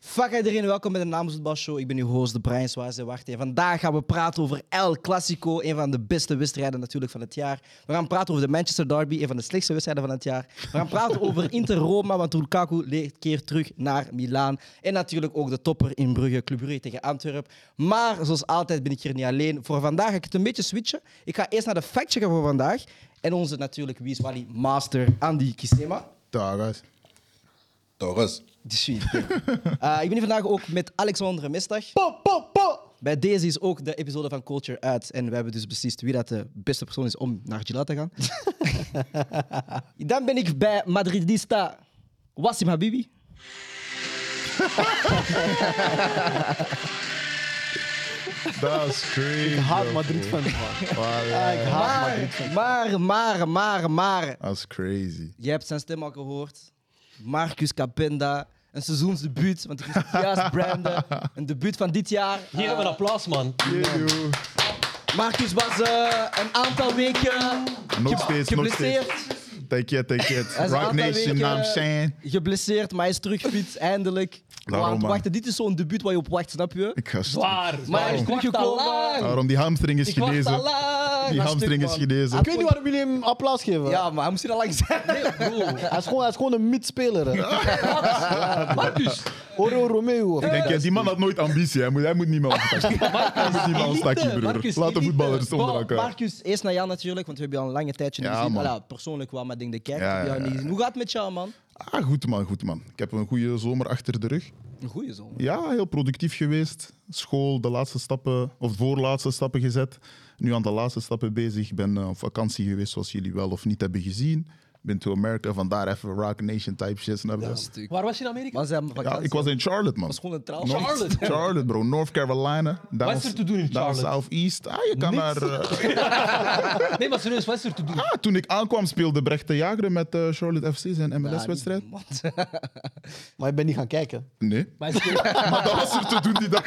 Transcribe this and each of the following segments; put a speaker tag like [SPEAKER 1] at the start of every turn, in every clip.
[SPEAKER 1] Fuck iedereen, welkom bij de Naamsvoetbal Show. Ik ben uw host, de Brian Swaas en Wacht. En vandaag gaan we praten over El Clasico, een van de beste wedstrijden natuurlijk van het jaar. We gaan praten over de Manchester Derby, een van de slechtste wedstrijden van het jaar. We gaan praten over Inter Roma, want Lukaku leert keer terug naar Milaan. En natuurlijk ook de topper in Brugge, Club Brugge tegen Antwerpen. Maar zoals altijd ben ik hier niet alleen. Voor vandaag ga ik het een beetje switchen. Ik ga eerst naar de factchecker voor vandaag. En onze natuurlijk Wies Wally master, Andy Kisema.
[SPEAKER 2] Tagas.
[SPEAKER 3] Torres.
[SPEAKER 1] De suite. Eh, ik ben hier vandaag ook met Alexander Mestag. Bij deze is ook de episode van Culture uit. En we hebben dus beslist wie dat de beste persoon is om naar Gila te gaan. Dan ben ik bij Madridista Wassim Habibi.
[SPEAKER 2] Dat is crazy.
[SPEAKER 4] Haat
[SPEAKER 2] bro.
[SPEAKER 4] Madrid van.
[SPEAKER 2] Voilà.
[SPEAKER 4] Ik haat Madrid.
[SPEAKER 1] Maar, maar, maar, maar.
[SPEAKER 2] Dat is crazy.
[SPEAKER 1] Je hebt zijn stem al gehoord. Marcus Capenda. Een seizoensdebuut, want ik moest het juist branden. Een debuut van dit jaar. Eh,
[SPEAKER 5] Geef hem een applaus, man.
[SPEAKER 2] Yo.
[SPEAKER 1] Marcus was eh, een aantal weken
[SPEAKER 2] Nog
[SPEAKER 1] ge-
[SPEAKER 2] steeds, nog
[SPEAKER 1] geblesseerd.
[SPEAKER 2] steeds. Take it, take it.
[SPEAKER 1] Hij is een
[SPEAKER 2] Rock
[SPEAKER 1] aantal
[SPEAKER 2] Nation,
[SPEAKER 1] weken,
[SPEAKER 2] know what I'm
[SPEAKER 1] eh,
[SPEAKER 2] saying?
[SPEAKER 1] Geblesseerd, maar hij is terug fiets, eindelijk.
[SPEAKER 2] Daarom,
[SPEAKER 1] Wacht,
[SPEAKER 2] man.
[SPEAKER 1] wacht, dit is zo'n debuut waar je op wacht, snap je?
[SPEAKER 2] Ik ga st-
[SPEAKER 5] Waar?
[SPEAKER 1] Maar hij is
[SPEAKER 5] Ik wacht al
[SPEAKER 1] teruggekomen.
[SPEAKER 5] lang.
[SPEAKER 2] Daarom die hamstring is
[SPEAKER 5] Ik wacht al
[SPEAKER 2] genezen.
[SPEAKER 5] lang.
[SPEAKER 2] Die
[SPEAKER 1] Dat stuk,
[SPEAKER 2] hamstring is
[SPEAKER 1] man.
[SPEAKER 4] Ik
[SPEAKER 2] genezen.
[SPEAKER 4] weet niet waarom jullie hem applaus geven.
[SPEAKER 1] Ja, maar hij moest hier al lang zijn.
[SPEAKER 4] Hij, is gewoon, hij is gewoon een midspeler. hè.
[SPEAKER 5] Marcus,
[SPEAKER 4] Oro Romeo.
[SPEAKER 2] Ik denk, ja, die man had nooit ambitie. Hij moet, hij moet niet meer ontstakken. Hij moet niet meer
[SPEAKER 1] eh,
[SPEAKER 2] ontstakken, broer.
[SPEAKER 5] Marcus,
[SPEAKER 2] Laat de
[SPEAKER 5] elite.
[SPEAKER 2] voetballers onder
[SPEAKER 1] Bon,
[SPEAKER 2] elkaar.
[SPEAKER 1] eh, Marcus, eerst naar jou natuurlijk, want we hebben je al een lange tijdje niet
[SPEAKER 2] Ja,
[SPEAKER 1] gezien.
[SPEAKER 2] man.
[SPEAKER 1] Allee, persoonlijk wel, maar ik denk de kerk.
[SPEAKER 2] Ja,
[SPEAKER 1] heb je
[SPEAKER 2] ja,
[SPEAKER 1] al niet
[SPEAKER 2] ja.
[SPEAKER 1] gezien. Hoe gaat het met jou, man?
[SPEAKER 2] Ah, goed man, goed man. Ik heb een goede zomer achter de rug.
[SPEAKER 1] Een goeie zomer.
[SPEAKER 2] Ja, heel productief geweest. School, de laatste stappen, of voorlaatste stappen gezet. Nu aan de laatste stappen bezig. Ik ben eh, op vakantie geweest, zoals jullie wel of niet hebben gezien. Ben to America, vandaar even Rock Nation type shit. snap je?
[SPEAKER 5] waar was je in Amerika?
[SPEAKER 1] Maar ze hebben
[SPEAKER 2] Ja,
[SPEAKER 1] vakantie.
[SPEAKER 2] ik was in Charlotte, man.
[SPEAKER 1] was gewoon een trouw.
[SPEAKER 2] North-
[SPEAKER 5] Charlotte?
[SPEAKER 2] Charlotte, bro. North Carolina. Down,
[SPEAKER 5] is er te doen in
[SPEAKER 2] down
[SPEAKER 5] Charlotte?
[SPEAKER 2] Southeast. Ah, je kan naar... eh,
[SPEAKER 5] Nee, maar serieus, wat is er te doen?
[SPEAKER 2] ah, toen ik aankwam speelde Brecht de Jager met eh, Charlotte FC zijn
[SPEAKER 1] Ja,
[SPEAKER 2] MLS-wedstrijd.
[SPEAKER 1] man.
[SPEAKER 4] Maar ik ben niet gaan kijken.
[SPEAKER 2] Nee.
[SPEAKER 5] Maar is er-
[SPEAKER 2] Maar dat was er te doen die dag.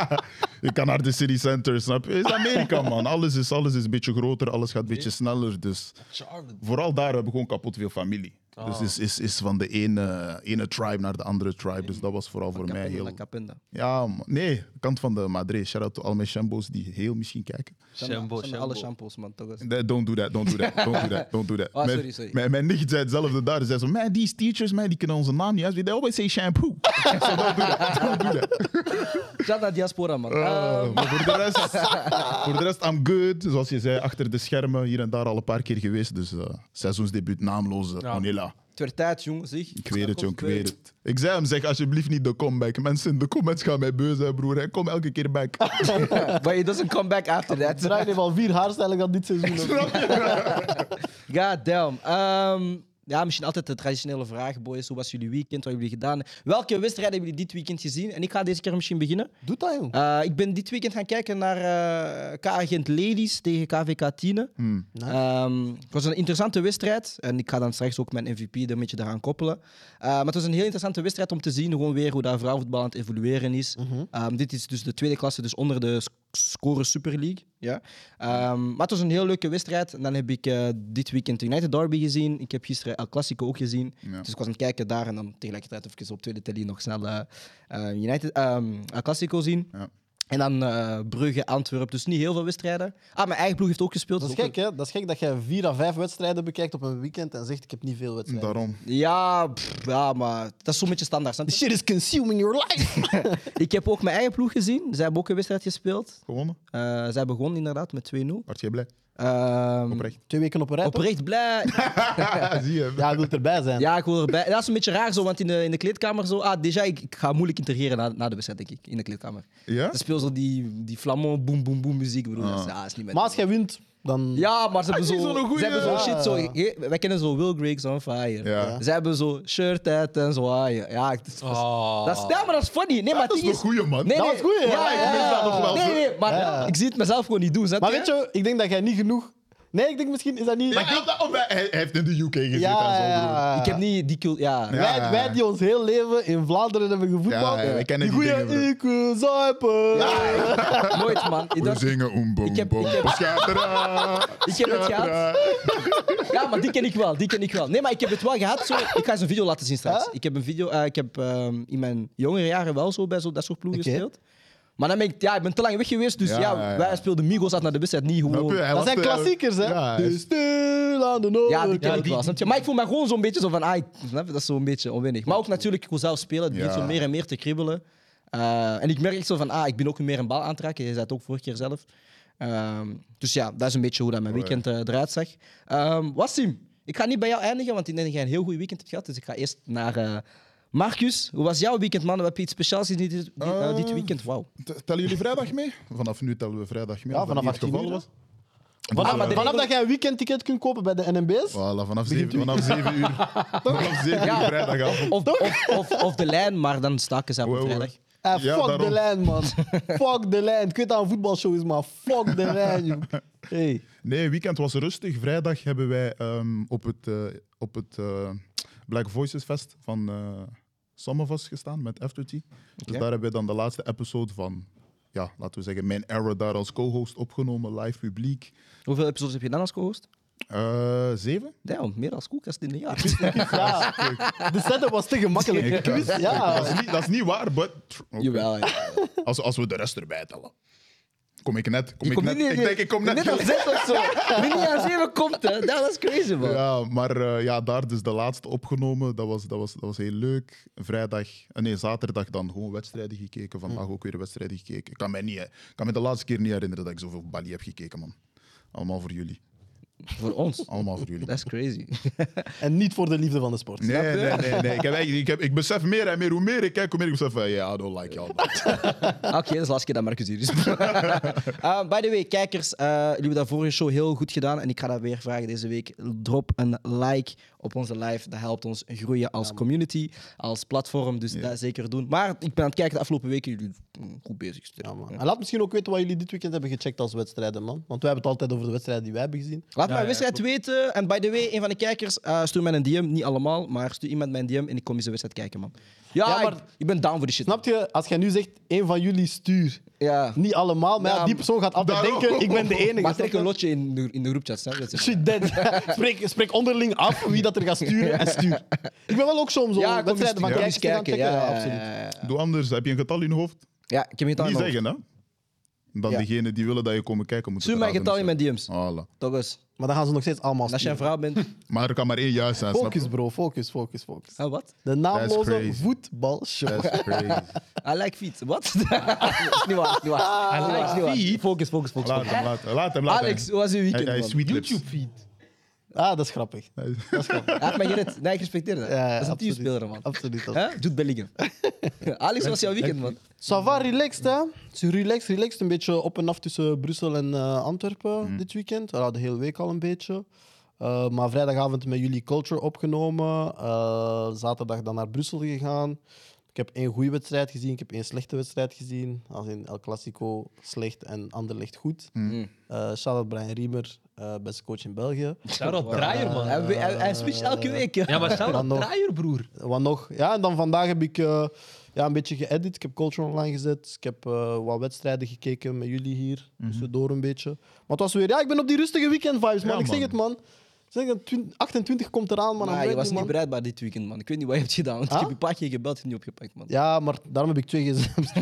[SPEAKER 2] je kan naar de city center, snap je? Het is Amerika, man. Alles is, alles is een beetje groter, alles gaat een beetje sneller. Dus
[SPEAKER 5] Charlotte.
[SPEAKER 2] vooral daar hebben we gewoon kapot veel familie.
[SPEAKER 1] Ah.
[SPEAKER 2] Dus is, is, is van de ene, ene tribe naar de andere tribe.
[SPEAKER 1] Hm.
[SPEAKER 2] Dus dat was vooral voor mij
[SPEAKER 1] Capenda,
[SPEAKER 2] heel...
[SPEAKER 1] Capenda.
[SPEAKER 2] Ja, man. nee, kant van de Madrid. Shout-out to al mijn shambo's die heel misschien kijken.
[SPEAKER 5] Shambo,
[SPEAKER 1] Zijn Alle shampoos, man. Toch eens.
[SPEAKER 2] Nee, Don't do that, don't do that, don't do that, don't do that.
[SPEAKER 1] Ah,
[SPEAKER 2] Mijn-
[SPEAKER 1] sorry, sorry.
[SPEAKER 2] Mijn, mijn nicht zei hetzelfde daar. Ze zei zo, man, these teachers, man, die kunnen onze naam niet uitspreken. They always say shampoo. so don't do that, don't do that.
[SPEAKER 1] Shout naar Diaspora, man. Ehm,
[SPEAKER 2] Eh, maar voor de, rest, voor de rest, I'm good. Zoals je zei, achter de schermen, hier en daar al een paar keer geweest. Dus eh, seizoensdebuut, naamloze, Onela.
[SPEAKER 1] Het werd tijd, jongen, zeg.
[SPEAKER 2] Ik weet het, jong, ik weet het. Ik zei hem, zeg alsjeblieft niet de comeback. Mensen in de comments gaan mij beu zijn, broer. Hij komt elke keer back.
[SPEAKER 1] But it doesn't come back after that.
[SPEAKER 4] Draai heeft al vier haarstijlen gehad dit seizoen.
[SPEAKER 1] God damn. Ehm, ja, misschien altijd de traditionele vraag, boys. Hoe was jullie weekend? Wat hebben jullie gedaan? Welke wedstrijden hebben jullie dit weekend gezien? En ik ga deze keer misschien beginnen.
[SPEAKER 4] Doe dat, jong.
[SPEAKER 1] Eh, ik ben dit weekend gaan kijken naar eh K-agent Ladies tegen KVK Tienen.
[SPEAKER 2] Hmm.
[SPEAKER 1] Ehm, het was een interessante wedstrijd. En ik ga dan straks ook mijn MVP er een beetje daaraan koppelen. Eh, maar het was een heel interessante wedstrijd om te zien gewoon weer hoe dat vrouwenvoetbal aan het evolueren is. Ehm, dit is dus de tweede klasse, dus onder de sc- score Super League. Ja. Ehm, maar het was een heel leuke wedstrijd. En dan heb ik eh, dit weekend United Derby gezien. Ik heb gisteren El Clasico ook gezien. Dus ik was aan het kijken daar en dan tegelijkertijd even op tweede telly nog snel eh, eh, United, ehm, El Clasico zien.
[SPEAKER 2] Ja.
[SPEAKER 1] En dan eh, Brugge, Antwerpen. Dus niet heel veel wedstrijden. Ah, mijn eigen ploeg heeft ook gespeeld.
[SPEAKER 4] Dat is
[SPEAKER 1] Dus ook
[SPEAKER 4] gek, hè? Dat is gek dat jij vier à vijf wedstrijden bekijkt op een weekend en zegt: Ik heb niet veel wedstrijden.
[SPEAKER 2] Daarom.
[SPEAKER 1] Ja, pff, ja, maar dat is zo'n beetje standaard. snap je?
[SPEAKER 4] Shit is consuming your life.
[SPEAKER 1] Ik heb ook mijn eigen ploeg gezien. Zij hebben ook een wedstrijd gespeeld.
[SPEAKER 2] Gewonnen?
[SPEAKER 1] Eh, zij begon inderdaad met 2-0.
[SPEAKER 2] Word jij blij?
[SPEAKER 1] Ehm,
[SPEAKER 2] Oprecht.
[SPEAKER 4] Twee weken op een rij. toch?
[SPEAKER 1] oprecht blij.
[SPEAKER 2] Ah, zie je.
[SPEAKER 4] Ja, hij wil erbij zijn.
[SPEAKER 1] Ja, ik wil erbij. Dat is een beetje raar zo, want in de, in de kleedkamer zo. Ah, déjà, ik, ik ga moeilijk interageren na, na de wedstrijd, denk ik. In de kleedkamer.
[SPEAKER 2] Ja? Ah.
[SPEAKER 1] Ze speel zo die, die flamand, boom, boom, boom muziek. Bedoel, dat, is, ja, dat is niet met
[SPEAKER 4] Maar als Ah, jij wint, dan.
[SPEAKER 1] Ja, maar ze hebben
[SPEAKER 2] is
[SPEAKER 1] zo,
[SPEAKER 2] zo'n goeie-
[SPEAKER 1] ze hebben zo shit. Zo,
[SPEAKER 4] Ja.
[SPEAKER 1] je- wij kennen zo Will Griggs on fire.
[SPEAKER 2] Ja.
[SPEAKER 1] Ze hebben zo shirt uit en zo. ah, Ja, ja, het is- dat, is,
[SPEAKER 5] Oh.
[SPEAKER 1] dat is- ja, maar dat is funny. Nee, maar
[SPEAKER 2] Dat is
[SPEAKER 1] het
[SPEAKER 2] een goeie, man.
[SPEAKER 1] Nee,
[SPEAKER 4] Ah. Dat
[SPEAKER 1] nee.
[SPEAKER 4] was goed, hè?
[SPEAKER 1] Ja,
[SPEAKER 4] Ja,
[SPEAKER 1] ja,
[SPEAKER 4] ik
[SPEAKER 1] ja.
[SPEAKER 4] mis dat nog wel,
[SPEAKER 1] Nee,
[SPEAKER 4] zo.
[SPEAKER 1] nee, maar ik zie het mezelf gewoon niet doen. snap
[SPEAKER 4] Maar weet je, ik denk dat jij niet genoeg Nee, ik denk misschien is dat niet.
[SPEAKER 2] Maar ik- oh, hij, hij heeft in de UK gezeten
[SPEAKER 4] ja,
[SPEAKER 2] en zo.
[SPEAKER 4] ja,
[SPEAKER 2] bedoel ik.
[SPEAKER 4] ja.
[SPEAKER 1] Ik heb niet die cult. Ja.
[SPEAKER 2] Ja.
[SPEAKER 4] wij, wij die ons heel leven in Vlaanderen hebben gevoetbald.
[SPEAKER 2] Ja, ja, ik ken
[SPEAKER 4] die
[SPEAKER 2] die
[SPEAKER 4] goeie
[SPEAKER 2] dingen, bro.
[SPEAKER 4] ik wil zuipen.
[SPEAKER 1] Nooit, man. Ik,
[SPEAKER 2] We
[SPEAKER 1] dacht-
[SPEAKER 2] zingen om boom
[SPEAKER 1] Ik heb-
[SPEAKER 2] boom.
[SPEAKER 1] ik heb-
[SPEAKER 2] Schatera,
[SPEAKER 1] ik heb het
[SPEAKER 2] schatera.
[SPEAKER 1] gehad. Ja, maar die ken ik wel. Die ken ik wel. Nee, maar ik heb het wel gehad. Zo, ik ga eens een video laten zien straks. Ik heb, een video, eh, ik heb ehm, in mijn jongere jaren wel zo bij zo, dat soort ploegen
[SPEAKER 4] Oké.
[SPEAKER 1] gespeeld. Maar dan ben ik, ja, ik ben te lang weg geweest. Dus ja,
[SPEAKER 2] Ja, ja, ja.
[SPEAKER 1] wij speelden Migos uit naar de wedstrijd. Niet
[SPEAKER 2] Snap je?
[SPEAKER 1] gewoon.
[SPEAKER 2] Hij
[SPEAKER 4] Dat
[SPEAKER 2] was
[SPEAKER 4] zijn
[SPEAKER 2] de-
[SPEAKER 4] klassiekers, hè?
[SPEAKER 2] Ja, hij
[SPEAKER 4] dus
[SPEAKER 2] is-
[SPEAKER 4] stil aan de noord.
[SPEAKER 1] Ja,
[SPEAKER 2] Oh,
[SPEAKER 1] die ken
[SPEAKER 5] Ja,
[SPEAKER 1] ik
[SPEAKER 5] die-
[SPEAKER 1] wel. snap je? Maar ik voel me gewoon zo'n beetje zo van, ah, ik- snap je? dat is zo'n beetje onwennig. Maar ook natuurlijk, ik wil zelf spelen. Het begint
[SPEAKER 2] Ja.
[SPEAKER 1] zo meer en meer te kribbelen. Eh, en ik merk echt zo van, ah, ik ben ook meer een bal aan het raken. Je zei het ook vorige keer zelf. Ehm, dus ja, dat is een beetje hoe dat mijn weekend eh, eruit zag. Ehm Wassim, ik ga niet bij jou eindigen, want ik denk dat jij een heel goed weekend hebt gehad. Dus ik ga eerst naar eh, Marcus. Hoe was jouw weekend, man? Heb je iets speciaals gezien dit, dit, eh, dit
[SPEAKER 2] Eh,
[SPEAKER 1] weekend? Wauw.
[SPEAKER 2] T- Tellen jullie vrijdag mee? Vanaf nu tellen we vrijdag mee.
[SPEAKER 4] Ja,
[SPEAKER 2] als dat
[SPEAKER 4] vanaf
[SPEAKER 2] niet het
[SPEAKER 4] 18
[SPEAKER 2] geval
[SPEAKER 4] uur,
[SPEAKER 2] was.
[SPEAKER 4] Vanaf,
[SPEAKER 1] Ah, maar
[SPEAKER 4] vanaf
[SPEAKER 1] de-
[SPEAKER 4] dat jij een weekendticket kunt kopen bij de NMB's.
[SPEAKER 2] Voilà, vanaf 7 vanaf zeven uur. Vanaf 7 uur vrijdagavond.
[SPEAKER 1] Of, of, of, of de lijn, maar dan staken ze op
[SPEAKER 2] Wow, wow.
[SPEAKER 1] vrijdag.
[SPEAKER 4] Eh,
[SPEAKER 2] Ja,
[SPEAKER 4] fuck de
[SPEAKER 2] daarom.
[SPEAKER 4] lijn, man. fuck de lijn. Ik weet dat het een voetbalshow is, maar fuck de lijn, joh. Hey.
[SPEAKER 2] Nee, weekend was rustig. Vrijdag hebben wij ehm, op het, eh, op het eh, Black Voices Fest van eh Some of Us gestaan met Aftertea. Dus
[SPEAKER 1] Oké.
[SPEAKER 2] daar hebben wij dan de laatste episode van, ja, laten we zeggen, mijn era daar als co-host opgenomen, live publiek.
[SPEAKER 1] Hoeveel episodes heb je dan als co-host?
[SPEAKER 2] Eh, zeven?
[SPEAKER 1] Ja, meer als koelkast in een jaar.
[SPEAKER 4] Ja. De setup was te gemakkelijk.
[SPEAKER 2] Ik-
[SPEAKER 4] Quiz,
[SPEAKER 1] Ah.
[SPEAKER 4] ja.
[SPEAKER 2] Dat, is niet, dat is niet waar, but... oké.
[SPEAKER 1] Jawel, ja.
[SPEAKER 2] Als, als we de rest erbij tellen. Kom ik net? Kom
[SPEAKER 1] Je
[SPEAKER 2] ik
[SPEAKER 1] komt
[SPEAKER 2] net?
[SPEAKER 1] niet-
[SPEAKER 2] ik denk, ik kom net.
[SPEAKER 1] Net aan zes of zo. Wie niet aan zeven komt, hè. Dat was crazy, man.
[SPEAKER 2] Ja, maar eh, ja, daar dus de laatste opgenomen. Dat was, dat was, dat was heel leuk. Vrijdag, eh, nee, zaterdag dan gewoon wedstrijden gekeken.
[SPEAKER 1] Mm.
[SPEAKER 2] Vandaag ook weer wedstrijden gekeken. Ik kan mij, niet, eh, ik kan me de laatste keer niet herinneren dat ik zoveel Bali heb gekeken, man. Allemaal voor jullie.
[SPEAKER 1] Voor ons.
[SPEAKER 2] Allemaal voor jullie.
[SPEAKER 1] Dat is crazy.
[SPEAKER 4] En niet voor de liefde van de sport.
[SPEAKER 2] Nee, nee, nee. nee. Ik, heb, eigenlijk- ik, heb, ik besef meer en meer. Hoe meer ik kijk, hoe meer ik besef van, ja, I don't like y'all.
[SPEAKER 1] Ah, Oké, dat is de laatste keer dat Marcus hier is. Eh, by the way, kijkers, eh, jullie hebben dat vorige show heel goed gedaan. En ik ga dat weer vragen deze week. Drop een like op onze live. Dat helpt ons groeien als community, als platform. Dus dat zeker doen. Maar ik ben aan het kijken de afgelopen weken. Jullie mm, goed bezig.
[SPEAKER 4] Ja, man. En laat misschien ook weten wat jullie dit weekend hebben gecheckt als wedstrijden, man. Want wij hebben het altijd over de wedstrijden die wij hebben gezien.
[SPEAKER 1] Laat mij
[SPEAKER 5] ja,
[SPEAKER 1] wedstrijd weten. En by the way, een van de kijkers, eh, stuur mij een DM. Niet allemaal, maar stuur iemand mijn DM en ik kom eens een wedstrijd kijken, man. Ja,
[SPEAKER 4] Ja, maar-
[SPEAKER 1] ik, ik ben down voor die shit.
[SPEAKER 4] Snap je? Als jij nu zegt, één van jullie stuur.
[SPEAKER 1] Ja.
[SPEAKER 4] Niet allemaal, maar ja,
[SPEAKER 1] Ja,
[SPEAKER 4] die persoon gaat altijd
[SPEAKER 2] daarom.
[SPEAKER 4] denken, ik ben de enige.
[SPEAKER 1] Maar
[SPEAKER 4] Snap
[SPEAKER 1] trek
[SPEAKER 4] je?
[SPEAKER 1] een lotje in de, in de groepchat, snap je? Dat is-
[SPEAKER 4] Shit, dead. spreek, spreek onderling af wie dat er gaat sturen en stuur. Ik ben wel ook soms
[SPEAKER 1] Ja,
[SPEAKER 4] om
[SPEAKER 1] kom eens,
[SPEAKER 4] wedstrijden van
[SPEAKER 1] ja, kom eens
[SPEAKER 4] kijkers te gaan
[SPEAKER 1] kijken.
[SPEAKER 4] checken.
[SPEAKER 1] Ja,
[SPEAKER 4] Ja,
[SPEAKER 1] ja,
[SPEAKER 4] absoluut.
[SPEAKER 1] ja, ja.
[SPEAKER 2] Doe anders. Heb je een getal in je hoofd?
[SPEAKER 1] Ja, ik heb je getal in
[SPEAKER 2] Niet
[SPEAKER 1] mijn hoofd.
[SPEAKER 2] zeggen, hè? Dan
[SPEAKER 1] Ja.
[SPEAKER 2] degene die willen dat je komen kijken, moeten
[SPEAKER 1] Stuur mij een
[SPEAKER 2] het
[SPEAKER 1] getal in
[SPEAKER 2] raden
[SPEAKER 1] mijn DM's.
[SPEAKER 2] zelf. Voilà.
[SPEAKER 1] Toch eens.
[SPEAKER 4] Maar dan gaan ze nog steeds allemaal
[SPEAKER 1] En als je
[SPEAKER 4] sturen.
[SPEAKER 1] een vrouw bent...
[SPEAKER 2] Maar er kan maar één juist zijn, snap je?
[SPEAKER 4] Focus, bro. Focus, focus, focus.
[SPEAKER 1] Ah, wat?
[SPEAKER 4] De naamloze
[SPEAKER 2] crazy.
[SPEAKER 4] voetbalshow.
[SPEAKER 2] That's crazy.
[SPEAKER 1] I like feet. Wat? Dat is niet waar, dat is niet
[SPEAKER 5] Ah,
[SPEAKER 1] waar. Dat is niet waar. Focus, focus, focus.
[SPEAKER 2] Laat
[SPEAKER 1] focus.
[SPEAKER 2] hem, laat hem. Laat hem, laat
[SPEAKER 1] Alex,
[SPEAKER 2] hem.
[SPEAKER 1] hoe was uw
[SPEAKER 2] Hij,
[SPEAKER 1] weekend,
[SPEAKER 2] hij
[SPEAKER 1] man?
[SPEAKER 2] is sweet lips.
[SPEAKER 5] YouTube-feed.
[SPEAKER 4] Ah, dat is grappig.
[SPEAKER 2] Hij is-
[SPEAKER 1] Hij heeft mij gered. Nee, ik respecteer dat.
[SPEAKER 4] Ja,
[SPEAKER 1] dat is een
[SPEAKER 4] absoluut.
[SPEAKER 1] teamspeler, man.
[SPEAKER 4] Absoluut.
[SPEAKER 1] Hè? Jude Bellingham. Alex, hoe was jouw weekend, man?
[SPEAKER 4] Ça va, relaxed, hè? Het is relaxed, relaxed. Een beetje op en af tussen Brussel en eh, Antwerpen dit weekend. Ja, de hele week al een beetje. Eh, maar vrijdagavond met jullie Culture opgenomen. Eh, zaterdag dan naar Brussel gegaan. Ik heb één goede wedstrijd gezien, ik heb één slechte wedstrijd gezien. Als in El Clasico slecht en Anderlecht goed. Eh Shout-out Brian Riemer, eh, beste coach in België.
[SPEAKER 5] Shout-out Draaier,
[SPEAKER 1] Hij,
[SPEAKER 5] man.
[SPEAKER 1] hij, hij switcht elke week.
[SPEAKER 5] Ja, maar
[SPEAKER 4] Dan nog.
[SPEAKER 5] shout-out Draaier, broer.
[SPEAKER 4] Wat nog? Ja, en dan vandaag heb ik eh, ja, een beetje geëdit. Ik heb Culture online gezet. Ik heb eh, wat wedstrijden gekeken met jullie hier. Tussendoor een beetje. Maar het was weer... Ja, ik ben op die rustige weekend-vibes, man.
[SPEAKER 2] Ja,
[SPEAKER 4] ik zeg
[SPEAKER 2] man.
[SPEAKER 4] het, man. Ik Zeg, dat twin- 28 komt eraan, man.
[SPEAKER 1] Maar
[SPEAKER 4] Ik
[SPEAKER 1] Ah, je
[SPEAKER 4] weet
[SPEAKER 1] was niet
[SPEAKER 4] man.
[SPEAKER 1] bereidbaar dit weekend, man. Ik weet niet wat je hebt gedaan. Want
[SPEAKER 4] Ah?
[SPEAKER 1] ik heb een paar keer gebeld, je hebt niet opgepakt, man.
[SPEAKER 4] Ja, maar daarom heb ik twee gsm's.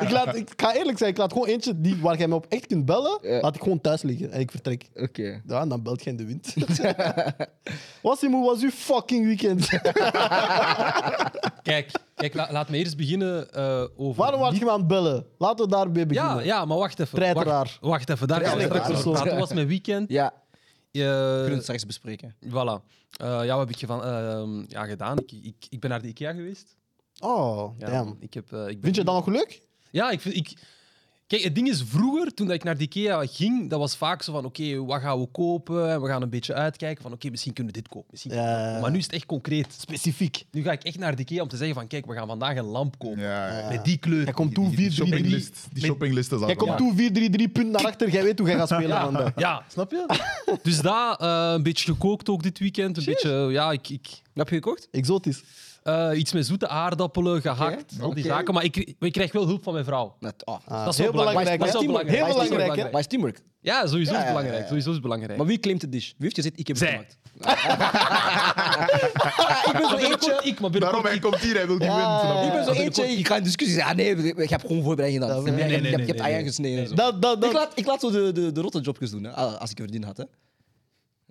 [SPEAKER 4] ik, laat, ik ga eerlijk zijn, ik laat gewoon eentje die, waar jij me op echt kunt bellen,
[SPEAKER 1] Ja.
[SPEAKER 4] laat ik gewoon thuis liggen en ik vertrek.
[SPEAKER 1] Oké.
[SPEAKER 4] Ja, en dan belt jij in de wind. Wassim, hoe was uw fucking weekend?
[SPEAKER 5] Kijk, kijk la- laat me eerst beginnen eh, over...
[SPEAKER 4] Waarom was
[SPEAKER 5] niet-
[SPEAKER 4] je me aan het bellen? Laten we daarbij beginnen.
[SPEAKER 5] ja, ja, maar wacht even.
[SPEAKER 4] Treiteraar.
[SPEAKER 5] Wacht, wacht even, daar gaan we
[SPEAKER 4] Treiteraar.
[SPEAKER 5] straks over praten. Dat was mijn weekend.
[SPEAKER 1] Ja, we
[SPEAKER 5] Eh,
[SPEAKER 1] kunnen het straks bespreken.
[SPEAKER 5] Voilà. Eh, ja, wat heb ik gevan- ehm, ja, gedaan? Ik, ik, ik ben naar de IKEA geweest.
[SPEAKER 4] Oh,
[SPEAKER 5] Ja,
[SPEAKER 4] damn.
[SPEAKER 5] Ik heb, eh, ik ben-
[SPEAKER 4] Vind je dat nog leuk?
[SPEAKER 5] Ja, ik, vind- ik, ik Kijk, het ding is, vroeger, toen dat ik naar de IKEA ging, dat was vaak zo van, oké, wat gaan we kopen? En we gaan een beetje uitkijken van, oké, misschien kunnen we dit kopen. Misschien kunnen we dat
[SPEAKER 4] Ja.
[SPEAKER 5] kopen. Maar nu is het echt concreet.
[SPEAKER 4] Specifiek.
[SPEAKER 5] Nu ga ik echt naar de IKEA om te zeggen van, kijk, we gaan vandaag een lamp kopen.
[SPEAKER 2] Ja,
[SPEAKER 4] Ah.
[SPEAKER 2] ja.
[SPEAKER 5] Met die kleur.
[SPEAKER 4] Jij komt toe
[SPEAKER 2] Die, die
[SPEAKER 4] 4-3-3.
[SPEAKER 2] shoppinglist, die shoppinglist is
[SPEAKER 4] Jij komt
[SPEAKER 2] allemaal-
[SPEAKER 4] toe 4-3-3 punten naar achter. Jij weet hoe jij gaat spelen
[SPEAKER 5] Ja.
[SPEAKER 4] vandaag.
[SPEAKER 5] Ja, snap je? Dus daar eh, een beetje gekookt ook dit weekend. Een beetje, eh, ja, ik, ik,
[SPEAKER 1] Wat heb je gekocht?
[SPEAKER 4] Exotisch.
[SPEAKER 5] eh, iets met zoete aardappelen, gehakt, al die
[SPEAKER 1] Oké.
[SPEAKER 5] zaken. Maar ik, ik krijg wel hulp van mijn vrouw.
[SPEAKER 1] Net, oh.
[SPEAKER 4] Ah,
[SPEAKER 5] Dat is wel
[SPEAKER 4] heel
[SPEAKER 5] belangrijk.
[SPEAKER 4] belangrijk.
[SPEAKER 5] Dat is wel
[SPEAKER 4] hè?
[SPEAKER 5] belangrijk.
[SPEAKER 4] Heel
[SPEAKER 5] Dat is wel
[SPEAKER 4] belangrijk, hè?
[SPEAKER 1] Maar is teamwork.
[SPEAKER 5] Ja, sowieso is
[SPEAKER 1] ja,
[SPEAKER 5] het belangrijk.
[SPEAKER 1] ja.
[SPEAKER 5] Sowieso is het belangrijk.
[SPEAKER 1] Maar wie claimt het dish? Wie heeft gezegd, ik heb het
[SPEAKER 5] Zij.
[SPEAKER 1] gemaakt? Ah, ik ben zo
[SPEAKER 5] Maar binnenkort
[SPEAKER 1] eentje...
[SPEAKER 5] ik, maar
[SPEAKER 2] Daarom,
[SPEAKER 5] binnenkort
[SPEAKER 2] hij
[SPEAKER 5] ik.
[SPEAKER 2] komt hier, hij wil die
[SPEAKER 4] Ah.
[SPEAKER 2] win. snap je?
[SPEAKER 1] Ik ben zo
[SPEAKER 5] Ja,
[SPEAKER 1] eentje, je gaat in discussie zeggen, ah nee, ik heb gewoon voorbereid gedaan.
[SPEAKER 4] Dat-
[SPEAKER 1] Je hebt-
[SPEAKER 4] Nee,
[SPEAKER 1] je
[SPEAKER 5] nee,
[SPEAKER 1] hebt-
[SPEAKER 5] nee,
[SPEAKER 1] Je hebt
[SPEAKER 5] nee,
[SPEAKER 1] eieren
[SPEAKER 5] nee.
[SPEAKER 1] gesneden en zo.
[SPEAKER 4] Dat, dat,
[SPEAKER 1] Ik
[SPEAKER 4] dat.
[SPEAKER 1] laat, ik laat zo de, de, de rotte jobjes doen, hè, als ik verdiend had. Hè.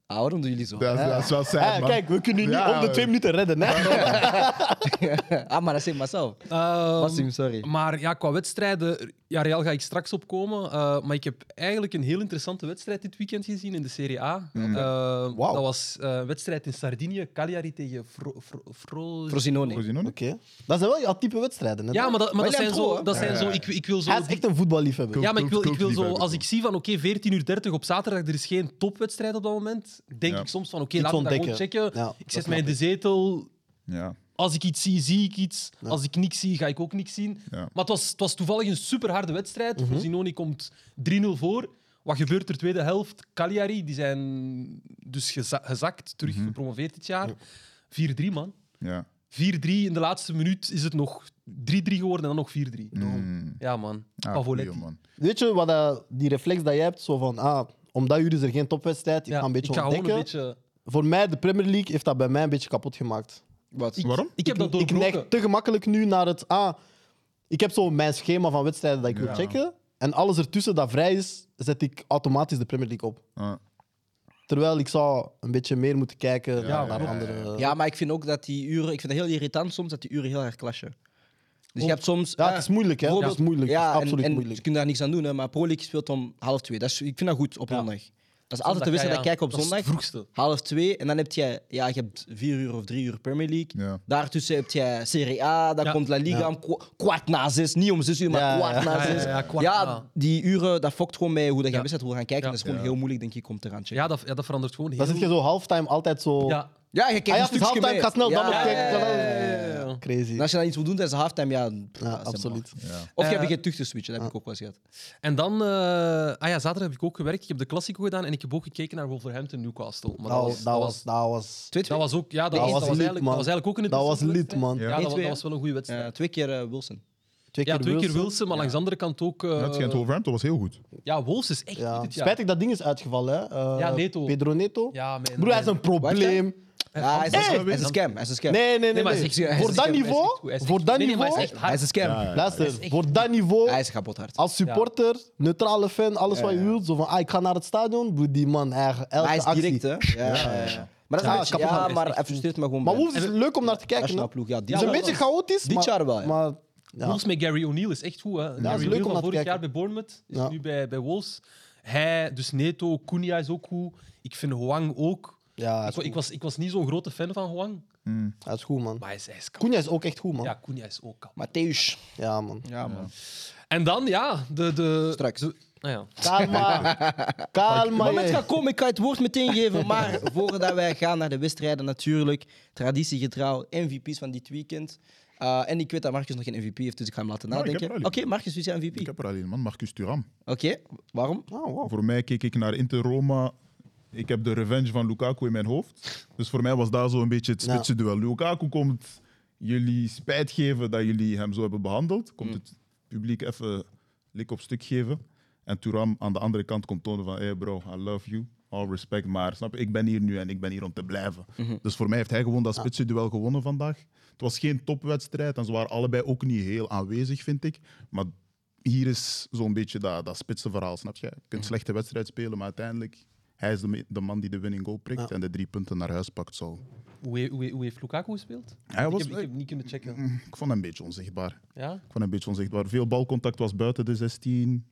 [SPEAKER 1] Ah, waarom doen jullie zo?
[SPEAKER 2] Dat is- dat is wel
[SPEAKER 4] Ah,
[SPEAKER 2] sad, man.
[SPEAKER 4] kijk, we kunnen je niet
[SPEAKER 2] Ja,
[SPEAKER 4] om de twee
[SPEAKER 2] eh.
[SPEAKER 4] minuten redden. Hè?
[SPEAKER 1] ah, maar dat is myself.
[SPEAKER 5] Ehm,
[SPEAKER 1] Wassim, sorry.
[SPEAKER 5] Maar ja, qua wedstrijden, ja, Real ga ik straks opkomen. eh, maar ik heb eigenlijk een heel interessante wedstrijd dit weekend gezien in de Serie A. Eh,
[SPEAKER 4] Mm. Wauw.
[SPEAKER 5] Dat was eh, een wedstrijd in Sardinië, Cagliari tegen Fro... Fro- Fro-
[SPEAKER 1] Frosinone.
[SPEAKER 2] Zien we nog?
[SPEAKER 4] Oké. Dat zijn wel jouw type wedstrijden. Hè?
[SPEAKER 5] ja, maar dat, maar dat
[SPEAKER 1] Maar
[SPEAKER 5] zijn
[SPEAKER 1] jij hebt
[SPEAKER 5] zo...
[SPEAKER 1] goed,
[SPEAKER 5] Dat zijn zo ik, ik wil zo
[SPEAKER 4] Hij is
[SPEAKER 5] die-
[SPEAKER 4] echt een voetballiefhebber.
[SPEAKER 5] Ja, maar ik wil, ik wil zo,
[SPEAKER 2] Cultliefhebber.
[SPEAKER 5] als ik zie van oké, 14 uur 30 op zaterdag, er is geen topwedstrijd op dat moment, denk
[SPEAKER 2] Ja.
[SPEAKER 5] ik soms van oké,
[SPEAKER 4] Iets
[SPEAKER 5] laat me dat gewoon
[SPEAKER 4] ontdekken.
[SPEAKER 5] checken.
[SPEAKER 4] Ja, dat
[SPEAKER 5] ik zet
[SPEAKER 4] snap
[SPEAKER 5] mij in de zetel.
[SPEAKER 2] Ja.
[SPEAKER 5] Als ik iets zie, zie ik iets. Als ik niks zie, ga ik ook niks zien.
[SPEAKER 2] Ja.
[SPEAKER 5] Maar het was, het was toevallig een superharde wedstrijd.
[SPEAKER 4] Mhm.
[SPEAKER 5] Frosinone komt 3-0 voor. Wat gebeurt er tweede helft? Cagliari, die zijn dus geza- gezakt, terug
[SPEAKER 2] Mhm.
[SPEAKER 5] gepromoveerd dit jaar. 4-3, man.
[SPEAKER 2] Ja.
[SPEAKER 5] 4-3 in de laatste minuut is het nog 3-3 geworden en dan nog 4-3. Ja, man.
[SPEAKER 2] Mm. Ah,
[SPEAKER 5] Pavoletti.
[SPEAKER 2] goeie, man.
[SPEAKER 4] Weet je wat dat, die reflex dat jij hebt? Zo van, ah, omdat jullie is er geen topwedstrijd, ik
[SPEAKER 5] Ja,
[SPEAKER 4] ga een beetje
[SPEAKER 5] ik ga gewoon
[SPEAKER 4] ontdekken.
[SPEAKER 5] een beetje...
[SPEAKER 4] Voor mij, de Premier League heeft dat bij mij een beetje kapot gemaakt.
[SPEAKER 1] Wat?
[SPEAKER 5] Ik,
[SPEAKER 2] Waarom?
[SPEAKER 5] Ik heb dat
[SPEAKER 4] ik
[SPEAKER 5] doorbroken.
[SPEAKER 4] neig te gemakkelijk nu naar het, ah, ik heb zo mijn schema van wedstrijden dat ik wil checken. En alles ertussen dat vrij is, zet ik automatisch de Premier League op.
[SPEAKER 2] Ah,
[SPEAKER 4] Terwijl ik zou een beetje meer moeten kijken naar
[SPEAKER 2] ja, ja,
[SPEAKER 4] andere... Ja,
[SPEAKER 1] Ja, maar ik vind ook dat die uren... Ik vind het heel irritant soms dat die uren heel erg clashen. Dus je hebt soms... eh,
[SPEAKER 4] het is moeilijk, hè. Het is
[SPEAKER 1] bijvoorbeeld-
[SPEAKER 4] moeilijk.
[SPEAKER 1] Ja,
[SPEAKER 4] het is absoluut
[SPEAKER 1] en, en
[SPEAKER 4] moeilijk.
[SPEAKER 1] Ze kunnen daar niks aan doen, hè, maar Pro League speelt om half twee. Dat is, ik vind dat goed op zondag. Dat is altijd de
[SPEAKER 5] Zondag,
[SPEAKER 1] wedstrijd dat
[SPEAKER 5] ja,
[SPEAKER 1] ik kijk op
[SPEAKER 5] ja. Dat is
[SPEAKER 1] zondag.
[SPEAKER 5] het vroegste.
[SPEAKER 1] Half twee. En dan heb je, ja, je hebt vier uur of drie uur Premier League.
[SPEAKER 2] Ja.
[SPEAKER 1] Daartussen heb je Serie A, dan
[SPEAKER 5] Ja.
[SPEAKER 1] komt La Liga om kwa- kwart na zes. Niet om zes uur, maar
[SPEAKER 4] Ja, ja,
[SPEAKER 1] kwart na
[SPEAKER 5] ja, ja,
[SPEAKER 1] zes.
[SPEAKER 5] ja, ja, kwart na.
[SPEAKER 1] die uren, dat fokt gewoon mee hoe dat je
[SPEAKER 5] Ja.
[SPEAKER 1] wedstrijd wil gaan kijken. Dat is gewoon heel moeilijk, denk ik, om te gaan checken.
[SPEAKER 5] Ja dat, ja, dat verandert gewoon heel...
[SPEAKER 4] Dan zit je zo halftime altijd zo...
[SPEAKER 5] Ja.
[SPEAKER 1] Ja, je kijkt
[SPEAKER 4] Ah ja,
[SPEAKER 1] een
[SPEAKER 4] het is
[SPEAKER 1] stukje
[SPEAKER 4] halftime,
[SPEAKER 1] mee.
[SPEAKER 4] ga snel dan
[SPEAKER 1] Ja,
[SPEAKER 4] nog
[SPEAKER 1] ja,
[SPEAKER 4] kijken.
[SPEAKER 1] ja, ja, ja.
[SPEAKER 5] ja.
[SPEAKER 4] Crazy.
[SPEAKER 1] En als je dan iets wil doen tijdens de halftime, ja... pff,
[SPEAKER 4] Ja,
[SPEAKER 1] dat is
[SPEAKER 4] absoluut.
[SPEAKER 1] helemaal. Of je
[SPEAKER 5] Eh,
[SPEAKER 1] hebt geen tucht te switchen, dat heb ik ook wel eens gehad.
[SPEAKER 5] En dan... eh, ah ja, zaterdag heb ik ook gewerkt. Ik heb de Classico gedaan en ik heb ook gekeken naar Wolverhampton-Newcastle. Maar
[SPEAKER 4] Dat was... Dat was, dat was
[SPEAKER 1] Twee,
[SPEAKER 5] dat was ook... Ja, dat,
[SPEAKER 4] Dat
[SPEAKER 5] was,
[SPEAKER 4] was
[SPEAKER 5] dat was
[SPEAKER 4] lit,
[SPEAKER 5] eigenlijk,
[SPEAKER 4] man.
[SPEAKER 5] dat was eigenlijk ook een
[SPEAKER 4] Dat was
[SPEAKER 5] interessante
[SPEAKER 4] lit, man.
[SPEAKER 5] wedstrijd.
[SPEAKER 1] Ja.
[SPEAKER 5] Ja, dat, wa-
[SPEAKER 1] 1-2,
[SPEAKER 5] dat was wel een goede wedstrijd.
[SPEAKER 1] Eh, twee keer eh, Wilson.
[SPEAKER 4] Twee keer
[SPEAKER 5] ja, twee keer
[SPEAKER 4] Wilson.
[SPEAKER 5] Wilson, maar langs de andere kant ook... eh,
[SPEAKER 2] Dat schijnt Wolverhampton was heel goed.
[SPEAKER 5] ja, Wolves is echt
[SPEAKER 4] Ja.
[SPEAKER 5] niet het jaar.
[SPEAKER 4] Spijtig dat ding is uitgevallen, hè? Eh,
[SPEAKER 5] Ja, Neto.
[SPEAKER 4] Pedro Neto.
[SPEAKER 5] Ja, mijn-
[SPEAKER 4] Broer, hij is een probleem.
[SPEAKER 1] Ja, hij is,
[SPEAKER 5] Hey!
[SPEAKER 1] hij is een scam. Hij is een scam.
[SPEAKER 4] Nee, nee, nee.
[SPEAKER 5] Nee, maar hij
[SPEAKER 4] nee.
[SPEAKER 5] is echt- hij is
[SPEAKER 4] Voor
[SPEAKER 5] echt-
[SPEAKER 4] dat
[SPEAKER 5] hij is echt
[SPEAKER 4] niveau,
[SPEAKER 5] goed. Hij is
[SPEAKER 4] voor
[SPEAKER 5] echt-
[SPEAKER 4] dat
[SPEAKER 5] nee, nee, maar hij is
[SPEAKER 4] niveau,
[SPEAKER 5] echt
[SPEAKER 1] Hij is een scam.
[SPEAKER 2] Ja, ja.
[SPEAKER 5] Hij is
[SPEAKER 4] luister,
[SPEAKER 5] echt
[SPEAKER 4] voor
[SPEAKER 5] goed.
[SPEAKER 4] dat
[SPEAKER 1] Dus Hij
[SPEAKER 4] niveau,
[SPEAKER 1] is kapot hard.
[SPEAKER 4] als supporter, neutrale fan, alles wat je wilt, zo van, ah, ik ga naar het stadion, broer, die man, eigen, elke
[SPEAKER 1] Maar hij is
[SPEAKER 4] actie.
[SPEAKER 1] direct, hè? Ja, ja, ja. Maar dat is
[SPEAKER 4] Ja,
[SPEAKER 1] een beetje-
[SPEAKER 4] kapot
[SPEAKER 1] ja,
[SPEAKER 4] hard.
[SPEAKER 1] maar hij frustreert me gewoon.
[SPEAKER 4] Maar
[SPEAKER 1] bij-
[SPEAKER 4] Wolves is leuk om naar te kijken, hè?
[SPEAKER 1] Nationale
[SPEAKER 4] Het
[SPEAKER 1] ploeg, ja. die-
[SPEAKER 4] is
[SPEAKER 1] Ja,
[SPEAKER 4] een beetje chaotisch,
[SPEAKER 1] Dit
[SPEAKER 4] maar-
[SPEAKER 1] jaar wel, ja.
[SPEAKER 4] Maar, ja.
[SPEAKER 5] Wolves met Gary O'Neill is echt goed. Hè. Gary
[SPEAKER 4] leuk om
[SPEAKER 5] O'Neill
[SPEAKER 4] naar
[SPEAKER 5] van
[SPEAKER 4] te
[SPEAKER 5] vorig
[SPEAKER 4] kijken.
[SPEAKER 5] jaar bij Bournemouth, is
[SPEAKER 4] Ja.
[SPEAKER 5] nu bij, bij Wolves. Hij, dus Neto, Cunha is ook goed. Ik vind Huang ook.
[SPEAKER 4] Ja,
[SPEAKER 5] Ik,
[SPEAKER 4] hij is
[SPEAKER 5] wa- ik,
[SPEAKER 4] goed.
[SPEAKER 5] was, ik was niet zo'n grote fan van Huang,
[SPEAKER 4] Hij is goed, man.
[SPEAKER 5] maar hij is, hij is kapot.
[SPEAKER 4] Cunha is ook echt goed, man.
[SPEAKER 5] Ja, Cunha is ook kapot.
[SPEAKER 1] Matthäus.
[SPEAKER 4] Ja, man.
[SPEAKER 1] Ja, man.
[SPEAKER 5] En dan, ja, de... de
[SPEAKER 1] Straks.
[SPEAKER 5] de- ah ja.
[SPEAKER 4] Kalma. Kalma,
[SPEAKER 1] Het moment
[SPEAKER 4] jij.
[SPEAKER 1] gaat komen, ik kan het woord meteen geven. Maar voordat wij gaan naar de wedstrijden, natuurlijk. Traditiegetrouw, MVP's van dit weekend. Eh, en ik weet dat Marcus nog geen MVP heeft, dus ik ga hem laten
[SPEAKER 2] Nou, ik heb
[SPEAKER 1] nadenken.
[SPEAKER 2] er al
[SPEAKER 1] Oké,
[SPEAKER 2] een.
[SPEAKER 1] Marcus, wie is jouw
[SPEAKER 2] Ik
[SPEAKER 1] MVP?
[SPEAKER 2] heb er alleen, man. Marcus Thuram.
[SPEAKER 1] Oké, waarom?
[SPEAKER 4] Ah, wow.
[SPEAKER 2] Voor mij keek ik naar Inter-Roma. Ik heb de revenge van Lukaku in mijn hoofd. Dus voor mij was daar zo een beetje het
[SPEAKER 4] Ja.
[SPEAKER 2] spitse duel. Lukaku komt jullie spijt geven dat jullie hem zo hebben behandeld.
[SPEAKER 4] Mm.
[SPEAKER 2] Komt het publiek even lik op stuk geven. En Thuram aan de andere kant komt tonen van... Hey bro, I love you. All respect. Maar snap je, ik ben hier nu en ik ben hier om te blijven.
[SPEAKER 4] Mhm.
[SPEAKER 2] Dus voor mij heeft hij gewoon dat spitse duel gewonnen vandaag. Het was geen topwedstrijd en ze waren allebei ook niet heel aanwezig, vind ik. Maar hier is zo'n beetje dat, dat spitse verhaal, snap je? Je kunt slechte wedstrijd spelen, maar uiteindelijk... Hij is de, me- de man die de winning goal prikt en de drie punten naar huis pakt. Zo.
[SPEAKER 5] Hoe, he- hoe, he- hoe heeft Lukaku gespeeld?
[SPEAKER 2] Hij
[SPEAKER 5] ik,
[SPEAKER 2] was,
[SPEAKER 5] heb, ik
[SPEAKER 2] eh,
[SPEAKER 5] heb niet kunnen checken.
[SPEAKER 2] mm, ik vond hem een beetje onzichtbaar.
[SPEAKER 5] Ja?
[SPEAKER 2] Ik vond hem een beetje onzichtbaar. Veel balcontact was buiten de 16.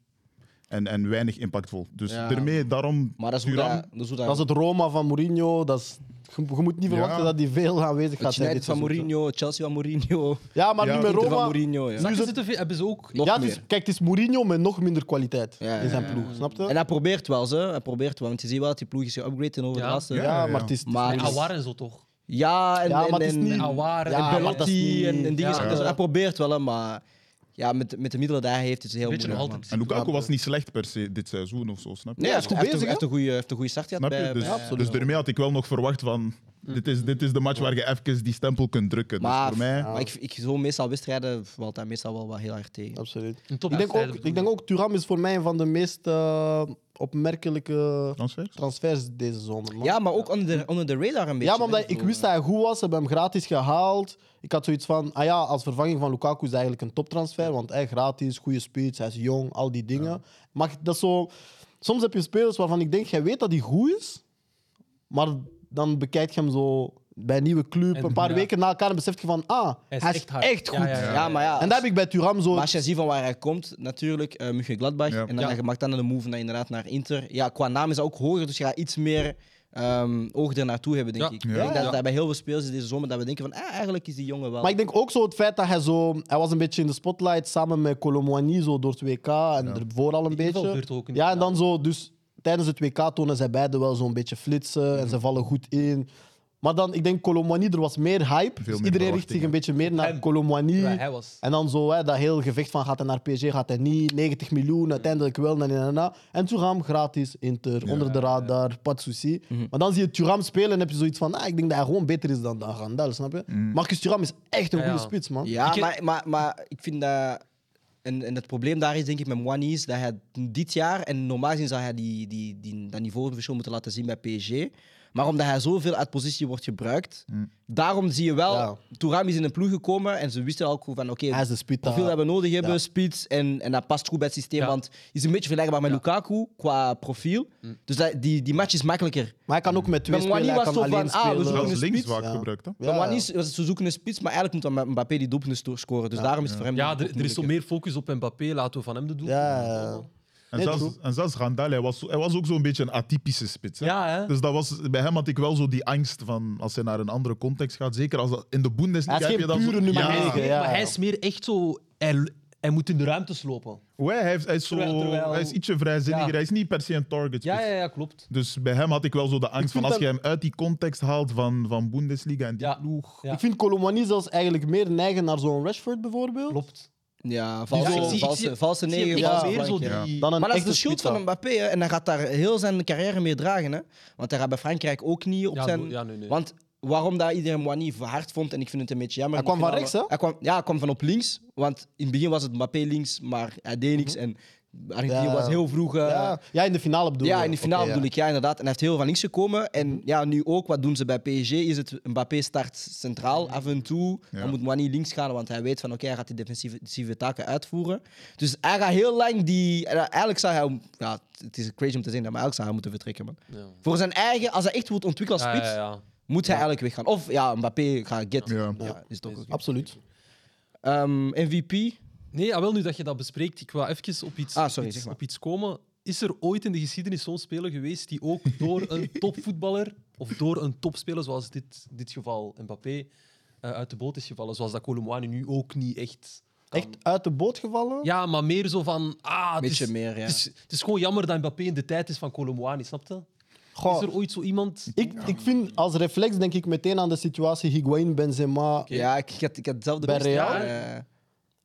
[SPEAKER 2] en, en weinig impactvol. Dus
[SPEAKER 1] Ja.
[SPEAKER 2] daarmee, daarom.
[SPEAKER 1] Maar dat is hoe
[SPEAKER 2] Thuram-
[SPEAKER 1] dat... Dat is hoe dat...
[SPEAKER 4] Dat is het Roma van Mourinho. Dat is, je, je moet niet
[SPEAKER 2] Ja.
[SPEAKER 4] verwachten dat die veel aanwezig
[SPEAKER 1] het
[SPEAKER 4] gaat zijn.
[SPEAKER 1] United
[SPEAKER 4] dit
[SPEAKER 1] van
[SPEAKER 4] seizoen.
[SPEAKER 1] Mourinho, Chelsea van Mourinho,
[SPEAKER 4] Ja, maar
[SPEAKER 2] Ja,
[SPEAKER 4] niet
[SPEAKER 2] Inter
[SPEAKER 4] meer
[SPEAKER 1] Inter van
[SPEAKER 4] Roma.
[SPEAKER 1] Mourinho. Ja.
[SPEAKER 5] Zakken zitten veel- hebben ze ook.
[SPEAKER 1] Nog
[SPEAKER 4] ja, dus, het is-
[SPEAKER 1] meer.
[SPEAKER 4] kijk, het is Mourinho met nog minder kwaliteit
[SPEAKER 1] Ja,
[SPEAKER 4] in zijn
[SPEAKER 1] ja,
[SPEAKER 4] ploeg. Snap je?
[SPEAKER 1] En hij probeert wel, ze. Hij probeert wel, want je ziet wel dat die ploeg is geupgraded over
[SPEAKER 5] Ja.
[SPEAKER 1] de laatste...
[SPEAKER 2] Ja.
[SPEAKER 4] ja, maar het is...
[SPEAKER 1] Maar-
[SPEAKER 5] En Awar en zo toch?
[SPEAKER 1] Mm. Ja, en,
[SPEAKER 4] Ja,
[SPEAKER 1] en,
[SPEAKER 4] maar het is
[SPEAKER 1] en-
[SPEAKER 4] niet-
[SPEAKER 1] en
[SPEAKER 5] Awar
[SPEAKER 4] Ja,
[SPEAKER 5] en
[SPEAKER 4] maar dat
[SPEAKER 5] Belotti
[SPEAKER 4] is niet-
[SPEAKER 5] en, en dingen.
[SPEAKER 1] dingen. Dus hij probeert wel, hè, maar ja, met, met de middelen die hij heeft is het heel
[SPEAKER 5] Beetje nog
[SPEAKER 1] moeilijk.
[SPEAKER 5] altijd.
[SPEAKER 1] man.
[SPEAKER 2] En Lukaku was niet slecht per se dit seizoen of zo, snap je?
[SPEAKER 1] Nee,
[SPEAKER 4] Ja,
[SPEAKER 1] hij
[SPEAKER 4] is goed
[SPEAKER 1] heeft- heeft een-
[SPEAKER 4] bezig, hè?
[SPEAKER 1] heeft een goede- heeft een goede start gehad
[SPEAKER 2] Snap je?
[SPEAKER 1] bij,
[SPEAKER 2] Dus,
[SPEAKER 1] bij-
[SPEAKER 4] absoluut.
[SPEAKER 2] dus daarmee had ik wel nog verwacht van. Dit is, dit is de match waar je even die stempel kunt drukken. Dus
[SPEAKER 1] Maar,
[SPEAKER 2] voor mij.
[SPEAKER 1] maar ik, ik zo meestal wedstrijden valt daar meestal wel wat heel erg tegen.
[SPEAKER 4] Absoluut.
[SPEAKER 5] Een top-
[SPEAKER 4] Ik denk, ook,
[SPEAKER 5] wedstrijden
[SPEAKER 4] ik denk ook, Thuram is voor mij een van de meest eh, opmerkelijke
[SPEAKER 2] Transfers?
[SPEAKER 4] transfers deze zomer. man.
[SPEAKER 1] Ja, maar ook onder de, onder de radar een beetje.
[SPEAKER 4] Ja, maar
[SPEAKER 1] hè.
[SPEAKER 4] omdat ik
[SPEAKER 1] bedoel,
[SPEAKER 4] wist dat hij goed was, ze hebben hem gratis gehaald. Ik had zoiets van, ah ja, als vervanging van Lukaku is eigenlijk een toptransfer, want hij gratis, goede speeds, hij is jong, al die dingen. Maar dat is zo, soms heb je spelers waarvan ik denk, jij weet dat hij goed is, maar dan bekijk je hem zo bij een nieuwe club,
[SPEAKER 5] En-
[SPEAKER 4] een paar
[SPEAKER 5] ja.
[SPEAKER 4] weken na elkaar en besef je van, ah, hij is, echt,
[SPEAKER 5] hard. Ja,
[SPEAKER 4] goed.
[SPEAKER 5] ja, ja,
[SPEAKER 1] eh, Ja, maar ja.
[SPEAKER 4] En dat heb ik bij Turam zo.
[SPEAKER 1] Maar als je ziet van waar hij komt, natuurlijk, uh, Gladbach.
[SPEAKER 2] Ja.
[SPEAKER 1] En dan
[SPEAKER 5] Ja.
[SPEAKER 1] je maakt dan een move naar, inderdaad naar Inter. Ja, qua naam is hij ook hoger, dus je gaat iets meer ehm oog ernaartoe hebben, denk
[SPEAKER 5] Ja.
[SPEAKER 1] ik.
[SPEAKER 5] Ja.
[SPEAKER 1] Ik denk dat
[SPEAKER 5] Ja.
[SPEAKER 1] dat bij heel veel spelers is deze zomer dat we denken van, ah, eigenlijk is die jongen wel...
[SPEAKER 4] Maar ik denk ook zo het feit dat hij zo... Hij was een beetje in de spotlight samen met Colomwani zo door het WK en ervoor al een beetje.
[SPEAKER 5] invalbeurt ook in
[SPEAKER 4] ja,
[SPEAKER 5] het
[SPEAKER 4] en dan zo... Dus tijdens het WK tonen zij beiden wel zo'n beetje flitsen en ze vallen goed in. Maar dan, ik denk Colomwani, er was meer hype.
[SPEAKER 2] meer
[SPEAKER 4] dus iedereen richt zich
[SPEAKER 2] verwachting,
[SPEAKER 4] een beetje meer naar
[SPEAKER 5] En-
[SPEAKER 4] Colomwani.
[SPEAKER 5] waar hij was.
[SPEAKER 4] En dan zo hè, dat heel gevecht van gaat hij naar PSG, gaat hij niet, 90 miljoen, uiteindelijk wel, na, na, na, na. En Thuram gratis, Inter, onder de radar, pas souci.
[SPEAKER 2] Mhm.
[SPEAKER 4] Maar dan zie je Thuram spelen en heb je zoiets van, ah, ik denk dat hij gewoon beter is dan, dan Randall, snap je?
[SPEAKER 2] Mhm.
[SPEAKER 4] Marcus Thuram is echt een
[SPEAKER 5] Ja,
[SPEAKER 4] goede
[SPEAKER 5] ja.
[SPEAKER 4] spits, man.
[SPEAKER 1] Ja,
[SPEAKER 5] Ik-
[SPEAKER 1] maar, maar, maar ik vind dat. En, en het probleem daar is, denk ik, met Mwani is dat hij dit jaar, en normaal gezien zou hij die, die, die, dat niveauverschil moeten laten zien bij PSG. Maar omdat hij zoveel uit positie wordt gebruikt,
[SPEAKER 4] Mm.
[SPEAKER 1] daarom zie je wel,
[SPEAKER 4] Ja.
[SPEAKER 1] Touram is in een ploeg gekomen en ze wisten ook goed van, oké,
[SPEAKER 4] Hij is de spits.
[SPEAKER 1] hoeveel dat we nodig hebben,
[SPEAKER 4] Ja.
[SPEAKER 1] speed, en, en dat past goed bij het systeem,
[SPEAKER 5] Ja.
[SPEAKER 1] want hij is een beetje vergelijkbaar met Lukaku qua profiel. Dus dat, die, die match is makkelijker.
[SPEAKER 4] Maar hij kan ook met twee
[SPEAKER 1] Maar Mwani
[SPEAKER 4] spelen, hij
[SPEAKER 1] was
[SPEAKER 4] kan
[SPEAKER 1] zo
[SPEAKER 4] alleen
[SPEAKER 1] van, ah, we
[SPEAKER 4] spelen.
[SPEAKER 1] zoeken
[SPEAKER 2] Zelfs
[SPEAKER 1] een
[SPEAKER 2] links
[SPEAKER 1] spits,
[SPEAKER 2] vaak
[SPEAKER 4] ja.
[SPEAKER 2] gebruikt. Hè?
[SPEAKER 1] Maar
[SPEAKER 4] Ja,
[SPEAKER 1] Mwani, is- ze zoeken een spits, maar eigenlijk moet dan Mbappé die doelpunten scoren. Dus daarom is het voor hem
[SPEAKER 5] Ja,
[SPEAKER 1] ook
[SPEAKER 5] er, er is
[SPEAKER 1] moeilijker.
[SPEAKER 5] zo meer focus op Mbappé. Laten we van hem de doel.
[SPEAKER 4] Ja, ja, ja.
[SPEAKER 2] En,
[SPEAKER 4] Nee,
[SPEAKER 2] zelfs, en zelfs Randall, hij was, zo- hij was ook zo'n beetje een atypische spits. Hè?
[SPEAKER 5] Ja, hè?
[SPEAKER 2] Dus dat was, bij hem had ik wel zo die angst van als hij naar een andere context gaat. Zeker als dat in de Bundesliga
[SPEAKER 4] Hij is
[SPEAKER 2] heb je
[SPEAKER 4] geen
[SPEAKER 2] dat
[SPEAKER 4] pure
[SPEAKER 2] zo-
[SPEAKER 4] nummer
[SPEAKER 2] Ja.
[SPEAKER 4] negen.
[SPEAKER 5] Nee,
[SPEAKER 4] ja.
[SPEAKER 5] Maar hij is meer echt zo. Hij, hij moet in de ruimtes lopen.
[SPEAKER 2] Hoe hij, heeft, hij, is zo,
[SPEAKER 5] Terwijl- terwijl-
[SPEAKER 2] hij is ietsje vrijzinniger.
[SPEAKER 5] Ja.
[SPEAKER 2] Hij is niet per se een target.
[SPEAKER 5] Ja, ja, ja klopt.
[SPEAKER 2] Dus bij hem had ik wel zo de angst van
[SPEAKER 4] vind
[SPEAKER 2] als je
[SPEAKER 4] hem-
[SPEAKER 2] hem uit die context haalt van, van Bundesliga en die
[SPEAKER 5] Ja.
[SPEAKER 2] ploeg.
[SPEAKER 5] Ja.
[SPEAKER 4] Ik vind Colomwani zelfs eigenlijk meer neigen naar zo'n Rashford bijvoorbeeld,
[SPEAKER 5] Klopt.
[SPEAKER 1] Ja, valse,
[SPEAKER 5] Ja, ik zie- ik
[SPEAKER 1] valse,
[SPEAKER 5] zie-
[SPEAKER 1] valse
[SPEAKER 5] Zie je,
[SPEAKER 1] negen,
[SPEAKER 5] ik
[SPEAKER 1] valse
[SPEAKER 5] zie meer
[SPEAKER 1] flank,
[SPEAKER 5] zo
[SPEAKER 1] ja.
[SPEAKER 5] die-
[SPEAKER 4] dan een
[SPEAKER 1] Maar dat is
[SPEAKER 4] echte
[SPEAKER 1] de schuld
[SPEAKER 4] spits,
[SPEAKER 1] van
[SPEAKER 4] hè.
[SPEAKER 1] Mbappé hè. en hij gaat daar heel zijn carrière mee dragen. Hè? Want hij gaat bij Frankrijk ook niet op
[SPEAKER 5] Ja,
[SPEAKER 1] zijn...
[SPEAKER 5] no- ja, nee, nee.
[SPEAKER 1] Want waarom dat iedereen Moani hard vond, en ik vind het een beetje jammer...
[SPEAKER 4] Hij kwam
[SPEAKER 1] Ik vind
[SPEAKER 4] van
[SPEAKER 1] dat-
[SPEAKER 4] rechts,
[SPEAKER 1] Hij
[SPEAKER 4] hè?
[SPEAKER 1] kwam, ja, hij kwam van op links. Want in het begin was het Mbappé links, maar hij deed niks. En Argentinië
[SPEAKER 4] Mhm. Ja.
[SPEAKER 1] was heel vroeg... eh,
[SPEAKER 4] Ja. ja, in de finale bedoel
[SPEAKER 1] ja,
[SPEAKER 4] je.
[SPEAKER 1] in de finale
[SPEAKER 4] Oké, ja.
[SPEAKER 1] bedoel ik, ja, inderdaad. En hij heeft heel van links gekomen. En ja, nu ook, wat doen ze bij PSG? Is het Mbappé start centraal af en toe.
[SPEAKER 2] Ja.
[SPEAKER 1] Dan moet Mani links gaan, want hij weet van oké, hij gaat die defensieve, defensieve taken uitvoeren. Dus hij gaat heel lang die. en Eigenlijk zou hij. Ja, het is crazy om te zeggen, maar eigenlijk zou hij moeten vertrekken, man. Voor zijn eigen, als hij echt wordt ontwikkelen als
[SPEAKER 5] Ja,
[SPEAKER 1] spits,
[SPEAKER 5] ja, ja.
[SPEAKER 1] moet hij eigenlijk weggaan. Of ja, Mbappé gaat get. Ja, is toch oké.
[SPEAKER 4] Absoluut.
[SPEAKER 1] Ehm, MVP.
[SPEAKER 5] Nee, ah, wel nu dat je dat bespreekt, ik wil even op iets,
[SPEAKER 1] Ah, sorry,
[SPEAKER 5] op
[SPEAKER 1] zeg
[SPEAKER 5] iets,
[SPEAKER 1] maar.
[SPEAKER 5] op iets komen. Is er ooit in de geschiedenis zo'n speler geweest die ook door een topvoetballer of door een topspeler, zoals dit, dit geval Mbappé, eh, uit de boot is gevallen? Zoals dat Colomwani nu ook niet echt kan.
[SPEAKER 4] Echt uit de boot gevallen?
[SPEAKER 5] Ja, maar meer zo van... Ah, het
[SPEAKER 1] Beetje
[SPEAKER 5] is,
[SPEAKER 1] meer, ja.
[SPEAKER 5] Het is, het is gewoon jammer dat Mbappé in de tijd is van Colomwani, snap je?
[SPEAKER 4] Goh.
[SPEAKER 5] Is er ooit zo iemand...
[SPEAKER 4] Oh. Ik, ik vind als reflex denk ik meteen aan de situatie Higuain, Benzema.
[SPEAKER 1] Ja, ik, ik had, ik had hetzelfde
[SPEAKER 4] Bij
[SPEAKER 1] beste,
[SPEAKER 4] Real?
[SPEAKER 1] eh,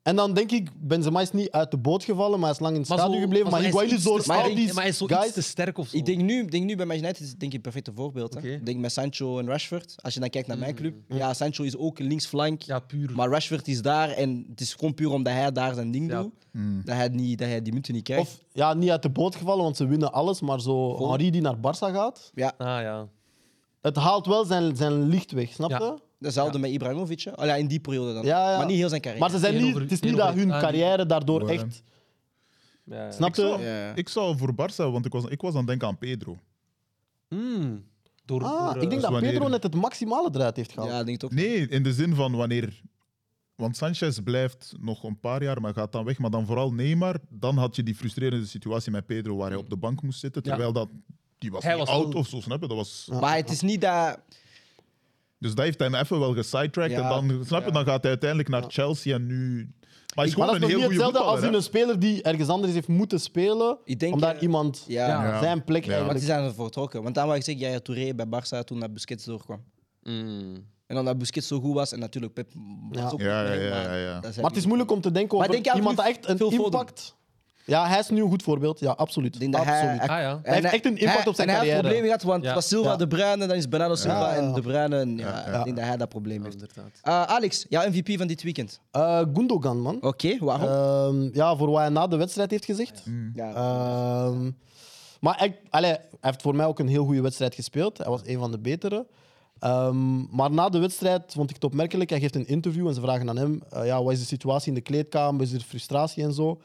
[SPEAKER 4] En dan denk ik, Benzema is niet uit de boot gevallen, maar hij is lang in het stadion gebleven. Maar
[SPEAKER 5] hij
[SPEAKER 4] Higuain is
[SPEAKER 5] iets
[SPEAKER 4] door
[SPEAKER 5] te sterk.
[SPEAKER 4] al die
[SPEAKER 5] Maar hij is zo iets te
[SPEAKER 4] guys...
[SPEAKER 5] sterk of zo.
[SPEAKER 1] Ik denk nu, denk nu bij Man United is het denk ik een perfecte voorbeeld. hè.
[SPEAKER 5] Oké.
[SPEAKER 1] Ik denk met Sancho en Rashford. Als je dan kijkt naar mijn club.
[SPEAKER 4] Mhm.
[SPEAKER 1] Ja, Sancho is ook linksflank.
[SPEAKER 5] Ja, puur.
[SPEAKER 1] Maar Rashford is daar en het is gewoon puur omdat hij daar zijn ding
[SPEAKER 5] Ja.
[SPEAKER 1] doet.
[SPEAKER 2] Mhm.
[SPEAKER 1] Dat, hij niet, dat hij die munten niet krijgt.
[SPEAKER 4] Of ja, niet uit de boot gevallen, want ze winnen alles. Maar zo Henri die naar Barça gaat,
[SPEAKER 1] ja,
[SPEAKER 5] Ah ja.
[SPEAKER 4] het haalt wel zijn, zijn licht weg, snap
[SPEAKER 5] Ja.
[SPEAKER 4] je?
[SPEAKER 1] hetzelfde met Ibrahimovic. hè. Oh, ja, in die periode dan.
[SPEAKER 4] Ja, ja.
[SPEAKER 1] Maar niet heel zijn carrière.
[SPEAKER 4] Maar ze zijn
[SPEAKER 5] Eén
[SPEAKER 4] niet,
[SPEAKER 5] over-
[SPEAKER 4] het is
[SPEAKER 5] één
[SPEAKER 4] niet
[SPEAKER 5] over-
[SPEAKER 4] dat hun
[SPEAKER 5] ah, die-
[SPEAKER 4] carrière daardoor
[SPEAKER 2] Ja.
[SPEAKER 4] echt...
[SPEAKER 5] ja.
[SPEAKER 4] Snap
[SPEAKER 2] Zo,
[SPEAKER 4] je?
[SPEAKER 1] Ja.
[SPEAKER 2] Ik zou voor Barça, want ik was, ik was aan het denken aan Pedro.
[SPEAKER 5] Mm. Door, door,
[SPEAKER 4] Ah,
[SPEAKER 5] eh,
[SPEAKER 4] ik denk dat
[SPEAKER 2] wanneer-
[SPEAKER 4] Pedro net het maximale eruit heeft
[SPEAKER 1] Ja,
[SPEAKER 4] gehaald.
[SPEAKER 1] ik denk het ook.
[SPEAKER 2] Nee, in de zin van wanneer Want Sanchez blijft nog een paar jaar, maar gaat dan weg. Maar dan vooral Neymar. Dan had je die frustrerende situatie met Pedro, waar hij op de bank moest zitten.
[SPEAKER 5] Ja.
[SPEAKER 2] Terwijl dat, die was
[SPEAKER 5] Hij
[SPEAKER 2] niet
[SPEAKER 5] was
[SPEAKER 2] oud
[SPEAKER 5] wel-
[SPEAKER 2] of zo, snap je? Dat was...
[SPEAKER 1] Maar het is niet dat...
[SPEAKER 2] Dus dat heeft hem even wel gesidetracked.
[SPEAKER 1] Ja.
[SPEAKER 2] En dan, snap je, dan gaat hij uiteindelijk naar Chelsea en nu... Maar hij is
[SPEAKER 4] Maar
[SPEAKER 2] gewoon
[SPEAKER 4] dat is
[SPEAKER 2] een heel
[SPEAKER 4] nog niet
[SPEAKER 2] goede
[SPEAKER 4] hetzelfde als
[SPEAKER 2] voetballer.
[SPEAKER 4] in
[SPEAKER 2] hè.
[SPEAKER 4] een speler die ergens anders heeft moeten spelen,
[SPEAKER 1] Ik denk,
[SPEAKER 4] omdat
[SPEAKER 1] eh,
[SPEAKER 4] iemand
[SPEAKER 1] Ja.
[SPEAKER 5] Ja.
[SPEAKER 2] Ja.
[SPEAKER 4] zijn plek
[SPEAKER 2] Ja.
[SPEAKER 1] Maar die
[SPEAKER 4] eigenlijk...
[SPEAKER 1] zijn er vertrokken. Want dan wou ik zeggen, Jaya Touré bij Barça toen dat Busquets doorkwam. En omdat Busquets zo goed was, en natuurlijk Pep was
[SPEAKER 4] Mm. Ja.
[SPEAKER 1] ook...
[SPEAKER 2] Ja, ja,
[SPEAKER 1] maar
[SPEAKER 2] ja,
[SPEAKER 1] dat
[SPEAKER 2] ja, ja.
[SPEAKER 1] zijn
[SPEAKER 4] Maar het is
[SPEAKER 1] die-
[SPEAKER 4] moeilijk om te denken
[SPEAKER 1] Maar
[SPEAKER 4] over
[SPEAKER 1] denk je aan
[SPEAKER 4] iemand dat
[SPEAKER 1] Phil-
[SPEAKER 4] echt een
[SPEAKER 1] Phil Foden?
[SPEAKER 4] impact... Ja, hij is nu een goed voorbeeld. Ja, absoluut.
[SPEAKER 1] Ik denk dat
[SPEAKER 4] absoluut.
[SPEAKER 1] hij,
[SPEAKER 5] Ah, ja.
[SPEAKER 1] en
[SPEAKER 4] heeft echt een impact
[SPEAKER 1] hij-
[SPEAKER 4] op zijn
[SPEAKER 1] en hij heeft
[SPEAKER 4] carrière.
[SPEAKER 1] problemen gehad, want
[SPEAKER 5] Ja.
[SPEAKER 1] het was Silva,
[SPEAKER 4] Ja.
[SPEAKER 1] De Bruyne, dan is Bernardo Silva
[SPEAKER 4] Ja, ja, ja.
[SPEAKER 1] en De Bruyne. en Ja,
[SPEAKER 2] Ja,
[SPEAKER 1] Ik denk dat hij dat probleem heeft.
[SPEAKER 5] inderdaad.
[SPEAKER 1] Eh, Alex, jouw MVP van dit weekend.
[SPEAKER 4] Eh, Gundogan, man.
[SPEAKER 1] Oké, Oh, waarom?
[SPEAKER 4] Ehm, ja, voor wat hij na de wedstrijd heeft gezegd.
[SPEAKER 1] ja. Mm.
[SPEAKER 4] Ehm, maar hij, allee, hij heeft voor mij ook een heel goede wedstrijd gespeeld. Hij was een van de betere. Ehm, maar na de wedstrijd vond ik het opmerkelijk. Hij geeft een interview en ze vragen aan hem: eh, ja, wat is de situatie in de kleedkamer? Is er frustratie en zo?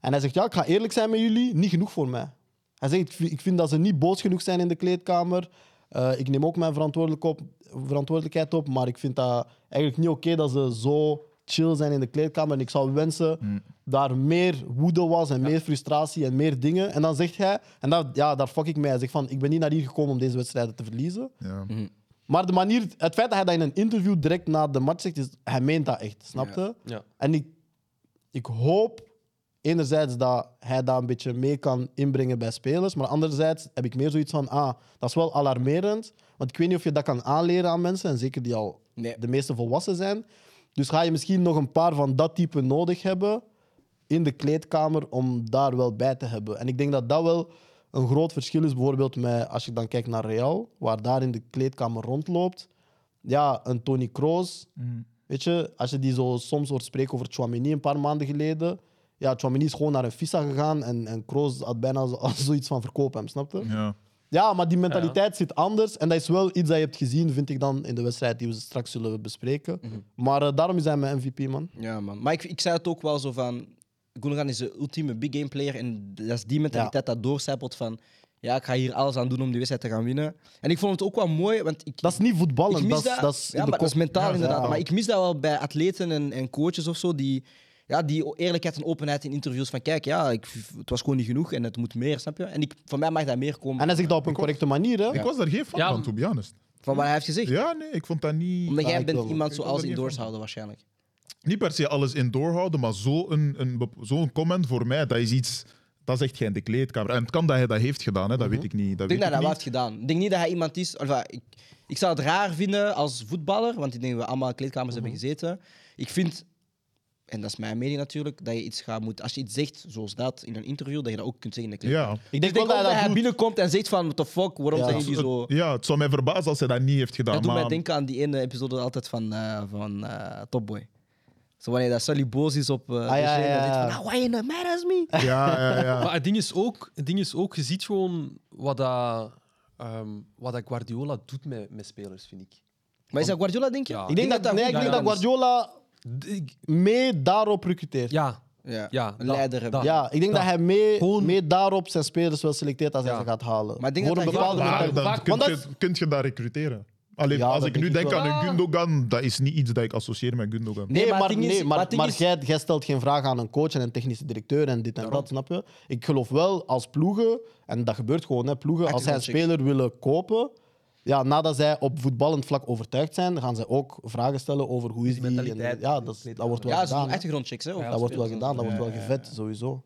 [SPEAKER 4] En hij zegt: ja, ik ga eerlijk zijn met jullie, niet genoeg voor mij. Hij zegt: ik vind- ik vind dat ze niet boos genoeg zijn in de kleedkamer. Eh, ik neem ook mijn verantwoordelijk op- verantwoordelijkheid op, maar ik vind dat eigenlijk niet oké dat ze zo chill zijn in de kleedkamer. En ik zou wensen daar meer woede was en meer frustratie en meer dingen. En dan zegt hij, en dat, ja, daar fuck ik mee. Hij zegt van, ik ben niet naar hier gekomen om deze wedstrijden te verliezen.
[SPEAKER 2] Ja.
[SPEAKER 5] Mhm.
[SPEAKER 4] Maar de manier, het feit dat hij dat in een interview direct na de match zegt, is, hij meent dat echt, snapte?
[SPEAKER 5] Ja.
[SPEAKER 4] En ik, ik hoop enerzijds dat hij dat een beetje mee kan inbrengen bij spelers, maar anderzijds heb ik meer zoiets van, ah, dat is wel alarmerend, want ik weet niet of je dat kan aanleren aan mensen, en zeker die al
[SPEAKER 1] Nee.
[SPEAKER 4] de meeste volwassen zijn. Dus ga je misschien nog een paar van dat type nodig hebben in de kleedkamer om daar wel bij te hebben. En ik denk dat dat wel een groot verschil is, bijvoorbeeld met, als je dan kijkt naar Real, waar daar in de kleedkamer rondloopt. Ja, een Tony Kroos, Weet je, als je die zo soms hoort spreken over Chouameni een paar maanden geleden. Ja, Chouameni is gewoon naar een visa gegaan en, en Kroos had bijna zo- zoiets van verkoop hem, snapte? Ja.
[SPEAKER 2] Ja.
[SPEAKER 4] maar die mentaliteit zit anders en dat is wel iets dat je hebt gezien, vind ik dan, in de wedstrijd die we straks zullen bespreken.
[SPEAKER 1] Mhm.
[SPEAKER 4] Maar eh, daarom is hij mijn MVP, man.
[SPEAKER 1] Ja, man. Maar ik, ik zei het ook wel zo van... Gundogan is de ultieme big game player. En dat is die mentaliteit dat doorcijpelt van... Ja, ik ga hier alles aan doen om die wedstrijd te gaan winnen. En ik vond het ook wel mooi, want ik...
[SPEAKER 4] Dat is niet voetballen,
[SPEAKER 1] ik
[SPEAKER 4] dat,
[SPEAKER 1] mis
[SPEAKER 4] is- dat is in
[SPEAKER 1] ja,
[SPEAKER 4] de
[SPEAKER 1] maar dat is
[SPEAKER 4] kop.
[SPEAKER 1] mentaal
[SPEAKER 4] Ja,
[SPEAKER 1] inderdaad.
[SPEAKER 4] ja.
[SPEAKER 1] Maar ik mis dat wel bij atleten en, en coaches of zo, die... Ja, die eerlijkheid en openheid in interviews van kijk, ja, ik, het was gewoon niet genoeg en het moet meer, snap je? En ik, van mij mag dat meer komen
[SPEAKER 4] En hij zegt dat op een correcte manier, hè?
[SPEAKER 2] Ik was daar geen fan
[SPEAKER 5] Ja.
[SPEAKER 2] van, to be honest.
[SPEAKER 1] van wat hij heeft gezegd.
[SPEAKER 2] Ja, nee, ik vond dat niet...
[SPEAKER 1] Omdat
[SPEAKER 4] Ja,
[SPEAKER 1] jij
[SPEAKER 4] ik
[SPEAKER 1] bent
[SPEAKER 4] wil-
[SPEAKER 1] iemand
[SPEAKER 2] ik wil
[SPEAKER 1] zoals
[SPEAKER 2] er niet
[SPEAKER 1] indoors
[SPEAKER 2] van.
[SPEAKER 1] houden waarschijnlijk.
[SPEAKER 2] niet per se alles indoor houden, maar zo'n een, een, bep- zo'n comment voor mij, dat is iets. Dat zegt jij in de kleedkamer. En het kan dat hij dat heeft gedaan, hè? dat weet ik niet. Dat
[SPEAKER 1] Ik denk
[SPEAKER 2] weet
[SPEAKER 1] dat hij
[SPEAKER 2] ik
[SPEAKER 1] dat wel
[SPEAKER 2] niet.
[SPEAKER 1] heeft gedaan. Ik denk niet dat hij iemand is. Enfin, ik, ik zou het raar vinden als voetballer, want ik denk dat we allemaal in kleedkamers hebben gezeten. Ik vind, en dat is mijn mening natuurlijk, dat je iets gaat moeten. Als je iets zegt zoals dat in een interview, dat je dat ook kunt zeggen in de kleedkamer.
[SPEAKER 2] Ja.
[SPEAKER 4] Ik
[SPEAKER 1] Dus Ik
[SPEAKER 4] denk
[SPEAKER 1] denk
[SPEAKER 4] wel
[SPEAKER 1] ook dat
[SPEAKER 4] dat hij
[SPEAKER 1] hij
[SPEAKER 4] dat doet.
[SPEAKER 1] binnenkomt en zegt van, what the fuck, waarom
[SPEAKER 4] Ja.
[SPEAKER 1] zijn jullie zo...
[SPEAKER 2] Het, ja, het zou mij verbazen als hij dat niet heeft gedaan.
[SPEAKER 1] Dat doet
[SPEAKER 2] maar
[SPEAKER 1] mij denken aan die ene episode altijd van, eh, van eh, Top Boy. Zo wanneer dat Sully boos is op eh
[SPEAKER 4] ja,
[SPEAKER 1] de Shane en
[SPEAKER 4] ja,
[SPEAKER 1] zegt
[SPEAKER 4] ja.
[SPEAKER 1] van, "Ah, why you not mad at me?
[SPEAKER 2] Ja, ja, ja.
[SPEAKER 5] Maar het ding is ook, het ding is ook je ziet gewoon wat, dat, ehm, wat dat Guardiola doet met, met spelers, vind ik.
[SPEAKER 1] Maar is dat Guardiola, denk je?
[SPEAKER 5] Ja.
[SPEAKER 4] Ik denk dat, nee, ik
[SPEAKER 1] goed
[SPEAKER 4] denk
[SPEAKER 1] gedaan
[SPEAKER 4] dat
[SPEAKER 1] is.
[SPEAKER 4] Guardiola
[SPEAKER 5] D- ik-
[SPEAKER 4] mee daarop recruteert.
[SPEAKER 5] ja, Ja,
[SPEAKER 1] een
[SPEAKER 5] dat-
[SPEAKER 1] leider hebben.
[SPEAKER 5] dat.
[SPEAKER 4] Ja, ik denk dat, hij mee,
[SPEAKER 5] Ah. Gewoon-
[SPEAKER 4] mee daarop zijn spelers wel selecteert als hij
[SPEAKER 5] Ja.
[SPEAKER 4] ze gaat halen.
[SPEAKER 1] Maar ik denk
[SPEAKER 4] Voor
[SPEAKER 1] dat
[SPEAKER 4] een
[SPEAKER 1] hij-
[SPEAKER 4] bepaalde
[SPEAKER 5] Ja,
[SPEAKER 2] maar
[SPEAKER 5] maar-
[SPEAKER 4] mentaliteit.
[SPEAKER 2] dan
[SPEAKER 5] vaak-
[SPEAKER 2] kun
[SPEAKER 4] want
[SPEAKER 2] je, kunt je daar recruteren. Alleen,
[SPEAKER 4] Ja,
[SPEAKER 2] als
[SPEAKER 4] dat
[SPEAKER 2] ik nu
[SPEAKER 4] denk ik
[SPEAKER 2] denk
[SPEAKER 4] wel.
[SPEAKER 2] aan een Gundogan, dat is niet iets dat ik associeer met Gundogan.
[SPEAKER 1] Nee,
[SPEAKER 4] Nee,
[SPEAKER 1] maar
[SPEAKER 4] maar,
[SPEAKER 1] het ding is-
[SPEAKER 4] nee, maar,
[SPEAKER 1] maar het ding
[SPEAKER 4] maar
[SPEAKER 1] is-
[SPEAKER 4] jij, jij stelt geen vraag aan een coach en een technische directeur en dit en dat, snap je? Ik geloof wel als ploegen, en dat gebeurt gewoon, hè, ploegen, als zij een
[SPEAKER 1] Active
[SPEAKER 4] speler willen kopen, ja, nadat zij op voetballend vlak overtuigd zijn, gaan zij ook vragen stellen over hoe is die. en-
[SPEAKER 5] mentaliteit.
[SPEAKER 4] ja, dat, is- dat wordt wel
[SPEAKER 1] Ja, ze
[SPEAKER 4] gedaan.
[SPEAKER 1] doen
[SPEAKER 4] hè.
[SPEAKER 1] achtergrondchecks. Hè, of
[SPEAKER 4] Dat wordt wel
[SPEAKER 1] spelers en
[SPEAKER 4] gedaan,
[SPEAKER 1] zo.
[SPEAKER 4] dat wordt wel gevet, sowieso.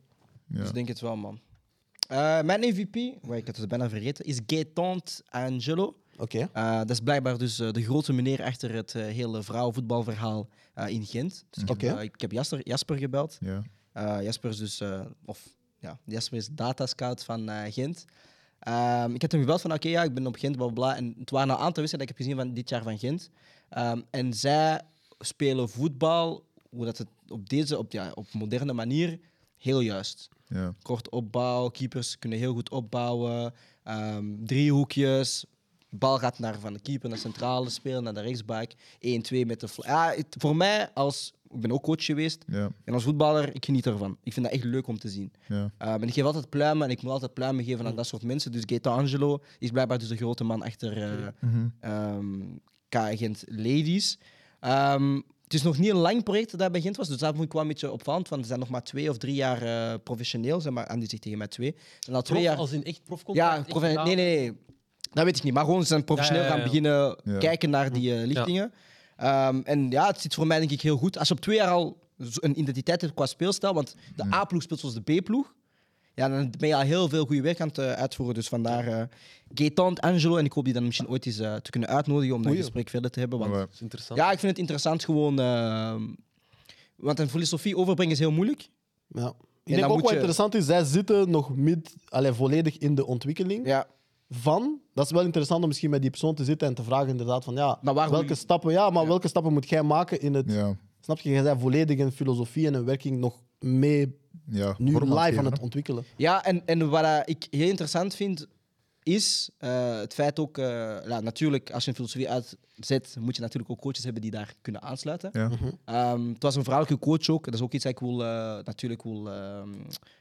[SPEAKER 2] Ja.
[SPEAKER 1] Dus ik denk het wel, man. Eh, mijn MVP, waar ik het dus bijna vergeten, is Gaetant Angelo.
[SPEAKER 4] Oké.
[SPEAKER 1] Eh, dat is blijkbaar dus eh, de grote meneer achter het eh, hele vrouwenvoetbalverhaal eh, in Gent. Dus ik, heb,
[SPEAKER 4] Oké.
[SPEAKER 1] eh, ik heb Jasper, Jasper gebeld.
[SPEAKER 2] Ja.
[SPEAKER 1] Eh, Jasper is dus, eh, of ja, Jasper is datascout van eh, Gent. Ehm, ik heb hem gebeld van, oké, ja, ik ben op Gent, bla bla. bla. En het waren een aantal wedstrijden dat ik heb gezien van dit jaar van Gent. Ehm, en zij spelen voetbal, hoe dat het op deze, op, ja, op moderne manier, heel juist
[SPEAKER 2] Ja.
[SPEAKER 1] kort opbouw. Keepers kunnen heel goed opbouwen. Ehm driehoekjes. Bal gaat naar van de keeper naar centrale speler, naar de rechtsback. 1-2 met de. fl- Ja, het- voor mij, als, ik ben ook coach geweest.
[SPEAKER 2] Ja.
[SPEAKER 1] En als voetballer, ik geniet ervan. Ik vind dat echt leuk om te zien.
[SPEAKER 2] Ja.
[SPEAKER 1] Ehm, en ik geef altijd pluimen en ik moet altijd pluimen geven aan dat soort mensen. Dus Gaeta Angelo is blijkbaar dus de grote man achter eh ehm, K-agent Ladies. Ehm, het Het is nog niet een lang project dat dat bij Gent was, dus daar vond ik wel een beetje opvallend. Want ze zijn nog maar twee of drie jaar eh, professioneel. Zeg maar, en die zegt tegen mij twee. En al twee
[SPEAKER 5] Prof,
[SPEAKER 1] jaar.
[SPEAKER 5] als in echt profcontract?
[SPEAKER 1] Ja,
[SPEAKER 5] echt
[SPEAKER 1] profe-
[SPEAKER 5] gedaan?
[SPEAKER 1] nee, nee, nee. Dat weet ik niet. Maar gewoon ze zijn professioneel
[SPEAKER 5] Ja, ja, ja,
[SPEAKER 1] gaan
[SPEAKER 5] ja.
[SPEAKER 1] beginnen
[SPEAKER 2] Ja.
[SPEAKER 1] kijken naar die eh, lichtingen. Ehm, en ja, het zit voor mij denk ik heel goed. Als je op twee jaar al zo- een identiteit hebt qua speelstijl, want de A-ploeg speelt zoals de B-ploeg. Ja, dan ben je al heel veel goede werk aan het eh, uitvoeren. Dus vandaar eh Gaetan, Angelo. En ik hoop die dan misschien ooit eens eh, te kunnen uitnodigen om dat
[SPEAKER 4] Goeie.
[SPEAKER 1] gesprek verder te hebben. Want
[SPEAKER 2] Maar
[SPEAKER 5] Dat is interessant.
[SPEAKER 1] ja, ik vind het interessant gewoon. ehm, want een filosofie overbrengen is heel moeilijk.
[SPEAKER 4] Ja. Ik
[SPEAKER 1] dan
[SPEAKER 4] denk
[SPEAKER 1] moet
[SPEAKER 4] ook wat
[SPEAKER 1] je-
[SPEAKER 4] interessant is, zij zitten nog mid, allee, volledig in de ontwikkeling
[SPEAKER 1] Ja.
[SPEAKER 4] van. Dat is wel interessant om misschien met die persoon te zitten en te vragen inderdaad van ja,
[SPEAKER 1] Maar waar
[SPEAKER 4] welke,
[SPEAKER 1] moet
[SPEAKER 4] stappen, ja, maar welke stappen moet jij maken in het...
[SPEAKER 2] Ja,
[SPEAKER 4] Snap je, jij bent volledig in filosofie en in werking nog mee
[SPEAKER 2] ja.
[SPEAKER 4] nu
[SPEAKER 2] vorm
[SPEAKER 4] live
[SPEAKER 2] geven,
[SPEAKER 4] aan het
[SPEAKER 2] hè.
[SPEAKER 4] ontwikkelen.
[SPEAKER 1] Ja, en, en wat eh, ik heel interessant vind, is eh, het feit ook... eh, nou, natuurlijk, als je een filosofie uitzet, moet je natuurlijk ook coaches hebben die daar kunnen aansluiten.
[SPEAKER 2] Ja.
[SPEAKER 1] Ehm, het was een vrouwelijke coach ook. Dat is ook iets dat ik wil, eh, natuurlijk wil ehm,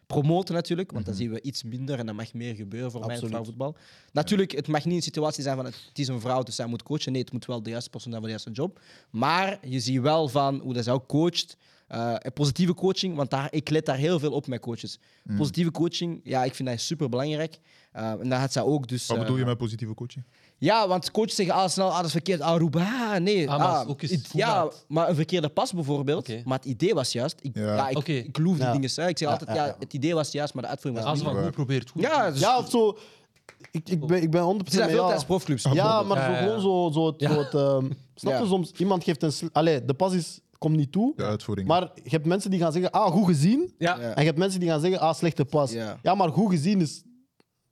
[SPEAKER 1] promoten, natuurlijk. Want
[SPEAKER 2] Mhm.
[SPEAKER 1] dan zien we iets minder en dat mag meer gebeuren voor mij in het
[SPEAKER 4] Absoluut.
[SPEAKER 1] vrouwenvoetbal. Natuurlijk, het mag niet een situatie zijn van het is een vrouw, dus zij moet coachen. Nee, het moet wel de juiste persoon zijn voor de juiste job. Maar je ziet wel van hoe dat zij ook coacht. Eh, en positieve coaching, want daar, ik let daar heel veel op met coaches.
[SPEAKER 2] Mhm.
[SPEAKER 1] Positieve coaching, ja, ik vind dat super belangrijk. en daar had zij ook dus.
[SPEAKER 2] Wat
[SPEAKER 1] eh,
[SPEAKER 2] bedoel je met positieve coaching?
[SPEAKER 1] ja, want coaches zeggen al snel, ah, dat is verkeerd, ah, roep, ah, nee.
[SPEAKER 5] Ah, maar
[SPEAKER 1] ah,
[SPEAKER 5] is ook eens
[SPEAKER 1] het-
[SPEAKER 5] goed
[SPEAKER 1] ja,
[SPEAKER 5] maakt.
[SPEAKER 1] maar een verkeerde pas bijvoorbeeld.
[SPEAKER 5] Oké.
[SPEAKER 1] Maar het idee was juist. Ik, ja.
[SPEAKER 2] Ja.
[SPEAKER 1] ik,
[SPEAKER 5] Oké.
[SPEAKER 1] ik loof die
[SPEAKER 4] Ja.
[SPEAKER 1] dingen. Hè. Ik zeg
[SPEAKER 4] Ja,
[SPEAKER 1] altijd,
[SPEAKER 4] ja,
[SPEAKER 1] ja,
[SPEAKER 4] ja.
[SPEAKER 1] het idee was juist, maar de uitvoering was
[SPEAKER 5] Als ze
[SPEAKER 1] niet.
[SPEAKER 5] van
[SPEAKER 2] waar.
[SPEAKER 5] goed probeert, goed.
[SPEAKER 1] Ja, dus,
[SPEAKER 4] Ja, of zo... Ik, ik ben, ik ben 100%
[SPEAKER 1] er zijn
[SPEAKER 4] met
[SPEAKER 1] veel
[SPEAKER 4] jou.
[SPEAKER 1] tijdens profclubs.
[SPEAKER 4] Ja,
[SPEAKER 1] bijvoorbeeld.
[SPEAKER 4] maar
[SPEAKER 5] Ja,
[SPEAKER 4] zo
[SPEAKER 5] ja, ja.
[SPEAKER 4] gewoon zo, zo het... Zo het ehm, snap je,
[SPEAKER 1] Ja.
[SPEAKER 4] soms iemand geeft een... sl- Allee, de pas is, komt niet toe.
[SPEAKER 2] De uitvoering.
[SPEAKER 4] Maar je hebt mensen die gaan zeggen, ah, goed gezien.
[SPEAKER 5] Ja.
[SPEAKER 1] Ja.
[SPEAKER 4] En je hebt mensen die gaan zeggen, ah, slechte pas.
[SPEAKER 1] Ja.
[SPEAKER 4] Ja, maar goed gezien is...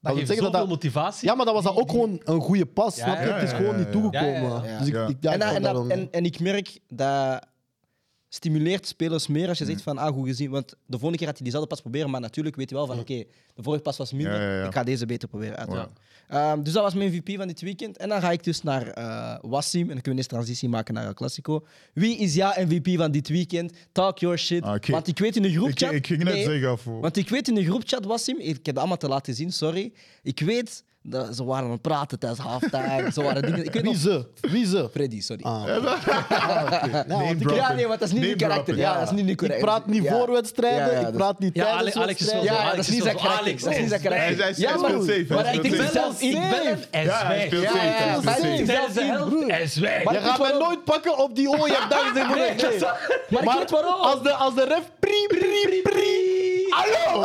[SPEAKER 5] Dat
[SPEAKER 4] wil
[SPEAKER 5] geeft
[SPEAKER 4] zeggen
[SPEAKER 5] zoveel
[SPEAKER 4] dat dat-
[SPEAKER 5] motivatie.
[SPEAKER 4] Ja, maar dat was dan ook gewoon een goede pas,
[SPEAKER 5] Ja,
[SPEAKER 4] snap je?
[SPEAKER 5] ja,
[SPEAKER 4] het is
[SPEAKER 2] ja,
[SPEAKER 4] gewoon
[SPEAKER 2] ja, ja.
[SPEAKER 4] niet toegekomen.
[SPEAKER 5] Ja, ja,
[SPEAKER 1] ja.
[SPEAKER 4] Dus ik,
[SPEAKER 2] Ja.
[SPEAKER 4] ik, ja,
[SPEAKER 1] en, dat-
[SPEAKER 4] ik wou
[SPEAKER 1] en, dat-
[SPEAKER 4] daarom-
[SPEAKER 1] en, en ik merk dat stimuleert spelers meer als je
[SPEAKER 2] Mm.
[SPEAKER 1] zegt van, ah, goed gezien. Want de volgende keer had hij diezelfde pas proberen, maar natuurlijk weet je wel van, oké, de vorige pas was minder,
[SPEAKER 2] Mm. Ja, ja, ja.
[SPEAKER 1] ik ga deze beter proberen uiteraard. Ehm, dus dat was mijn MVP van dit weekend. En dan ga ik dus naar eh Wassim, en dan kunnen we eens transitie maken naar El Clasico. Wie is jouw MVP van dit weekend? Talk your shit.
[SPEAKER 2] Ah, oké.
[SPEAKER 1] Want ik weet in de
[SPEAKER 2] ik,
[SPEAKER 1] groepchat...
[SPEAKER 2] ik ging net
[SPEAKER 1] Nee.
[SPEAKER 2] zeggen, voor.
[SPEAKER 1] Want ik weet in de groepchat, Wassim, ik heb dat allemaal te laten zien, sorry. Ik weet, dat ze waren aan het praten tijdens halftime, ze waren dingen... Ik weet
[SPEAKER 4] Wie
[SPEAKER 1] nog...
[SPEAKER 4] ze? Wie ze?
[SPEAKER 1] Freddy, sorry.
[SPEAKER 4] Ah, oké. Ja, want ik-
[SPEAKER 2] Dropping.
[SPEAKER 1] Ja, nee, want dat is niet
[SPEAKER 2] Name
[SPEAKER 1] die karakter.
[SPEAKER 2] dropping.
[SPEAKER 1] Ja, dat is niet nu correct.
[SPEAKER 4] Ik praat niet
[SPEAKER 1] Ja.
[SPEAKER 4] voor wedstrijden,
[SPEAKER 1] Ja, ja,
[SPEAKER 4] ik
[SPEAKER 1] dat-
[SPEAKER 4] praat niet
[SPEAKER 5] Ja,
[SPEAKER 4] tijdens
[SPEAKER 5] Alex- Alex is
[SPEAKER 4] wedstrijden.
[SPEAKER 5] wel
[SPEAKER 1] Ja,
[SPEAKER 5] Alex
[SPEAKER 1] dat is
[SPEAKER 5] is
[SPEAKER 1] niet
[SPEAKER 5] zo
[SPEAKER 1] zijn
[SPEAKER 5] van,
[SPEAKER 1] karakter.
[SPEAKER 5] Alex,
[SPEAKER 1] Dat is niet zijn
[SPEAKER 5] Alex.
[SPEAKER 1] karakter.
[SPEAKER 2] Hij is- hij is- hij
[SPEAKER 1] maar-
[SPEAKER 2] speelt safe,
[SPEAKER 1] maar
[SPEAKER 2] hij
[SPEAKER 1] ik
[SPEAKER 2] speelt
[SPEAKER 1] denk
[SPEAKER 2] safe.
[SPEAKER 1] zelf, ik
[SPEAKER 4] Ja,
[SPEAKER 1] ben
[SPEAKER 4] hij
[SPEAKER 1] hem
[SPEAKER 4] speelt
[SPEAKER 1] en
[SPEAKER 2] Ja, hij
[SPEAKER 1] zwijg.
[SPEAKER 2] speelt
[SPEAKER 1] Ja,
[SPEAKER 2] safe, hij
[SPEAKER 1] ja,
[SPEAKER 2] speelt
[SPEAKER 1] maar
[SPEAKER 2] safe.
[SPEAKER 1] ik denk zelf
[SPEAKER 5] Tijdens de
[SPEAKER 1] niet, broer.
[SPEAKER 5] helft en zwijg.
[SPEAKER 1] Maar
[SPEAKER 4] Je
[SPEAKER 1] ik
[SPEAKER 4] gaat
[SPEAKER 1] weet
[SPEAKER 4] mij
[SPEAKER 1] waarom.
[SPEAKER 4] nooit pakken op die oh, je hebt daar gezegd.
[SPEAKER 5] Nee, dat is-
[SPEAKER 1] Maar ik weet waarom.
[SPEAKER 4] als de, als de ref prie, prie, prie.
[SPEAKER 2] Hallo!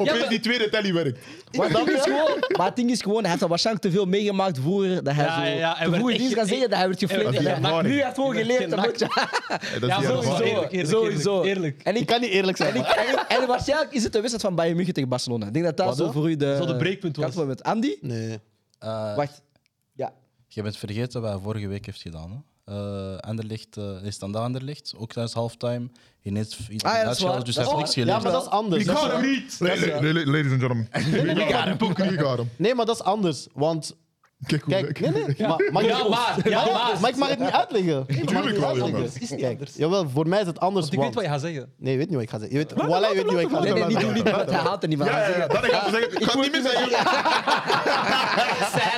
[SPEAKER 2] Opeens
[SPEAKER 1] maar-
[SPEAKER 2] die tweede telly werkt.
[SPEAKER 1] Maar het, ding is gewoon, maar het ding is gewoon, hij heeft dat waarschijnlijk te veel meegemaakt voor dat hij
[SPEAKER 5] Ja,
[SPEAKER 1] zo
[SPEAKER 5] ja, ja, hij
[SPEAKER 1] te
[SPEAKER 5] werd
[SPEAKER 1] vroeg
[SPEAKER 5] echt
[SPEAKER 1] dienst gaat
[SPEAKER 5] ge-
[SPEAKER 1] zeggen dat hij werd geflirt.
[SPEAKER 5] werd
[SPEAKER 1] En
[SPEAKER 2] echt
[SPEAKER 1] hij- maar
[SPEAKER 2] genakt.
[SPEAKER 1] Nu heeft gewoon
[SPEAKER 5] Hij werd
[SPEAKER 1] geleerd, dat moet je...
[SPEAKER 2] Ja, dat is
[SPEAKER 5] Ja,
[SPEAKER 2] die
[SPEAKER 5] sowieso.
[SPEAKER 2] ervaring.
[SPEAKER 5] Eerlijk, eerlijk,
[SPEAKER 1] Sowieso.
[SPEAKER 5] eerlijk, eerlijk.
[SPEAKER 1] En
[SPEAKER 4] Ik
[SPEAKER 1] ik...
[SPEAKER 4] kan niet eerlijk zijn.
[SPEAKER 1] En, ik,
[SPEAKER 4] maar-
[SPEAKER 1] en, en waarschijnlijk is het de wedstrijd van Bayern München tegen Barcelona. Ik denk dat dat
[SPEAKER 4] Wat
[SPEAKER 1] zo
[SPEAKER 4] dan?
[SPEAKER 1] voor u de...
[SPEAKER 5] Zo de breekpunt was.
[SPEAKER 1] Met Andy?
[SPEAKER 4] Nee.
[SPEAKER 6] Eh,
[SPEAKER 1] Wacht. Ja.
[SPEAKER 6] Je bent vergeten wat hij vorige week heeft gedaan. Hè? Eh Anderlecht, eh is dan Anderlecht, ook tijdens halftime. Ineens f- iets
[SPEAKER 1] Ah, ja, dat is
[SPEAKER 6] uitgehaald,
[SPEAKER 1] waar.
[SPEAKER 6] dus
[SPEAKER 1] Dat
[SPEAKER 6] hij
[SPEAKER 1] is waar.
[SPEAKER 6] heeft niks
[SPEAKER 4] Ja,
[SPEAKER 6] geleerd.
[SPEAKER 4] maar dat is anders.
[SPEAKER 2] Ik
[SPEAKER 4] Dat is-
[SPEAKER 2] ga hem niet! La- la- la- Ladies and gentlemen. Ik ga hem. Ik ga hem.
[SPEAKER 4] Nee, maar dat is anders. Want,
[SPEAKER 2] Kijk hoe
[SPEAKER 4] kijk, nee, nee. Maar, maar,
[SPEAKER 5] Ja, maar. Ja, maar.
[SPEAKER 4] maar ik mag het niet uitleggen. Ik mag het
[SPEAKER 2] Tuurlijk
[SPEAKER 4] niet
[SPEAKER 2] wel,
[SPEAKER 4] uitleggen.
[SPEAKER 2] jongen.
[SPEAKER 5] Het is niet
[SPEAKER 4] Kijk,
[SPEAKER 5] anders.
[SPEAKER 4] jawel, voor mij is het anders.
[SPEAKER 5] Want ik weet
[SPEAKER 4] want-
[SPEAKER 5] wat je gaat zeggen.
[SPEAKER 4] Nee, je weet niet wat ik ga zeggen. Je weet, Wallah, je weet niet wat ik ga
[SPEAKER 1] Nee,
[SPEAKER 4] zeggen.
[SPEAKER 1] nee, niet doen, niet doen, want hij haalt er niet van.
[SPEAKER 2] Ja, ja, ja, dat ik ga zeggen. Ik ga het niet meer zeggen.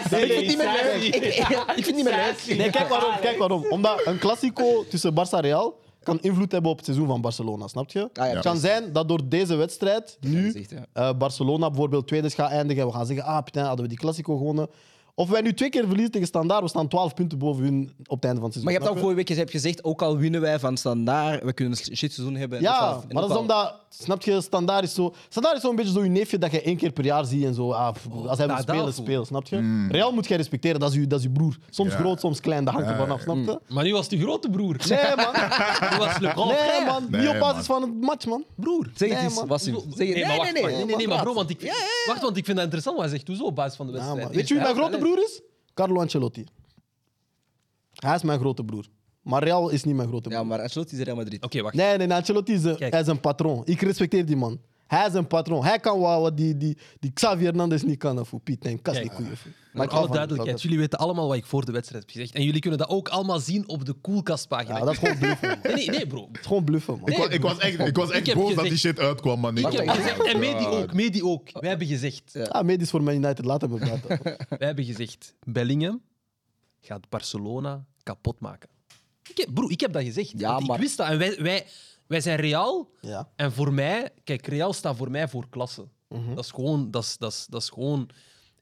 [SPEAKER 1] Ik vind het niet meer leuk. Ik, ik vind het niet meer leuk.
[SPEAKER 4] Nee, kijk waarom. Kijk waarom. Omdat een Classico tussen Barça en Real kan invloed hebben op het seizoen van Barcelona, snap
[SPEAKER 5] Ah,
[SPEAKER 4] je?
[SPEAKER 1] ja,
[SPEAKER 4] het kan zijn dat door deze wedstrijd nu
[SPEAKER 1] zegt, ja.
[SPEAKER 4] eh, Barcelona bijvoorbeeld tweede gaat eindigen en we gaan zeggen, ah, putain, hadden we die Classico gewonnen. Of wij nu twee keer verliezen tegen Standaard, we staan 12 punten boven hun op het einde van het seizoen.
[SPEAKER 1] Maar je hebt al
[SPEAKER 4] snap
[SPEAKER 1] vorige week je hebt gezegd, ook al winnen wij van standaard, we kunnen een shit seizoen hebben. en ook al-
[SPEAKER 4] Ja,
[SPEAKER 1] en
[SPEAKER 4] maar
[SPEAKER 1] ook
[SPEAKER 4] dat is
[SPEAKER 1] al-
[SPEAKER 4] omdat, snap je, Standaard is zo... Standaard is zo'n beetje zo'n neefje dat je één keer per jaar ziet en zo. Ah, pff, als hij wil
[SPEAKER 5] Nadal
[SPEAKER 4] spelen,
[SPEAKER 5] voel.
[SPEAKER 4] speel, snap je? Real moet jij respecteren, dat is je, dat is je broer. Soms
[SPEAKER 2] Hmm. Ja.
[SPEAKER 4] groot, soms klein, dat hangt er vanaf, snap je?
[SPEAKER 5] Maar nu was het de grote broer.
[SPEAKER 4] Nee, man.
[SPEAKER 5] Nu was het Le Grand Frère.
[SPEAKER 4] Nee, man.
[SPEAKER 2] Nee,
[SPEAKER 4] niet op basis
[SPEAKER 2] man.
[SPEAKER 4] van het match, man.
[SPEAKER 5] Broer.
[SPEAKER 1] Zeg het
[SPEAKER 4] Nee,
[SPEAKER 1] eens,
[SPEAKER 4] man.
[SPEAKER 1] Wassim. Zeg het-
[SPEAKER 5] Nee, maar wacht, wacht. Nee, nee, nee, maar
[SPEAKER 1] Wacht.
[SPEAKER 5] bro, want ik, wacht, want ik vind dat interessant wat hij zegt. Hoezo op basis van de
[SPEAKER 4] Ja,
[SPEAKER 5] wedstrijd?
[SPEAKER 4] man. Weet je wie mijn grote broer is? Carlo Ancelotti. Hij is mijn grote broer. Maar Real is niet mijn grote broer.
[SPEAKER 1] Ja, maar Ancelotti is Real Madrid.
[SPEAKER 5] Oké, wacht.
[SPEAKER 4] Nee, nee, nee, Ancelotti is een,
[SPEAKER 5] Kijk.
[SPEAKER 4] hij is een patroon. Ik respecteer die man. Hij is een patroon. Hij kan wat, wat die, die, die Xavier Hernandez niet kan. Of hoe Piet, nee, kast
[SPEAKER 5] Kijk.
[SPEAKER 4] die koeien. foe.
[SPEAKER 5] Maar voor
[SPEAKER 4] ik hou
[SPEAKER 5] alle
[SPEAKER 4] van
[SPEAKER 5] duidelijkheid,
[SPEAKER 4] hem.
[SPEAKER 5] jullie weten allemaal wat ik voor de wedstrijd heb gezegd. En jullie kunnen dat ook allemaal zien op de Koelkastpagina.
[SPEAKER 4] Ja, dat is gewoon bluffen. man.
[SPEAKER 5] Nee, nee, nee, bro.
[SPEAKER 4] Het is gewoon bluffen, man.
[SPEAKER 2] Ik wa- Ik was echt, ik was
[SPEAKER 5] Ik
[SPEAKER 2] echt
[SPEAKER 5] heb
[SPEAKER 2] boos dat
[SPEAKER 5] gezegd-
[SPEAKER 2] die shit uitkwam, man.
[SPEAKER 5] Ik heb
[SPEAKER 2] was-
[SPEAKER 5] gezegd, en Medi ook, Medi ook. Wij hebben gezegd,
[SPEAKER 4] Ah, medisch voor Man United, laat hem buiten.
[SPEAKER 5] wij hebben gezegd, Bellingham gaat Barcelona kapot maken. Ik heb, broer, ik heb dat gezegd.
[SPEAKER 1] Ja,
[SPEAKER 5] Want
[SPEAKER 1] maar-
[SPEAKER 5] Ik wist dat. En wij, wij, wij zijn Real.
[SPEAKER 4] Ja.
[SPEAKER 5] En voor mij... Kijk, Real staat voor mij voor klasse.
[SPEAKER 4] Mhm.
[SPEAKER 5] Dat, is gewoon, dat, is, dat, is, dat is gewoon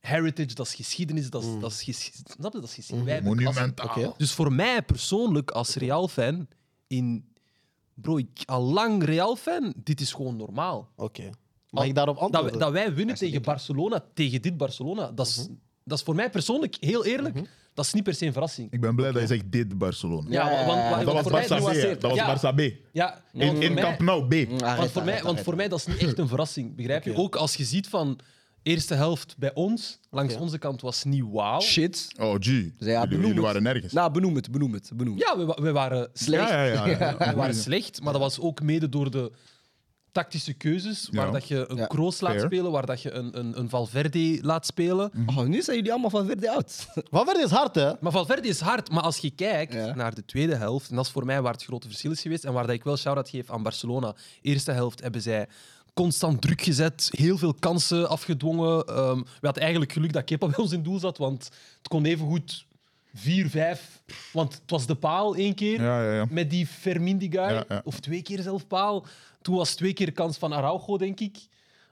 [SPEAKER 5] heritage, dat is geschiedenis, dat is, dat is, geschiedenis, snap je? Dat is geschiedenis. Wij hebben klasse.
[SPEAKER 2] Monumentaal.
[SPEAKER 4] Mhm. Oké.
[SPEAKER 5] Dus voor mij persoonlijk, als Real-fan, in... Bro, ik al lang Real-fan, dit is gewoon normaal.
[SPEAKER 4] Oké. Mag ik daarop
[SPEAKER 5] Dat,
[SPEAKER 4] antwoorden?
[SPEAKER 5] wij- dat wij winnen tegen Barcelona, tegen dit Barcelona, dat is,
[SPEAKER 4] Mhm.
[SPEAKER 5] dat is voor mij persoonlijk, heel eerlijk, dat is niet per se een verrassing.
[SPEAKER 2] Ik ben blij dat je zegt dit Barcelona.
[SPEAKER 5] Ja,
[SPEAKER 1] ja,
[SPEAKER 5] want,
[SPEAKER 1] ja.
[SPEAKER 5] want-
[SPEAKER 2] Dat was
[SPEAKER 5] want voor mij
[SPEAKER 2] Barça B.
[SPEAKER 5] nuanceert-
[SPEAKER 2] Dat was
[SPEAKER 5] ja,
[SPEAKER 2] Barça B.
[SPEAKER 5] Ja, want
[SPEAKER 2] In,
[SPEAKER 5] voor
[SPEAKER 2] in
[SPEAKER 5] mij-
[SPEAKER 2] Camp Nou B.
[SPEAKER 5] want voor, mij, want voor mij dat is niet echt een verrassing, begrijp je? Ook als je ziet van eerste helft bij ons, langs onze kant was niet wauw.
[SPEAKER 1] Shit.
[SPEAKER 2] Oh, G. Jullie,
[SPEAKER 1] ja, benoem
[SPEAKER 2] jullie
[SPEAKER 1] het.
[SPEAKER 2] waren nergens.
[SPEAKER 1] Nou, benoem het, benoem het, benoem het.
[SPEAKER 5] Ja, we, wa- we waren slecht.
[SPEAKER 2] ja, ja, ja, ja.
[SPEAKER 5] We waren slecht, maar dat was ook mede door de tactische keuzes, waar
[SPEAKER 2] Ja.
[SPEAKER 5] dat je een
[SPEAKER 1] Ja.
[SPEAKER 5] Kroos laat
[SPEAKER 2] Fair.
[SPEAKER 5] spelen, waar dat je een, een, een Valverde laat spelen.
[SPEAKER 1] Oh, nu zijn jullie allemaal van verde oud.
[SPEAKER 4] Wat werd is hard, hè?
[SPEAKER 5] Maar Valverde is hard. Maar als je kijkt
[SPEAKER 1] Ja.
[SPEAKER 5] naar de tweede helft, en dat is voor mij waar het grote verschil is geweest en waar dat ik wel shout-out geef aan Barcelona. Eerste helft hebben zij constant druk gezet, heel veel kansen afgedwongen. Ehm, we hadden eigenlijk geluk dat Kepa bij ons in doel zat, want het kon evengoed 4-5. Want het was de paal één keer.
[SPEAKER 2] Ja, ja, ja.
[SPEAKER 5] Met die Fermin, die guy.
[SPEAKER 2] Ja, ja.
[SPEAKER 5] Of twee keer zelf paal. Toen was twee keer kans van Araujo, denk ik.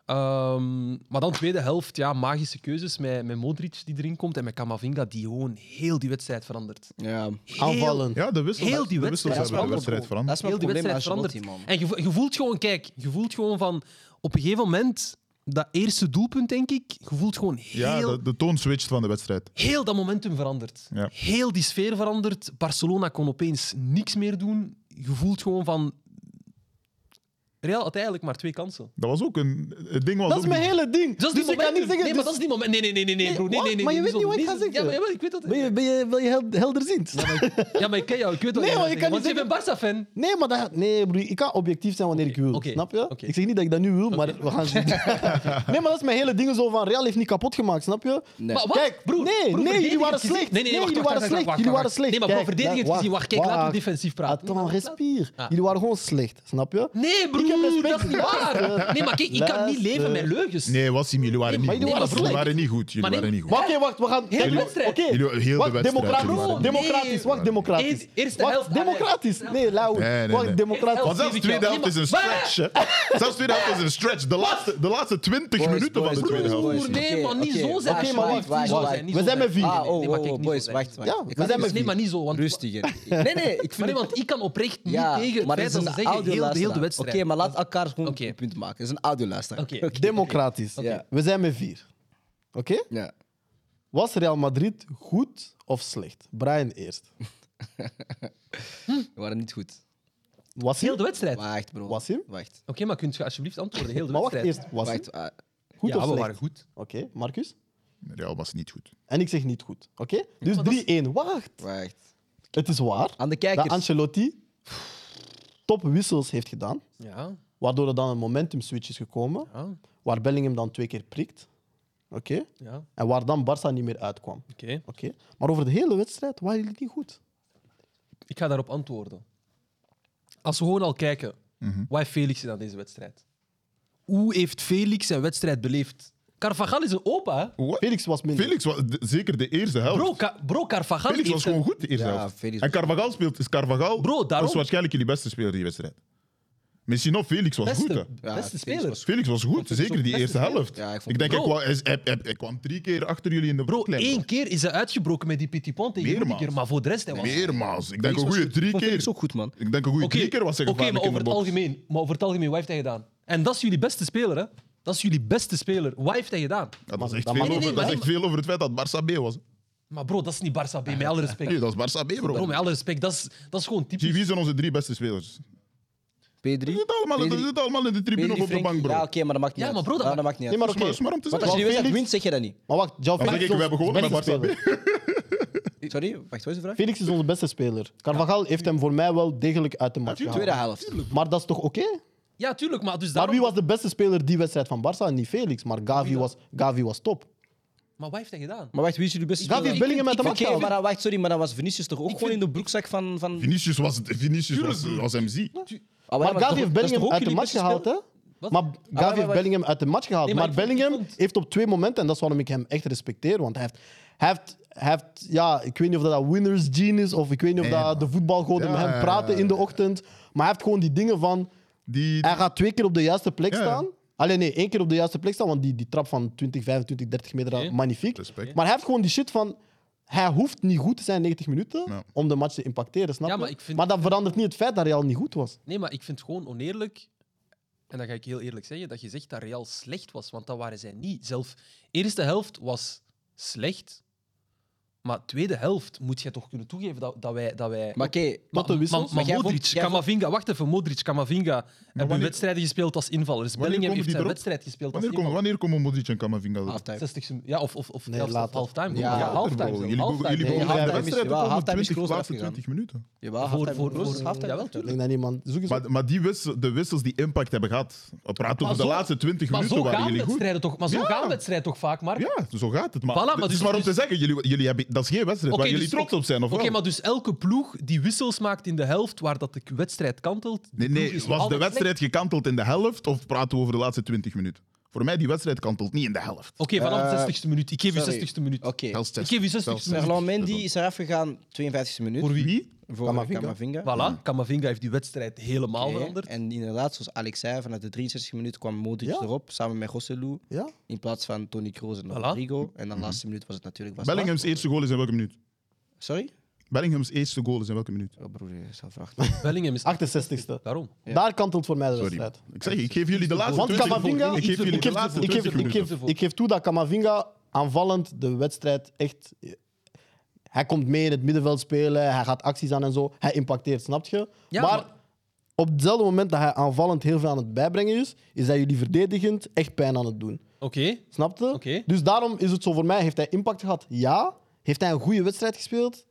[SPEAKER 5] Ehm, maar dan tweede helft, ja, magische keuzes met, met Modric die erin komt en met Camavinga die gewoon heel die wedstrijd verandert.
[SPEAKER 1] Ja.
[SPEAKER 5] Heel-
[SPEAKER 4] Aanvallen.
[SPEAKER 2] Ja, de wissels,
[SPEAKER 5] Heel die
[SPEAKER 2] de
[SPEAKER 5] wedstrijd
[SPEAKER 2] wissels hebben de
[SPEAKER 5] veranderd,
[SPEAKER 2] wedstrijd
[SPEAKER 5] bro.
[SPEAKER 1] Dat
[SPEAKER 2] veranderd.
[SPEAKER 1] is mijn
[SPEAKER 5] heel die
[SPEAKER 1] probleem met
[SPEAKER 5] wedstrijd
[SPEAKER 1] Ancelotti,
[SPEAKER 5] verandert.
[SPEAKER 1] man.
[SPEAKER 5] En je, vo- je voelt gewoon, kijk, je voelt gewoon van op een gegeven moment dat eerste doelpunt, denk ik, je voelt gewoon
[SPEAKER 2] Ja,
[SPEAKER 5] heel,
[SPEAKER 2] de, de toon switcht van de wedstrijd.
[SPEAKER 5] heel dat momentum verandert.
[SPEAKER 2] Ja.
[SPEAKER 5] Heel die sfeer verandert. Barcelona kon opeens niks meer doen. Je voelt gewoon van. Real had eigenlijk maar twee kansen.
[SPEAKER 2] Dat was ook een... Het ding was
[SPEAKER 4] Dat
[SPEAKER 2] ook
[SPEAKER 4] is mijn
[SPEAKER 2] niet-
[SPEAKER 4] hele ding.
[SPEAKER 5] Dus dat is
[SPEAKER 4] dus
[SPEAKER 5] die
[SPEAKER 4] ik kan
[SPEAKER 5] momentum.
[SPEAKER 4] niet zeggen...
[SPEAKER 5] nee,
[SPEAKER 4] dus-
[SPEAKER 5] maar dat is die moment. Nee, nee, nee, nee, nee,
[SPEAKER 4] Nee,
[SPEAKER 5] bro. Nee,
[SPEAKER 4] wat?
[SPEAKER 5] nee, nee,
[SPEAKER 4] Maar je
[SPEAKER 5] nee,
[SPEAKER 4] weet niet wat ik
[SPEAKER 5] nee,
[SPEAKER 4] ga zeggen.
[SPEAKER 5] Ja, maar, ja, maar ik weet dat.
[SPEAKER 4] ben je, ben je, wil je hel- helder zien?
[SPEAKER 5] Ja, maar ik ken jou. Ik weet wat
[SPEAKER 4] Nee,
[SPEAKER 5] je
[SPEAKER 4] maar
[SPEAKER 5] gaat
[SPEAKER 4] je
[SPEAKER 5] zeggen,
[SPEAKER 4] kan niet
[SPEAKER 5] Want je bent Barca-fan.
[SPEAKER 4] Nee, maar dat, nee, broer, ik kan objectief zijn wanneer ik wil.
[SPEAKER 5] oké,
[SPEAKER 4] Snap je?
[SPEAKER 5] oké.
[SPEAKER 4] Ik zeg niet dat ik dat nu wil, maar we gaan zien. nee, maar dat is mijn hele ding zo van Real heeft niet kapot gemaakt, snap je?
[SPEAKER 1] Nee.
[SPEAKER 5] Maar wat?
[SPEAKER 4] Kijk,
[SPEAKER 5] broer,
[SPEAKER 4] nee,
[SPEAKER 5] broer,
[SPEAKER 4] nee, jullie
[SPEAKER 5] verdedigend
[SPEAKER 4] waren
[SPEAKER 5] gezien-
[SPEAKER 4] slecht.
[SPEAKER 5] Nee, nee, wacht,
[SPEAKER 4] jullie
[SPEAKER 5] wacht,
[SPEAKER 4] waren
[SPEAKER 5] wacht,
[SPEAKER 4] slecht.
[SPEAKER 5] wacht,
[SPEAKER 4] Jullie waren
[SPEAKER 5] wacht.
[SPEAKER 4] slecht.
[SPEAKER 5] Nee, maar bro,
[SPEAKER 4] Kijk,
[SPEAKER 5] verdedigend
[SPEAKER 4] wacht,
[SPEAKER 5] gezien, wacht, kijk, laten we
[SPEAKER 4] wacht.
[SPEAKER 5] defensief praten. Nee,
[SPEAKER 4] Attends,
[SPEAKER 5] maar laat-
[SPEAKER 4] respire.
[SPEAKER 5] Ah.
[SPEAKER 4] Jullie waren gewoon slecht, snap je?
[SPEAKER 5] Nee, broer,
[SPEAKER 4] respect
[SPEAKER 5] dat is niet
[SPEAKER 4] voor
[SPEAKER 5] waar.
[SPEAKER 4] Barca.
[SPEAKER 5] Nee, maar kijk, ik kan niet
[SPEAKER 4] Luister.
[SPEAKER 5] leven met leugens.
[SPEAKER 2] Nee, Wassim, jullie waren
[SPEAKER 5] Nee,
[SPEAKER 2] niet
[SPEAKER 5] maar
[SPEAKER 2] goed.
[SPEAKER 5] jullie
[SPEAKER 2] Jullie waren
[SPEAKER 5] waren slecht.
[SPEAKER 2] niet goed. Jullie
[SPEAKER 5] Maar nee,
[SPEAKER 2] waren niet goed.
[SPEAKER 4] Maar oké, wacht, we gaan.
[SPEAKER 5] Heel
[SPEAKER 4] Kijk,
[SPEAKER 5] de wedstrijd.
[SPEAKER 4] Oké,
[SPEAKER 2] Jullie- heel de
[SPEAKER 4] wacht,
[SPEAKER 2] wedstrijd,
[SPEAKER 4] democratisch.
[SPEAKER 2] jullie
[SPEAKER 5] waren-
[SPEAKER 4] Democratisch,
[SPEAKER 5] Nee.
[SPEAKER 4] wacht, democratisch.
[SPEAKER 5] Eer- eerste
[SPEAKER 4] Wacht,
[SPEAKER 5] helft,
[SPEAKER 4] democratisch.
[SPEAKER 5] Ajax.
[SPEAKER 4] Nee, lauw.
[SPEAKER 2] Nee, nee, nee.
[SPEAKER 4] Wacht, democratisch.
[SPEAKER 5] Eerste
[SPEAKER 2] Want zelfs de tweede
[SPEAKER 5] Nee,
[SPEAKER 2] helft is een
[SPEAKER 5] maar-
[SPEAKER 2] stretch. hè. Zelfs de tweede helft is een stretch. De laatste, de laatste 20
[SPEAKER 1] Boys,
[SPEAKER 2] minuten van
[SPEAKER 1] boys,
[SPEAKER 2] de tweede
[SPEAKER 1] boys,
[SPEAKER 2] helft.
[SPEAKER 1] boys.
[SPEAKER 5] Broer, nee,
[SPEAKER 1] Oké,
[SPEAKER 5] maar niet
[SPEAKER 1] oké.
[SPEAKER 5] zo zijn.
[SPEAKER 1] Oké,
[SPEAKER 4] Oké, maar
[SPEAKER 5] alsjeblieft,
[SPEAKER 1] wacht,
[SPEAKER 5] niet zo
[SPEAKER 1] wacht,
[SPEAKER 5] zijn, niet
[SPEAKER 4] we
[SPEAKER 5] zo
[SPEAKER 4] zijn
[SPEAKER 5] zijn.
[SPEAKER 4] met
[SPEAKER 5] Ah,
[SPEAKER 4] vier.
[SPEAKER 5] oh,
[SPEAKER 1] Nee,
[SPEAKER 5] oh,
[SPEAKER 1] maar kijk,
[SPEAKER 5] oh,
[SPEAKER 1] niet
[SPEAKER 5] boys,
[SPEAKER 1] zo
[SPEAKER 5] wacht,
[SPEAKER 1] zijn.
[SPEAKER 5] wacht.
[SPEAKER 4] Ja,
[SPEAKER 5] Ik
[SPEAKER 4] we
[SPEAKER 5] kan-
[SPEAKER 4] zijn met
[SPEAKER 5] Nee, maar niet zo, want...
[SPEAKER 1] Rustiger. Nee, nee, ik
[SPEAKER 5] Maar
[SPEAKER 1] vind
[SPEAKER 5] nee, want ik kan oprecht niet
[SPEAKER 1] Ja,
[SPEAKER 5] tegen het
[SPEAKER 1] maar dit
[SPEAKER 5] feit
[SPEAKER 1] is
[SPEAKER 5] dat ze
[SPEAKER 1] een
[SPEAKER 5] zeggen, heel,
[SPEAKER 1] audioluisteraar.
[SPEAKER 5] heel de wedstrijd.
[SPEAKER 1] Oké, maar laat elkaar gewoon
[SPEAKER 5] Oké.
[SPEAKER 1] een punt maken. Het is een audioluisteraar.
[SPEAKER 5] Oké.
[SPEAKER 4] Democratisch.
[SPEAKER 1] Oké.
[SPEAKER 4] We zijn met vier. Oké?
[SPEAKER 1] Ja.
[SPEAKER 4] Was Real Madrid goed of slecht? Brian eerst.
[SPEAKER 1] We waren niet goed.
[SPEAKER 4] Was
[SPEAKER 5] Heel de wedstrijd. Oké,
[SPEAKER 1] Wacht, bro.
[SPEAKER 4] Wasim?
[SPEAKER 1] Wacht.
[SPEAKER 5] maar kunt je alsjeblieft antwoorden? Heel de
[SPEAKER 4] Maar wacht
[SPEAKER 5] wedstrijd.
[SPEAKER 4] eerst. Was
[SPEAKER 1] Wacht. ah,
[SPEAKER 4] goed of
[SPEAKER 5] Ja, we
[SPEAKER 4] slecht?
[SPEAKER 5] waren goed.
[SPEAKER 4] Oké, Marcus?
[SPEAKER 2] Real was niet goed.
[SPEAKER 4] En ik zeg niet goed. Oké? Dus
[SPEAKER 5] maar dat is-
[SPEAKER 4] 3-1. Wacht.
[SPEAKER 1] wacht.
[SPEAKER 4] Het is waar
[SPEAKER 1] Aan de
[SPEAKER 4] dat
[SPEAKER 1] kijkers.
[SPEAKER 4] Ancelotti topwissels heeft gedaan.
[SPEAKER 5] Ja,
[SPEAKER 4] Waardoor er dan een momentum switch is gekomen.
[SPEAKER 5] ja,
[SPEAKER 4] Waar Bellingham dan twee keer prikt. Oké?
[SPEAKER 5] ja. Oké.
[SPEAKER 4] En waar dan Barça niet meer uitkwam. Oké? Maar over de hele wedstrijd waren jullie niet goed.
[SPEAKER 5] Ik ga daarop antwoorden. Als we gewoon al kijken,
[SPEAKER 1] Mhm.
[SPEAKER 5] wat heeft Felix gedaan deze wedstrijd? Hoe heeft Felix zijn wedstrijd beleefd? Carvajal is een opa, hè?
[SPEAKER 2] What?
[SPEAKER 4] Felix was minder.
[SPEAKER 2] Felix was de- zeker de eerste helft.
[SPEAKER 5] Bro, Ca- bro Carvajal
[SPEAKER 2] Felix was
[SPEAKER 5] heeft
[SPEAKER 2] gewoon
[SPEAKER 5] een-
[SPEAKER 2] goed de eerste
[SPEAKER 1] Ja,
[SPEAKER 2] helft.
[SPEAKER 1] Felix
[SPEAKER 2] en
[SPEAKER 1] was-
[SPEAKER 2] Carvajal speelt, is Carvajal
[SPEAKER 5] Bro, daarom-
[SPEAKER 2] was waarschijnlijk jullie beste speler die wedstrijd. Misschien nog, Felix was goed.
[SPEAKER 5] beste,
[SPEAKER 2] Hè.
[SPEAKER 1] Ja,
[SPEAKER 5] beste
[SPEAKER 1] Felix
[SPEAKER 5] speler.
[SPEAKER 1] was
[SPEAKER 2] Felix was goed,
[SPEAKER 5] Felix
[SPEAKER 2] zeker
[SPEAKER 5] ook
[SPEAKER 2] die
[SPEAKER 5] beste
[SPEAKER 2] eerste
[SPEAKER 5] speler.
[SPEAKER 2] helft.
[SPEAKER 1] Ja, ik
[SPEAKER 2] ik,
[SPEAKER 1] vond
[SPEAKER 2] denk,
[SPEAKER 5] het
[SPEAKER 2] ik
[SPEAKER 5] ook.
[SPEAKER 2] kwam, hij, is- hij- hij- hij kwam drie keer achter jullie in de
[SPEAKER 5] Bro,
[SPEAKER 2] klein.
[SPEAKER 5] één keer is hij uitgebroken met die Petiponte.
[SPEAKER 2] Meermaals.
[SPEAKER 5] Rudiger, Maar voor de rest, hij was...
[SPEAKER 2] Meermaals. Ik denk
[SPEAKER 1] Felix
[SPEAKER 2] een
[SPEAKER 1] was
[SPEAKER 2] goede
[SPEAKER 1] goed.
[SPEAKER 2] drie
[SPEAKER 1] Ik vond
[SPEAKER 2] keer.
[SPEAKER 1] Felix ook goed, man.
[SPEAKER 2] Ik denk een goede
[SPEAKER 5] Oké,
[SPEAKER 2] drie keer was hij
[SPEAKER 5] oké,
[SPEAKER 2] gevaarlijk
[SPEAKER 5] maar over
[SPEAKER 2] in
[SPEAKER 5] het
[SPEAKER 2] de box.
[SPEAKER 5] algemeen. Maar over het algemeen, wat heeft hij gedaan? En dat is jullie beste speler, hè? Dat is jullie beste speler. Wat heeft hij gedaan?
[SPEAKER 2] Ja, dat is echt veel
[SPEAKER 4] Dat mag-
[SPEAKER 5] Nee,
[SPEAKER 2] over-
[SPEAKER 5] nee,
[SPEAKER 2] dat is
[SPEAKER 5] maar-
[SPEAKER 2] echt veel over het feit dat Barça B was.
[SPEAKER 5] Maar bro, dat is niet Barça B, met alle respect.
[SPEAKER 2] Nee, dat is Barça B,
[SPEAKER 5] Bro,
[SPEAKER 2] bro.
[SPEAKER 5] met alle respect, dat is, dat is gewoon
[SPEAKER 2] Zie,
[SPEAKER 5] typisch.
[SPEAKER 2] wie zijn onze drie beste spelers?
[SPEAKER 1] P3.
[SPEAKER 2] Die zitten allemaal, die zitten allemaal in de tribune of op de bank, bro.
[SPEAKER 1] Ja, oké, maar dat maakt niet
[SPEAKER 5] Ja,
[SPEAKER 1] uit.
[SPEAKER 5] maar bro, dat
[SPEAKER 1] dat maakt niet uit.
[SPEAKER 4] Nee, maar
[SPEAKER 2] Dat
[SPEAKER 4] oké.
[SPEAKER 2] is maar- is maar om te
[SPEAKER 4] Want
[SPEAKER 1] Als
[SPEAKER 2] zeggen.
[SPEAKER 1] je
[SPEAKER 4] Joao
[SPEAKER 1] die wedstrijd
[SPEAKER 4] Felix-
[SPEAKER 1] wint, zeg je dat niet.
[SPEAKER 4] Maar wacht, Joao
[SPEAKER 2] Dan zeg
[SPEAKER 4] Felix is
[SPEAKER 2] ik, we
[SPEAKER 4] onze
[SPEAKER 2] hebben gewonnen met
[SPEAKER 4] beste
[SPEAKER 2] Barça B.
[SPEAKER 4] speler.
[SPEAKER 1] Sorry, wacht, wat is de vraag?
[SPEAKER 4] Felix is onze beste speler. Carvajal heeft hem voor mij wel degelijk uit de match
[SPEAKER 1] Tweede
[SPEAKER 4] gehaald.
[SPEAKER 1] helft.
[SPEAKER 4] Maar dat is toch oké?
[SPEAKER 5] Ja, tuurlijk, maar dus
[SPEAKER 4] Maar
[SPEAKER 5] daarom...
[SPEAKER 4] wie was de beste speler die wedstrijd van Barça? Niet Felix, maar Gavi was, Gavi was top.
[SPEAKER 5] Maar wat heeft hij gedaan?
[SPEAKER 1] Maar wacht, wie is jullie beste
[SPEAKER 4] Gavi
[SPEAKER 1] speler?
[SPEAKER 4] heeft Bellingham uit de
[SPEAKER 5] ik-
[SPEAKER 4] match
[SPEAKER 1] Oké,
[SPEAKER 4] gehaald.
[SPEAKER 1] maar dan- wacht, sorry, maar dan was Vinicius toch ook gewoon in de broekzak van... van...
[SPEAKER 2] Vinicius was, Vinicius was, was MC.
[SPEAKER 1] Ah,
[SPEAKER 4] Maar
[SPEAKER 1] dat is
[SPEAKER 4] Gavi
[SPEAKER 1] toch- dat is
[SPEAKER 4] heeft
[SPEAKER 1] toch
[SPEAKER 4] Bellingham
[SPEAKER 1] ook
[SPEAKER 4] uit de
[SPEAKER 1] jullie
[SPEAKER 4] match
[SPEAKER 1] beste Ah,
[SPEAKER 4] gehaald, hè?
[SPEAKER 5] Wat?
[SPEAKER 4] Maar Gavi
[SPEAKER 1] maar-
[SPEAKER 4] heeft
[SPEAKER 1] maar-
[SPEAKER 4] Bellingham uit de match gehaald.
[SPEAKER 5] Nee, maar
[SPEAKER 4] maar
[SPEAKER 5] ik vond- ik
[SPEAKER 4] Bellingham
[SPEAKER 5] vond-
[SPEAKER 4] heeft op twee momenten, en dat is waarom ik hem echt respecteer, want hij heeft, hij heeft, hij heeft ja, ik weet niet of dat winners gene is, of ik weet niet of
[SPEAKER 2] Nee,
[SPEAKER 4] dat de voetbalgoden
[SPEAKER 2] Ja,
[SPEAKER 4] met
[SPEAKER 2] ja,
[SPEAKER 4] hem
[SPEAKER 2] ja,
[SPEAKER 4] praten
[SPEAKER 2] ja,
[SPEAKER 4] in de
[SPEAKER 2] ja.
[SPEAKER 4] ochtend, maar hij heeft gewoon die dingen van,
[SPEAKER 2] Die,
[SPEAKER 4] hij gaat twee keer op de juiste plek
[SPEAKER 2] Ja, ja.
[SPEAKER 4] staan. Alleen nee, één keer op de juiste plek staan, want die, die trap van 20, 25, 30 meter,
[SPEAKER 5] Oké.
[SPEAKER 4] magnifiek.
[SPEAKER 2] Respect.
[SPEAKER 4] Maar hij heeft gewoon die shit van, hij hoeft niet goed te zijn 90 minuten
[SPEAKER 2] Ja.
[SPEAKER 4] om de match te impacteren, snap
[SPEAKER 5] Ja,
[SPEAKER 4] je?
[SPEAKER 5] maar ik vind-
[SPEAKER 4] maar dat verandert niet het feit dat Real niet goed was.
[SPEAKER 5] Nee, maar ik vind het gewoon oneerlijk, en dat ga ik heel eerlijk zeggen, dat je zegt dat Real slecht was, want dat waren zij niet. Zelf, eerste helft was slecht, maar tweede helft moet jij toch kunnen toegeven dat, dat wij... Dat wij
[SPEAKER 1] Maar oké,
[SPEAKER 5] maar,
[SPEAKER 4] de wissels.
[SPEAKER 5] maar- maar
[SPEAKER 1] jij
[SPEAKER 5] Modric,
[SPEAKER 1] vond- jij vond-
[SPEAKER 5] Camavinga, wacht even, Modric, Camavinga hebben
[SPEAKER 2] wanneer-
[SPEAKER 5] wedstrijden gespeeld als invallers.
[SPEAKER 2] wanneer
[SPEAKER 5] Bellingham
[SPEAKER 2] komen
[SPEAKER 5] heeft
[SPEAKER 2] die
[SPEAKER 5] zijn
[SPEAKER 2] erop?
[SPEAKER 5] wedstrijd gespeeld als
[SPEAKER 2] wanneer, komen,
[SPEAKER 5] invaller.
[SPEAKER 2] wanneer komen Modric en Camavinga erop?
[SPEAKER 1] halftime.
[SPEAKER 5] 60 seconden- ja, of, of, of
[SPEAKER 4] Nee,
[SPEAKER 5] zelfs
[SPEAKER 4] later.
[SPEAKER 5] halftime.
[SPEAKER 1] Ja,
[SPEAKER 5] Ja,
[SPEAKER 2] Jullie
[SPEAKER 5] halftime. zelfs,
[SPEAKER 2] begonnen-
[SPEAKER 5] halftime.
[SPEAKER 2] jullie
[SPEAKER 1] Nee,
[SPEAKER 2] begonnen de
[SPEAKER 1] halftime is-
[SPEAKER 2] wedstrijd
[SPEAKER 1] ja,
[SPEAKER 2] op
[SPEAKER 1] halftime is
[SPEAKER 2] 20,
[SPEAKER 1] close
[SPEAKER 2] laatste
[SPEAKER 1] afgegaan.
[SPEAKER 2] 20 minuten.
[SPEAKER 1] Jawel,
[SPEAKER 5] Voor-
[SPEAKER 1] halftime
[SPEAKER 5] voor-
[SPEAKER 1] close,
[SPEAKER 5] voor-
[SPEAKER 1] halftime
[SPEAKER 5] jawel.
[SPEAKER 1] close.
[SPEAKER 4] Ik denk dat niemand... Zoek eens op
[SPEAKER 2] Maar, maar die wissel, de wissels die impact hebben gehad, we praten
[SPEAKER 5] Maar
[SPEAKER 2] over de
[SPEAKER 5] zo-
[SPEAKER 2] laatste 20
[SPEAKER 5] Maar
[SPEAKER 2] minuten
[SPEAKER 5] zo
[SPEAKER 2] waren
[SPEAKER 5] gaan
[SPEAKER 2] jullie goed.
[SPEAKER 5] wedstrijden toch, maar zo
[SPEAKER 2] Ja.
[SPEAKER 5] gaan wedstrijden toch vaak, Mark?
[SPEAKER 2] Ja, zo gaat het. Maar,
[SPEAKER 5] Voilà, maar
[SPEAKER 2] het
[SPEAKER 5] dus-
[SPEAKER 2] is maar om
[SPEAKER 5] dus-
[SPEAKER 2] te zeggen, jullie, jullie hebben, dat is geen wedstrijd
[SPEAKER 5] Oké,
[SPEAKER 2] waar jullie
[SPEAKER 5] dus-
[SPEAKER 2] trots op zijn, of
[SPEAKER 5] Oké,
[SPEAKER 2] wel?
[SPEAKER 5] maar dus elke ploeg die wissels maakt in de helft waar dat de k- wedstrijd kantelt. die
[SPEAKER 2] Nee,
[SPEAKER 5] ploeg
[SPEAKER 2] nee,
[SPEAKER 5] is
[SPEAKER 2] was de
[SPEAKER 5] altijd
[SPEAKER 2] wedstrijd gekanteld in de helft of praten we over de laatste 20 minuten? Voor mij, die wedstrijd kantelt niet in de helft.
[SPEAKER 5] slecht. Oké, vanaf
[SPEAKER 1] Eh,
[SPEAKER 5] de 60ste minuut. Ik geef u
[SPEAKER 1] sorry.
[SPEAKER 5] 60ste minuut.
[SPEAKER 1] Oké.
[SPEAKER 2] Zelfs
[SPEAKER 5] Ik
[SPEAKER 2] zes-
[SPEAKER 5] geef u 60
[SPEAKER 2] zelfs
[SPEAKER 5] seconden.
[SPEAKER 2] zes.
[SPEAKER 1] Ferland Mendy is eraf gegaan, 52e minuut.
[SPEAKER 2] Voor wie?
[SPEAKER 1] Voor
[SPEAKER 4] Camavinga.
[SPEAKER 1] Camavinga.
[SPEAKER 5] Voilà, Camavinga heeft die wedstrijd helemaal
[SPEAKER 1] Oké.
[SPEAKER 5] veranderd.
[SPEAKER 1] En inderdaad, zoals Alex zei, vanuit de 63 minuut kwam Modric
[SPEAKER 4] Ja.
[SPEAKER 1] erop, samen met Rosselu,
[SPEAKER 4] Ja?
[SPEAKER 1] in plaats van Toni Kroos en Rodrigo. En dan de laatste minuut was het natuurlijk... Was
[SPEAKER 2] Bellingham's eerste goal is in welke minuut?
[SPEAKER 1] Sorry?
[SPEAKER 2] Bellingham's eerste goal is in welke minuut?
[SPEAKER 1] Oh, broer, je zal vragen.
[SPEAKER 5] Bellingham is
[SPEAKER 4] 68ste.
[SPEAKER 5] Daarom.
[SPEAKER 4] Daar kantelt voor mij de
[SPEAKER 2] Sorry.
[SPEAKER 4] wedstrijd.
[SPEAKER 2] Ik zeg, ik geef jullie de laatste
[SPEAKER 4] Want
[SPEAKER 2] 20
[SPEAKER 4] Camavinga-
[SPEAKER 2] Ik geef jullie
[SPEAKER 4] Ik
[SPEAKER 2] de
[SPEAKER 4] geef,
[SPEAKER 2] laatste
[SPEAKER 4] ik, geef,
[SPEAKER 2] 20
[SPEAKER 4] ik,
[SPEAKER 2] minuten.
[SPEAKER 4] geef, ik geef toe dat Camavinga aanvallend de wedstrijd echt... Hij komt mee in het middenveld spelen, hij gaat acties aan en zo. Hij impacteert, snap je?
[SPEAKER 5] Ja,
[SPEAKER 4] maar,
[SPEAKER 5] maar-
[SPEAKER 4] op hetzelfde moment dat hij aanvallend heel veel aan het bijbrengen is, is dat jullie verdedigend echt pijn aan het doen.
[SPEAKER 5] Oké.
[SPEAKER 4] Snap je?
[SPEAKER 5] Oké.
[SPEAKER 4] Dus daarom is het zo voor mij. Heeft hij impact gehad? Ja. Heeft hij een goede wedstrijd gespeeld?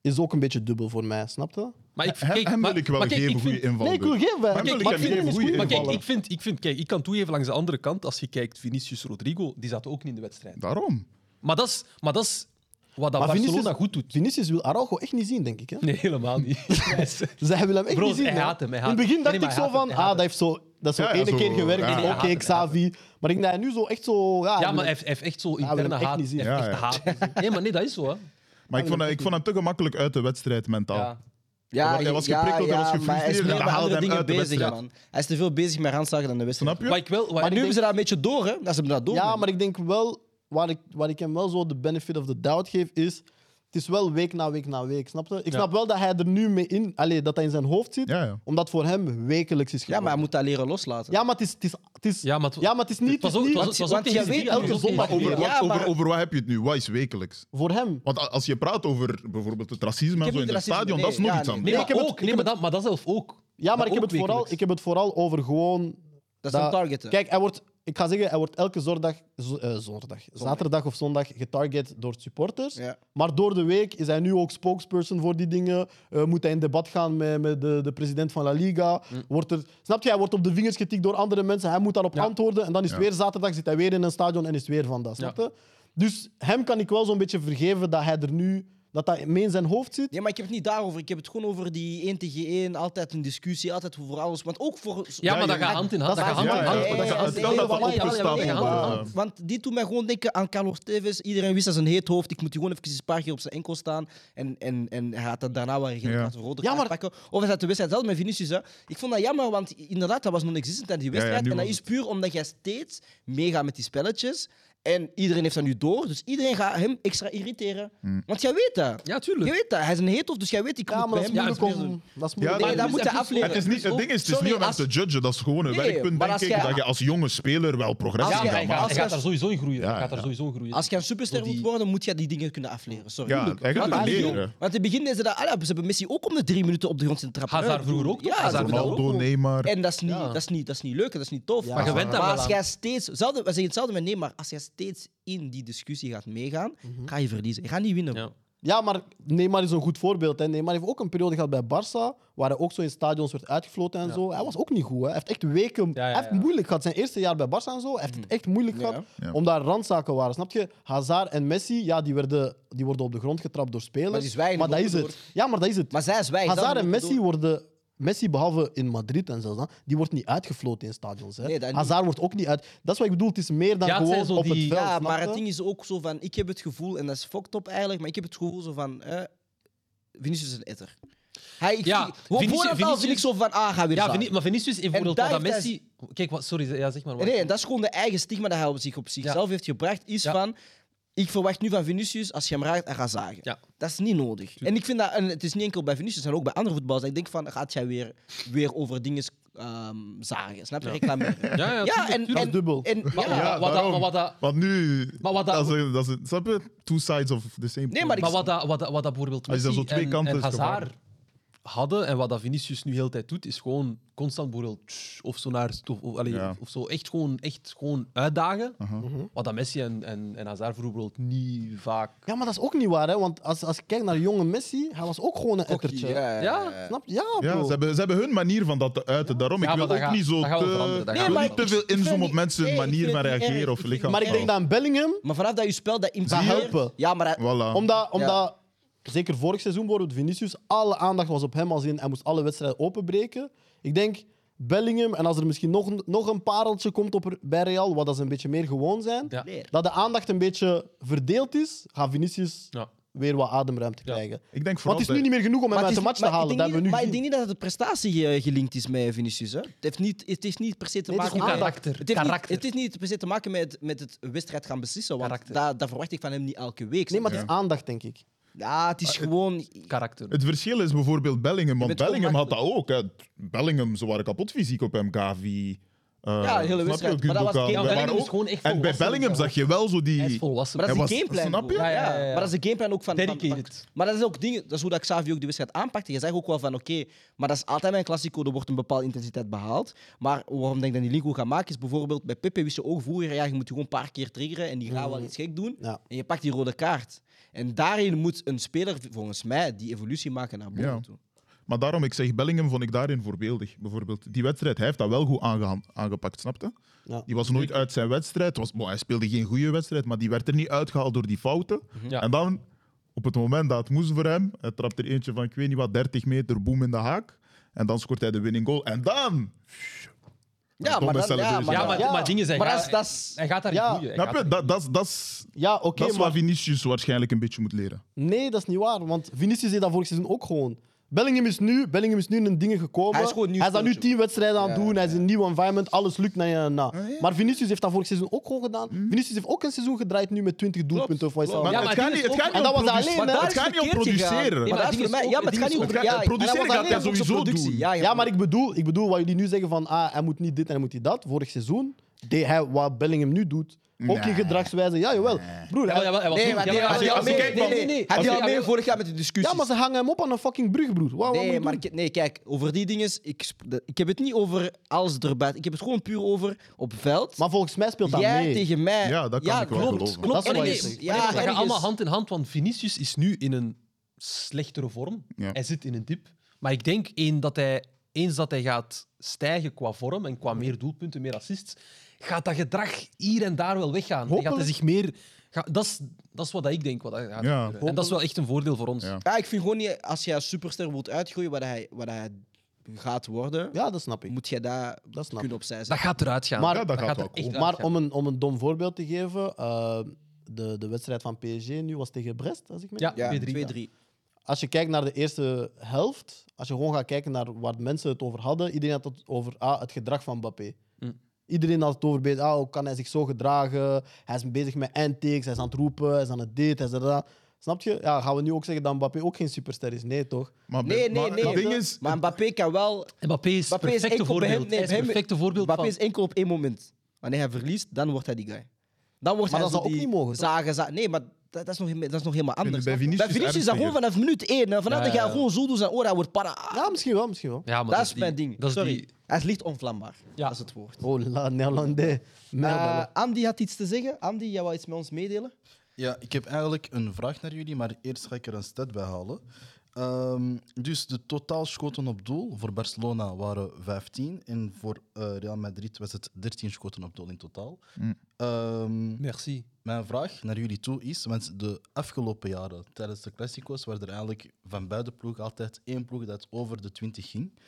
[SPEAKER 4] Is ook een beetje dubbel voor mij, snap je?
[SPEAKER 5] Maar ik,
[SPEAKER 2] Hem,
[SPEAKER 5] kijk,
[SPEAKER 2] hem
[SPEAKER 5] maar-
[SPEAKER 2] wil ik wel
[SPEAKER 5] maar kijk,
[SPEAKER 2] geven
[SPEAKER 5] ik
[SPEAKER 2] goede
[SPEAKER 5] vind-
[SPEAKER 2] inval.
[SPEAKER 4] Nee, ik wil geven.
[SPEAKER 2] Hem wil
[SPEAKER 5] Kijk,
[SPEAKER 2] ik hem
[SPEAKER 5] maar ik vind-
[SPEAKER 2] geven
[SPEAKER 4] is
[SPEAKER 2] goede
[SPEAKER 4] goed,
[SPEAKER 5] Maar kijk,
[SPEAKER 2] invallen.
[SPEAKER 5] ik vind, ik vind, kijk, ik kan toegeven langs de andere kant, als je kijkt, Vinicius Rodrigo, die zat ook niet in de wedstrijd.
[SPEAKER 2] Daarom.
[SPEAKER 5] Maar dat is, maar dat is wat dat
[SPEAKER 4] Maar
[SPEAKER 5] Barcelona
[SPEAKER 4] Vinicius-
[SPEAKER 5] goed doet.
[SPEAKER 4] Vinicius wil Araujo echt niet zien, denk ik. Hè?
[SPEAKER 5] Nee, helemaal niet. Yes.
[SPEAKER 4] Ze Dus hebben hem echt
[SPEAKER 5] Bro,
[SPEAKER 4] niet zien.
[SPEAKER 5] hij
[SPEAKER 4] hè.
[SPEAKER 5] haat hem, hij haat
[SPEAKER 4] In het begin
[SPEAKER 5] hem.
[SPEAKER 4] dacht
[SPEAKER 5] Nee,
[SPEAKER 4] ik
[SPEAKER 5] nee, maar
[SPEAKER 4] zo
[SPEAKER 5] hij haat
[SPEAKER 4] van,
[SPEAKER 5] hem,
[SPEAKER 4] ah,
[SPEAKER 5] hij
[SPEAKER 4] dat heeft zo, dat is zo
[SPEAKER 2] Ja, ja,
[SPEAKER 4] ene
[SPEAKER 2] zo-
[SPEAKER 4] keer gewerkt.
[SPEAKER 2] ja. Nee,
[SPEAKER 4] en
[SPEAKER 5] hij
[SPEAKER 4] Oké,
[SPEAKER 5] haat hem, hij haat
[SPEAKER 4] Xavi. Maar ik denk dat hij nu zo echt zo... Ja,
[SPEAKER 5] Ja, maar hij heeft, hij heeft echt zo
[SPEAKER 4] wil hem
[SPEAKER 5] interne
[SPEAKER 4] echt
[SPEAKER 5] haat.
[SPEAKER 4] niet zien.
[SPEAKER 5] Hij heeft
[SPEAKER 2] Ja,
[SPEAKER 5] echt haat. Nee, maar nee, dat is zo. Hè.
[SPEAKER 2] Maar ik vond, hem- ik vond hem te gemakkelijk uit de wedstrijd mentaal.
[SPEAKER 5] Ja.
[SPEAKER 1] Ja,
[SPEAKER 2] Hij was geprikkeld, hij was
[SPEAKER 1] maar Hij is
[SPEAKER 2] gefrustreerd,
[SPEAKER 1] meer
[SPEAKER 2] dat
[SPEAKER 1] met andere
[SPEAKER 2] haalde hem
[SPEAKER 1] dingen
[SPEAKER 2] uit de
[SPEAKER 1] bezig,
[SPEAKER 2] wedstrijd.
[SPEAKER 1] man. Hij is te veel bezig met randzaken dan de wedstrijd.
[SPEAKER 2] Snap je?
[SPEAKER 5] Wat ik wel... wat
[SPEAKER 1] Maar nu
[SPEAKER 5] ik denk-
[SPEAKER 1] hebben ze daar een beetje door, hè? Dat ze hem daar door
[SPEAKER 4] ja,
[SPEAKER 1] hebben.
[SPEAKER 4] maar ik denk wel, waar ik, waar ik hem wel zo de benefit of the doubt geef, is... Het is wel week na week na week, snap je? Ik
[SPEAKER 5] Ja.
[SPEAKER 4] snap wel dat hij er nu mee in... Allee, dat hij in zijn hoofd zit.
[SPEAKER 2] Ja, ja.
[SPEAKER 4] Omdat voor hem wekelijks is
[SPEAKER 1] Ja, maar
[SPEAKER 4] geworden.
[SPEAKER 1] hij moet dat leren loslaten.
[SPEAKER 4] Ja, maar het is... Het is, het is
[SPEAKER 5] Ja, maar het-
[SPEAKER 4] ja, maar het is niet...
[SPEAKER 5] Het was
[SPEAKER 4] het
[SPEAKER 5] ook-
[SPEAKER 4] is
[SPEAKER 5] het
[SPEAKER 4] niet-
[SPEAKER 5] was-
[SPEAKER 1] want-
[SPEAKER 5] het was
[SPEAKER 1] want je
[SPEAKER 5] ook tegen
[SPEAKER 1] weet
[SPEAKER 5] Sevilla,
[SPEAKER 4] elke
[SPEAKER 5] het was ook
[SPEAKER 4] zondag
[SPEAKER 5] tegen
[SPEAKER 2] Over,
[SPEAKER 5] Sevilla.
[SPEAKER 2] wat,
[SPEAKER 1] Ja, maar-
[SPEAKER 2] over, over wat heb je het nu? Wat is wekelijks?
[SPEAKER 4] Voor hem.
[SPEAKER 2] Want a- als je praat over bijvoorbeeld het racisme en
[SPEAKER 1] heb
[SPEAKER 2] zo in
[SPEAKER 1] niet
[SPEAKER 2] het
[SPEAKER 1] racisme,
[SPEAKER 2] stadion,
[SPEAKER 1] nee.
[SPEAKER 2] dat is nog
[SPEAKER 1] Ja,
[SPEAKER 2] iets
[SPEAKER 1] nee.
[SPEAKER 2] anders.
[SPEAKER 5] Nee,
[SPEAKER 4] Nee,
[SPEAKER 5] maar,
[SPEAKER 4] ik heb het-
[SPEAKER 5] ook, nee, maar, dat, maar dat zelf ook.
[SPEAKER 4] Ja, maar ik
[SPEAKER 5] ook
[SPEAKER 4] heb, het vooral,
[SPEAKER 5] wekelijks.
[SPEAKER 4] ik heb het vooral over gewoon...
[SPEAKER 1] Dat is een target. hè.
[SPEAKER 4] Kijk, hij wordt, ik ga zeggen, hij wordt elke zorgdag, zo- eh, zorgdag, zaterdag of zondag getarget door supporters.
[SPEAKER 1] Ja.
[SPEAKER 4] Maar door de week is hij nu ook spokesperson voor die dingen. Eh, moet hij in debat gaan met, met de, de president van La Liga. Wordt er, snap je, hij wordt op de vingers getikt door andere mensen. Hij moet daarop
[SPEAKER 5] Ja.
[SPEAKER 4] antwoorden. En dan is het
[SPEAKER 2] Ja.
[SPEAKER 4] weer zaterdag, zit hij weer in een stadion en is het weer van dat. Snap
[SPEAKER 5] Ja.
[SPEAKER 4] je? Dus hem kan ik wel zo'n beetje vergeven dat hij er nu, dat dat mee in zijn hoofd zit.
[SPEAKER 1] Ja, maar ik heb het niet daarover. Ik heb het gewoon over die 1 tegen 1. Altijd een discussie, altijd voor alles. Want ook voor...
[SPEAKER 5] Ja, maar
[SPEAKER 2] Ja,
[SPEAKER 5] dat
[SPEAKER 2] ja,
[SPEAKER 5] gaat hand in hand.
[SPEAKER 4] dat
[SPEAKER 5] Dat gaat hand
[SPEAKER 2] ja,
[SPEAKER 5] in
[SPEAKER 2] ja,
[SPEAKER 5] hand.
[SPEAKER 2] ja,
[SPEAKER 5] Dat
[SPEAKER 2] ja,
[SPEAKER 5] gaat-
[SPEAKER 2] ja, ja,
[SPEAKER 5] dat
[SPEAKER 2] ja,
[SPEAKER 5] gaat
[SPEAKER 2] ja, ja, ja,
[SPEAKER 5] opgestaan tegen
[SPEAKER 2] ja,
[SPEAKER 5] hand in
[SPEAKER 2] ja,
[SPEAKER 5] hand.
[SPEAKER 2] ja.
[SPEAKER 1] Eh, Want dit doet mij gewoon denken aan Carlos Tevez. Iedereen wist dat zijn heet hoofd. Ik moet die gewoon even een paar keer op zijn enkel staan. En, en, en hij gaat dan daarna wel regelen.
[SPEAKER 2] Ja.
[SPEAKER 1] Ja. Rode
[SPEAKER 4] Ja,
[SPEAKER 1] kaart
[SPEAKER 4] maar-
[SPEAKER 1] pakken. Of hij zat de wedstrijd zelf met Vinicius. Hè. Ik vond dat jammer, want inderdaad, dat was non-existent aan die
[SPEAKER 2] Ja, ja,
[SPEAKER 1] wedstrijd.
[SPEAKER 2] nu
[SPEAKER 1] en dat
[SPEAKER 2] was
[SPEAKER 1] is puur omdat jij steeds meegaat met die spelletjes. En iedereen heeft dat nu door. Dus iedereen gaat hem extra irriteren.
[SPEAKER 2] Hmm.
[SPEAKER 1] Want jij weet dat.
[SPEAKER 5] Ja,
[SPEAKER 1] Je
[SPEAKER 5] tuurlijk.
[SPEAKER 1] weet dat. Hij is een heet hoofd, dus jij weet, ik
[SPEAKER 4] Ja,
[SPEAKER 1] moet
[SPEAKER 4] maar
[SPEAKER 1] bij
[SPEAKER 4] dat is
[SPEAKER 1] hem...
[SPEAKER 5] Ja, het
[SPEAKER 4] moeilijk
[SPEAKER 5] is
[SPEAKER 4] om... Dat is moeilijk.
[SPEAKER 2] Ja,
[SPEAKER 1] Nee,
[SPEAKER 2] maar
[SPEAKER 1] dat moet je
[SPEAKER 5] het is-
[SPEAKER 1] afleren.
[SPEAKER 2] Het, is niet, het ding is, het is
[SPEAKER 1] Sorry,
[SPEAKER 2] niet om hem
[SPEAKER 1] als-
[SPEAKER 2] te judgen, dat is gewoon een
[SPEAKER 1] Nee, maar
[SPEAKER 2] werkpunt, denk
[SPEAKER 1] als
[SPEAKER 2] ik,
[SPEAKER 1] jij-
[SPEAKER 2] dat je als jonge speler wel progressie
[SPEAKER 1] Als jij-
[SPEAKER 5] Ja,
[SPEAKER 2] gaat
[SPEAKER 5] hij gaat-
[SPEAKER 2] maken.
[SPEAKER 5] hij gaat daar sowieso in groeien.
[SPEAKER 2] Ja,
[SPEAKER 5] Hij gaat daar
[SPEAKER 2] ja.
[SPEAKER 5] sowieso in groeien.
[SPEAKER 1] Als je een superster
[SPEAKER 5] Zo die-
[SPEAKER 1] moet worden, moet je die dingen kunnen afleren. Sorry.
[SPEAKER 2] Ja, hij gaat
[SPEAKER 1] Want
[SPEAKER 2] het
[SPEAKER 1] die-
[SPEAKER 2] leren.
[SPEAKER 1] Want in het begin is dat, ah ja, ze hebben Messi ook om de drie minuten op de grond te trappen.
[SPEAKER 5] Hazard
[SPEAKER 1] Ja,
[SPEAKER 5] vroeger ook, toch?
[SPEAKER 1] Ja, ze
[SPEAKER 5] Hazard
[SPEAKER 1] hebben dat
[SPEAKER 2] Ronaldo,
[SPEAKER 1] ook.
[SPEAKER 2] Neymar.
[SPEAKER 1] En dat is, niet,
[SPEAKER 5] Ja.
[SPEAKER 1] dat, is niet, dat is niet leuk, dat is niet tof.
[SPEAKER 4] Ja.
[SPEAKER 5] Maar je went daar wel
[SPEAKER 1] als
[SPEAKER 5] aan.
[SPEAKER 1] jij steeds, zelfde, we zeggen hetzelfde met Neymar, als jij steeds in die discussie gaat meegaan, ga je verliezen. Je gaat niet winnen.
[SPEAKER 5] Mhm. Ja.
[SPEAKER 4] Ja, maar Neymar is een goed voorbeeld. Hè. Neymar heeft ook een periode gehad bij Barça, waar hij ook zo in stadions werd uitgefloten en zo. Hij was ook niet goed. Hè. Hij heeft echt weken...
[SPEAKER 5] ja,
[SPEAKER 4] Hij heeft
[SPEAKER 5] ja.
[SPEAKER 4] moeilijk gehad. Zijn eerste jaar bij Barça en zo, hij heeft het echt moeilijk
[SPEAKER 1] Ja.
[SPEAKER 4] gehad,
[SPEAKER 2] Ja.
[SPEAKER 4] omdat er randzaken waren. Snap je? Hazard en Messi, ja, die, werden, die worden op de grond getrapt door spelers.
[SPEAKER 1] Maar die zwijgen
[SPEAKER 4] dat is
[SPEAKER 1] ook
[SPEAKER 4] het.
[SPEAKER 1] door.
[SPEAKER 4] Ja, maar dat is het.
[SPEAKER 1] Maar zij is wij.
[SPEAKER 4] Hazard en Messi worden Messi, behalve in Madrid en zelfs dan, die wordt niet uitgefloten in stadions. Hè.
[SPEAKER 1] Nee, dat niet.
[SPEAKER 4] Hazard wordt ook niet uit. Dat is wat ik bedoel, het is meer dan
[SPEAKER 5] Ja, het zijn
[SPEAKER 4] gewoon
[SPEAKER 5] zo
[SPEAKER 4] op
[SPEAKER 5] die-
[SPEAKER 4] het veld.
[SPEAKER 1] Ja,
[SPEAKER 4] snap
[SPEAKER 1] maar
[SPEAKER 4] je?
[SPEAKER 1] het ding is ook zo van, ik heb het gevoel, en dat is fucked up eigenlijk, maar ik heb het gevoel zo van, eh, Vinicius is een etter. Hij, ik,
[SPEAKER 5] Ja,
[SPEAKER 1] ja, Vinicius,
[SPEAKER 5] Vinicius-
[SPEAKER 1] vind ik
[SPEAKER 5] Vinicius-
[SPEAKER 1] zo van, ah, ga weer
[SPEAKER 5] Ja,
[SPEAKER 1] zagen.
[SPEAKER 5] Vini- maar Vinicius heeft bijvoorbeeld
[SPEAKER 1] daar
[SPEAKER 5] wat dat
[SPEAKER 1] heeft hij-
[SPEAKER 5] Messi... Kijk, wat, sorry, ja, zeg maar. wat.
[SPEAKER 1] Nee, en dat is gewoon de eigen stigma dat hij op zich op zichzelf heeft gebracht, is
[SPEAKER 5] Ja.
[SPEAKER 1] van, ik verwacht nu van Vinicius, als je hem raakt, hij gaat zagen.
[SPEAKER 5] Ja.
[SPEAKER 1] Dat is niet nodig. En ik vind dat, en het is niet enkel bij Vinicius, maar ook bij andere voetballers, dat ik denk van, gaat jij weer, weer over dingen ehm, zagen, snap je? Reclameren.
[SPEAKER 5] Ja, ja,
[SPEAKER 1] Ja,
[SPEAKER 5] tuurlijk,
[SPEAKER 1] en,
[SPEAKER 5] tuurlijk.
[SPEAKER 1] en,
[SPEAKER 4] dubbel.
[SPEAKER 1] en-
[SPEAKER 5] Maar-
[SPEAKER 1] ja.
[SPEAKER 5] maar wat dat-
[SPEAKER 2] daarom.
[SPEAKER 5] maar wat dat-
[SPEAKER 2] Want nu...
[SPEAKER 5] Maar wat dat-
[SPEAKER 2] dat is, dat is, snap je? Two sides of the same
[SPEAKER 1] Nee,
[SPEAKER 2] coin.
[SPEAKER 1] maar ik-
[SPEAKER 5] Maar wat, dat, wat, dat, wat dat bijvoorbeeld
[SPEAKER 2] Als je
[SPEAKER 5] Messi
[SPEAKER 2] dan zo twee
[SPEAKER 5] en,
[SPEAKER 2] kanten
[SPEAKER 5] en
[SPEAKER 2] is
[SPEAKER 5] Hazard
[SPEAKER 2] gevaarlijk.
[SPEAKER 5] hadden en wat dat Vinicius nu heel de tijd doet, is gewoon constant bijvoorbeeld tss, of zo naar of, of, allee,
[SPEAKER 2] Ja.
[SPEAKER 5] of- of zo echt gewoon, echt gewoon uitdagen.
[SPEAKER 1] Mhm.
[SPEAKER 5] Wat dat Messi en, en, en Hazard vroeger bijvoorbeeld niet vaak.
[SPEAKER 4] Ja, maar dat is ook niet waar, hè? want als, als ik kijk naar jonge Messi, hij was ook gewoon een ettertje.
[SPEAKER 1] ja,
[SPEAKER 5] Ja?
[SPEAKER 4] Snap je? Ja,
[SPEAKER 2] Ja,
[SPEAKER 4] bro.
[SPEAKER 2] ze hebben, ze hebben hun manier van dat te uiten. Daarom, ik
[SPEAKER 5] Ja, maar
[SPEAKER 2] wil
[SPEAKER 5] dat
[SPEAKER 2] ook
[SPEAKER 5] gaat-
[SPEAKER 2] niet zo
[SPEAKER 5] dat gaan we
[SPEAKER 2] te...
[SPEAKER 5] veranderen, dat
[SPEAKER 2] ik
[SPEAKER 5] gaan
[SPEAKER 2] wil
[SPEAKER 5] we
[SPEAKER 2] niet te veel
[SPEAKER 1] veranderen.
[SPEAKER 2] inzoomen op
[SPEAKER 1] Ik vind
[SPEAKER 2] mensen hun
[SPEAKER 1] niet- nee,
[SPEAKER 2] manier
[SPEAKER 1] ik
[SPEAKER 2] van
[SPEAKER 1] vind het niet
[SPEAKER 2] reageren
[SPEAKER 1] erg.
[SPEAKER 2] of
[SPEAKER 1] Ik vind
[SPEAKER 2] lichaam.
[SPEAKER 4] maar ik denk dat aan Bellingham,
[SPEAKER 1] Maar vanaf dat je spel dat
[SPEAKER 4] Gaat
[SPEAKER 1] impacteert...
[SPEAKER 4] helpen.
[SPEAKER 1] Ja, maar...
[SPEAKER 2] Voilà.
[SPEAKER 4] omdat, omdat zeker vorig seizoen bijvoorbeeld Vinicius, alle aandacht was op hem als in hij moest alle wedstrijden openbreken. Ik denk Bellingham, en als er misschien nog, een- nog een pareltje komt op, bij Real, wat dat ze een beetje meer gewoon zijn,
[SPEAKER 5] Ja.
[SPEAKER 1] Leer.
[SPEAKER 4] dat de aandacht een beetje verdeeld is, gaat Vinicius
[SPEAKER 5] Ja.
[SPEAKER 4] weer wat ademruimte krijgen.
[SPEAKER 2] Ik denk
[SPEAKER 4] Want
[SPEAKER 2] vooral...
[SPEAKER 4] het is nu niet meer genoeg om hem
[SPEAKER 1] Maar het
[SPEAKER 4] uit de
[SPEAKER 1] is
[SPEAKER 4] match
[SPEAKER 1] niet-
[SPEAKER 4] te
[SPEAKER 1] maar ik
[SPEAKER 4] halen.
[SPEAKER 1] denk niet-
[SPEAKER 4] Dat hebben we nu
[SPEAKER 1] maar ik denk
[SPEAKER 4] gezien.
[SPEAKER 1] niet dat het de prestatie eh, gelinkt is met Vinicius. Hè. Het, heeft niet, het heeft niet per se te
[SPEAKER 4] Nee, het is
[SPEAKER 1] maken
[SPEAKER 4] aandacht.
[SPEAKER 5] Karakter.
[SPEAKER 1] Het heeft,
[SPEAKER 5] karakter.
[SPEAKER 1] Niet, het heeft niet per se te maken met, met het wedstrijd gaan beslissen. Want
[SPEAKER 5] Karakter.
[SPEAKER 1] daar daar verwacht ik van hem niet elke week.
[SPEAKER 4] Nee, maar het is aandacht, denk ik.
[SPEAKER 1] Ja, het is gewoon...
[SPEAKER 5] karakter.
[SPEAKER 2] Het verschil is bijvoorbeeld Bellingham, want
[SPEAKER 1] bent
[SPEAKER 2] Bellingham had dat ook. Hè. Bellingham, ze waren kapot fysiek op hem, Gavi. eh,
[SPEAKER 1] Ja, de hele
[SPEAKER 2] snap je,
[SPEAKER 1] wedstrijd. Maar dat was
[SPEAKER 2] Gundogan.
[SPEAKER 1] geen-
[SPEAKER 5] Ja,
[SPEAKER 2] We
[SPEAKER 5] Bellingham
[SPEAKER 2] waren
[SPEAKER 5] is
[SPEAKER 2] ook-
[SPEAKER 5] gewoon echt
[SPEAKER 2] En bij
[SPEAKER 5] volwassen.
[SPEAKER 2] Bellingham zag je wel zo
[SPEAKER 5] Hij is
[SPEAKER 2] die...
[SPEAKER 5] volwassen.
[SPEAKER 1] Maar dat is
[SPEAKER 2] Hij
[SPEAKER 1] de
[SPEAKER 2] was-
[SPEAKER 1] gameplan.
[SPEAKER 2] snap je?
[SPEAKER 1] gewoon.
[SPEAKER 5] Ja, ja, ja, ja.
[SPEAKER 1] Maar dat is de gameplan ook van... van- van-
[SPEAKER 5] Dedicated.
[SPEAKER 1] maar dat is ook dingen... Dat is hoe dat Xavi ook de wedstrijd aanpakt. Je zegt ook wel van, oké, maar dat is altijd bij een klassico. Er wordt een bepaalde intensiteit behaald. Maar waarom denk ik dat die link ook gaat maken, is bijvoorbeeld... Bij Pepe wist je ook vroeger, ja, je moet gewoon een paar keer triggeren en die gaat wel iets gek doen.
[SPEAKER 4] Ja.
[SPEAKER 1] En je pakt die rode kaart. En daarin moet een speler, volgens mij, die evolutie maken naar boven
[SPEAKER 2] Ja.
[SPEAKER 1] toe.
[SPEAKER 2] Maar daarom, ik zeg, Bellingham vond ik daarin voorbeeldig. Bijvoorbeeld, die wedstrijd, hij heeft dat wel goed aangeha- aangepakt, snapte?
[SPEAKER 4] Ja.
[SPEAKER 2] Die was nooit uit zijn wedstrijd. Was, bon, hij speelde geen goede wedstrijd, maar die werd er niet uitgehaald door die fouten.
[SPEAKER 5] Ja.
[SPEAKER 2] En dan, op het moment dat het moest voor hem, hij trapt er eentje van, ik weet niet wat, 30 meter, boem in de haak. En dan scoort hij de winning goal. En dan...
[SPEAKER 1] Ja,
[SPEAKER 2] Domme
[SPEAKER 1] maar, dan, ja,
[SPEAKER 2] celebration.
[SPEAKER 1] maar,
[SPEAKER 5] ja,
[SPEAKER 1] dan-
[SPEAKER 5] maar,
[SPEAKER 4] Ja.
[SPEAKER 5] maar dingen zijn.
[SPEAKER 1] Maar
[SPEAKER 5] ja,
[SPEAKER 1] dat is- dat is-
[SPEAKER 5] Hij gaat daar
[SPEAKER 4] Ja.
[SPEAKER 5] niet boeien. hij
[SPEAKER 2] Snap je?
[SPEAKER 5] gaat
[SPEAKER 2] Dat, dat, is- dat, is-
[SPEAKER 4] Ja, oké,
[SPEAKER 2] dat is
[SPEAKER 4] maar...
[SPEAKER 2] wat Vinicius waarschijnlijk een beetje moet leren.
[SPEAKER 4] Nee, dat is niet waar. Want Vinicius deed dat vorig seizoen ook gewoon. Bellingham is nu, Bellingham is nu in dingen gekomen.
[SPEAKER 1] Hij is gewoon een nieuw
[SPEAKER 4] is dat nu
[SPEAKER 1] speeltje.
[SPEAKER 4] tien wedstrijden aan het doen. Hij is in een nieuw environment. Alles lukt na. na, na.
[SPEAKER 1] Ah,
[SPEAKER 4] Maar Vinicius heeft dat vorig seizoen ook gewoon gedaan. Vinicius heeft ook een seizoen gedraaid nu met 20 doelpunten. Of wat is dat?
[SPEAKER 1] Mhm. klopt.
[SPEAKER 2] Maar het
[SPEAKER 5] Ja,
[SPEAKER 2] gaat
[SPEAKER 5] maar die
[SPEAKER 2] niet,
[SPEAKER 5] is
[SPEAKER 2] het
[SPEAKER 5] ook-
[SPEAKER 2] gaat
[SPEAKER 4] En
[SPEAKER 2] niet om
[SPEAKER 4] dat was
[SPEAKER 2] produ-
[SPEAKER 4] alleen,
[SPEAKER 2] maar
[SPEAKER 4] hè?
[SPEAKER 2] het
[SPEAKER 1] Daar
[SPEAKER 2] gaat
[SPEAKER 1] is
[SPEAKER 2] niet om
[SPEAKER 1] verkeerd gegaan.
[SPEAKER 2] produceren.
[SPEAKER 1] Maar
[SPEAKER 5] Maar
[SPEAKER 1] dat is voor
[SPEAKER 5] die is
[SPEAKER 1] mij...
[SPEAKER 5] ook-
[SPEAKER 1] Ja, maar het
[SPEAKER 5] die
[SPEAKER 1] gaat
[SPEAKER 5] is
[SPEAKER 1] niet om...
[SPEAKER 5] ook-
[SPEAKER 2] Het gaat-
[SPEAKER 1] ja,
[SPEAKER 2] produceren
[SPEAKER 1] maar dat
[SPEAKER 2] gaat hij
[SPEAKER 1] gaat niet om
[SPEAKER 2] sowieso
[SPEAKER 1] productie.
[SPEAKER 2] doen.
[SPEAKER 1] Ja, ja,
[SPEAKER 4] Ja, maar ik bedoel, ik bedoel wat jullie nu zeggen van ah, hij moet niet dit en hij moet niet dat. Vorig seizoen deed hij wat Bellingham nu doet. Ook in gedragswijze. Ja, jawel. Broer,
[SPEAKER 5] daar-
[SPEAKER 4] hij-
[SPEAKER 5] Jawel, jawel, hij was
[SPEAKER 1] Nee,
[SPEAKER 5] goed.
[SPEAKER 1] maar
[SPEAKER 5] Ja,
[SPEAKER 1] die had
[SPEAKER 5] maar-
[SPEAKER 2] je-
[SPEAKER 1] al
[SPEAKER 2] als je
[SPEAKER 1] mee-
[SPEAKER 2] kijkt
[SPEAKER 1] nee,
[SPEAKER 2] van-
[SPEAKER 1] nee, nee. Had
[SPEAKER 5] als
[SPEAKER 1] die
[SPEAKER 5] je-
[SPEAKER 1] al mee vorig jaar met de discussie.
[SPEAKER 4] ja, maar ze hangen hem op aan een fucking brug, broer. Wat- Wat, moet je
[SPEAKER 1] nee, maar
[SPEAKER 4] doen?
[SPEAKER 1] ik- nee, kijk, over die dingen. Ik, sp- de- ik heb het niet over alles erbuiten. Ik heb het gewoon puur over op veld.
[SPEAKER 4] Maar volgens mij speelt dat
[SPEAKER 1] jij
[SPEAKER 4] mee.
[SPEAKER 1] tegen mij.
[SPEAKER 2] Ja, dat kan ik wel
[SPEAKER 1] klopt,
[SPEAKER 2] geloven.
[SPEAKER 1] Klopt,
[SPEAKER 4] Dat is
[SPEAKER 1] En
[SPEAKER 4] wat
[SPEAKER 1] nee,
[SPEAKER 4] je zegt.
[SPEAKER 1] Ja,
[SPEAKER 5] Ja, dat gaat
[SPEAKER 1] ergens.
[SPEAKER 5] allemaal hand in hand, want Vinicius is nu in een slechtere vorm.
[SPEAKER 2] Ja.
[SPEAKER 5] Hij zit in een dip. Maar ik denk één, dat hij, eens dat hij gaat stijgen qua vorm en qua meer doelpunten, meer assists, gaat dat gedrag hier en daar wel weggaan. En Gaat hij
[SPEAKER 4] Hopelijk.
[SPEAKER 5] zich meer... ga- dat, is, dat is wat ik denk. Wat dat gaat
[SPEAKER 2] Ja,
[SPEAKER 5] gebeuren. en dat is wel echt een voordeel voor ons.
[SPEAKER 2] Ja.
[SPEAKER 1] Ja, ik vind gewoon niet, als jij als superster wilt uitgroeien wat hij, wat hij gaat worden,
[SPEAKER 4] Ja, dat snap ik.
[SPEAKER 1] moet jij daar
[SPEAKER 4] Dat snap
[SPEAKER 1] kunnen opzij
[SPEAKER 5] Dat
[SPEAKER 1] zetten.
[SPEAKER 5] gaat eruit gaan.
[SPEAKER 4] Maar-
[SPEAKER 2] Ja, dat gaat
[SPEAKER 5] gaat
[SPEAKER 2] wel
[SPEAKER 5] er echt
[SPEAKER 2] komen.
[SPEAKER 4] Maar
[SPEAKER 5] uitgaan.
[SPEAKER 4] om een, om een dom voorbeeld te geven, eh, de, de wedstrijd van PSG nu was tegen Brest, als ik me
[SPEAKER 5] Ja,
[SPEAKER 1] Ja,
[SPEAKER 5] 2-3.
[SPEAKER 1] 2-3.
[SPEAKER 4] Als je kijkt naar de eerste helft, als je gewoon gaat kijken naar waar mensen het over hadden, iedereen had het over ah, het gedrag van Mbappé.
[SPEAKER 5] Mm.
[SPEAKER 4] Iedereen had het over bezig, ah, hoe kan hij zich zo gedragen? Hij is bezig met antics, hij is aan het roepen, hij is aan het dit, hij is aan dat. Snap je? Ja, gaan we nu ook zeggen dat Mbappé ook geen superster is? Nee, toch?
[SPEAKER 2] Maar,
[SPEAKER 1] Nee, nee,
[SPEAKER 2] maar
[SPEAKER 1] nee.
[SPEAKER 2] het ding is,
[SPEAKER 1] maar Mbappé kan wel.
[SPEAKER 5] En Mbappé is het
[SPEAKER 1] Mbappé is
[SPEAKER 5] perfecte
[SPEAKER 1] enkel bij hem.
[SPEAKER 5] voorbeeld.
[SPEAKER 1] Nee,
[SPEAKER 5] Hij is
[SPEAKER 1] bij
[SPEAKER 5] het
[SPEAKER 1] hem-
[SPEAKER 5] perfecte voorbeeld
[SPEAKER 1] Mbappé
[SPEAKER 5] van...
[SPEAKER 1] is enkel op één moment. Wanneer hij verliest, dan wordt hij die guy. Dan wordt
[SPEAKER 4] Maar
[SPEAKER 1] hij
[SPEAKER 4] dat
[SPEAKER 1] zo
[SPEAKER 4] zou ook
[SPEAKER 1] die
[SPEAKER 4] niet mogen, toch?
[SPEAKER 1] Zagen, za- nee, maar dat, dat is nog, dat is nog helemaal anders.
[SPEAKER 2] bij Vinicius
[SPEAKER 1] is dat gewoon
[SPEAKER 2] ernstiger.
[SPEAKER 1] vanaf minuut één. hè. Vanaf
[SPEAKER 5] Ja,
[SPEAKER 1] dat jij
[SPEAKER 5] ja, ja.
[SPEAKER 1] gewoon zo doet, zijn oren, hij wordt para.
[SPEAKER 4] Ja, misschien wel, misschien wel.
[SPEAKER 5] Ja, maar
[SPEAKER 1] dat, is
[SPEAKER 5] die-
[SPEAKER 1] mijn ding.
[SPEAKER 5] Dat is
[SPEAKER 1] Sorry.
[SPEAKER 5] die-
[SPEAKER 1] Hij is licht onvlambaar.
[SPEAKER 5] Ja.
[SPEAKER 1] Dat is het woord.
[SPEAKER 4] Oh la, Nederlandais.
[SPEAKER 1] Eh,
[SPEAKER 4] Merda.
[SPEAKER 1] Andy had iets te zeggen. Andy, jij wou iets met ons meedelen?
[SPEAKER 6] Ja, ik heb eigenlijk een vraag naar jullie, maar eerst ga ik er een stat bij halen. Ehm, dus de totaalschoten op doel voor Barcelona waren 15 en voor eh, Real Madrid was het 13 schoten op doel in totaal.
[SPEAKER 1] Mm.
[SPEAKER 6] Ehm,
[SPEAKER 5] Merci.
[SPEAKER 6] mijn vraag naar jullie toe is, want de afgelopen jaren tijdens de Classico's waren er eigenlijk van beide ploegen altijd één ploeg dat over de 20 ging.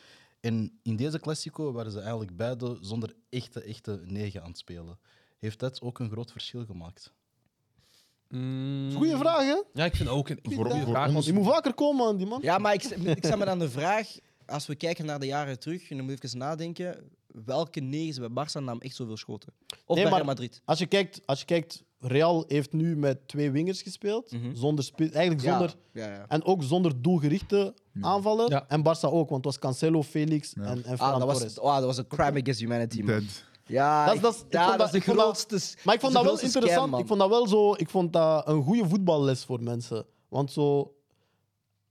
[SPEAKER 6] En in deze Classico waren ze eigenlijk beide zonder echte, echte 9 aan het spelen. Heeft dat ook een groot verschil gemaakt?
[SPEAKER 4] Goeie vraag, hè?
[SPEAKER 5] Mm. Ja, ik vind dat ook een
[SPEAKER 2] Voor,
[SPEAKER 5] goeie
[SPEAKER 2] voor
[SPEAKER 5] Eh, vraag.
[SPEAKER 2] ons,
[SPEAKER 4] Je moet vaker komen aan die man.
[SPEAKER 1] Ja, maar ik, ik stel me dan de vraag, als we kijken naar de jaren terug, en dan moet ik even nadenken, welke negens bij Barça nam echt zoveel schoten? Of
[SPEAKER 4] Nee,
[SPEAKER 1] bij
[SPEAKER 4] maar-
[SPEAKER 1] Real Madrid?
[SPEAKER 4] Als je kijkt, als je kijkt Real heeft nu met twee wingers gespeeld. zonder spi- eigenlijk
[SPEAKER 1] Mhm. Ja,
[SPEAKER 4] zonder,
[SPEAKER 1] Ja, ja.
[SPEAKER 4] En ook zonder doelgerichte aanvallen.
[SPEAKER 5] Ja.
[SPEAKER 4] En Barça ook, want het was Cancelo, Felix en, en Ferran
[SPEAKER 1] Ah, dat
[SPEAKER 4] Torres.
[SPEAKER 1] was, oh, dat was een crime against humanity, man.
[SPEAKER 2] dead.
[SPEAKER 1] Ja,
[SPEAKER 4] Dat
[SPEAKER 1] dat,
[SPEAKER 4] is- dat is- ik
[SPEAKER 1] ja,
[SPEAKER 4] vond
[SPEAKER 1] dat is de
[SPEAKER 4] dat- ik vond dat-
[SPEAKER 1] grootste... s-
[SPEAKER 4] Maar ik vond
[SPEAKER 1] is de
[SPEAKER 4] dat wel
[SPEAKER 1] grootste scam,
[SPEAKER 4] interessant.
[SPEAKER 1] man.
[SPEAKER 4] ik vond dat wel zo. Ik vond dat een goede voetballes voor mensen. Want zo.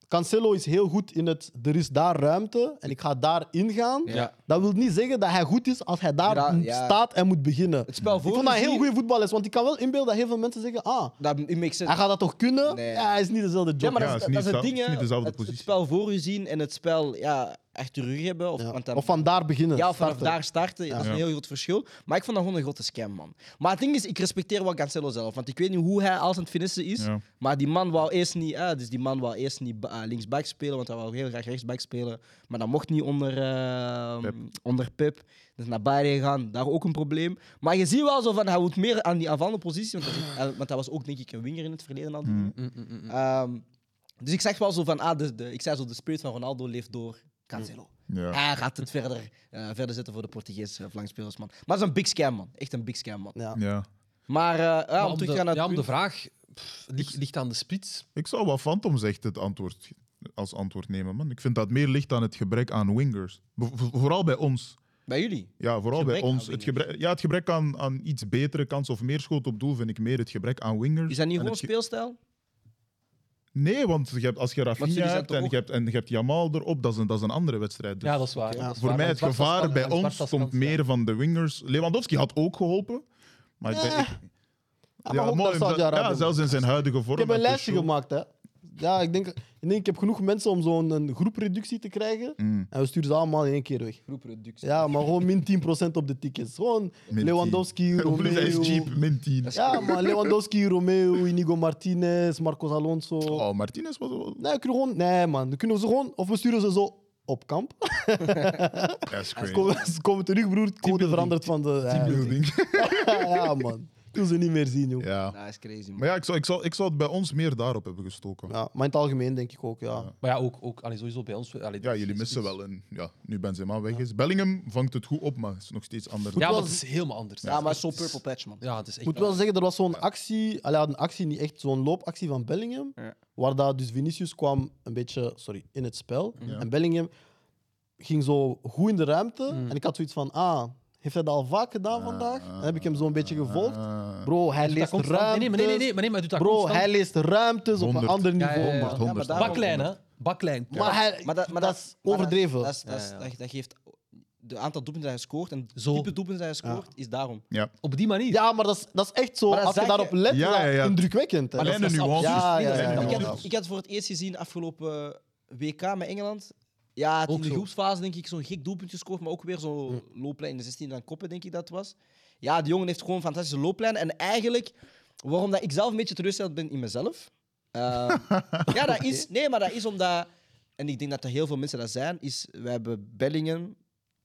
[SPEAKER 4] Cancelo is heel goed in het. Er is daar ruimte en ik ga daarin gaan.
[SPEAKER 1] Ja.
[SPEAKER 4] Dat wil niet zeggen dat hij goed is als hij daar
[SPEAKER 1] Ja, ja.
[SPEAKER 4] staat en moet beginnen.
[SPEAKER 1] Het spel voor
[SPEAKER 4] ik vond dat een
[SPEAKER 1] gezien-
[SPEAKER 4] heel goede voetballes. Want ik kan wel inbeelden dat heel veel mensen zeggen: Ah,
[SPEAKER 1] Dat it makes sense.
[SPEAKER 4] hij gaat dat toch kunnen?
[SPEAKER 1] Nee.
[SPEAKER 4] Ja, hij is niet dezelfde job.
[SPEAKER 1] Ja, maar
[SPEAKER 2] Ja,
[SPEAKER 1] dat,
[SPEAKER 2] het
[SPEAKER 1] is,
[SPEAKER 2] is niet
[SPEAKER 1] dat is het
[SPEAKER 2] hetzelfde-
[SPEAKER 1] ding,
[SPEAKER 2] het is
[SPEAKER 1] hè.
[SPEAKER 2] niet dezelfde
[SPEAKER 1] het, het
[SPEAKER 2] positie.
[SPEAKER 1] spel voor u zien en het spel ja, achter u hebben. Of,
[SPEAKER 4] Ja.
[SPEAKER 1] want dan,
[SPEAKER 4] Of van daar beginnen.
[SPEAKER 1] ja, of vanaf
[SPEAKER 4] starten.
[SPEAKER 1] daar starten. Dat is een heel groot verschil. Maar ik vond dat gewoon een grote scam, man. Maar het ding is, ik respecteer wel Cancelo zelf. Want ik weet niet hoe hij als aan het finissen is.
[SPEAKER 2] Ja.
[SPEAKER 1] Maar die man wou eerst niet, eh, dus die man wou eerst niet ba- eh, linksback spelen, want hij wou heel graag rechtsback spelen. Maar dat mocht niet onder, eh,
[SPEAKER 2] Pep.
[SPEAKER 1] onder Pep. Dus naar Bayern gaan, daar ook een probleem. Maar je ziet wel zo van, hij moet meer aan die aanvallende positie. Want, hij- eh, want hij was ook, denk ik, een winger in het verleden al. die
[SPEAKER 2] Hmm.
[SPEAKER 1] jongen.
[SPEAKER 5] Mm,
[SPEAKER 1] Ehm, dus ik zeg wel zo van, ah, de, de, ik zei zo, de spirit van Ronaldo leeft door Cancelo.
[SPEAKER 2] Ja.
[SPEAKER 1] Hij gaat het verder, eh, verder zetten voor de Portugees eh, flankspelers, man. Maar dat is een big scam, man. Echt een big scam, man.
[SPEAKER 4] Ja.
[SPEAKER 2] ja.
[SPEAKER 1] Maar, eh, ja,
[SPEAKER 5] Maar
[SPEAKER 1] om terug
[SPEAKER 5] om de-
[SPEAKER 1] te gaan naar
[SPEAKER 5] ja,
[SPEAKER 1] het
[SPEAKER 5] om de
[SPEAKER 1] punt.
[SPEAKER 5] vraag pff, ligt, ligt aan de spits.
[SPEAKER 2] Ik zou wat Phantom zegt het antwoord, als antwoord nemen, man. Ik vind dat meer ligt aan het gebrek aan wingers. Bev- Vooral bij ons.
[SPEAKER 1] Bij jullie.
[SPEAKER 2] Ja, vooral
[SPEAKER 1] Gebrek
[SPEAKER 2] bij
[SPEAKER 1] aan
[SPEAKER 2] ons.
[SPEAKER 1] wingers.
[SPEAKER 2] Het gebrek, ja, het gebrek aan, aan iets betere kans of meer schoten op doel vind ik meer het gebrek aan wingers.
[SPEAKER 1] Is dat niet
[SPEAKER 2] En
[SPEAKER 1] gewoon
[SPEAKER 2] het ge-
[SPEAKER 1] speelstijl?
[SPEAKER 2] Nee, want je hebt, als je
[SPEAKER 1] jullie
[SPEAKER 2] Rafinha
[SPEAKER 1] zijn
[SPEAKER 2] hebt
[SPEAKER 1] toch
[SPEAKER 2] en
[SPEAKER 1] ook-
[SPEAKER 2] je, hebt, en je hebt Jamal erop, dat is een, dat is een andere wedstrijd. Dus
[SPEAKER 5] Ja, dat is waar. dat is
[SPEAKER 2] voor
[SPEAKER 5] waar.
[SPEAKER 2] mij
[SPEAKER 5] Dat
[SPEAKER 2] het
[SPEAKER 5] is Barca's
[SPEAKER 2] gevaar
[SPEAKER 5] kans,
[SPEAKER 2] bij
[SPEAKER 5] dat is
[SPEAKER 2] ons
[SPEAKER 5] Barca's
[SPEAKER 2] komt
[SPEAKER 5] kans,
[SPEAKER 2] meer van de wingers. Lewandowski had ook geholpen. Maar ik ben, ik-
[SPEAKER 4] maar ook naar
[SPEAKER 2] omdat-
[SPEAKER 4] Saudi-Arabië,
[SPEAKER 2] ja,
[SPEAKER 4] man.
[SPEAKER 2] zelfs in zijn huidige vorm.
[SPEAKER 4] Ik heb een
[SPEAKER 2] met
[SPEAKER 4] lijstje
[SPEAKER 2] Tuchel.
[SPEAKER 4] gemaakt, hè. Ja, ik denk, ik denk, ik heb genoeg mensen om zo'n een groepreductie te krijgen.
[SPEAKER 2] Mm.
[SPEAKER 4] En we sturen ze allemaal in één keer weg.
[SPEAKER 1] Groepreductie.
[SPEAKER 4] Ja, maar gewoon min 10% op de tickets. Gewoon
[SPEAKER 2] Min
[SPEAKER 4] Lewandowski,
[SPEAKER 2] 10. Plus hij is
[SPEAKER 4] Romeo.
[SPEAKER 2] cheap, min 10.
[SPEAKER 4] Ja, maar Lewandowski, Romeo, Inigo Martinez, Marcos Alonso.
[SPEAKER 2] Oh, Martinez was wel...
[SPEAKER 4] Nee, we kunnen gewoon, nee, man. Dan kunnen we ze gewoon, of we sturen ze zo op kamp.
[SPEAKER 2] That's
[SPEAKER 4] Ze
[SPEAKER 2] crazy.
[SPEAKER 4] komen, ze komen terug, broer. Het Code veranderd van de. Ja,
[SPEAKER 2] Building.
[SPEAKER 4] ja, man. Ik wil ze niet meer zien, joh.
[SPEAKER 2] Ja.
[SPEAKER 1] Dat Ah, is crazy, man.
[SPEAKER 2] Maar ja, ik zou, ik, zou, ik zou het bij ons meer daarop hebben gestoken. Ja,
[SPEAKER 4] Ja, maar in het algemeen denk ik ook, ja.
[SPEAKER 5] hè. Maar ja, ook, ook allee, sowieso bij ons. allee, de
[SPEAKER 2] jullie
[SPEAKER 5] spits-
[SPEAKER 2] missen wel een... Ja, nu Benzema weg is. Bellingham vangt het goed op, maar is nog steeds anders.
[SPEAKER 5] Ja, maar het is helemaal anders.
[SPEAKER 1] Ja, maar zo'n purple patch, man.
[SPEAKER 5] Ja, het is echt...
[SPEAKER 4] Ik moet wel zeggen, er was zo'n actie, allee, ja, een actie niet echt, zo'n loopactie van Bellingham,
[SPEAKER 1] Ja.
[SPEAKER 4] waar dat dus Vinicius kwam een beetje, sorry, in het spel. En Bellingham ging zo goed in de ruimte. En ik had zoiets van, ah, heeft hij dat al vaak gedaan vandaag? Dan heb ik hem zo'n beetje gevolgd.
[SPEAKER 2] Ah.
[SPEAKER 4] Bro,
[SPEAKER 5] Doet
[SPEAKER 4] hij
[SPEAKER 5] dat
[SPEAKER 4] leest
[SPEAKER 5] constant? Nee, nee,
[SPEAKER 4] ruimtes.
[SPEAKER 5] maar nee, nee, nee, maar nee, maar hij doet dat
[SPEAKER 4] Bro,
[SPEAKER 5] constant.
[SPEAKER 4] hij leest ruimtes op een
[SPEAKER 2] 100.
[SPEAKER 4] ander
[SPEAKER 5] Ja, ja,
[SPEAKER 4] niveau.
[SPEAKER 5] ja, ja.
[SPEAKER 2] Honderd,
[SPEAKER 1] Ja, maar
[SPEAKER 2] honderd.
[SPEAKER 1] daarom-
[SPEAKER 5] Baklijn, hè. Baklijn.
[SPEAKER 4] Maar, hij, dat is overdreven.
[SPEAKER 1] Dat, is- dat, is- dat, dat geeft de aantal doelpunten dat hij scoort en het
[SPEAKER 5] Zo.
[SPEAKER 1] type doelpunten dat hij scoort, is daarom.
[SPEAKER 2] Ja.
[SPEAKER 5] Op die manier.
[SPEAKER 4] ja, maar dat is, dat is echt zo.
[SPEAKER 1] Maar dat
[SPEAKER 4] Als je
[SPEAKER 1] zeg je-
[SPEAKER 4] daarop let,
[SPEAKER 2] Ja,
[SPEAKER 4] is dat
[SPEAKER 2] ja, ja.
[SPEAKER 4] indrukwekkend. hè.
[SPEAKER 2] Kleine
[SPEAKER 5] dat is
[SPEAKER 2] nuances.
[SPEAKER 4] Ja, ja, ja,
[SPEAKER 2] Kleine
[SPEAKER 4] ja.
[SPEAKER 1] ik,
[SPEAKER 2] nuances.
[SPEAKER 1] had, ik had voor het eerst gezien afgelopen WK met Engeland. Ja, het
[SPEAKER 5] Ook
[SPEAKER 1] in de
[SPEAKER 5] zo.
[SPEAKER 1] groepsfase denk ik zo'n gek doelpuntje gescoord, maar ook weer zo'n looplijn in de 16 dan koppen, denk ik dat was. Ja, die jongen heeft gewoon een fantastische looplijn. En eigenlijk, waarom dat ik zelf een beetje teleurgesteld ben in mezelf. eh, ja, dat is. Nee, maar dat is omdat. En ik denk dat er heel veel mensen dat zijn, is we hebben Bellingham,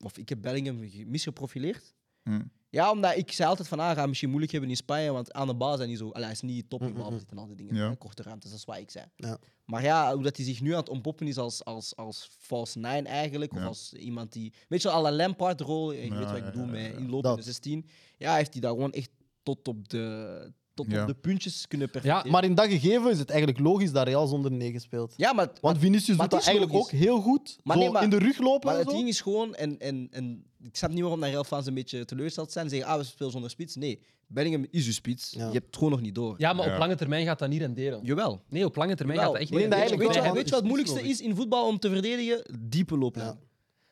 [SPEAKER 1] of ik heb Bellingham ge- misgeprofileerd.
[SPEAKER 2] Hmm.
[SPEAKER 1] Ja, omdat ik zei altijd van, ah, gaat misschien moeilijk hebben in Spanje, want aan de bal zijn niet zo... Allee, hij is niet top in balbezit en al die dingen.
[SPEAKER 2] Ja.
[SPEAKER 1] hè, Korte ruimtes, dat is wat ik zei.
[SPEAKER 4] Hm, Ja.
[SPEAKER 1] Maar ja, hoe dat hij zich nu aan het ontpoppen is als, als, als false nine eigenlijk, of
[SPEAKER 2] Ja.
[SPEAKER 1] als iemand die... Weet je wel, alle Lampard-rol, je weet wat ik bedoel, met inlopen in de
[SPEAKER 4] Dat.
[SPEAKER 1] 16. Ja, heeft hij daar gewoon echt tot op de, tot
[SPEAKER 2] Ja.
[SPEAKER 1] op de puntjes kunnen
[SPEAKER 5] Ja,
[SPEAKER 1] perfecteren.
[SPEAKER 4] Maar in dat gegeven is het eigenlijk logisch dat Real zonder 9 speelt.
[SPEAKER 1] ja, maar, maar-
[SPEAKER 4] Want Vinicius
[SPEAKER 1] maar
[SPEAKER 4] doet dat
[SPEAKER 1] het is
[SPEAKER 4] eigenlijk ook
[SPEAKER 1] logisch.
[SPEAKER 4] heel goed.
[SPEAKER 1] Maar
[SPEAKER 4] zo
[SPEAKER 1] nee, maar-
[SPEAKER 4] in de rug lopen
[SPEAKER 1] Maar
[SPEAKER 4] en
[SPEAKER 1] het
[SPEAKER 4] zo.
[SPEAKER 1] ding is gewoon, en, en, en ik snap niet waarom dat heel fans een beetje teleurgesteld zijn. Zeggen, ah, we spelen zonder spits. Nee, Bellingham is uw spits.
[SPEAKER 4] Ja.
[SPEAKER 1] Je hebt het gewoon nog niet door.
[SPEAKER 5] Ja, maar
[SPEAKER 2] Ja.
[SPEAKER 5] op lange termijn gaat dat niet renderen.
[SPEAKER 1] Jawel.
[SPEAKER 5] Nee, op lange termijn gaat
[SPEAKER 1] Jawel.
[SPEAKER 5] dat echt
[SPEAKER 4] Ik
[SPEAKER 5] niet
[SPEAKER 4] denk dat
[SPEAKER 1] Weet je,
[SPEAKER 5] renderen.
[SPEAKER 4] eigenlijk
[SPEAKER 1] weet je,
[SPEAKER 4] wel, want
[SPEAKER 1] weet je wat het moeilijkste is in voetbal om te verdedigen? Diepe looplijn.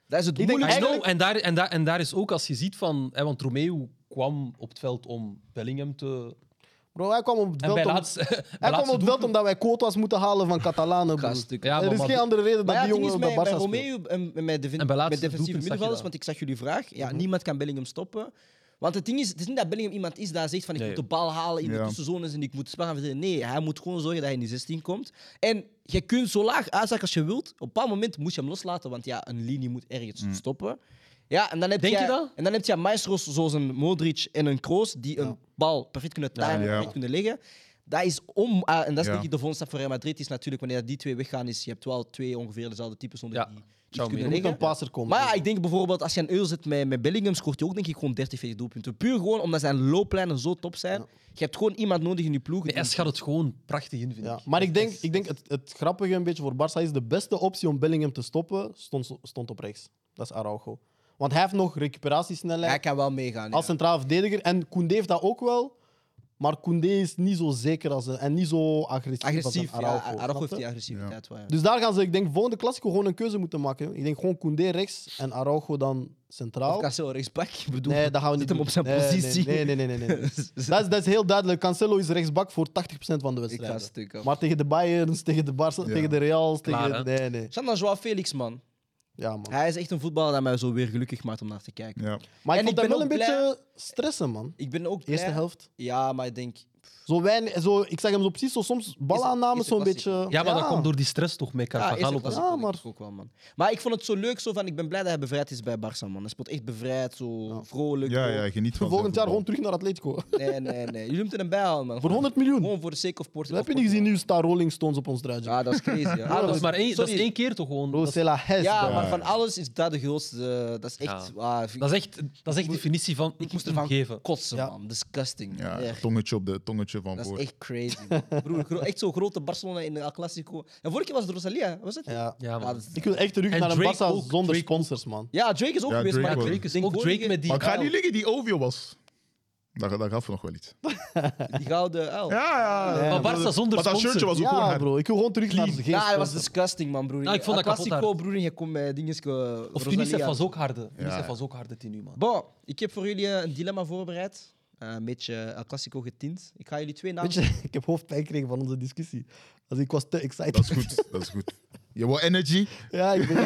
[SPEAKER 1] Dat is het
[SPEAKER 4] Ik denk
[SPEAKER 1] moeilijkste.
[SPEAKER 5] I know,
[SPEAKER 4] Eigenlijk-
[SPEAKER 5] en, daar, en, daar, en daar is ook, als je ziet van... Hè, want Romeo kwam op het veld om Bellingham te...
[SPEAKER 4] Bro, hij kwam op het
[SPEAKER 5] En
[SPEAKER 4] veld,
[SPEAKER 5] bij
[SPEAKER 4] om,
[SPEAKER 5] laatst... bij
[SPEAKER 4] hij kwam
[SPEAKER 5] laatste
[SPEAKER 4] op het veld
[SPEAKER 5] doelpunt-
[SPEAKER 4] omdat wij quotas moeten halen van Catalanen. broer.
[SPEAKER 1] Gast, ik-
[SPEAKER 5] Ja,
[SPEAKER 4] er
[SPEAKER 5] maar-
[SPEAKER 4] is
[SPEAKER 5] maar-
[SPEAKER 4] geen andere reden
[SPEAKER 1] Maar
[SPEAKER 4] dat
[SPEAKER 1] ja,
[SPEAKER 4] die
[SPEAKER 1] het ding
[SPEAKER 4] jongen
[SPEAKER 1] is
[SPEAKER 4] bij
[SPEAKER 1] bij, bij
[SPEAKER 4] Barca speelt.
[SPEAKER 1] Romeo en en met, defin-
[SPEAKER 5] En
[SPEAKER 1] met
[SPEAKER 5] bij
[SPEAKER 1] defensieve
[SPEAKER 5] laatste doelpunt zag je
[SPEAKER 1] middenvelders,
[SPEAKER 5] dat. Mhm.
[SPEAKER 1] want ik zag jullie vraag. Ja, niemand kan Bellingham stoppen. Want het ding is, het is niet dat Bellingham iemand is dat zegt van ik
[SPEAKER 5] Nee.
[SPEAKER 1] moet de bal halen in de
[SPEAKER 2] Ja.
[SPEAKER 1] tussenzones en ik moet spelen. gaan verzinnen. Nee, hij moet gewoon zorgen dat hij in die 16 komt. En je kunt zo laag uitzakken als je wilt. Op een bepaald moment moet je hem loslaten, want ja, een linie moet ergens
[SPEAKER 4] Mhm.
[SPEAKER 1] stoppen. Ja, en dan heb
[SPEAKER 5] Denk je dat?
[SPEAKER 1] En dan heb je maestros zoals een Modric en een Kroos die een bal perfect kunnen timen,
[SPEAKER 2] Ja.
[SPEAKER 1] perfect kunnen leggen. Dat is om, ah, en dat is
[SPEAKER 2] Ja.
[SPEAKER 1] denk ik de volgende stap voor Real Madrid is natuurlijk wanneer die twee weggaan is. Je hebt wel twee ongeveer dezelfde types onder
[SPEAKER 5] Ja.
[SPEAKER 1] die iets
[SPEAKER 5] Zou
[SPEAKER 1] kunnen
[SPEAKER 5] meer.
[SPEAKER 4] Er moet
[SPEAKER 1] leggen.
[SPEAKER 4] een passer komen.
[SPEAKER 1] Maar ja, ik denk bijvoorbeeld als je een uur zit met, met Bellingham, scoort hij ook denk ik gewoon 30, 40 doelpunten. Puur gewoon omdat zijn looplijnen zo top zijn. Je hebt gewoon iemand nodig in je ploeg.
[SPEAKER 5] Nee,
[SPEAKER 1] die-
[SPEAKER 5] hij schat het gewoon prachtig in, vind
[SPEAKER 4] Ja,
[SPEAKER 5] ik.
[SPEAKER 4] maar ik denk, ik denk het, het grappige een beetje voor Barça is de beste optie om Bellingham te stoppen stond, stond op rechts. Dat is Araujo. Want hij heeft nog
[SPEAKER 1] Hij
[SPEAKER 4] recuperatiesnelheid
[SPEAKER 1] kan wel meegaan.
[SPEAKER 4] als
[SPEAKER 1] ja.
[SPEAKER 4] centraal verdediger. En Koundé heeft dat ook wel. Maar Koundé is niet zo zeker als een, en niet zo agressief,
[SPEAKER 1] Agressief,
[SPEAKER 4] als een
[SPEAKER 1] ja.
[SPEAKER 4] Araujo.
[SPEAKER 1] Araujo
[SPEAKER 4] snap
[SPEAKER 1] heeft
[SPEAKER 4] je?
[SPEAKER 1] die agressiviteit wel. ja.
[SPEAKER 4] Dus daar gaan ze, ik denk, volgende klassico gewoon een keuze moeten maken. Ik denk gewoon Koundé rechts en Araujo dan
[SPEAKER 1] Of
[SPEAKER 4] centraal.
[SPEAKER 1] Cancelo rechtsback. ik bedoel,
[SPEAKER 4] Nee, dat gaan we niet
[SPEAKER 1] zet hem
[SPEAKER 4] doen.
[SPEAKER 1] op zijn
[SPEAKER 4] Nee, nee,
[SPEAKER 1] positie.
[SPEAKER 4] Nee, nee, nee. nee, nee, nee. dat, is, dat is heel duidelijk. Cancelo is rechtsbak voor 80% van
[SPEAKER 1] Ik ga
[SPEAKER 4] de wedstrijden.
[SPEAKER 1] stuk af.
[SPEAKER 4] Maar tegen de Bayerns, tegen de Barça, tegen de Reals,
[SPEAKER 5] Klaar,
[SPEAKER 4] tegen... Nee, nee.
[SPEAKER 1] Shanna Joao Felix, man.
[SPEAKER 4] Ja, man.
[SPEAKER 1] Hij is echt een voetballer dat mij zo weer gelukkig maakt om naar te kijken.
[SPEAKER 2] Ja.
[SPEAKER 4] Maar ik
[SPEAKER 1] En
[SPEAKER 4] vond
[SPEAKER 1] ik ben
[SPEAKER 4] hem wel een
[SPEAKER 1] ook blij-
[SPEAKER 4] beetje stressen, man.
[SPEAKER 1] Ik ben ook
[SPEAKER 4] Eerste
[SPEAKER 1] blij-
[SPEAKER 4] helft.
[SPEAKER 1] Ja, maar ik denk...
[SPEAKER 4] Zo weinig, zo, ik zag hem zo precies zo soms balaannames
[SPEAKER 1] is een
[SPEAKER 4] zo'n beetje...
[SPEAKER 5] Ja, maar dat komt door die stress toch met
[SPEAKER 1] Ja,
[SPEAKER 5] Carvajal.
[SPEAKER 1] eerste
[SPEAKER 5] op
[SPEAKER 1] klasse
[SPEAKER 4] Ja,
[SPEAKER 1] kon ik
[SPEAKER 4] maar-
[SPEAKER 1] dus ook wel, man. Maar ik vond het zo leuk, zo van, ik ben blij dat hij bevrijd is bij Barça, man. Hij speelt echt bevrijd, zo vrolijk.
[SPEAKER 2] ja,
[SPEAKER 1] zo.
[SPEAKER 2] ja, geniet van
[SPEAKER 4] Volgend
[SPEAKER 2] zijn voetbal.
[SPEAKER 4] jaar gewoon terug naar Atletico.
[SPEAKER 1] Nee, nee, nee. Jullie moeten hem bijhalen, man.
[SPEAKER 4] Voor 100 miljoen.
[SPEAKER 1] Gewoon voor de sake of Porto.
[SPEAKER 4] Dat heb je
[SPEAKER 1] of
[SPEAKER 4] niet gezien,
[SPEAKER 1] Portugal.
[SPEAKER 4] nu staat Rolling Stones op ons truitje.
[SPEAKER 1] Ja, dat is crazy. ja.
[SPEAKER 5] Ah, dat is
[SPEAKER 1] Alles-
[SPEAKER 5] maar één, dat is
[SPEAKER 1] sorry.
[SPEAKER 5] één keer toch gewoon.
[SPEAKER 4] Bro,
[SPEAKER 5] Dat is,
[SPEAKER 4] c'est la hes,
[SPEAKER 1] Ja,
[SPEAKER 4] bro.
[SPEAKER 1] maar van alles is dat de grootste. eh, Dat is echt.
[SPEAKER 5] Ja.
[SPEAKER 1] ah, ik
[SPEAKER 5] dat is echt, dat is echt de definitie van. Ik moest
[SPEAKER 1] moest ervan
[SPEAKER 5] ervan geven.
[SPEAKER 1] kotsen,
[SPEAKER 4] Ja.
[SPEAKER 1] man. Disgusting.
[SPEAKER 2] Ja,
[SPEAKER 1] Echt.
[SPEAKER 2] tongetje op de tongetje van
[SPEAKER 1] Dat
[SPEAKER 2] voor.
[SPEAKER 1] is echt crazy. man. Broer, gro- echt zo'n grote Barcelona in de El Clasico. En vorige keer was het Rosalia, was het? niet?
[SPEAKER 4] Ja.
[SPEAKER 5] Ja, man.
[SPEAKER 1] Ja, dat is-
[SPEAKER 4] Ik wil echt terug
[SPEAKER 5] En
[SPEAKER 4] naar een
[SPEAKER 5] Drake
[SPEAKER 4] Barça
[SPEAKER 5] ook,
[SPEAKER 4] zonder
[SPEAKER 5] Drake
[SPEAKER 4] sponsors, man.
[SPEAKER 1] Ja, Drake is ook
[SPEAKER 2] Ja,
[SPEAKER 1] geweest,
[SPEAKER 2] Drake
[SPEAKER 1] maar
[SPEAKER 2] wel.
[SPEAKER 1] Drake is
[SPEAKER 5] Ook Drake met die.
[SPEAKER 2] Maar ik ga
[SPEAKER 5] uil.
[SPEAKER 2] niet liggen, die Ovio was. Daar, daar gaf nog wel iets.
[SPEAKER 1] die gouden uil. Ja,
[SPEAKER 2] Ja, ja.
[SPEAKER 5] Maar Barca zonder
[SPEAKER 2] Maar dat
[SPEAKER 5] sponsor.
[SPEAKER 2] shirtje was ook gewoon
[SPEAKER 4] Ja,
[SPEAKER 2] hard.
[SPEAKER 4] bro. Ik wil gewoon terug naar de geest.
[SPEAKER 1] dat was disgusting, man, broer.
[SPEAKER 5] Ja, Ah, ik vond
[SPEAKER 1] El
[SPEAKER 5] dat kapot
[SPEAKER 1] Clasico,
[SPEAKER 5] hard.
[SPEAKER 1] broer, en je komt met dingetjes.
[SPEAKER 5] Of Tunisef was ook harde. Tunisef was ook harde tien uur, man.
[SPEAKER 1] Bon, ik heb voor jullie eh, een dilemma voorbereid. Eh, een beetje El Clasico getint. Ik ga jullie twee namen...
[SPEAKER 4] Weet je, ik heb hoofdpijn gekregen van onze discussie. Dus ik was te excited.
[SPEAKER 2] Dat is goed, dat is goed. Je wil energy?
[SPEAKER 4] Ja, ik ben...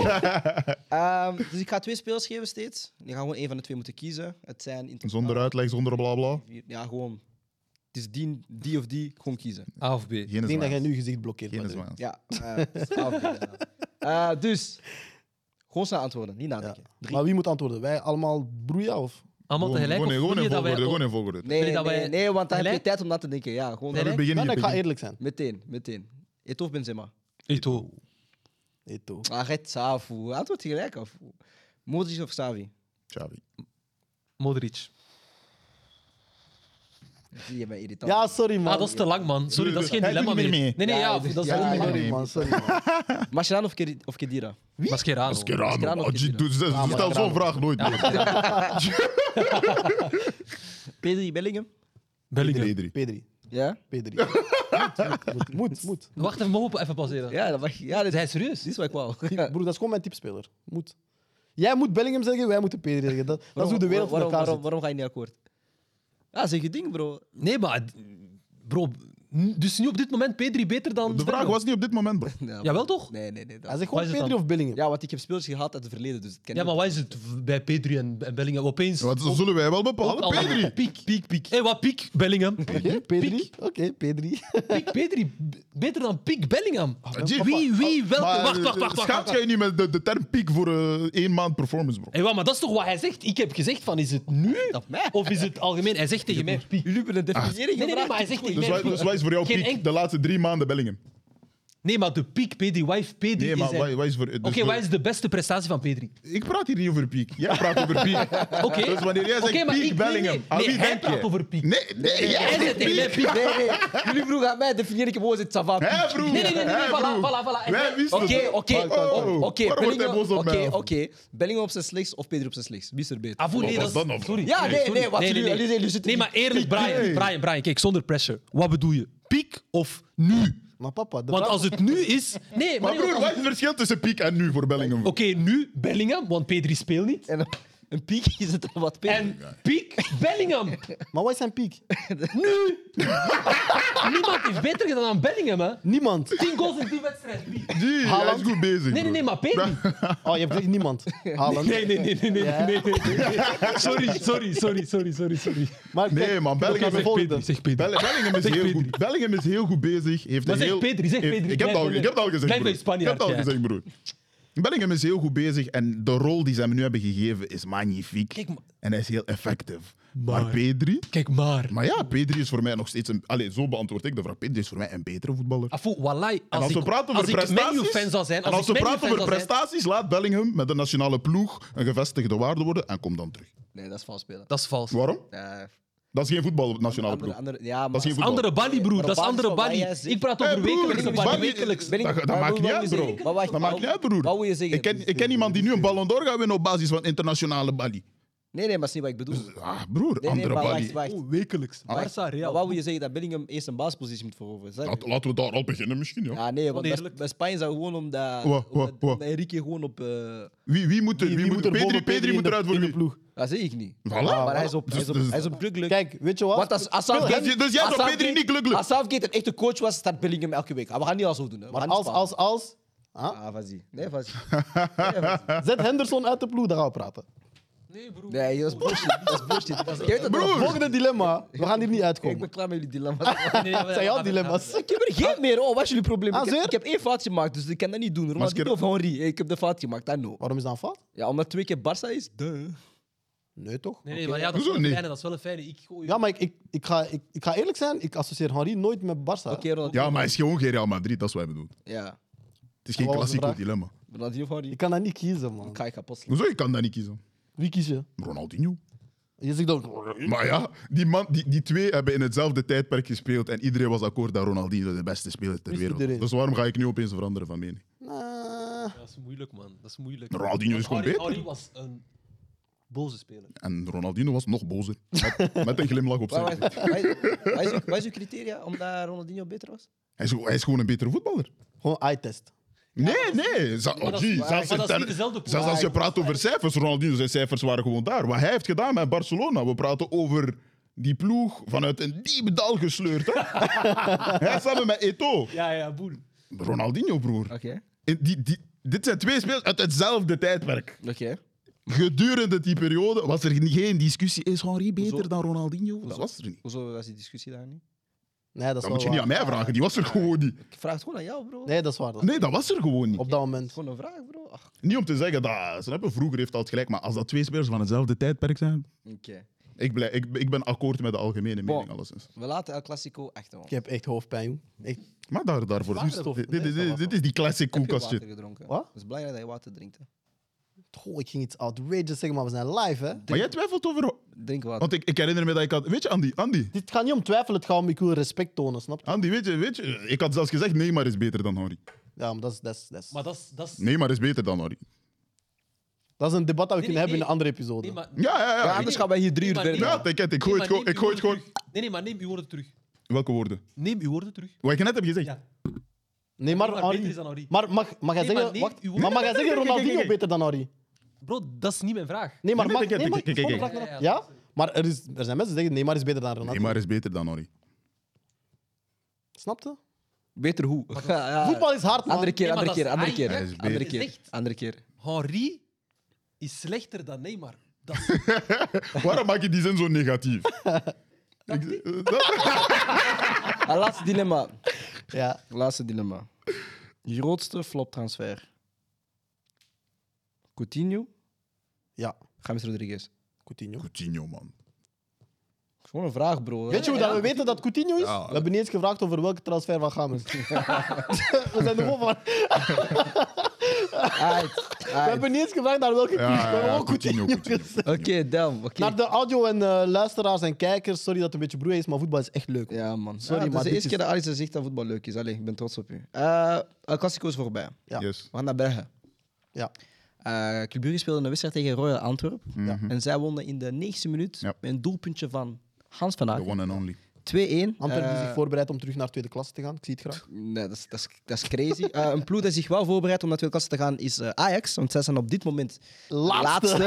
[SPEAKER 1] Ehm, dus ik ga twee spelers geven steeds. Je gaat gewoon één van de twee moeten kiezen. Het zijn in totaal
[SPEAKER 2] Zonder uitleg, zonder blabla.
[SPEAKER 1] vier- Ja, gewoon. Het is die, die of die, gewoon kiezen.
[SPEAKER 5] A of B.
[SPEAKER 2] Geen
[SPEAKER 4] ik denk dat jij
[SPEAKER 2] zwaans.
[SPEAKER 4] nu gezicht blokkeert.
[SPEAKER 2] Geen
[SPEAKER 4] Patrick.
[SPEAKER 2] zwaans.
[SPEAKER 1] Ja. eh, het is afbeelden. Eh, dus, gewoon snel antwoorden, niet nadenken. Drie.
[SPEAKER 4] Maar wie moet antwoorden? Wij allemaal broeia of?
[SPEAKER 5] Allemaal
[SPEAKER 2] Gewoon-
[SPEAKER 5] tegelijk.
[SPEAKER 2] Gewoon
[SPEAKER 5] Of
[SPEAKER 2] in
[SPEAKER 5] wil
[SPEAKER 2] gewoon
[SPEAKER 5] je
[SPEAKER 2] in
[SPEAKER 5] dat wij-
[SPEAKER 2] volgorde, gewoon in volgorde.
[SPEAKER 1] Nee,
[SPEAKER 5] Vind je
[SPEAKER 1] nee,
[SPEAKER 5] dat wij-
[SPEAKER 1] nee, want dan heb je
[SPEAKER 5] Gelijk?
[SPEAKER 1] tijd om na te denken. Ja, gewoon
[SPEAKER 5] Gelijk?
[SPEAKER 2] We beginnen
[SPEAKER 4] Dan
[SPEAKER 2] hier.
[SPEAKER 4] ik ga
[SPEAKER 2] begin.
[SPEAKER 4] eerlijk zijn.
[SPEAKER 1] meteen, meteen. Eto of Benzema?
[SPEAKER 5] Eto'o.
[SPEAKER 4] Eto.
[SPEAKER 1] Arret, Safu. Antwoord gelijk af. Modric of Savi?
[SPEAKER 2] Xavi.
[SPEAKER 5] Ah, Modric.
[SPEAKER 1] Zie je mij irritant.
[SPEAKER 4] Ja, sorry man.
[SPEAKER 5] Ah, dat is te lang, man. Sorry, dat is geen
[SPEAKER 2] Hij
[SPEAKER 5] dilemma
[SPEAKER 2] doet niet
[SPEAKER 5] meer.
[SPEAKER 2] meer mee.
[SPEAKER 5] Nee, nee,
[SPEAKER 1] Ja,
[SPEAKER 5] ja,
[SPEAKER 1] hij doet-
[SPEAKER 5] dat is
[SPEAKER 1] ja,
[SPEAKER 5] ook
[SPEAKER 1] hij
[SPEAKER 5] niet
[SPEAKER 1] doet
[SPEAKER 5] meer.
[SPEAKER 4] Sorry man, sorry man.
[SPEAKER 1] Mascherano of, Kedi- of Kedira?
[SPEAKER 5] Mascherano.
[SPEAKER 1] Mascherano
[SPEAKER 2] Mascherano. oh,
[SPEAKER 1] of
[SPEAKER 2] Doe
[SPEAKER 1] Kedira?
[SPEAKER 2] doe- doe- Stel zo'n vraag nooit meer.
[SPEAKER 1] Pedri, Bellingham?
[SPEAKER 5] Bellingham.
[SPEAKER 2] Pedri.
[SPEAKER 4] Pedri.
[SPEAKER 1] Ja?
[SPEAKER 4] Pedri. moet, moet, moet.
[SPEAKER 5] Wacht even, mogen we even pauzeren?
[SPEAKER 1] Ja, dat mag... Ja, dit
[SPEAKER 5] Zijn serieus?
[SPEAKER 1] Dit is wat ik wou.
[SPEAKER 4] Broer, dat is gewoon mijn tipspeler. Moet. Jij moet Bellingham zeggen, wij moeten Pedri zeggen. Dat, dat is
[SPEAKER 1] Waarom-
[SPEAKER 4] hoe de wereld in
[SPEAKER 1] waarom,
[SPEAKER 4] elkaar
[SPEAKER 1] waarom,
[SPEAKER 4] zit.
[SPEAKER 1] waarom ga je niet akkoord? Ah, zeg je ding, bro.
[SPEAKER 5] Nee, maar... Bro, n- dus nu op dit moment P3 beter dan...
[SPEAKER 2] De vraag
[SPEAKER 5] Sterlo?
[SPEAKER 2] was niet op dit moment, bro.
[SPEAKER 1] Ja,
[SPEAKER 5] Jawel toch?
[SPEAKER 1] Nee, nee, nee. dat-
[SPEAKER 4] Hij zegt
[SPEAKER 5] Wat is
[SPEAKER 4] gewoon
[SPEAKER 5] het
[SPEAKER 4] Pedri
[SPEAKER 5] dan?
[SPEAKER 4] of Bellingham.
[SPEAKER 1] Ja, want ik heb spelers gehad uit het verleden, dus het ken
[SPEAKER 5] Ja,
[SPEAKER 1] ik.
[SPEAKER 5] maar wat is het v- bij P3 en, en Bellingham? Opeens...
[SPEAKER 2] Wat dat zullen wij wel bepalen?
[SPEAKER 5] al-
[SPEAKER 2] Pedri.
[SPEAKER 5] Piek, piek, piek. Hé, Eh, wat piek? Bellingham.
[SPEAKER 4] Oké, Pedri. Oké, Pedri.
[SPEAKER 5] Piek P3 b- beter dan piek Bellingham.
[SPEAKER 2] Jip.
[SPEAKER 5] Wie, Ah, wie, welke...
[SPEAKER 2] Maar,
[SPEAKER 5] Wacht,
[SPEAKER 2] eh,
[SPEAKER 5] wacht, wacht. wacht,
[SPEAKER 2] Schaamt
[SPEAKER 5] wacht.
[SPEAKER 2] jij niet met de, de term piek voor eh, één maand performance, bro?
[SPEAKER 5] Hé, wat, Eh, maar dat is toch wat hij zegt? Ik heb gezegd van, is het nu? Of is het algemeen? Hij zegt tegen mij piek.
[SPEAKER 1] Jullie hebben een definiëring
[SPEAKER 5] Nee, nee, nee,
[SPEAKER 1] gevraagd.
[SPEAKER 5] maar hij zegt tegen
[SPEAKER 2] Dus
[SPEAKER 5] mij
[SPEAKER 2] wij,
[SPEAKER 5] piek.
[SPEAKER 2] dus wij is voor jou
[SPEAKER 5] Geen
[SPEAKER 2] piek
[SPEAKER 5] enkel-
[SPEAKER 2] de laatste drie maanden Bellingham.
[SPEAKER 5] Nee, maar de piek P3, wife P3
[SPEAKER 2] Nee,
[SPEAKER 5] is...
[SPEAKER 2] maar
[SPEAKER 5] hij-
[SPEAKER 2] wij, wij is voor... dus
[SPEAKER 5] Oké,
[SPEAKER 2] voor-
[SPEAKER 5] wat is de beste prestatie van P3?
[SPEAKER 2] Ik praat hier niet over piek. Jij praat over piek.
[SPEAKER 5] Oké.
[SPEAKER 2] Dus wanneer jij zegt
[SPEAKER 5] Oké, maar
[SPEAKER 2] piek
[SPEAKER 5] ik- nee,
[SPEAKER 2] Bellingham,
[SPEAKER 5] nee,
[SPEAKER 2] aan
[SPEAKER 5] nee,
[SPEAKER 2] wie
[SPEAKER 5] hij
[SPEAKER 2] denk
[SPEAKER 5] praat
[SPEAKER 2] je?
[SPEAKER 5] over piek.
[SPEAKER 2] Nee, nee, jij
[SPEAKER 5] Hij
[SPEAKER 2] zegt
[SPEAKER 5] zegt, hey,
[SPEAKER 2] piek.
[SPEAKER 5] nee, piek.
[SPEAKER 1] Nee, nee. Jullie vroegen aan mij, definieer ik hem gewoon als het savant.
[SPEAKER 2] Hé, broer.
[SPEAKER 5] Nee, nee, nee, nee,
[SPEAKER 2] Hé,
[SPEAKER 5] nee, voilà,
[SPEAKER 2] broer.
[SPEAKER 5] voilà, voilà.
[SPEAKER 2] Wij wisten
[SPEAKER 1] Oké,
[SPEAKER 2] het.
[SPEAKER 1] oké,
[SPEAKER 2] Oh,
[SPEAKER 1] o- oké.
[SPEAKER 2] waarom wordt hij
[SPEAKER 1] Bellingham-
[SPEAKER 2] boos op mij?
[SPEAKER 1] Oké, oké. Bellingham op zijn slechts of Pedri op zijn slechts? Wie is er beter?
[SPEAKER 5] Ah, voor- nee,
[SPEAKER 2] Wat was
[SPEAKER 5] dat is-
[SPEAKER 2] dat nou?
[SPEAKER 5] Sorry.
[SPEAKER 1] Ja,
[SPEAKER 5] sorry,
[SPEAKER 1] nee,
[SPEAKER 5] sorry.
[SPEAKER 1] nee, wat jullie- jullie- jullie zitten
[SPEAKER 5] Nee,
[SPEAKER 1] niet-
[SPEAKER 5] maar eerlijk, Brian, Brian, Brian, kijk, zonder pressure. Wat bedoel je? Piek of nu?
[SPEAKER 4] Maar papa, de
[SPEAKER 5] Want
[SPEAKER 4] vraag-
[SPEAKER 5] als het nu is... Nee, maar
[SPEAKER 2] Maar
[SPEAKER 5] nee, want
[SPEAKER 2] broer,
[SPEAKER 5] als-
[SPEAKER 2] wat is het verschil tussen piek en nu voor Bellingham?
[SPEAKER 5] Oké, nu Bellingham, want P3 speelt niet.
[SPEAKER 1] En- Een piek is het al wat piek.
[SPEAKER 5] En piek Bellingham.
[SPEAKER 4] Maar wat is zijn piek?
[SPEAKER 5] Nu. Niemand heeft beter gedaan dan Bellingham, hè.
[SPEAKER 4] Niemand.
[SPEAKER 5] 10 goals in 10 wedstrijden. Wie?
[SPEAKER 2] Die, hij is goed bezig.
[SPEAKER 5] Nee, nee, nee,
[SPEAKER 2] bro.
[SPEAKER 5] maar Pedri.
[SPEAKER 4] Oh, je hebt echt niemand. Haaland.
[SPEAKER 5] Nee, nee, nee, nee, nee, nee, nee, nee. Sorry, sorry, sorry, sorry, sorry, sorry.
[SPEAKER 4] Maar ik
[SPEAKER 2] Nee,
[SPEAKER 4] denk-
[SPEAKER 2] man, Bellingham,
[SPEAKER 5] Zeg
[SPEAKER 2] is-
[SPEAKER 5] Pedri, zeg Pedri.
[SPEAKER 2] Bell- Bellingham is
[SPEAKER 5] Zeg
[SPEAKER 2] heel
[SPEAKER 5] Pedri.
[SPEAKER 2] goed. Bellingham is heel goed bezig. Heeft
[SPEAKER 5] Maar
[SPEAKER 2] een
[SPEAKER 5] zeg
[SPEAKER 2] heel,
[SPEAKER 5] Pedri, zeg
[SPEAKER 2] heeft-
[SPEAKER 5] Pedri,
[SPEAKER 2] Ik heb, het
[SPEAKER 5] blijf
[SPEAKER 2] al,
[SPEAKER 5] bij
[SPEAKER 2] ik heb het al gezegd,
[SPEAKER 5] Blijf bij
[SPEAKER 2] broer. Ik heb het al
[SPEAKER 5] Spanjaard,
[SPEAKER 2] gezegd, broer. Bellingham is heel goed bezig en de rol die ze hem nu hebben gegeven is magnifiek.
[SPEAKER 5] Kijk, maar-
[SPEAKER 2] en hij is heel effectief.
[SPEAKER 5] Maar-
[SPEAKER 2] Maar, Pedri...
[SPEAKER 5] Kijk maar.
[SPEAKER 2] Maar ja, Pedri is voor mij nog steeds een... Allee, zo beantwoord ik de vraag. Pedri is voor mij een betere voetballer.
[SPEAKER 5] Afu, wallahi,
[SPEAKER 2] En
[SPEAKER 5] als,
[SPEAKER 2] als we
[SPEAKER 5] ik,
[SPEAKER 2] praten
[SPEAKER 5] als
[SPEAKER 2] over
[SPEAKER 5] ik
[SPEAKER 2] prestaties...
[SPEAKER 5] menu-fan zou zijn...
[SPEAKER 2] en
[SPEAKER 5] Als,
[SPEAKER 2] als
[SPEAKER 5] ik
[SPEAKER 2] we praten
[SPEAKER 5] Menu-fan
[SPEAKER 2] over
[SPEAKER 5] zou zijn-
[SPEAKER 2] prestaties, laat Bellingham met de nationale ploeg een gevestigde waarde worden en kom dan terug.
[SPEAKER 1] Nee, dat is vals spelen.
[SPEAKER 5] Dat is vals.
[SPEAKER 2] Waarom?
[SPEAKER 1] Ja,
[SPEAKER 2] Dat is geen voetbal,
[SPEAKER 5] Ah,
[SPEAKER 2] nationale
[SPEAKER 1] andere,
[SPEAKER 2] ploeg.
[SPEAKER 1] andere, ja, maar
[SPEAKER 2] Dat is geen voetbal.
[SPEAKER 5] Andere balie, broer.
[SPEAKER 1] Maar
[SPEAKER 5] Dat is
[SPEAKER 1] op basis
[SPEAKER 5] andere
[SPEAKER 1] van wat
[SPEAKER 5] balie.
[SPEAKER 1] jij zegt-
[SPEAKER 5] Ik praat
[SPEAKER 2] Hey,
[SPEAKER 5] over
[SPEAKER 2] broer,
[SPEAKER 5] wekelijkse
[SPEAKER 2] Barney-
[SPEAKER 5] balie. Wekelijks.
[SPEAKER 1] Ben ik-
[SPEAKER 2] dat, dat
[SPEAKER 1] maar
[SPEAKER 2] maakt
[SPEAKER 1] wat
[SPEAKER 2] niet
[SPEAKER 1] wil
[SPEAKER 2] uit,
[SPEAKER 1] je
[SPEAKER 2] bro.
[SPEAKER 1] zeggen? Maar wacht,
[SPEAKER 2] dat
[SPEAKER 1] maar-
[SPEAKER 2] maakt niet uit, broer.
[SPEAKER 1] wat wil je zeggen?
[SPEAKER 2] Ik ken, ik ken iemand die nu een Ballon d'Or gaat winnen op basis van internationale balie.
[SPEAKER 1] Nee, nee, maar dat is niet wat ik bedoel.
[SPEAKER 2] Ah, broer,
[SPEAKER 1] Nee, nee,
[SPEAKER 2] andere
[SPEAKER 1] maar wacht,
[SPEAKER 2] balie.
[SPEAKER 1] wacht.
[SPEAKER 5] Oh, wekelijks. Barca,
[SPEAKER 1] Maar
[SPEAKER 5] Real.
[SPEAKER 1] wat wil je zeggen dat Bellingham eerst een baaspositie moet veroveren? Zeg.
[SPEAKER 2] Laat- laten we daar al beginnen misschien, ja.
[SPEAKER 1] Ja, nee, want bij,
[SPEAKER 5] Oneerlijk.
[SPEAKER 1] bij Spanje zou gewoon omdat,
[SPEAKER 2] Wa- wa-
[SPEAKER 1] omdat-
[SPEAKER 2] wa.
[SPEAKER 1] omdat Enrique gewoon op... eh
[SPEAKER 2] Wie, wie moet, er- wie moet,
[SPEAKER 4] er
[SPEAKER 2] Pedri,
[SPEAKER 4] boven
[SPEAKER 2] Pedri
[SPEAKER 4] in
[SPEAKER 2] moet
[SPEAKER 4] de-
[SPEAKER 2] eruit voor
[SPEAKER 4] in de
[SPEAKER 2] wie?
[SPEAKER 4] ploeg?
[SPEAKER 1] dat zie ik niet.
[SPEAKER 2] Voilà.
[SPEAKER 1] Maar hij is op,
[SPEAKER 2] Dus-
[SPEAKER 1] hij is op,
[SPEAKER 2] dus-
[SPEAKER 1] hij is op Glück-Glück.
[SPEAKER 4] Kijk, weet je wat?
[SPEAKER 1] Want als, als Southgate,
[SPEAKER 2] dus- dus jij
[SPEAKER 1] als
[SPEAKER 2] zou Pedri
[SPEAKER 1] Southgate-
[SPEAKER 2] niet Glück-Glück?
[SPEAKER 1] Als Southgate een echte coach was, staat Bellingham elke week. Ah, We gaan niet al zo doen. Hè. We
[SPEAKER 4] maar
[SPEAKER 1] gaan niet
[SPEAKER 4] als,
[SPEAKER 1] sparen.
[SPEAKER 4] als, als... Ah,
[SPEAKER 1] Ah, vas-y. Nee, vas-y.
[SPEAKER 4] Zet Henderson uit de ploeg, daar gaan we praten.
[SPEAKER 5] Nee, broer.
[SPEAKER 1] Nee, dat is bullshit. Dat is bullshit. Dat is- Je weet dat-
[SPEAKER 2] Broer,
[SPEAKER 4] Volgende dilemma. We gaan hier niet
[SPEAKER 1] Ik
[SPEAKER 4] uitkomen.
[SPEAKER 1] ben klaar met jullie dilemma's.
[SPEAKER 5] Nee, maar-
[SPEAKER 4] Het zijn jouw dilemma's.
[SPEAKER 1] Ik heb er geen meer. Oh, wat is jullie probleem?
[SPEAKER 4] Ah,
[SPEAKER 1] ik, heb,
[SPEAKER 4] zeer?
[SPEAKER 1] ik heb één fout gemaakt, dus ik kan dat niet doen. Ronaldinho
[SPEAKER 2] ik-
[SPEAKER 1] of Henry. Ik heb de fout gemaakt, dat no.
[SPEAKER 4] Waarom is dat een fout?
[SPEAKER 1] Ja, omdat twee keer Barça is, duh.
[SPEAKER 4] Nee, toch?
[SPEAKER 5] Nee, nee, maar ja, dat is
[SPEAKER 2] Hoezo
[SPEAKER 5] wel een
[SPEAKER 2] niet?
[SPEAKER 5] fijne. Dat is wel een fijne. Ik gooi...
[SPEAKER 4] Ja, maar ik, ik, ik, ga, ik, ik ga eerlijk zijn, ik associeer Henri nooit met Barça.
[SPEAKER 1] Oké, Ronaldinho.
[SPEAKER 2] Ja, maar hij is gewoon geen Real Madrid, dat is wat hij bedoelt.
[SPEAKER 1] Ja.
[SPEAKER 2] Het is geen
[SPEAKER 4] Wat was de
[SPEAKER 2] klassieke
[SPEAKER 4] vraag?
[SPEAKER 2] dilemma.
[SPEAKER 1] Ronaldinho of Henry.
[SPEAKER 4] Ik kan dat niet kiezen, man.
[SPEAKER 1] Ik ga je kapot slaan.
[SPEAKER 2] Hoezo, je kan dat niet kiezen?
[SPEAKER 4] Wie kies je?
[SPEAKER 2] Ronaldinho.
[SPEAKER 4] Je zegt dan...
[SPEAKER 2] Maar ja, die, man, die, die twee hebben in hetzelfde tijdperk gespeeld en iedereen was akkoord dat Ronaldinho de beste speler ter
[SPEAKER 4] Is
[SPEAKER 2] wereld was.
[SPEAKER 4] iedereen.
[SPEAKER 2] Dus waarom ga ik nu opeens veranderen van mening?
[SPEAKER 4] Nah.
[SPEAKER 5] Ja, Dat is moeilijk, man. Dat is moeilijk.
[SPEAKER 2] Nou, Ronaldinho is
[SPEAKER 5] Want
[SPEAKER 2] gewoon beter.
[SPEAKER 5] Henry- Henry was een boze speler.
[SPEAKER 2] En Ronaldinho was nog bozer. Met, met een glimlach op zijn
[SPEAKER 1] Waar-
[SPEAKER 2] gezicht.
[SPEAKER 1] waar- waar- Wat is uw- wat is uw criteria omdat Ronaldinho beter was?
[SPEAKER 2] Hij is, hij is gewoon een betere voetballer.
[SPEAKER 4] Gewoon eye-test.
[SPEAKER 2] Nee, nee. Za-
[SPEAKER 5] maar
[SPEAKER 2] oh,
[SPEAKER 5] dat is-
[SPEAKER 2] gee,
[SPEAKER 5] maar
[SPEAKER 2] Zelfs
[SPEAKER 5] dat
[SPEAKER 2] in
[SPEAKER 5] is niet
[SPEAKER 2] ten-
[SPEAKER 5] dezelfde ploeg.
[SPEAKER 2] zelfs als je praat over cijfers, Ronaldinho, zijn cijfers waren gewoon daar. Wat hij heeft gedaan met Barcelona, we praten over die ploeg vanuit een diepe dal gesleurd. Hè? hij is samen met Eto'o.
[SPEAKER 5] Ja, ja, boel.
[SPEAKER 2] Ronaldinho, broer.
[SPEAKER 1] Oké.
[SPEAKER 2] In die, die, dit zijn twee spelers uit hetzelfde tijdperk.
[SPEAKER 1] Oké.
[SPEAKER 2] Gedurende die periode was er geen discussie. Is Henri beter
[SPEAKER 1] Hoezo?
[SPEAKER 2] dan Ronaldinho? Dat was er niet.
[SPEAKER 1] Hoezo was die discussie daar niet?
[SPEAKER 4] Nee, dat
[SPEAKER 2] Dat
[SPEAKER 4] is wel
[SPEAKER 2] moet je
[SPEAKER 4] waar.
[SPEAKER 2] niet aan mij vragen. Die was er gewoon niet.
[SPEAKER 1] Ik vraag het gewoon aan jou, bro.
[SPEAKER 4] Nee, dat is waar. dat-
[SPEAKER 2] Nee, dat was er gewoon niet.
[SPEAKER 4] Op dat moment.
[SPEAKER 1] Gewoon een vraag, bro. Ach,
[SPEAKER 2] Niet om te zeggen dat snap je, vroeger heeft dat gelijk, maar als dat twee spelers van hetzelfde tijdperk zijn,
[SPEAKER 1] Oké.
[SPEAKER 2] ik, blij, ik, ik ben akkoord met de algemene
[SPEAKER 1] Bon.
[SPEAKER 2] mening alleszins.
[SPEAKER 1] We laten El Clasico echt man.
[SPEAKER 4] Ik heb echt hoofdpijn, joh. Echt.
[SPEAKER 2] Maar daar, daarvoor.
[SPEAKER 4] Water
[SPEAKER 2] dit,
[SPEAKER 4] of-
[SPEAKER 2] dit,
[SPEAKER 4] nee,
[SPEAKER 2] dit-
[SPEAKER 4] dat
[SPEAKER 2] dit-
[SPEAKER 4] was
[SPEAKER 2] dit
[SPEAKER 4] wel.
[SPEAKER 2] is die classic
[SPEAKER 1] Heb je
[SPEAKER 2] koelkast
[SPEAKER 1] water
[SPEAKER 2] shit.
[SPEAKER 1] gedronken?
[SPEAKER 4] Wat?
[SPEAKER 1] Het is belangrijk dat je water drinkt. hè.
[SPEAKER 4] Goh, ik ging iets outrageous zeggen, maar we zijn live, hè.
[SPEAKER 2] Maar jij twijfelt over.
[SPEAKER 1] Drink water.
[SPEAKER 2] Want ik, ik herinner me dat ik had. Weet je, Andy, Andy,
[SPEAKER 4] Dit gaat niet om twijfel, het gaat om ik wil respect tonen, snap je?
[SPEAKER 2] Andy, weet je, weet je, ik had zelfs gezegd: Neymar is beter dan Henry.
[SPEAKER 4] Ja, maar dat is... Dat is, dat is,
[SPEAKER 5] Maar dat is... Dat is
[SPEAKER 2] Neymar is beter dan Henry.
[SPEAKER 4] dat is een debat dat we
[SPEAKER 5] Nee,
[SPEAKER 4] kunnen
[SPEAKER 5] nee,
[SPEAKER 4] hebben in een andere episode.
[SPEAKER 5] nee, maar...
[SPEAKER 2] Ja, ja, ja.
[SPEAKER 1] Ja,
[SPEAKER 2] ik,
[SPEAKER 1] anders gaan wij hier drie
[SPEAKER 5] Nee,
[SPEAKER 1] uur
[SPEAKER 5] maar
[SPEAKER 1] verder.
[SPEAKER 5] niet-
[SPEAKER 2] ja, kijk, ik gooi het gewoon.
[SPEAKER 5] neem
[SPEAKER 2] Ik
[SPEAKER 5] uw
[SPEAKER 2] gooi het
[SPEAKER 5] woorden
[SPEAKER 2] gewoon.
[SPEAKER 5] terug. Nee, nee, maar neem uw woorden terug.
[SPEAKER 2] Welke woorden?
[SPEAKER 5] Neem uw woorden terug.
[SPEAKER 2] Wat ik net heb gezegd.
[SPEAKER 5] Ja.
[SPEAKER 4] Nee, maar,
[SPEAKER 5] Neymar
[SPEAKER 4] Henri-
[SPEAKER 5] beter is dan Henri.
[SPEAKER 4] Maar mag, mag jij
[SPEAKER 5] Nee, maar
[SPEAKER 4] zeggen...
[SPEAKER 5] nee,
[SPEAKER 4] wacht,
[SPEAKER 5] uw-
[SPEAKER 4] maar mag jij zeggen
[SPEAKER 2] kijk, kijk,
[SPEAKER 4] Ronaldinho
[SPEAKER 2] kijk.
[SPEAKER 4] beter dan Henri?
[SPEAKER 5] Bro, dat is niet mijn vraag.
[SPEAKER 4] Nee, maar
[SPEAKER 2] Nee,
[SPEAKER 4] mag...
[SPEAKER 2] kijk,
[SPEAKER 4] Nee,
[SPEAKER 2] kijk,
[SPEAKER 4] maar...
[SPEAKER 2] kijk, kijk,
[SPEAKER 4] volgende
[SPEAKER 2] kijk.
[SPEAKER 4] vraag
[SPEAKER 5] Ja,
[SPEAKER 4] dan-
[SPEAKER 5] ja,
[SPEAKER 4] Ja? Maar er, is, er zijn mensen die zeggen Neymar is beter dan Ronaldinho.
[SPEAKER 2] Neymar is beter dan Henry.
[SPEAKER 4] Snap je?
[SPEAKER 1] Beter hoe? Ja,
[SPEAKER 5] Ah,
[SPEAKER 1] ja.
[SPEAKER 4] Voetbal is hard, man.
[SPEAKER 1] Andere keer,
[SPEAKER 5] Nee, maar
[SPEAKER 1] andere
[SPEAKER 5] dat is
[SPEAKER 1] keer, andere keer.
[SPEAKER 5] eigenlijk-
[SPEAKER 2] Hij is
[SPEAKER 1] Andere
[SPEAKER 5] beter.
[SPEAKER 1] keer.
[SPEAKER 5] Echt?
[SPEAKER 1] Andere keer.
[SPEAKER 5] Henri is slechter dan Neymar. Dat is
[SPEAKER 2] Waarom maak je die zin zo negatief? Ik- dat-
[SPEAKER 1] Ah, laatste dilemma.
[SPEAKER 4] Ja.
[SPEAKER 1] Laatste dilemma. Grootste floptransfer. Coutinho,
[SPEAKER 4] Ja,
[SPEAKER 1] James Rodriguez.
[SPEAKER 4] Coutinho.
[SPEAKER 2] Coutinho, man.
[SPEAKER 1] Gewoon een vraag, bro.
[SPEAKER 4] Weet je hoe dat we weten dat Coutinho is?
[SPEAKER 2] Ja.
[SPEAKER 4] We hebben niet eens gevraagd over welke transfer van Games. we zijn er gewoon van.
[SPEAKER 1] Aight,
[SPEAKER 4] We
[SPEAKER 1] aight.
[SPEAKER 4] hebben niet eens gevraagd naar welke
[SPEAKER 2] Ja,
[SPEAKER 4] ploeg. We hebben
[SPEAKER 2] ja, ja,
[SPEAKER 4] gewoon Coutinho,
[SPEAKER 2] Coutinho, Coutinho.
[SPEAKER 4] gezegd.
[SPEAKER 1] Oké, damn. Oké.
[SPEAKER 4] Naar de audio en eh, luisteraars en kijkers, sorry dat het een beetje broei is, maar voetbal is echt leuk.
[SPEAKER 1] Ja, man.
[SPEAKER 4] Sorry,
[SPEAKER 1] Ja, dat
[SPEAKER 4] maar
[SPEAKER 1] is de
[SPEAKER 4] dit
[SPEAKER 1] eerste
[SPEAKER 4] is-
[SPEAKER 1] keer dat Aris zegt dat voetbal leuk is. Allee, ik ben trots op u. Eh El Clasico is voorbij.
[SPEAKER 4] Ja.
[SPEAKER 2] Yes.
[SPEAKER 1] We gaan naar Brugge.
[SPEAKER 4] Ja. Mhm.
[SPEAKER 1] Eh Club Brugge speelde een wedstrijd tegen Royal Antwerp. En zij wonnen in de 90e minuut
[SPEAKER 2] Ja.
[SPEAKER 1] met een doelpuntje van Hans van Aken.
[SPEAKER 2] The one and only.
[SPEAKER 1] 2-1 2-1.
[SPEAKER 4] Antwerpen die
[SPEAKER 1] Eh,
[SPEAKER 4] zich voorbereidt om terug naar tweede klasse te gaan. Ik zie het graag.
[SPEAKER 1] Nee, dat is, dat is, dat is crazy. Eh, een ploeg die zich wel voorbereidt om naar de tweede klasse te gaan is eh, Ajax. Want zij zijn op dit moment
[SPEAKER 4] Laatste.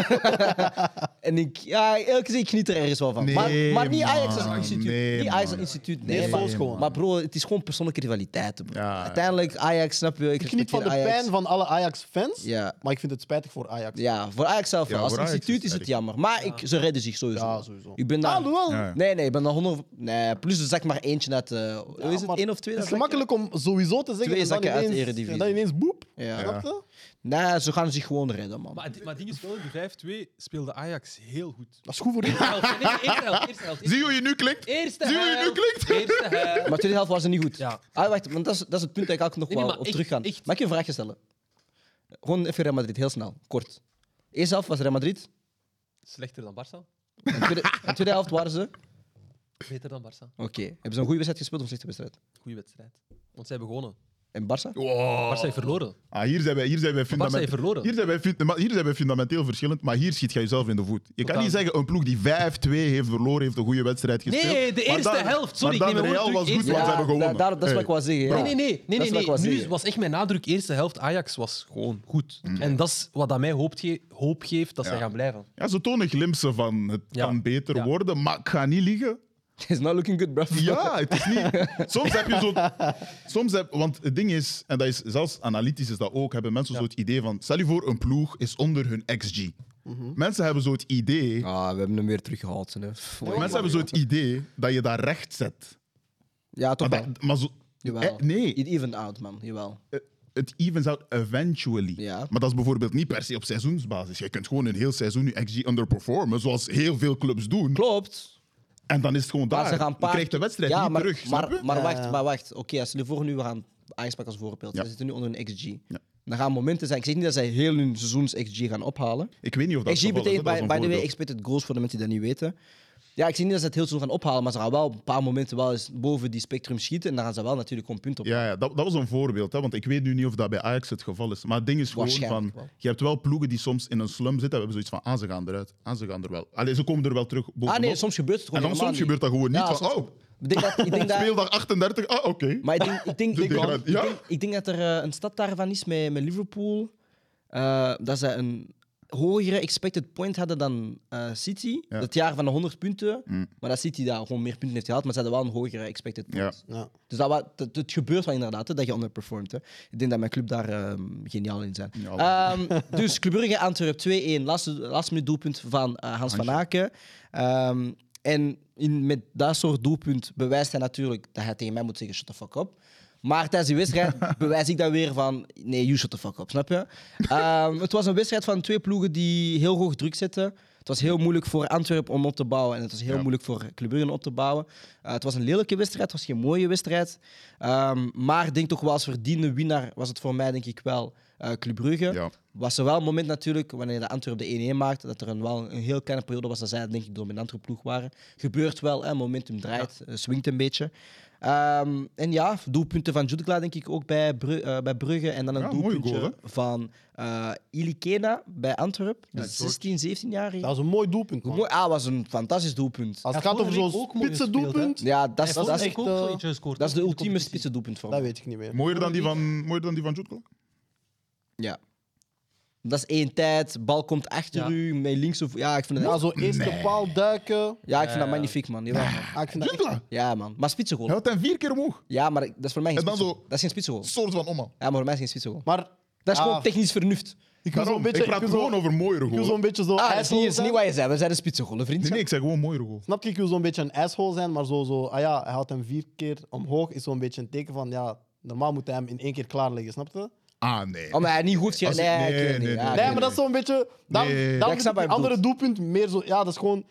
[SPEAKER 1] en ik, ja, elke keer ik geniet er ergens wel van.
[SPEAKER 2] Nee,
[SPEAKER 1] maar, maar niet Ajax als
[SPEAKER 2] man.
[SPEAKER 1] instituut.
[SPEAKER 2] Nee,
[SPEAKER 1] niet Ajax als
[SPEAKER 2] man.
[SPEAKER 1] instituut. Nee,
[SPEAKER 4] Nee,
[SPEAKER 1] maar,
[SPEAKER 4] Fons gewoon.
[SPEAKER 1] maar bro, het is gewoon persoonlijke rivaliteiten. Bro.
[SPEAKER 2] Ja.
[SPEAKER 1] Uiteindelijk, Ajax, snap je? Ik,
[SPEAKER 4] Ik geniet van de
[SPEAKER 1] respecteer
[SPEAKER 4] pijn
[SPEAKER 1] Ajax.
[SPEAKER 4] van alle Ajax-fans,
[SPEAKER 1] Ja.
[SPEAKER 4] maar ik vind het spijtig voor Ajax.
[SPEAKER 1] Ja, voor Ajax zelf wel.
[SPEAKER 2] Ja,
[SPEAKER 1] Als
[SPEAKER 2] voor Ajax
[SPEAKER 1] instituut
[SPEAKER 2] is
[SPEAKER 1] is het
[SPEAKER 2] erg.
[SPEAKER 1] jammer. Maar ik, ze redden zich sowieso.
[SPEAKER 4] Ja, sowieso.
[SPEAKER 1] Ik ben daar...
[SPEAKER 4] Ah, wel.
[SPEAKER 2] Ja, ja.
[SPEAKER 1] Nee, nee, ik ben daar 100... Nee, plus er zak maar eentje uit... eh, hoe is het
[SPEAKER 4] maar
[SPEAKER 1] één of twee?
[SPEAKER 4] Het is
[SPEAKER 1] zakken?
[SPEAKER 4] gemakkelijk om sowieso te zeggen
[SPEAKER 1] Twee
[SPEAKER 4] en dan
[SPEAKER 1] zakken uit de
[SPEAKER 4] ineens-
[SPEAKER 1] Eredivisie.
[SPEAKER 4] En dan ineens boep.
[SPEAKER 1] Ja.
[SPEAKER 4] Snap je?
[SPEAKER 1] Nee, ze gaan zich gewoon redden, man.
[SPEAKER 5] Maar, het- maar het ding is wel, in de 5-2 speelde Ajax heel goed.
[SPEAKER 4] Dat is goed voor u.
[SPEAKER 5] Eerste helft, nee, eerste helft, eerste helft.
[SPEAKER 2] Zie je hoe je nu klinkt?
[SPEAKER 5] Eerste
[SPEAKER 2] Zie je hoe je nu
[SPEAKER 5] helft,
[SPEAKER 2] klinkt?
[SPEAKER 5] Eerste helft.
[SPEAKER 1] Maar de tweede helft was het niet goed.
[SPEAKER 5] Ja.
[SPEAKER 1] Ah, wacht, want dat is, dat is het punt dat ik ook nog
[SPEAKER 5] Nee, nee,
[SPEAKER 1] wel
[SPEAKER 5] maar
[SPEAKER 1] op
[SPEAKER 5] echt,
[SPEAKER 1] terug ga.
[SPEAKER 5] echt.
[SPEAKER 1] Mag ik je een vraagje stellen? Gewoon even Real Madrid, heel snel, kort. Eerste helft was Real Madrid.
[SPEAKER 5] Slechter dan Barça?
[SPEAKER 1] En tweede, en tweede helft waren ze. Oké.
[SPEAKER 5] Beter dan Barça.
[SPEAKER 1] Hebben ze een goede wedstrijd gespeeld of een slechte wedstrijd?
[SPEAKER 5] Goeie wedstrijd. Want zij hebben gewonnen.
[SPEAKER 1] En Barça?
[SPEAKER 2] Oh,
[SPEAKER 1] Oh.
[SPEAKER 5] Barça heeft verloren.
[SPEAKER 2] Ah, hier zijn wij, hier zijn wij
[SPEAKER 5] Barca heeft
[SPEAKER 2] fundamenteel.
[SPEAKER 5] verloren.
[SPEAKER 2] Hier zijn, wij, fun- maar hier zijn wij fundamenteel verschillend, maar hier schiet jij jezelf in de voet. Je kan
[SPEAKER 5] Totaal.
[SPEAKER 2] niet zeggen een ploeg die 5-2 heeft verloren, heeft een goede wedstrijd gespeeld.
[SPEAKER 5] Nee, de
[SPEAKER 2] Maar
[SPEAKER 5] eerste
[SPEAKER 2] dan-
[SPEAKER 5] helft. Sorry,
[SPEAKER 2] maar
[SPEAKER 5] ik
[SPEAKER 2] dan
[SPEAKER 5] neem mijn
[SPEAKER 2] Real
[SPEAKER 5] woorden
[SPEAKER 2] was
[SPEAKER 5] terug.
[SPEAKER 2] goed, want
[SPEAKER 5] Eerste-
[SPEAKER 2] ze hebben gewonnen.
[SPEAKER 1] daar- daar- dat is wat
[SPEAKER 2] Hey.
[SPEAKER 1] ik wou zeggen. ja.
[SPEAKER 5] Nee, nee, nee. nee,
[SPEAKER 1] Dat
[SPEAKER 5] nee,
[SPEAKER 1] is wat ik wou
[SPEAKER 5] nee. Nu
[SPEAKER 1] zeggen. Mm.
[SPEAKER 5] was echt mijn nadruk. Eerste helft, Ajax was gewoon goed. En dat is wat dat mij hoop, ge- hoop geeft dat zij gaan blijven.
[SPEAKER 2] Ja, ze tonen glimpsen van het
[SPEAKER 5] Ja.
[SPEAKER 2] kan beter
[SPEAKER 5] Ja.
[SPEAKER 2] worden, maar ik ga niet liegen.
[SPEAKER 1] It's not looking good, bro.
[SPEAKER 2] Ja, het is niet. Soms heb je zo'n. Soms heb, want het ding is, en dat is zelfs analytisch is dat ook, hebben mensen zo het idee van. Stel je voor, een ploeg is onder hun XG.
[SPEAKER 5] Mhm.
[SPEAKER 2] Mensen hebben zo het idee.
[SPEAKER 1] Ah, we hebben hem weer teruggehaald. Hè. Pff,
[SPEAKER 2] Mensen hebben zo het idee dat je daar recht zet.
[SPEAKER 1] Ja, toch
[SPEAKER 2] Ah, Maar,
[SPEAKER 1] wel.
[SPEAKER 2] dat, maar zo,
[SPEAKER 1] Jawel.
[SPEAKER 2] eh, nee,
[SPEAKER 1] It evened out, man. Jawel.
[SPEAKER 2] eh, het evens out eventually.
[SPEAKER 1] Ja.
[SPEAKER 2] Maar dat is bijvoorbeeld niet per se op seizoensbasis. Je kunt gewoon een heel seizoen je XG underperformen, zoals heel veel clubs doen.
[SPEAKER 1] Klopt.
[SPEAKER 2] En dan is het gewoon
[SPEAKER 1] Maar
[SPEAKER 2] daar.
[SPEAKER 1] ze gaan
[SPEAKER 2] Je
[SPEAKER 1] paar-
[SPEAKER 2] krijgt de wedstrijd
[SPEAKER 1] ja,
[SPEAKER 2] niet
[SPEAKER 1] maar,
[SPEAKER 2] terug.
[SPEAKER 1] Maar,
[SPEAKER 2] snap je?
[SPEAKER 1] maar wacht,
[SPEAKER 4] Ja.
[SPEAKER 1] maar wacht. Oké, als jullie voor nu we gaan Ajax pakken als voorbeeld.
[SPEAKER 2] Ja.
[SPEAKER 1] Ze zitten nu onder een XG. Dan gaan momenten zijn. Ik zeg niet dat zij heel hun seizoens XG gaan ophalen.
[SPEAKER 2] Ik weet niet of dat
[SPEAKER 1] XG
[SPEAKER 2] het geval is,
[SPEAKER 1] betekent,
[SPEAKER 2] hè. Dat is
[SPEAKER 1] by,
[SPEAKER 2] een
[SPEAKER 1] by the way,
[SPEAKER 2] voorbeeld.
[SPEAKER 1] expected goals voor de mensen die dat niet weten. Ja, ik zeg niet dat ze het heel seizoen gaan ophalen, maar ze gaan wel een paar momenten wel eens boven die spectrum schieten. En dan gaan ze wel natuurlijk gewoon punten op.
[SPEAKER 2] Ja, ja dat, dat was een voorbeeld, hè, want ik weet nu niet of dat bij Ajax het geval is. Maar het ding is gewoon van,
[SPEAKER 1] Waarschijnlijk wel.
[SPEAKER 2] je hebt wel ploegen die soms in een slum zitten en we hebben zoiets van, ah, ze gaan eruit, ah, ze gaan er wel. Allee, ze komen er wel terug bovenop.
[SPEAKER 1] Ah nee, soms gebeurt het
[SPEAKER 2] en
[SPEAKER 1] gewoon
[SPEAKER 2] dan soms
[SPEAKER 1] helemaal
[SPEAKER 2] gebeurt dat gewoon niet,
[SPEAKER 1] Ja,
[SPEAKER 2] van,
[SPEAKER 1] soms-
[SPEAKER 2] oh,
[SPEAKER 1] Ik denk dat... Ik denk dat
[SPEAKER 2] speeldag 38, ah, oké.
[SPEAKER 1] maar ik denk, ik denk,
[SPEAKER 2] De
[SPEAKER 1] ik denk,
[SPEAKER 2] degrad- ja.
[SPEAKER 1] ik denk- ik denk dat er eh, een stad daarvan is met, met Liverpool. eh, dat ze een hogere expected point hadden dan eh, City.
[SPEAKER 2] Ja. Mm.
[SPEAKER 1] Dat jaar van de 100 punten. Maar dat City daar gewoon meer punten heeft gehaald, maar ze hadden wel een hogere expected point.
[SPEAKER 2] Ja.
[SPEAKER 4] Ja.
[SPEAKER 1] Dus dat, wa- dat- het gebeurt wel inderdaad, hè, dat je underperformt. Hè. Ik denk dat mijn club daar ehm, geniaal in zijn.
[SPEAKER 2] Ja,
[SPEAKER 1] Ehm, dus Club Brugge, Antwerp 2-1. Laatste, laatste minuut doelpunt van eh, Hans van Aken. Ehm, en in, met dat soort doelpunt bewijst hij natuurlijk dat hij tegen mij moet zeggen shut the fuck up. Maar tijdens die wedstrijd bewijs ik dat weer van nee, you shut the fuck up, snap je? Ehm, het was een wedstrijd van twee ploegen die heel hoog druk zetten. Het was heel moeilijk voor Antwerpen om op te bouwen en het was heel
[SPEAKER 2] Ja.
[SPEAKER 1] moeilijk voor Club Brugge om op te bouwen. Eh, het was een lelijke wedstrijd, het was geen mooie wedstrijd. Ehm, maar ik denk toch wel als verdiende winnaar was het voor mij denk ik wel eh Club Brugge.
[SPEAKER 2] Ja.
[SPEAKER 1] Was er wel een moment natuurlijk, wanneer de Antwerpen de 1-1 maakte, dat er een, wel een heel kleine periode was dat zij denk ik de dominantere ploeg waren. Gebeurt wel, hè, momentum draait, eh, swingt een beetje. Ehm, en ja, doelpunten van Jutgla denk ik ook bij, Bru- eh, bij Brugge. En dan een
[SPEAKER 2] Ja, mooie
[SPEAKER 1] doelpuntje
[SPEAKER 2] goal,
[SPEAKER 1] van eh Ilikena bij Antwerpen. Dus 16, 17-jarige.
[SPEAKER 4] Dat is een mooi doelpunt. man.
[SPEAKER 1] Mooi, ah, was een fantastisch doelpunt.
[SPEAKER 4] Als het
[SPEAKER 5] Ja,
[SPEAKER 4] gaat over
[SPEAKER 5] vorige
[SPEAKER 4] zo'n
[SPEAKER 5] week ook mooi
[SPEAKER 4] spitse
[SPEAKER 5] gespeeld, hè?
[SPEAKER 4] doelpunt,
[SPEAKER 1] Ja, dat is,
[SPEAKER 5] Hij
[SPEAKER 1] dat
[SPEAKER 5] heeft
[SPEAKER 1] is,
[SPEAKER 4] echt,
[SPEAKER 5] ook
[SPEAKER 4] eh,
[SPEAKER 5] zoiets gescoord,
[SPEAKER 1] dat is de
[SPEAKER 5] hoor,
[SPEAKER 1] ultieme
[SPEAKER 5] in competitie.
[SPEAKER 1] spitse doelpunt voor
[SPEAKER 4] dat
[SPEAKER 1] mij.
[SPEAKER 4] weet ik niet meer.
[SPEAKER 2] Mooier dan die van, mooier dan die van Jutko?
[SPEAKER 1] Ja. Dat is één tijd, bal komt achter
[SPEAKER 5] Ja.
[SPEAKER 1] u, met links of... Ja, ik vind dat,
[SPEAKER 4] Ja, Eh, zo eerst de paal duiken.
[SPEAKER 1] ja, ik vind dat magnifiek, man. Jawel, man.
[SPEAKER 4] Ah, ik vind dat echt-
[SPEAKER 2] Jutko?
[SPEAKER 1] Ja, man. Maar spitsengoal.
[SPEAKER 2] Hij had hem vier keer omhoog.
[SPEAKER 1] Ja, maar dat is voor mij geen
[SPEAKER 2] En dan
[SPEAKER 1] spitsengoal.
[SPEAKER 2] zo-
[SPEAKER 1] Dat is geen spitsengoal.
[SPEAKER 2] Soort van omhaal.
[SPEAKER 1] Ja, maar voor mij is geen spitsengoal.
[SPEAKER 4] Maar
[SPEAKER 1] Dat is
[SPEAKER 4] ja,
[SPEAKER 1] gewoon technisch vernuft.
[SPEAKER 4] Ik wil
[SPEAKER 2] Daarom,
[SPEAKER 4] zo'n beetje,
[SPEAKER 2] ik praat
[SPEAKER 4] ik wil zo-
[SPEAKER 2] gewoon over mooiere
[SPEAKER 4] ik wil zo'n
[SPEAKER 2] goal.
[SPEAKER 4] beetje zo.
[SPEAKER 1] Ah, dat is niet,
[SPEAKER 4] asshole
[SPEAKER 1] is niet
[SPEAKER 4] zijn.
[SPEAKER 1] waar je zei. We zijn een spitsengoal, vriend.
[SPEAKER 2] Nee, nee, ik zeg gewoon mooiere goal.
[SPEAKER 4] Snap je, ik wil zo'n beetje een asshole zijn, maar zo, zo, ah ja, hij had hem vier keer omhoog, is zo'n beetje een teken van, ja, normaal moet hij hem in één keer klaarleggen, snap je?
[SPEAKER 2] Ah, nee.
[SPEAKER 1] Omdat hij niet goed zegt.
[SPEAKER 2] Als-
[SPEAKER 1] Nee,
[SPEAKER 2] nee,
[SPEAKER 1] ik weet het
[SPEAKER 2] nee,
[SPEAKER 1] niet. Ja,
[SPEAKER 2] nee,
[SPEAKER 1] ik
[SPEAKER 4] Nee,
[SPEAKER 1] weet
[SPEAKER 4] maar
[SPEAKER 1] het
[SPEAKER 4] dat is zo'n beetje, dan,
[SPEAKER 2] Nee. Ja,
[SPEAKER 4] dan
[SPEAKER 1] ik snap wat je
[SPEAKER 4] andere doelpunt meer zo, ja, dat is gewoon,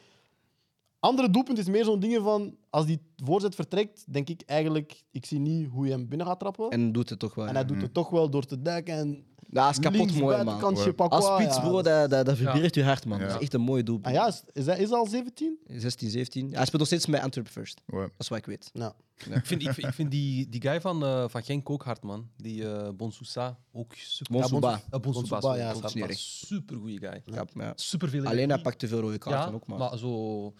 [SPEAKER 4] andere doelpunt is meer zo'n ding van, als die voorzet vertrekt, denk ik eigenlijk, ik zie niet hoe je hem binnen gaat trappen.
[SPEAKER 1] niet.
[SPEAKER 4] En,
[SPEAKER 1] En doet het toch wel.
[SPEAKER 4] hij doet het toch wel door te duiken en
[SPEAKER 1] Dat is kapot
[SPEAKER 4] links
[SPEAKER 1] mooi, man.
[SPEAKER 4] buitenkantje pakwa,
[SPEAKER 1] Als spits,
[SPEAKER 4] ja,
[SPEAKER 1] bro,
[SPEAKER 4] dat is-
[SPEAKER 1] dat, dat, dat vibreert je hart, man. Dat
[SPEAKER 2] Ja.
[SPEAKER 1] is echt een mooi doel.
[SPEAKER 4] Ah ja, is, is hij is hij al 17?
[SPEAKER 1] 16, 17. Hij speelt nog steeds met Antwerp First.
[SPEAKER 2] Ja.
[SPEAKER 1] Dat is wat ik weet.
[SPEAKER 4] Ja.
[SPEAKER 5] Ik vind, ik, vind- ik vind die, die guy van, eh van Genk ook hard, man. Die eh Bonsousa ook super.
[SPEAKER 1] Bonsouba.
[SPEAKER 5] Ja, Bons- eh, Bonsouba,
[SPEAKER 4] Bonsouba,
[SPEAKER 5] sorry.
[SPEAKER 4] ja,
[SPEAKER 5] Bonsouba,
[SPEAKER 1] snap ik.
[SPEAKER 5] Supergoeie guy.
[SPEAKER 1] Ja, maar ja.
[SPEAKER 5] Superveel
[SPEAKER 1] Alleen hij
[SPEAKER 5] energie.
[SPEAKER 1] pakt te veel rode kaarten ook, man.
[SPEAKER 5] zo...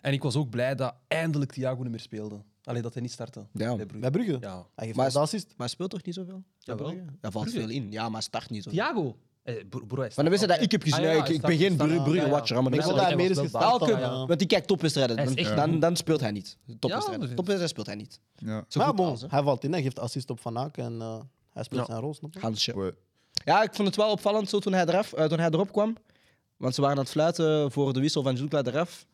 [SPEAKER 5] En ik was ook blij dat eindelijk Thiago niet meer speelde. Alleen dat hij niet startte.
[SPEAKER 1] Ja.
[SPEAKER 5] bij Brugge.
[SPEAKER 4] Bij Brugge?
[SPEAKER 5] Ja.
[SPEAKER 4] Hij geeft
[SPEAKER 1] Maar
[SPEAKER 4] maar, de assist.
[SPEAKER 1] Maar speelt toch niet zoveel? Ja,
[SPEAKER 5] Jawel.
[SPEAKER 1] Brugge? Daar valt
[SPEAKER 5] Brugge.
[SPEAKER 1] veel in. Ja, maar start niet zo.
[SPEAKER 5] Thiago! Eh, bro, bro, hij
[SPEAKER 1] Maar dan wist hij dat ik heb gezien.
[SPEAKER 5] Ah, ja,
[SPEAKER 1] Ja, ik,
[SPEAKER 5] hij
[SPEAKER 1] ik
[SPEAKER 5] start-
[SPEAKER 1] ben geen
[SPEAKER 5] start-
[SPEAKER 1] Brugge-
[SPEAKER 5] ah,
[SPEAKER 1] Brugge-watcher.
[SPEAKER 5] ja.
[SPEAKER 1] maar dan
[SPEAKER 4] Ik
[SPEAKER 5] hij
[SPEAKER 1] wist
[SPEAKER 5] was
[SPEAKER 4] wil dat hij
[SPEAKER 5] wel
[SPEAKER 4] meer is
[SPEAKER 5] betaald,
[SPEAKER 4] gestaan.
[SPEAKER 5] ja, ja.
[SPEAKER 1] Want die kijkt topwedstrijden.
[SPEAKER 7] Hij is
[SPEAKER 1] Dan,
[SPEAKER 7] echt
[SPEAKER 1] dan, dan speelt hij niet. Topwedstrijden. dus-
[SPEAKER 5] Ja,
[SPEAKER 1] topwedstrijden speelt hij niet.
[SPEAKER 2] Ja.
[SPEAKER 1] Zo
[SPEAKER 4] Maar
[SPEAKER 1] goed
[SPEAKER 4] bon,
[SPEAKER 1] als, hè.
[SPEAKER 4] hij valt in, hij geeft assist op Van Aken en eh, hij speelt zijn rol, snap je?
[SPEAKER 1] Hansje.
[SPEAKER 2] Goeie.
[SPEAKER 1] Ja, ik vond het wel opvallend zo toen hij, eraf, eh, toen hij erop kwam. Want ze waren aan het fluiten voor de wissel van Julka eraf.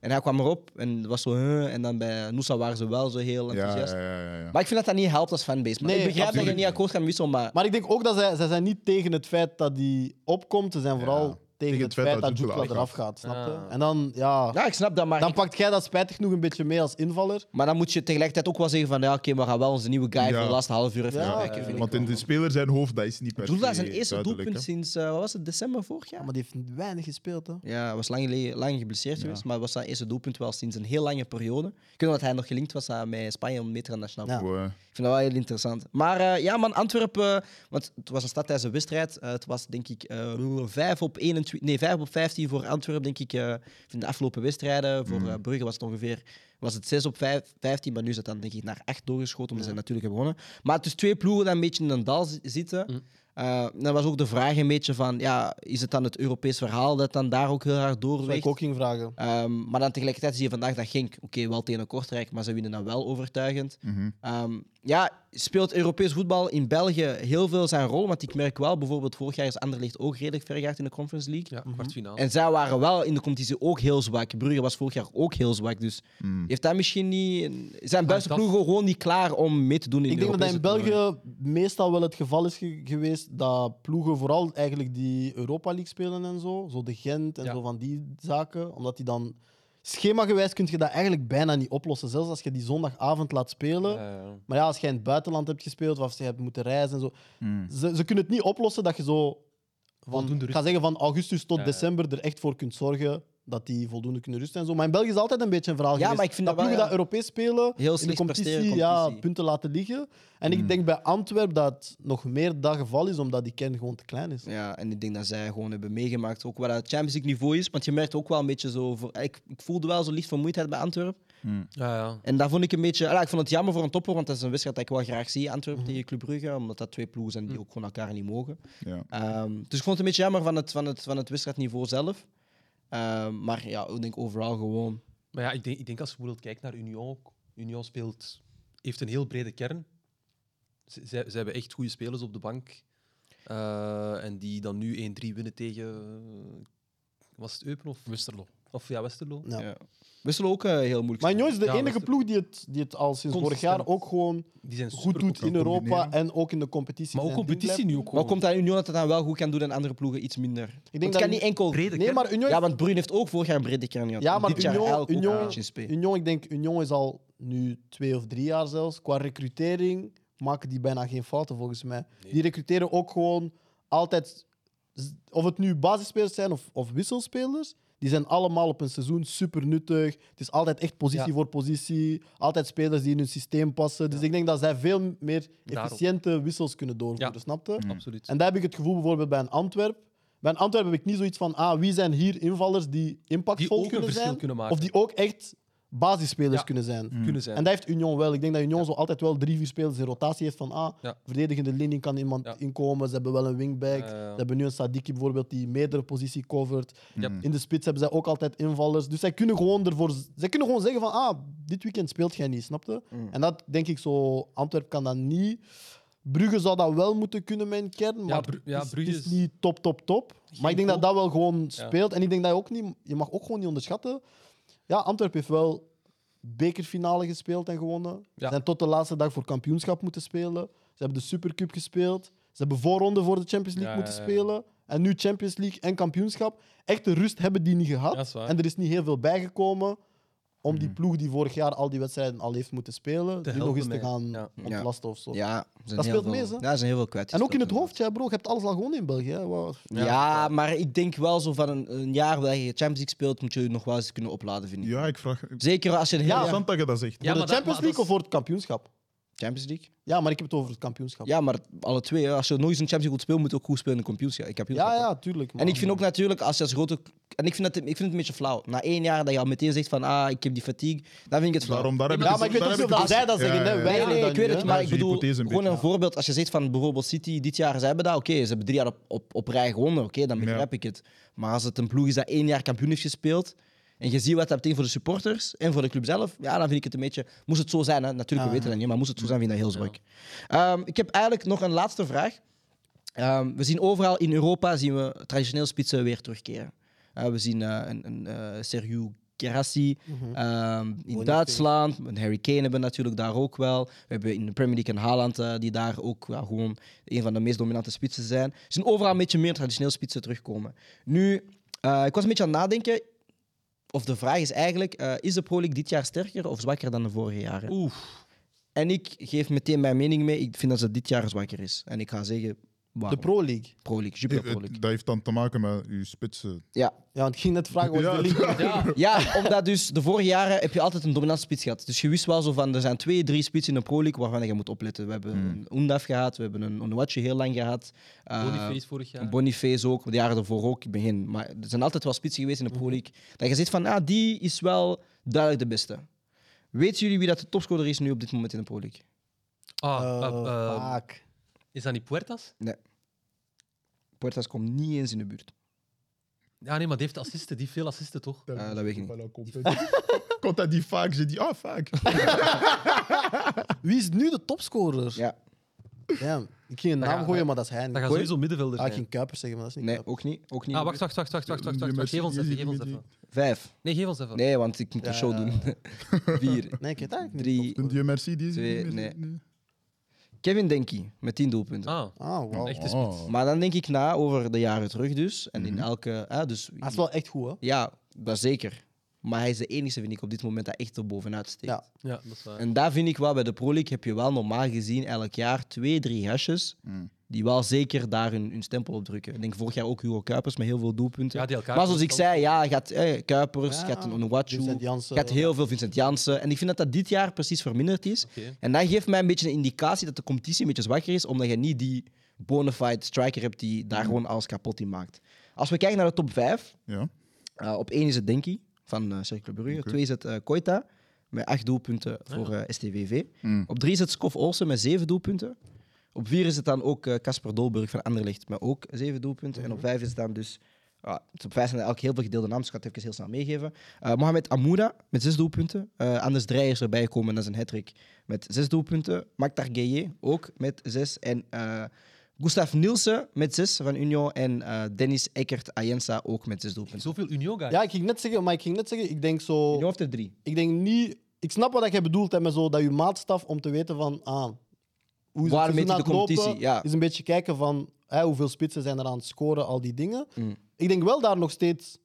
[SPEAKER 1] En hij kwam erop en was zo... "Huh." en dan bij Noosa waren ze wel zo heel
[SPEAKER 2] Ja,
[SPEAKER 1] enthousiast.
[SPEAKER 2] ja, ja, ja, ja.
[SPEAKER 1] Maar ik vind dat dat niet helpt als fanbase. Maar
[SPEAKER 4] Nee,
[SPEAKER 1] ik begrijp dat je
[SPEAKER 4] absoluut
[SPEAKER 1] niet akkoord gaat met wissel, maar...
[SPEAKER 4] Maar ik denk ook dat zij, zij zijn niet tegen het feit dat hij opkomt. Ze zijn vooral tegen, het, feit dat Jukla eraf gaat, snap je?
[SPEAKER 5] Ah.
[SPEAKER 4] En dan, ja,
[SPEAKER 1] Ja, ik snap dat, maar,
[SPEAKER 4] dan
[SPEAKER 1] ik-
[SPEAKER 4] pakt jij dat spijtig genoeg een beetje mee als invaller.
[SPEAKER 1] maar dan moet je tegelijkertijd ook wel zeggen van... Ja, oké, we gaan wel onze nieuwe guy
[SPEAKER 2] Ja.
[SPEAKER 1] voor de laatste half uur even
[SPEAKER 4] Ja,
[SPEAKER 1] gebruiken.
[SPEAKER 4] oké.
[SPEAKER 1] vind ik
[SPEAKER 2] Want
[SPEAKER 1] wel.
[SPEAKER 2] in de speler zijn hoofd, dat is niet per
[SPEAKER 1] Julka
[SPEAKER 2] se
[SPEAKER 1] zijn eerste
[SPEAKER 2] duidelijk,
[SPEAKER 1] doelpunt
[SPEAKER 2] hè.
[SPEAKER 1] sinds... eh, wat was het? December vorig
[SPEAKER 4] Ja,
[SPEAKER 1] jaar?
[SPEAKER 4] maar die heeft weinig gespeeld, hè?
[SPEAKER 1] Ja, hij was lang, geleden- lang geblesseerd geweest, maar was zijn eerste doelpunt wel sinds een heel lange periode. Ik weet nog dat hij nog gelinkt was aan- met Spanje om mee te gaan naar Nationaal.
[SPEAKER 4] Ja.
[SPEAKER 2] Goeie.
[SPEAKER 1] Ik vind dat wel heel interessant. Maar eh, ja, man, Antwerpen, eh, want het was een stad tijdens een wedstrijd. Eh, het was denk ik eh 5 op 21, nee, 5 op 15 voor Antwerpen, denk ik. eh in de afgelopen wedstrijden.
[SPEAKER 4] Mm.
[SPEAKER 1] Voor eh, Brugge was het ongeveer was het 6 op 5, 15, maar nu is het dan denk ik naar 8 doorgeschoten, omdat ze natuurlijk hebben gewonnen. Maar het is twee ploegen die een beetje in een dal zi- zitten.
[SPEAKER 4] Mm.
[SPEAKER 1] Eh, dan was ook de vraag een beetje van, ja, is het dan het Europees verhaal dat dan daar ook heel hard
[SPEAKER 4] Dat wil ik
[SPEAKER 1] doorweegt?
[SPEAKER 4] ook ging vragen.
[SPEAKER 1] Ehm, maar dan tegelijkertijd zie je vandaag dat Genk, oké, wel tegen een Kortrijk, maar ze winnen dan wel overtuigend. Ehm, ja, speelt Europees voetbal in België heel veel zijn rol? Want ik merk wel, bijvoorbeeld vorig jaar is Anderlecht ook redelijk verjaagd in de Conference League.
[SPEAKER 5] Ja, kwartfinale.
[SPEAKER 1] En zij waren wel in de competitie ook heel zwak. Brugge was vorig jaar ook heel zwak. Dus heeft dat misschien niet... Zijn beste
[SPEAKER 5] dat-
[SPEAKER 1] ploegen gewoon niet klaar om mee te doen in
[SPEAKER 4] Ik
[SPEAKER 1] de
[SPEAKER 4] denk dat dat in
[SPEAKER 1] Europese toernooien?
[SPEAKER 4] België meestal wel het geval is ge- geweest dat ploegen, vooral eigenlijk die Europa League spelen en zo, zo de Gent en
[SPEAKER 5] Ja.
[SPEAKER 4] zo van die zaken, omdat die dan schemagewijs kun je dat eigenlijk bijna niet oplossen, zelfs als je die zondagavond laat spelen.
[SPEAKER 5] Eh,
[SPEAKER 4] Maar ja, als jij in het buitenland hebt gespeeld of als je hebt moeten reizen en zo,
[SPEAKER 5] Hmm.
[SPEAKER 4] ze, ze kunnen het niet oplossen dat je zo van,
[SPEAKER 5] Voldoende
[SPEAKER 4] ik
[SPEAKER 5] rust.
[SPEAKER 4] ga zeggen van augustus tot
[SPEAKER 5] Ja, ja.
[SPEAKER 4] december er echt voor kunt zorgen dat die voldoende kunnen rusten en zo. Maar in België is altijd een beetje een verhaal
[SPEAKER 1] Ja,
[SPEAKER 4] geweest.
[SPEAKER 1] maar ik vind dat wel,
[SPEAKER 4] ploegen
[SPEAKER 1] ja.
[SPEAKER 4] dat Europees spelen
[SPEAKER 1] Heel
[SPEAKER 4] in de
[SPEAKER 1] slecht
[SPEAKER 4] competitie,
[SPEAKER 1] presteren,
[SPEAKER 4] Ja,
[SPEAKER 1] competitie.
[SPEAKER 4] punten laten liggen. En
[SPEAKER 5] Hmm.
[SPEAKER 4] ik denk bij Antwerpen dat het nog meer dat geval is, omdat die kern gewoon te klein is.
[SPEAKER 1] Ja, en ik denk dat zij gewoon hebben meegemaakt, ook wat het Champions League niveau is. Want je merkt ook wel een beetje zo... Voor, ik, ik voelde wel zo licht vermoeidheid bij Antwerpen.
[SPEAKER 5] ja, ja.
[SPEAKER 1] En dat vond ik een beetje. ah, ik vond het jammer voor een topper, want dat is een wedstrijd dat ik wel graag zie. Antwerpen tegen Club Brugge, omdat dat twee ploegen zijn
[SPEAKER 4] Hm.
[SPEAKER 1] die ook gewoon elkaar niet mogen.
[SPEAKER 2] Ja.
[SPEAKER 1] Ehm, dus ik vond het een beetje jammer van het, van het, van het wedstrijdniveau zelf. Ehm, maar ja, ik denk overal gewoon.
[SPEAKER 5] Maar ja, ik denk, ik denk als je bijvoorbeeld kijkt naar Union, ook. Union speelt, heeft een heel brede kern. Ze, zij- zij hebben echt goede spelers op de bank. Eh, en die dan nu 1-3 winnen tegen. eh, Was het Eupen of,
[SPEAKER 6] Westerlo.
[SPEAKER 5] of ja, Westerlo?
[SPEAKER 4] Ja.
[SPEAKER 1] Ja. Wisselen ook eh, heel moeilijk.
[SPEAKER 4] Maar Union is de
[SPEAKER 5] Ja,
[SPEAKER 4] enige
[SPEAKER 5] dat is-
[SPEAKER 4] ploeg die het, die het al sinds vorig
[SPEAKER 5] Consistent.
[SPEAKER 4] jaar ook gewoon
[SPEAKER 5] Die zijn
[SPEAKER 4] goed doet in
[SPEAKER 2] kan
[SPEAKER 4] Europa
[SPEAKER 2] combineren.
[SPEAKER 4] en ook in de competitie.
[SPEAKER 5] Maar ook
[SPEAKER 4] zijn ding
[SPEAKER 5] competitie nu ook
[SPEAKER 1] maar
[SPEAKER 5] gewoon.
[SPEAKER 1] komt dat Union dat het dan wel goed kan doen en andere ploegen iets minder? Ik denk
[SPEAKER 4] denk
[SPEAKER 1] het kan
[SPEAKER 4] dat-
[SPEAKER 1] niet enkel.
[SPEAKER 5] brede
[SPEAKER 4] blijft. Nee,
[SPEAKER 5] kern.
[SPEAKER 4] maar Union,
[SPEAKER 1] Ja, want Bruyne heeft ook vorig jaar een brede kern gehad.
[SPEAKER 4] Ja, maar
[SPEAKER 1] dit jaar
[SPEAKER 4] Union-
[SPEAKER 1] eigenlijk ook
[SPEAKER 4] Union-
[SPEAKER 1] een beetje in spe.
[SPEAKER 4] Union, ik denk, Union is al nu twee of drie jaar zelfs. Qua recrutering maken die bijna geen fouten volgens mij. Die recruteren ook gewoon altijd, z- of het nu basisspelers zijn of, of wisselspelers, die zijn allemaal op een seizoen super nuttig. Het is altijd echt positie
[SPEAKER 5] Ja.
[SPEAKER 4] voor positie. Altijd spelers die in hun systeem passen. Dus ik denk dat zij veel meer
[SPEAKER 5] Daarop.
[SPEAKER 4] efficiënte wissels kunnen doorvoeren,
[SPEAKER 5] Ja.
[SPEAKER 4] snap je?
[SPEAKER 5] Absoluut.
[SPEAKER 4] En daar heb ik het gevoel bijvoorbeeld bij een Antwerp. Bij een Antwerp heb ik niet zoiets van, ah, wie zijn hier invallers die impactvol
[SPEAKER 5] Die ook een
[SPEAKER 4] kunnen
[SPEAKER 5] verschil
[SPEAKER 4] zijn?
[SPEAKER 5] kunnen maken.
[SPEAKER 4] Of die ook echt basisspelers
[SPEAKER 5] Ja.
[SPEAKER 4] kunnen zijn.
[SPEAKER 1] Hmm.
[SPEAKER 5] kunnen zijn.
[SPEAKER 4] En dat heeft Union wel. Ik denk dat Union zo altijd wel drie, vier spelers in rotatie heeft van, ah,
[SPEAKER 5] Ja.
[SPEAKER 4] verdedigende linie kan iemand
[SPEAKER 5] Ja.
[SPEAKER 4] inkomen. Ze hebben wel een wingback.
[SPEAKER 5] Ja, ja, ja.
[SPEAKER 4] Ze hebben nu een Sadiki bijvoorbeeld die meerdere positie covert.
[SPEAKER 5] Ja.
[SPEAKER 4] In de spits hebben zij ook altijd invallers. Dus zij kunnen gewoon ervoor... Zij kunnen gewoon zeggen van, ah, dit weekend speelt jij niet, snapte? En dat denk ik zo... Antwerp kan dat niet. Brugge zou dat wel moeten kunnen, mijn kern. Maar
[SPEAKER 5] Bru- ja,
[SPEAKER 4] het is-
[SPEAKER 5] Brugge
[SPEAKER 4] het is
[SPEAKER 5] is-
[SPEAKER 4] niet top, top, top. Maar ik denk dat
[SPEAKER 5] top.
[SPEAKER 4] dat wel gewoon speelt. En ik denk dat je ook niet... Je mag ook gewoon niet onderschatten. Ja, Antwerpen heeft wel bekerfinale gespeeld en gewonnen. Ze
[SPEAKER 5] Ja.
[SPEAKER 4] zijn tot de laatste dag voor kampioenschap moeten spelen. Ze hebben de Supercup gespeeld. Ze hebben voorronde voor de Champions League
[SPEAKER 5] Ja,
[SPEAKER 4] moeten
[SPEAKER 5] ja, ja.
[SPEAKER 4] spelen. En nu Champions League en kampioenschap. Echte rust hebben die niet gehad.
[SPEAKER 5] Ja, is waar. Mhm.
[SPEAKER 4] en er is niet heel veel bijgekomen om die ploeg die vorig jaar al die wedstrijden al heeft moeten spelen, die nog
[SPEAKER 5] helpen
[SPEAKER 4] eens te
[SPEAKER 5] mee.
[SPEAKER 4] gaan
[SPEAKER 5] Ja.
[SPEAKER 4] ontlasten of zo.
[SPEAKER 1] Ja, er zijn
[SPEAKER 4] Dat
[SPEAKER 1] heel
[SPEAKER 4] speelt
[SPEAKER 1] veel-
[SPEAKER 4] mee, hè?
[SPEAKER 1] Ja, er zijn heel veel kwijt.
[SPEAKER 4] En ook in het hoofd, ja, bro. Je hebt alles al gewonnen in België. hè. Wow.
[SPEAKER 1] Ja, maar ik denk wel zo van een, een jaar waar je Champions League speelt, moet je je nog wel eens kunnen opladen, vind ik.
[SPEAKER 2] Ja, ik vraag.
[SPEAKER 1] Zeker als je een heel
[SPEAKER 4] Ja,
[SPEAKER 1] jaar-
[SPEAKER 2] Interessant dat je dat zegt.
[SPEAKER 5] Ja,
[SPEAKER 4] voor
[SPEAKER 5] maar
[SPEAKER 4] de
[SPEAKER 5] dat-
[SPEAKER 4] Champions
[SPEAKER 5] maar dat
[SPEAKER 4] League of
[SPEAKER 5] is-
[SPEAKER 4] voor het kampioenschap?
[SPEAKER 1] Champions League.
[SPEAKER 4] Ja, maar ik heb het over het kampioenschap. Ja,
[SPEAKER 1] Ja, maar alle twee. hè. Als je nooit eens een Champions League wilt spelen, moet je ook goed spelen in de computer. Ik heb heel
[SPEAKER 4] ja,
[SPEAKER 1] veel-
[SPEAKER 4] tuurlijk.
[SPEAKER 1] En
[SPEAKER 4] maar-
[SPEAKER 1] ik vind ook natuurlijk, als je als grote... En ik vind, dat, ik vind het een beetje flauw. Na één jaar dat je al meteen zegt van, ah, ik heb die fatigue. Dan vind ik het flauw.
[SPEAKER 2] Daarom, daar heb
[SPEAKER 4] Ja, maar ik weet
[SPEAKER 2] daar
[SPEAKER 4] ook
[SPEAKER 2] heb
[SPEAKER 4] niet of dat
[SPEAKER 2] het-
[SPEAKER 4] zij dat
[SPEAKER 2] Ja,
[SPEAKER 4] zeggen.
[SPEAKER 2] ja,
[SPEAKER 4] hè.
[SPEAKER 2] ja.
[SPEAKER 4] Wij
[SPEAKER 1] Nee,
[SPEAKER 4] doen
[SPEAKER 1] nee,
[SPEAKER 4] dat
[SPEAKER 1] ik weet
[SPEAKER 4] niet,
[SPEAKER 1] het,
[SPEAKER 4] hè.
[SPEAKER 1] maar
[SPEAKER 2] Ja,
[SPEAKER 1] ik
[SPEAKER 2] die
[SPEAKER 1] bedoel,
[SPEAKER 2] hypothese een
[SPEAKER 1] gewoon
[SPEAKER 2] beetje,
[SPEAKER 1] een voorbeeld. Als je zegt van bijvoorbeeld City, dit jaar, ze hebben dat, oké, ze hebben drie jaar op, op, op rij gewonnen, oké, dan begrijp ik het. Maar als het een ploeg is dat één jaar kampioen heeft gespeeld, en je ziet wat dat betekent voor de supporters en voor de club zelf, ja, dan vind ik het een beetje... Moest het zo zijn, hè? natuurlijk, we weten dat niet, maar moest het zo zijn, vind ik dat heel zwak. Ehm, ik heb eigenlijk nog een laatste vraag. Ehm, we zien overal in Europa zien we traditioneel spitsen weer terugkeren. Eh, we zien eh, een, een eh, Sergio Gerassi
[SPEAKER 4] Mhm.
[SPEAKER 1] ehm, in Duitsland. Een Harry Kane hebben we natuurlijk daar ook wel. We hebben in de Premier League een Haaland eh, die daar ook ja, gewoon een van de meest dominante spitsen zijn. We zien overal een beetje meer traditioneel spitsen terugkomen. Nu, eh, ik was een beetje aan het nadenken. Of de vraag is eigenlijk, eh, is de Pro League dit jaar sterker of zwakker dan de vorige jaren?
[SPEAKER 5] Oef.
[SPEAKER 1] En ik geef meteen mijn mening mee. Ik vind dat ze dit jaar zwakker is. En ik ga zeggen, waarom?
[SPEAKER 4] De Pro League.
[SPEAKER 1] Pro League, Jupiler Pro
[SPEAKER 2] Eh,
[SPEAKER 1] League.
[SPEAKER 2] eh, Dat heeft dan te maken met uw spitsen.
[SPEAKER 1] Ja.
[SPEAKER 4] Ja, want ik ging net vragen wat
[SPEAKER 2] Ja,
[SPEAKER 4] de league
[SPEAKER 5] Ja,
[SPEAKER 1] ja, omdat dus de vorige jaren heb je altijd een dominante spits gehad. Dus je wist wel zo van, er zijn twee, drie spitsen in de Pro League waarvan je moet opletten. We hebben een Oendaf gehad, we hebben een Onuatje heel lang gehad. eh,
[SPEAKER 5] Boniface vorig jaar.
[SPEAKER 1] Een Boniface ook, de jaren ervoor ook. Ik begin. Maar er zijn altijd wel spitsen geweest in de Pro League. Dat je zegt van, ah, die is wel duidelijk de beste. Weten jullie wie dat de topscorer is nu op dit moment in de Pro League?
[SPEAKER 5] ah, eh,
[SPEAKER 4] Eh,
[SPEAKER 5] eh,
[SPEAKER 4] Vaak.
[SPEAKER 5] is dat niet Puertas?
[SPEAKER 1] Puertas komt niet eens in de buurt.
[SPEAKER 5] Ja, nee, maar die heeft assisten. Die heeft veel assisten, toch?
[SPEAKER 1] Eh, dat weet ik niet.
[SPEAKER 2] Komt dat die vaak? Ze die, ah, vaak.
[SPEAKER 4] Wie is nu de topscorer?
[SPEAKER 1] Ja,
[SPEAKER 4] Damn. Ik ging een
[SPEAKER 5] Dat
[SPEAKER 4] naam
[SPEAKER 5] gaat-
[SPEAKER 4] gooien, maar dat is hij
[SPEAKER 5] Dat
[SPEAKER 4] niet.
[SPEAKER 5] gaat
[SPEAKER 1] Goeie.
[SPEAKER 5] sowieso middenvelder
[SPEAKER 4] Ah, ik
[SPEAKER 5] zijn.
[SPEAKER 4] ging Kuipers zeggen, maar dat is niet
[SPEAKER 1] nee,
[SPEAKER 4] Kuipers.
[SPEAKER 1] ook niet. Ook niet
[SPEAKER 5] Ah, wacht, wacht, wacht, wacht, wacht, wacht, wacht, wacht. Geef ons even, geef ons even.
[SPEAKER 1] Vijf.
[SPEAKER 5] Nee, geef ons even.
[SPEAKER 1] Nee, want ik moet een show doen. Vier,
[SPEAKER 4] Nee, ik weet het eigenlijk niet.
[SPEAKER 1] drie,
[SPEAKER 2] Vind je merci die?
[SPEAKER 1] Twee,
[SPEAKER 2] die-
[SPEAKER 1] nee. Kevin Denkie met 10 doelpunten.
[SPEAKER 5] Ah,
[SPEAKER 4] Ah, wauw.
[SPEAKER 5] echt is
[SPEAKER 2] Oh.
[SPEAKER 5] spits.
[SPEAKER 1] Maar dan denk ik na over de jaren terug dus. En in elke... ah, dus,
[SPEAKER 4] Hij is wel echt goed, hè?
[SPEAKER 1] ja, dat zeker. Maar hij is de enige, vind ik, op dit moment dat echt er bovenuit steekt.
[SPEAKER 4] Ja.
[SPEAKER 5] Ja, dat is waar.
[SPEAKER 1] En daar vind ik wel, bij de Pro League heb je wel normaal gezien elk jaar twee, drie hasjes
[SPEAKER 4] Mm.
[SPEAKER 1] die wel zeker daar hun, hun stempel op drukken. Ik denk vorig jaar ook Hugo Kuipers met heel veel doelpunten.
[SPEAKER 5] Ja, die elkaar
[SPEAKER 1] maar zoals ik
[SPEAKER 5] constant-
[SPEAKER 1] zei, ja, je gaat eh, Kuipers,
[SPEAKER 4] Ja,
[SPEAKER 1] je gaat een Onuwachu,
[SPEAKER 4] Vincent
[SPEAKER 1] je
[SPEAKER 4] Janssen.
[SPEAKER 1] gaat heel veel Vincent Jansen. En ik vind dat dat dit jaar precies verminderd is.
[SPEAKER 5] Oké.
[SPEAKER 1] En dat geeft mij een beetje een indicatie dat de competitie een beetje zwakker is, omdat je niet die bona fide striker hebt die
[SPEAKER 4] Mm.
[SPEAKER 1] daar gewoon alles kapot in maakt. Als we kijken naar de top 5,
[SPEAKER 2] Ja.
[SPEAKER 1] eh, op één is het Denki van eh Cercle Brugge. Twee is het eh Koita met acht doelpunten voor eh, STVV. Op drie is het Skof Olsen met zeven doelpunten. Op vier is het dan ook eh, Casper Dolburg van Anderlecht met ook zeven doelpunten. En op vijf is het dan dus... ja, het op vijf zijn eigenlijk heel veel gedeelde namen, dus ik ga het even heel snel meegeven. Eh Mohamed Amoura met zes doelpunten. Eh, Anders Dreyer is erbij gekomen, dat is een hat met zes doelpunten. Maktar Gueye ook met zes. En eh, Gustav Nielsen met zes van Union. En eh, Dennis Eckert Ayensa ook met zes doelpunten.
[SPEAKER 5] Zoveel Union guys.
[SPEAKER 4] Ja, ik ging net zeggen, maar ik ging net zeggen, ik denk zo...
[SPEAKER 1] Union heeft er drie.
[SPEAKER 4] Ik denk niet... Ik snap wat jij bedoelt hè, met zo dat je maatstaf om te weten van... Ah, hoe is
[SPEAKER 1] Waar
[SPEAKER 4] het seizoen
[SPEAKER 1] meet je
[SPEAKER 4] aan het
[SPEAKER 1] de competitie?
[SPEAKER 4] lopen,
[SPEAKER 1] Ja.
[SPEAKER 4] Is een beetje kijken van hè, hoeveel spitsen zijn er aan het scoren, al die dingen.
[SPEAKER 1] Mm.
[SPEAKER 4] Ik denk wel daar nog steeds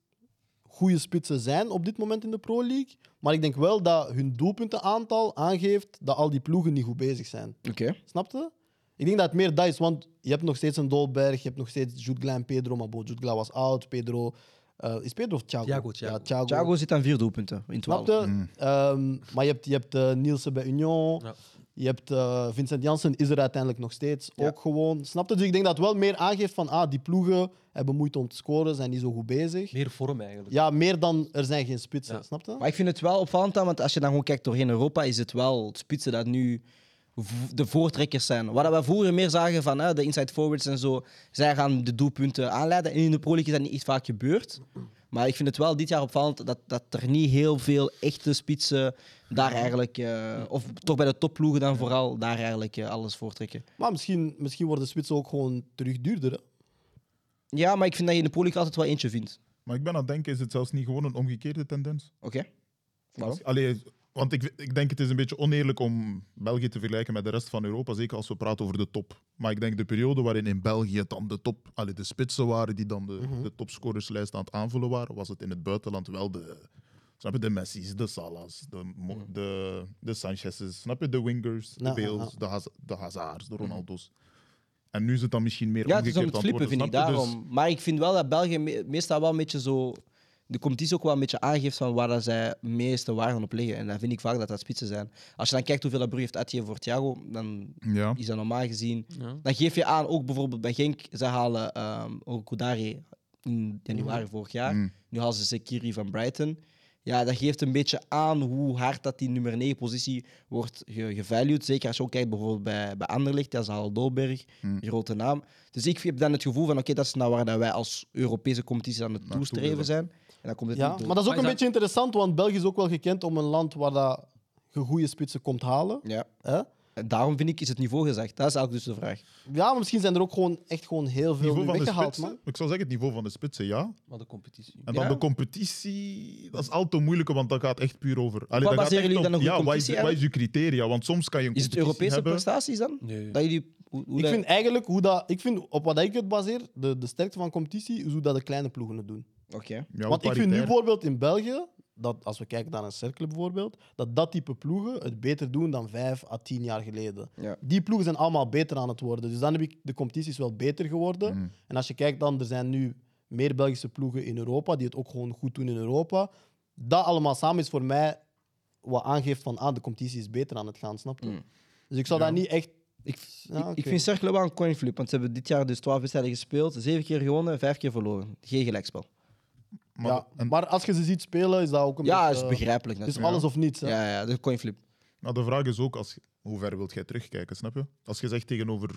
[SPEAKER 4] goede spitsen zijn op dit moment in de Pro League. Maar ik denk wel dat hun doelpuntenaantal aangeeft dat al die ploegen niet goed bezig zijn.
[SPEAKER 1] Oké.
[SPEAKER 4] Snap je? Ik denk dat het meer dat is, want je hebt nog steeds een Dolberg, je hebt nog steeds Jude Gla en Pedro, maar bon, Jude Gla was oud, Pedro... eh, is Pedro of Thiago?
[SPEAKER 5] Thiago, Thiago.
[SPEAKER 4] Ja, Thiago.
[SPEAKER 1] Thiago zit aan vier doelpunten in
[SPEAKER 4] Snap
[SPEAKER 1] 12.
[SPEAKER 4] je?
[SPEAKER 2] Mm.
[SPEAKER 4] Ehm, maar je hebt, je hebt eh, Nielsen bij Union.
[SPEAKER 5] Ja.
[SPEAKER 4] Je hebt eh, Vincent Janssen is er uiteindelijk nog steeds. Ook gewoon. Snap je? Dus ik denk dat het wel meer aangeeft van ah, die ploegen hebben moeite om te scoren, zijn niet zo goed bezig.
[SPEAKER 5] Meer vorm eigenlijk.
[SPEAKER 4] Ja, meer dan er zijn geen spitsen.
[SPEAKER 5] Ja.
[SPEAKER 4] Snap je?
[SPEAKER 1] Maar ik vind het wel opvallend, dan, want als je dan gewoon kijkt doorheen Europa, is het wel het spitsen dat nu v- de voortrekkers zijn. Wat we vroeger meer zagen van hè, de inside forwards en zo, zij gaan de doelpunten aanleiden. En in de Pro League is dat niet echt vaak gebeurd. Maar ik vind het wel dit jaar opvallend dat, dat er niet heel veel echte spitsen daar eigenlijk, eh, of toch bij de topploegen dan vooral, daar eigenlijk eh, alles voortrekken.
[SPEAKER 4] Maar misschien, misschien worden spitsen ook gewoon terug duurder. hè?
[SPEAKER 1] Ja, maar ik vind dat je in de Pro League altijd wel eentje vindt.
[SPEAKER 2] Maar ik ben aan het denken, is het zelfs niet gewoon een omgekeerde tendens?
[SPEAKER 1] Oké? Wat?
[SPEAKER 2] Allee, want ik, ik denk het is een beetje oneerlijk om België te vergelijken met de rest van Europa, zeker als we praten over de top. Maar ik denk de periode waarin in België dan de top, allee, de spitsen waren die dan de,
[SPEAKER 1] Mhm.
[SPEAKER 2] de topscorerslijst aan het aanvullen waren, was het in het buitenland wel de, snap je, de Messi's, de Salah's, de, Mo-
[SPEAKER 1] Mhm.
[SPEAKER 2] de, de Sanchez's, snap je, de Wingers, de
[SPEAKER 4] Ja, ja,
[SPEAKER 2] Bales,
[SPEAKER 4] ja.
[SPEAKER 2] de, Haz- de Hazards, de Ronaldo's. En nu is het dan misschien meer
[SPEAKER 1] Mhm. Ja, het is
[SPEAKER 2] omgekeerd
[SPEAKER 1] om het
[SPEAKER 2] aan het
[SPEAKER 1] flippen,
[SPEAKER 2] worden,
[SPEAKER 1] vind ik
[SPEAKER 2] snap je? Dus-
[SPEAKER 1] daarom. Maar ik vind wel dat België me- meestal wel een beetje zo de competitie ook wel een beetje aangeeft van waar dat zij meeste waarden op liggen. En dan vind ik vaak dat dat spitsen zijn. Als je dan kijkt hoeveel dat Brugge heeft uitgegeven voor Thiago, dan
[SPEAKER 2] Dus- Ja.
[SPEAKER 1] is dat normaal gezien. Dan geef je aan, ook bijvoorbeeld bij Genk, ze halen ehm Okudari in
[SPEAKER 4] Mm.
[SPEAKER 1] januari vorig jaar.
[SPEAKER 2] Mm.
[SPEAKER 1] Nu halen ze Sekiri van Brighton. Ja, dat geeft een beetje aan hoe hard dat die nummer 9 positie wordt ge gevalued. Zeker als je ook kijkt bijvoorbeeld bij, bij Anderlecht, dat is al Dolberg,
[SPEAKER 2] Mm.
[SPEAKER 1] grote naam. Dus ik heb dan het gevoel van, oké, dat is nou waar dat wij als Europese competitie aan het toestreven
[SPEAKER 2] willen.
[SPEAKER 1] zijn. En dan komt het
[SPEAKER 4] Ja,
[SPEAKER 1] niet door.
[SPEAKER 4] maar dat is ook
[SPEAKER 5] Maar
[SPEAKER 4] een
[SPEAKER 5] is
[SPEAKER 4] beetje interessant, want België is ook wel gekend om een land waar dat je goede spitsen komt halen.
[SPEAKER 1] Ja.
[SPEAKER 4] hè?
[SPEAKER 1] En daarom vind ik, is het niveau gezegd. Dat is eigenlijk dus de vraag.
[SPEAKER 4] Ja, maar misschien zijn er ook gewoon echt gewoon heel veel
[SPEAKER 2] niveau
[SPEAKER 4] nu
[SPEAKER 2] van de
[SPEAKER 4] weggehaald,
[SPEAKER 2] spitsen?
[SPEAKER 4] man.
[SPEAKER 2] Ik zou zeggen, het niveau van de spitsen, ja.
[SPEAKER 5] Maar de competitie.
[SPEAKER 2] En dan
[SPEAKER 1] Ja.
[SPEAKER 2] de competitie, dat is al te moeilijk, want dat gaat echt puur over. Allee,
[SPEAKER 1] Wat
[SPEAKER 2] dat gaat
[SPEAKER 1] baseren
[SPEAKER 2] echt
[SPEAKER 1] jullie
[SPEAKER 2] op-
[SPEAKER 1] dan een goede
[SPEAKER 2] Ja, wat is,
[SPEAKER 1] competitie
[SPEAKER 2] wat is uw criteria? Want soms kan je een
[SPEAKER 1] Is het
[SPEAKER 2] competitie
[SPEAKER 1] Europese
[SPEAKER 2] hebben.
[SPEAKER 1] prestaties dan?
[SPEAKER 5] Nee.
[SPEAKER 1] Dat jullie, hoe, hoe
[SPEAKER 4] Ik
[SPEAKER 1] dat-
[SPEAKER 4] vind eigenlijk hoe dat, ik vind, op wat ik het baseer, de, de sterkte van competitie, is hoe dat de kleine ploegen het doen.
[SPEAKER 1] Oké.
[SPEAKER 2] Ja,
[SPEAKER 4] Want ik vind nu
[SPEAKER 2] paritair.
[SPEAKER 4] bijvoorbeeld in België, dat als we kijken naar een cirkel bijvoorbeeld, dat dat type ploegen het beter doen dan vijf à tien jaar geleden.
[SPEAKER 1] Ja.
[SPEAKER 4] Die ploegen zijn allemaal beter aan het worden. Dus dan heb ik de competitie is wel beter geworden.
[SPEAKER 1] Mhm.
[SPEAKER 4] En als je kijkt dan, er zijn nu meer Belgische ploegen in Europa die het ook gewoon goed doen in Europa. Dat allemaal samen is voor mij wat aangeeft van ah, de competitie is beter aan het gaan, snap
[SPEAKER 1] Mhm.
[SPEAKER 4] je? Dus ik zou daar niet echt...
[SPEAKER 1] Ik,
[SPEAKER 4] Ja,
[SPEAKER 1] ik-
[SPEAKER 4] oké.
[SPEAKER 1] ik vind Cercle wel een coinflip, want ze hebben dit jaar dus 12 wedstrijden gespeeld, 7 keer gewonnen, 5 keer verloren. Geen gelijkspel.
[SPEAKER 2] Maar,
[SPEAKER 4] ja.
[SPEAKER 2] en-
[SPEAKER 4] maar als je ze ziet spelen, is dat ook een
[SPEAKER 1] Ja,
[SPEAKER 4] beetje...
[SPEAKER 1] is begrijpelijk
[SPEAKER 4] Het is
[SPEAKER 1] natuurlijk.
[SPEAKER 4] alles of niets. Hè?
[SPEAKER 1] Ja, ja, dat is een coinflip.
[SPEAKER 2] maar de vraag is ook, als, hoe ver wilt jij terugkijken, snap je? Als je zegt tegenover...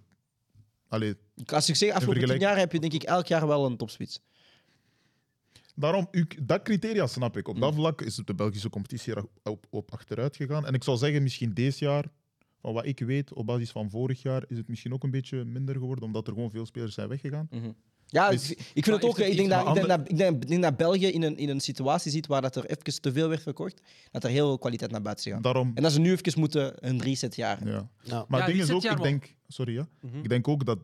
[SPEAKER 2] Allee,
[SPEAKER 1] Als ik zeg, afgelopen 10
[SPEAKER 2] vergelijk-
[SPEAKER 1] jaar heb je denk ik elk jaar wel een topspits.
[SPEAKER 2] Daarom, u, dat criteria snap ik. Op dat vlak is de Belgische competitie er op, op achteruit gegaan. En ik zou zeggen, misschien dit jaar, van wat ik weet, op basis van vorig jaar, is het misschien ook een beetje minder geworden, omdat er gewoon veel spelers zijn weggegaan.
[SPEAKER 1] Ja,
[SPEAKER 2] Dus-
[SPEAKER 1] ik- ik vind het
[SPEAKER 5] Maar
[SPEAKER 1] ook.
[SPEAKER 5] heeft het
[SPEAKER 1] Ik denk, dat,
[SPEAKER 2] iets
[SPEAKER 1] ik, denk
[SPEAKER 2] met
[SPEAKER 1] dat, ik, denk, ik denk dat België in een, in een situatie zit waar dat er even te veel werd verkocht, dat er heel veel kwaliteit naar buiten gaat.
[SPEAKER 2] Daarom,
[SPEAKER 1] En dat ze nu even moeten een reset jaar.
[SPEAKER 2] ja.
[SPEAKER 4] Ja.
[SPEAKER 2] Maar
[SPEAKER 5] Ja,
[SPEAKER 2] het ding
[SPEAKER 5] dit is
[SPEAKER 2] is
[SPEAKER 5] het
[SPEAKER 2] ook,
[SPEAKER 5] jaar
[SPEAKER 2] ik
[SPEAKER 5] wel.
[SPEAKER 2] denk, sorry, ja,
[SPEAKER 5] Mhm.
[SPEAKER 2] ik denk ook dat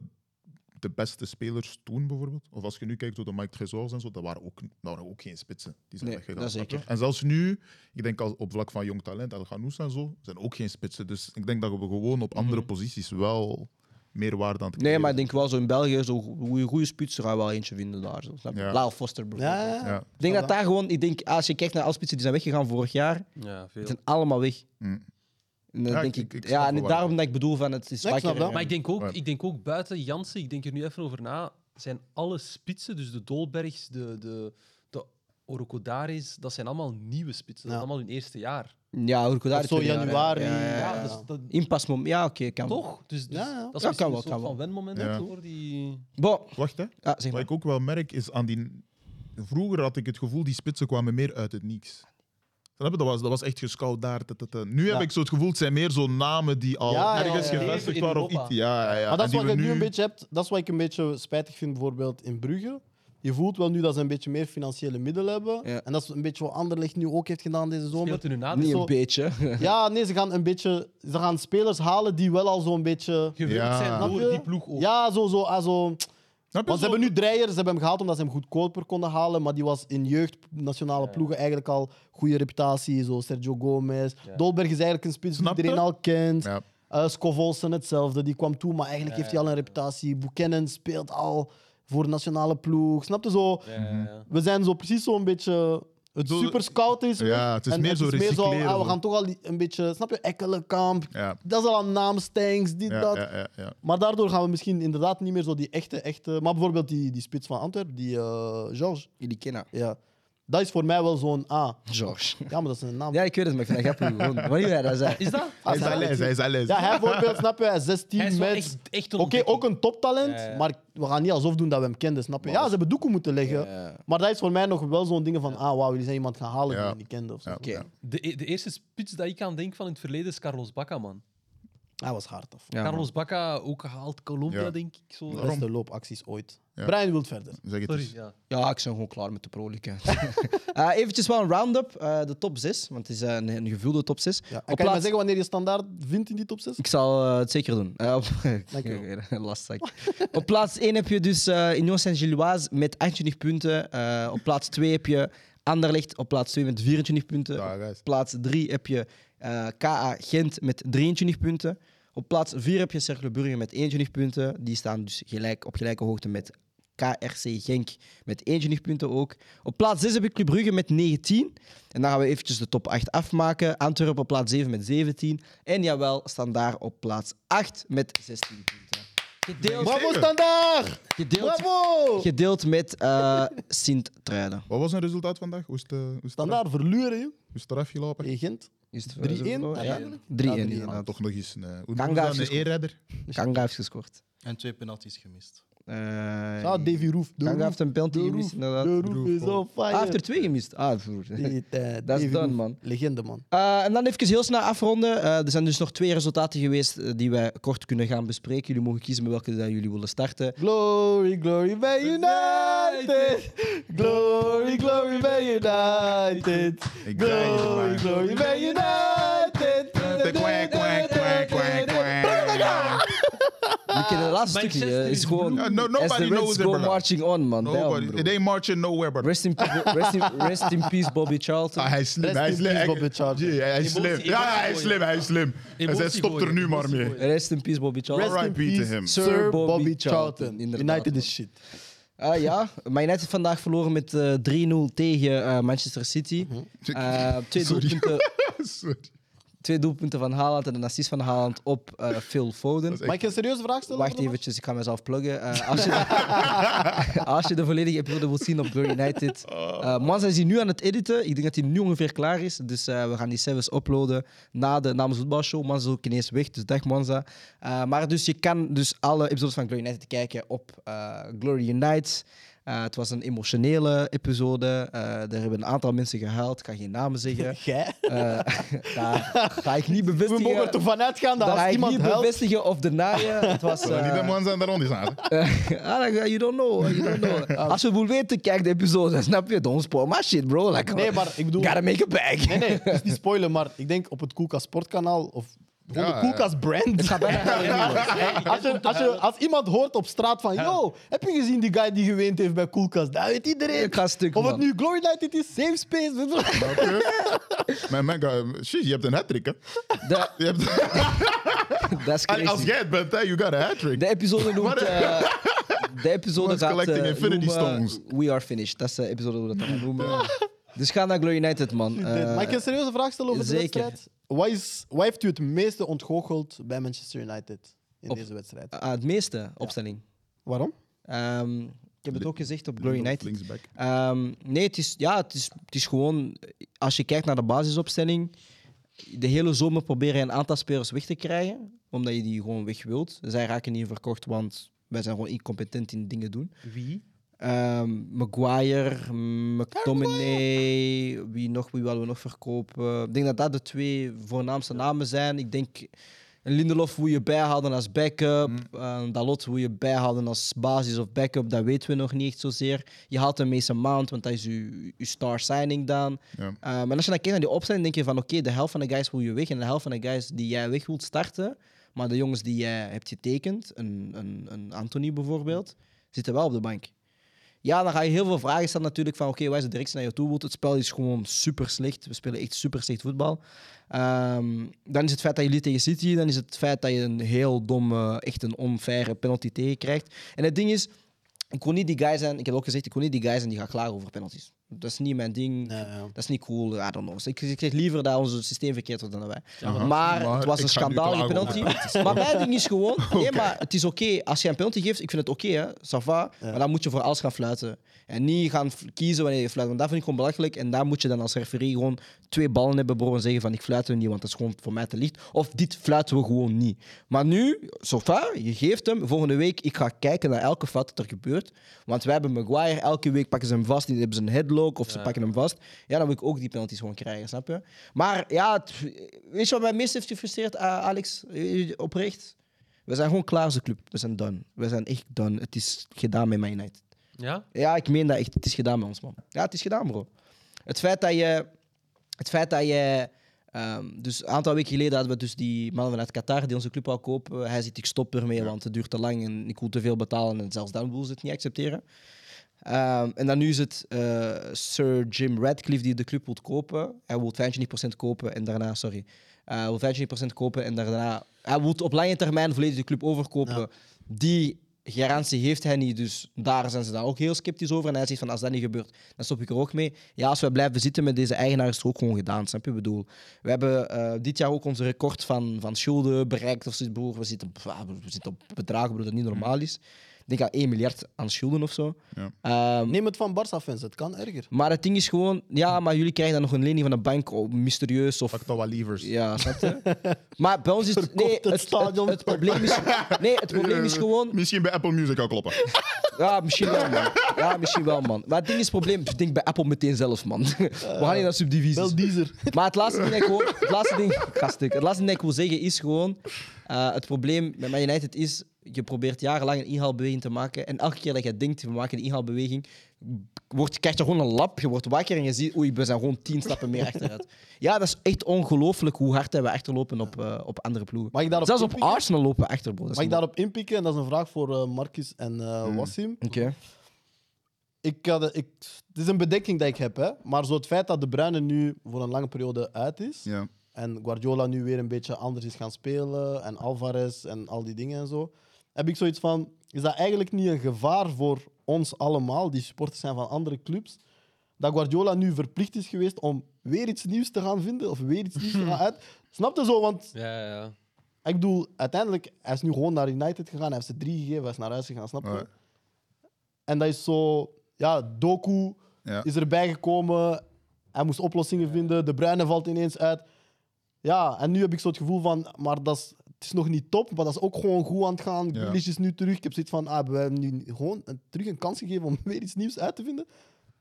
[SPEAKER 2] de beste spelers toen bijvoorbeeld, of als je nu kijkt door de Mike Tresors en zo, dat waren ook, dat waren ook geen spitsen. Die zijn
[SPEAKER 1] Nee,
[SPEAKER 2] weggegaan.
[SPEAKER 1] dat
[SPEAKER 2] snap je?
[SPEAKER 1] zeker.
[SPEAKER 2] En zelfs nu, ik denk als, op vlak van jong talent, El Ghanous en zo, zijn ook geen spitsen. Dus ik denk dat we gewoon op andere posities wel meer waarde aan het
[SPEAKER 1] Mhm. Nee,
[SPEAKER 2] creëren
[SPEAKER 1] maar ik denk wel zo in België, zo goede, goede spits, er gaat wel eentje vinden daar. Zo, snap je?
[SPEAKER 2] Ja.
[SPEAKER 1] Lyle Foster bijvoorbeeld.
[SPEAKER 4] Ja, ja, ja.
[SPEAKER 2] Ja.
[SPEAKER 1] Ik denk dat daar gewoon, ik denk, als je kijkt naar alle spitsen die zijn weggegaan vorig jaar,
[SPEAKER 5] Ja, veel.
[SPEAKER 1] Die zijn allemaal weg.
[SPEAKER 2] Mm.
[SPEAKER 1] En dan
[SPEAKER 2] Ja,
[SPEAKER 1] denk
[SPEAKER 2] ik-
[SPEAKER 1] ik,
[SPEAKER 2] ik snap
[SPEAKER 1] ja, en
[SPEAKER 2] wel waar
[SPEAKER 1] daarom
[SPEAKER 2] je-
[SPEAKER 1] dat ik bedoel van het is
[SPEAKER 4] Nee, ik snap
[SPEAKER 1] vaker.
[SPEAKER 4] dat.
[SPEAKER 5] Maar ik denk, ook,
[SPEAKER 2] Ja.
[SPEAKER 5] ik denk ook buiten Jansen, ik denk er nu even over na, zijn alle spitsen, dus de Dolbergs, de, de, de Orokodaris, dat zijn allemaal nieuwe spitsen. Dat
[SPEAKER 4] Ja.
[SPEAKER 5] is allemaal hun eerste jaar.
[SPEAKER 1] Ja, hoe
[SPEAKER 4] Dat
[SPEAKER 1] daar
[SPEAKER 4] is zo januari.
[SPEAKER 1] Ja, ja, ja.
[SPEAKER 5] Ja,
[SPEAKER 4] ja.
[SPEAKER 5] dus dat,
[SPEAKER 1] Inpas mom- ja oké, kan wel.
[SPEAKER 5] toch? Dus, dus
[SPEAKER 4] Ja, ja.
[SPEAKER 5] dat is
[SPEAKER 1] Ja,
[SPEAKER 5] misschien
[SPEAKER 1] kan wel,
[SPEAKER 5] een soort
[SPEAKER 1] kan wel.
[SPEAKER 5] van wenmoment
[SPEAKER 2] Ja.
[SPEAKER 5] hoor. Die...
[SPEAKER 1] Bon,
[SPEAKER 2] Wacht, hè.
[SPEAKER 1] ah, zeg
[SPEAKER 2] Wat
[SPEAKER 1] maar.
[SPEAKER 2] ik ook wel merk is aan die. Vroeger had ik het gevoel die spitsen kwamen meer uit het niks. Snap je? Dat was, dat was echt gescout daar. tut, tut, tut. Nu
[SPEAKER 4] Ja.
[SPEAKER 2] heb ik zo het gevoel, het zijn meer zo namen die al
[SPEAKER 4] Ja, ja,
[SPEAKER 2] ergens
[SPEAKER 4] ja, ja.
[SPEAKER 2] gevestigd
[SPEAKER 5] In
[SPEAKER 2] waren. Of
[SPEAKER 5] Europa.
[SPEAKER 2] iets. Ja, ja, ja.
[SPEAKER 4] Maar dat
[SPEAKER 2] En
[SPEAKER 4] is
[SPEAKER 2] die
[SPEAKER 4] wat
[SPEAKER 2] we
[SPEAKER 4] je nu een beetje hebt. Dat is wat ik een beetje spijtig vind, bijvoorbeeld in Brugge. Je voelt wel nu dat ze een beetje meer financiële middelen hebben.
[SPEAKER 1] Ja.
[SPEAKER 4] En dat is een beetje wat Anderlecht nu ook heeft gedaan deze zomer.
[SPEAKER 5] Speelt in hun nadeel.
[SPEAKER 1] Niet
[SPEAKER 4] zo-
[SPEAKER 1] een beetje.
[SPEAKER 4] Ja, nee, ze gaan een beetje... Ze gaan spelers halen die wel al zo'n beetje...
[SPEAKER 5] Gewild
[SPEAKER 2] Ja.
[SPEAKER 5] zijn
[SPEAKER 4] Snap
[SPEAKER 5] door
[SPEAKER 4] je?
[SPEAKER 5] die ploeg ook.
[SPEAKER 4] Ja, zo, zo, ah, zo.
[SPEAKER 2] Snap je?
[SPEAKER 4] Want ze
[SPEAKER 2] Zo-
[SPEAKER 4] hebben nu Dreyer, ze hebben hem gehaald omdat ze hem goedkoper konden halen. Maar die was in jeugd, nationale ploegen, eigenlijk al goede reputatie. Zo Sergio Gomez.
[SPEAKER 5] Ja.
[SPEAKER 4] Dolberg is eigenlijk een spits die
[SPEAKER 2] Snap je?
[SPEAKER 4] iedereen al kent.
[SPEAKER 2] Ja.
[SPEAKER 4] Eh Scovolsen hetzelfde, die kwam toe, maar eigenlijk heeft hij al een reputatie. Buchanan speelt al voor nationale ploeg. Snap je zo?
[SPEAKER 5] Ja,
[SPEAKER 2] Mhm.
[SPEAKER 5] ja, ja.
[SPEAKER 4] We zijn zo precies zo'n beetje. Het
[SPEAKER 2] Zo-
[SPEAKER 4] super scout is.
[SPEAKER 2] Ja, het is
[SPEAKER 4] en
[SPEAKER 2] meer zo recycleren,
[SPEAKER 4] ah, we
[SPEAKER 2] zo.
[SPEAKER 4] gaan toch al die- een beetje, snap je, Ekkelenkamp.
[SPEAKER 2] Ja.
[SPEAKER 4] Dat is al een naam, Stanks, dit,
[SPEAKER 2] Ja,
[SPEAKER 4] dat. Ah,
[SPEAKER 2] ja, ja, ja.
[SPEAKER 4] Maar daardoor gaan we misschien inderdaad niet meer zo die echte, echte. Maar bijvoorbeeld die, die spits van Antwerpen, die eh Georges.
[SPEAKER 1] Jullie kennen
[SPEAKER 4] Ja. Dat is voor mij wel zo'n A.
[SPEAKER 1] George.
[SPEAKER 4] Ja, maar dat is een naam. Ah,
[SPEAKER 1] Ja, ik weet het, maar ik vind dat grappig gewoon. Wanneer jij dat zei.
[SPEAKER 5] Is dat?
[SPEAKER 2] Hij is alles, hij is alles.
[SPEAKER 4] Ja, hij bijvoorbeeld, snap je, hij is 16
[SPEAKER 5] Hij is wel
[SPEAKER 4] met.
[SPEAKER 5] echt, echt een
[SPEAKER 4] Oké, ook een toptalent,
[SPEAKER 5] Ja, ja.
[SPEAKER 4] maar we gaan niet alsof doen dat we hem kenden, snap je? Ja, ze hebben doeken moeten leggen. Maar dat is voor mij nog wel zo'n ding van, ah, wauw, jullie zijn iemand gaan halen die
[SPEAKER 2] Ja.
[SPEAKER 4] we niet kenden. Of zo.
[SPEAKER 2] Ja.
[SPEAKER 1] Oké.
[SPEAKER 2] Ja.
[SPEAKER 5] De, e- de eerste spits dat ik aan denk van in het verleden is Carlos Bacca, man.
[SPEAKER 4] Hij was hard, of?
[SPEAKER 1] Ja,
[SPEAKER 5] Carlos Bacca, ook gehaald Colombia,
[SPEAKER 2] Ja.
[SPEAKER 5] denk ik. Zo.
[SPEAKER 4] De beste loopacties ooit.
[SPEAKER 2] Ja.
[SPEAKER 4] Brian wil verder.
[SPEAKER 2] Zeg het
[SPEAKER 5] Sorry,
[SPEAKER 2] eens.
[SPEAKER 5] ja.
[SPEAKER 1] Ja, ik ben gewoon klaar met de pro League, hè. Eh, eventjes wel een round-up. eh, de top 6, want het is eh, een, een gevulde top 6.
[SPEAKER 4] Ja. En
[SPEAKER 1] Op
[SPEAKER 4] kan je
[SPEAKER 1] plaats-
[SPEAKER 4] me zeggen wanneer je standaard vindt in die top 6?
[SPEAKER 1] Ik zal eh, het zeker doen. Eh, op...
[SPEAKER 4] Dank je
[SPEAKER 1] Lastig. op plaats 1 heb je dus eh Union Saint-Gilloise met 28 punten. Eh, op plaats 2 heb je Anderlecht op plaats 2 met 24 punten.
[SPEAKER 2] Ja,
[SPEAKER 1] op
[SPEAKER 2] guys.
[SPEAKER 1] plaats 3 heb je eh, KA Gent met 23 punten. Op plaats 4 heb je Cercle Brugge met 21 punten. Die staan dus gelijk, op gelijke hoogte met KRC Genk met 21 punten ook. Op plaats 6 heb ik Club Brugge met 19. En dan gaan we eventjes de top 8 afmaken. Antwerpen op plaats 7 met 17. En jawel, Standaard op plaats 8 met 16 punten. Gedeeld,
[SPEAKER 4] Bravo, standaard!
[SPEAKER 1] gedeeld,
[SPEAKER 4] Bravo!
[SPEAKER 1] gedeeld met eh Sint-Truiden.
[SPEAKER 2] Wat was het resultaat vandaag? Hoe is het, eh, hoe is het, eraf-
[SPEAKER 4] Standaard verluren, joh.
[SPEAKER 2] hoe is het eraf gelopen?
[SPEAKER 4] Tegen Gent.
[SPEAKER 1] Is het
[SPEAKER 4] 3-1
[SPEAKER 1] verloren? Ja, 3-1
[SPEAKER 4] eigenlijk? Ja, 3-1.
[SPEAKER 2] Ah,
[SPEAKER 1] inderdaad.
[SPEAKER 2] toch nog eens een, eh, hoe
[SPEAKER 1] Kanga
[SPEAKER 2] noemen ze dat?
[SPEAKER 1] heeft
[SPEAKER 2] een
[SPEAKER 1] gescoord.
[SPEAKER 2] eerredder.
[SPEAKER 1] Kanga heeft gescoord.
[SPEAKER 6] En twee penalties gemist.
[SPEAKER 1] Eh,
[SPEAKER 4] Ah, Davy Roof. De
[SPEAKER 1] Kanga
[SPEAKER 4] Roof.
[SPEAKER 1] heeft een penalty
[SPEAKER 4] De
[SPEAKER 1] gemist,
[SPEAKER 4] Roof.
[SPEAKER 1] inderdaad.
[SPEAKER 4] De Roof is on fire.
[SPEAKER 1] Ah, heeft er twee gemist. Ah, vroeg.
[SPEAKER 4] Die, eh,
[SPEAKER 1] Dat is
[SPEAKER 4] Davy
[SPEAKER 1] done,
[SPEAKER 4] Roof.
[SPEAKER 1] man.
[SPEAKER 4] Legende, man.
[SPEAKER 1] Eh, en dan even heel snel afronden. Eh, er zijn dus nog twee resultaten geweest eh, die wij kort kunnen gaan bespreken. Jullie mogen kiezen met welke dat jullie willen starten.
[SPEAKER 4] Glory, glory, Man United! Glory, glory, Man United!
[SPEAKER 2] Ik draai hier
[SPEAKER 4] Glory,
[SPEAKER 2] maar.
[SPEAKER 4] glory, Man United!
[SPEAKER 2] De kwek, kwek, kwek, kwek, kwek.
[SPEAKER 1] Je kent het laatste
[SPEAKER 5] Manchester
[SPEAKER 1] stukje. eh,
[SPEAKER 5] is
[SPEAKER 1] is gewoon...
[SPEAKER 2] blue. No- nobody
[SPEAKER 1] as the Reds
[SPEAKER 2] knows it,
[SPEAKER 1] go
[SPEAKER 2] brother.
[SPEAKER 1] marching on, man. Damn,
[SPEAKER 2] Nobody-
[SPEAKER 1] bro.
[SPEAKER 2] It ain't marching nowhere, brother.
[SPEAKER 1] Rest in, rest, in, rest in peace, Bobby Charlton.
[SPEAKER 2] Ah, hij is slim,
[SPEAKER 4] Rest
[SPEAKER 2] hij is
[SPEAKER 4] in
[SPEAKER 2] slim.
[SPEAKER 4] peace,
[SPEAKER 2] Hij-
[SPEAKER 4] Bobby Charlton.
[SPEAKER 2] Jee, hij is
[SPEAKER 5] Emotie-
[SPEAKER 2] slim.
[SPEAKER 5] emotie
[SPEAKER 2] Ja, hij is
[SPEAKER 5] gooien.
[SPEAKER 2] slim, hij is slim. En zij
[SPEAKER 5] Emotie
[SPEAKER 2] stopt er
[SPEAKER 5] gooien,
[SPEAKER 2] nu maar
[SPEAKER 5] emotie
[SPEAKER 2] mee.
[SPEAKER 5] gooien.
[SPEAKER 1] Rest in peace, Bobby Charlton.
[SPEAKER 2] Rest in peace to him.
[SPEAKER 1] Sir Bobby Charlton, inderdaad,
[SPEAKER 4] United
[SPEAKER 1] man.
[SPEAKER 4] is shit.
[SPEAKER 1] Ah ja, Man United vandaag verloren met eh, 3-0 tegen eh, Manchester City. Eh, twee,
[SPEAKER 2] Mhm. Sorry.
[SPEAKER 1] doelpunten,
[SPEAKER 2] Sorry.
[SPEAKER 1] twee doelpunten van Haaland en een assist van Haaland op eh, Phil Foden.
[SPEAKER 4] Mag ik een serieuze vraag stellen?
[SPEAKER 1] Wacht eventjes, ik ga mezelf pluggen. Eh, als, je als je de volledige episode wilt zien op Blur United. eh Manza is hier nu aan het editen. Ik denk dat hij nu ongeveer klaar is. Dus eh, we gaan die service uploaden na de namens voetbalshow. Manza is ook ineens weg, dus dag Manza. Eh, maar dus je kan dus alle episodes van Glory United kijken op eh, Glory Unites. Eh, het was een emotionele episode. Eh er hebben een aantal mensen gehuild. Ik kan geen namen zeggen.
[SPEAKER 4] Jij?
[SPEAKER 1] Eh daar ga ik niet
[SPEAKER 4] We
[SPEAKER 1] bevestigen.
[SPEAKER 4] mogen ervan uitgaan dat
[SPEAKER 1] daar ga
[SPEAKER 4] als
[SPEAKER 1] ik
[SPEAKER 4] iemand
[SPEAKER 1] eh, niet
[SPEAKER 4] helpt...
[SPEAKER 1] bevestigen of deniën. Het was,
[SPEAKER 2] Zou niet
[SPEAKER 1] eh,
[SPEAKER 2] de man zijn daar rond is aan. hè?
[SPEAKER 1] Ah, like, uh, you don't know. You don't know. Als je wil weten, kijk de episode. Snap je? Don't spoil my shit, bro. Like,
[SPEAKER 4] Nee, maar ik bedoel-
[SPEAKER 1] Gotta make it back.
[SPEAKER 4] Nee, nee, het is niet spoilen, maar ik denk op het Koelkast Sportkanaal of gewoon
[SPEAKER 2] Ja,
[SPEAKER 4] de Koelkast brand. als, je, als, je, als iemand hoort op straat van, yo, heb je gezien die guy die geweend heeft bij Koelkast? Dat weet iedereen.
[SPEAKER 1] Ik ga stuk,
[SPEAKER 4] of het
[SPEAKER 1] man.
[SPEAKER 4] nu Glory United is, Safe Space.
[SPEAKER 2] Mijn man, eh, shit, je hebt een hat-trick, hè?
[SPEAKER 1] Da-
[SPEAKER 2] Je hebt-
[SPEAKER 1] Dat is
[SPEAKER 2] Allee, Als
[SPEAKER 1] crazy.
[SPEAKER 2] jij het bent, hè, you got a hat-trick.
[SPEAKER 1] De episode noemt... eh, de episode
[SPEAKER 2] Man's
[SPEAKER 1] gaat eh,
[SPEAKER 2] collecting infinity
[SPEAKER 1] noemen,
[SPEAKER 2] stones.
[SPEAKER 1] We Are Finished. Dat is de episode hoe we dat gaan noemen. Dus ga naar Glory United, man. Eh,
[SPEAKER 4] Mag ik een serieuze vraag stellen over
[SPEAKER 1] zeker.
[SPEAKER 4] de wedstrijd? Wat, is, wat heeft u het meeste ontgoocheld bij Manchester United in deze wedstrijd?
[SPEAKER 1] ah, het meeste opstelling.
[SPEAKER 4] Waarom?
[SPEAKER 1] Ehm, ik heb het ook gezegd op Glory United.
[SPEAKER 2] Linksback.
[SPEAKER 1] Ehm, nee, het is, ja, het, is, het is gewoon... Als je kijkt naar de basisopstelling... De hele zomer probeer je een aantal spelers weg te krijgen. Omdat je die gewoon weg wilt. Zij raken niet verkocht, want wij zijn gewoon incompetent in dingen doen.
[SPEAKER 5] Wie?
[SPEAKER 1] Ehm, Maguire, McTominay, wie nog, wie willen we nog verkopen? Ik denk dat dat de twee voornaamste namen zijn. Ik denk een Lindelof hoe je bijhouden als backup, een Dalot hoe je bijhouden als basis of backup, dat weten we nog niet echt zozeer. Je haalt een Mason Mount, want dat is je, je star signing dan.
[SPEAKER 2] Ja.
[SPEAKER 1] Ehm, en als je dan kijkt naar die opstelling, denk je van oké, de helft van de guys wil je weg en de helft van de guys die jij weg wilt starten, maar de jongens die jij hebt getekend, een, een, een Anthony bijvoorbeeld, zitten wel op de bank. Ja, dan ga je heel veel vragen stellen natuurlijk van oké, waar is de directie naar je toe wilt. Het spel is gewoon super slecht. We spelen echt super slecht voetbal. Ehm, dan is het feit dat jullie tegen City, dan is het feit dat je een heel domme, echt een onfaire penalty tegenkrijgt. En het ding is, ik wil niet die guy zijn, ik heb ook gezegd, ik wil niet die guy zijn die gaat klagen over penalties. Dat is niet mijn ding.
[SPEAKER 4] Nee, ja.
[SPEAKER 1] Dat is niet cool, I don't know. Dus Ik, ik zeg liever dat ons systeem verkeerd wordt dan dat wij. maar,
[SPEAKER 2] maar
[SPEAKER 1] het was
[SPEAKER 2] ik
[SPEAKER 1] een
[SPEAKER 2] ga nu
[SPEAKER 1] schandaal, die
[SPEAKER 2] klagen over
[SPEAKER 1] penalty. Maar mijn ding is gewoon, nee, maar het is oké. Als je een penalty geeft, ik vind het oké, hè. Ça va. Maar dan moet je voor alles gaan fluiten. En niet gaan f- kiezen wanneer je fluit. Want dat vind ik gewoon belachelijk. En daar moet je dan als referee gewoon twee ballen hebben, bro. En zeggen van, ik fluit hem niet, want dat is gewoon voor mij te licht. Of dit fluiten we gewoon niet. Maar nu, ça va, je geeft hem. Volgende week, ik ga kijken naar elke fout dat er gebeurt. Want wij hebben Maguire, elke week pakken ze hem vast. Die hebben ze een headlock of ze pakken hem vast. Ja, dan wil ik ook die penalties gewoon krijgen, snap je? Maar ja, het- weet je wat mij meest heeft gefrustreerd, eh, Alex? Eh, Oprecht. We zijn gewoon klaar als een club. We zijn done. We zijn echt done. Het is gedaan met Man United.
[SPEAKER 5] Ja?
[SPEAKER 1] Ja, ik meen dat echt. Het is gedaan met ons, man. Ja, het is gedaan, bro. Het feit dat je... Het feit dat je ehm, dus een aantal weken geleden hadden we dus die man vanuit Qatar die onze club wou kopen. Hij zegt, ik stop ermee, want het duurt te lang en ik wil te veel betalen. En zelfs dan wil ze het niet accepteren. Ehm, en dan nu is het eh, Sir Jim Radcliffe die de club wil kopen. Hij wil 25% kopen en daarna, sorry. Eh, Hij wil 25% kopen en daarna... Hij wil op lange termijn volledig de club overkopen. Die Garantie heeft hij niet, dus daar zijn ze dan ook heel sceptisch over. En hij zegt van, als dat niet gebeurt, dan stop ik er ook mee. Ja, als we blijven zitten met deze eigenaar, is het ook gewoon gedaan, snap je? Ik bedoel, we hebben eh, dit jaar ook ons record van, van schulden bereikt. Of zoiets, broer. We zitten, pff, we zitten op bedragen, broer, dat niet normaal is. Ik denk aan 1 miljard aan schulden of zo. Ehm,
[SPEAKER 4] Neem het van Barça-fans, het kan erger.
[SPEAKER 1] maar het ding is gewoon, ja, maar jullie krijgen dan nog een lening van de bank, oh, mysterieus of
[SPEAKER 2] Pak dat wel lievers.
[SPEAKER 1] ja, snap je? Maar bij ons is het. Nee,
[SPEAKER 4] het
[SPEAKER 1] het,
[SPEAKER 4] stadion.
[SPEAKER 1] het- het probleem is, nee, het probleem is gewoon.
[SPEAKER 2] Eh, Misschien bij Apple Music al kloppen.
[SPEAKER 1] Ja, misschien wel, man. Ja, misschien wel, man. Maar het ding is het probleem. Ik denk bij Apple meteen zelf, man. We gaan niet naar subdivisies.
[SPEAKER 4] Eh, Wel Deezer.
[SPEAKER 1] Maar het laatste ding dat ik, wil, het laatste ding, gastuk, het laatste ding dat ik wil zeggen is gewoon... eh, het probleem met Man United is... Je probeert jarenlang een inhaalbeweging te maken. En elke keer dat je denkt, we maken een inhaalbeweging... Wordt, krijg je gewoon een lap. Je wordt wakker en je ziet... Oei, we zijn gewoon tien stappen meer achteruit. Ja, dat is echt ongelooflijk hoe hard dat we achterlopen op, eh, op andere ploegen.
[SPEAKER 4] Mag ik daarop
[SPEAKER 1] Zelfs op
[SPEAKER 4] inpikken?
[SPEAKER 1] Arsenal lopen we achter, bro. Dat is
[SPEAKER 4] Mag ik
[SPEAKER 1] niet-
[SPEAKER 4] daarop inpikken? En dat is een vraag voor eh Marcus en eh Wassim.
[SPEAKER 1] Oké.
[SPEAKER 4] Ik, had ik, het is een bedenking dat ik heb, hè. maar zo het feit dat De Bruyne nu voor een lange periode uit is
[SPEAKER 2] Ja.
[SPEAKER 4] en Guardiola nu weer een beetje anders is gaan spelen en Alvarez en al die dingen en zo, heb ik zoiets van, is dat eigenlijk niet een gevaar voor ons allemaal, die supporters zijn van andere clubs, dat Guardiola nu verplicht is geweest om weer iets nieuws te gaan vinden of weer iets nieuws te gaan uit. Snap je zo? Want
[SPEAKER 5] Ja, ja, ja.
[SPEAKER 4] ik bedoel, uiteindelijk, hij is nu gewoon naar United gegaan, hij heeft ze drie gegeven, hij is naar huis gegaan, snap je?
[SPEAKER 2] Ja.
[SPEAKER 4] En dat is zo, ja, Doku
[SPEAKER 2] Ja.
[SPEAKER 4] is erbij gekomen, hij moest oplossingen vinden, De Bruyne valt ineens uit. Ja, en nu heb ik zo het gevoel van, maar dat is, het is nog niet top, maar dat is ook gewoon goed aan het gaan.
[SPEAKER 2] Ja.
[SPEAKER 4] Grealish is nu terug, ik heb zoiets van, ah, hebben we hebben nu gewoon een- terug een kans gegeven om weer iets nieuws uit te vinden.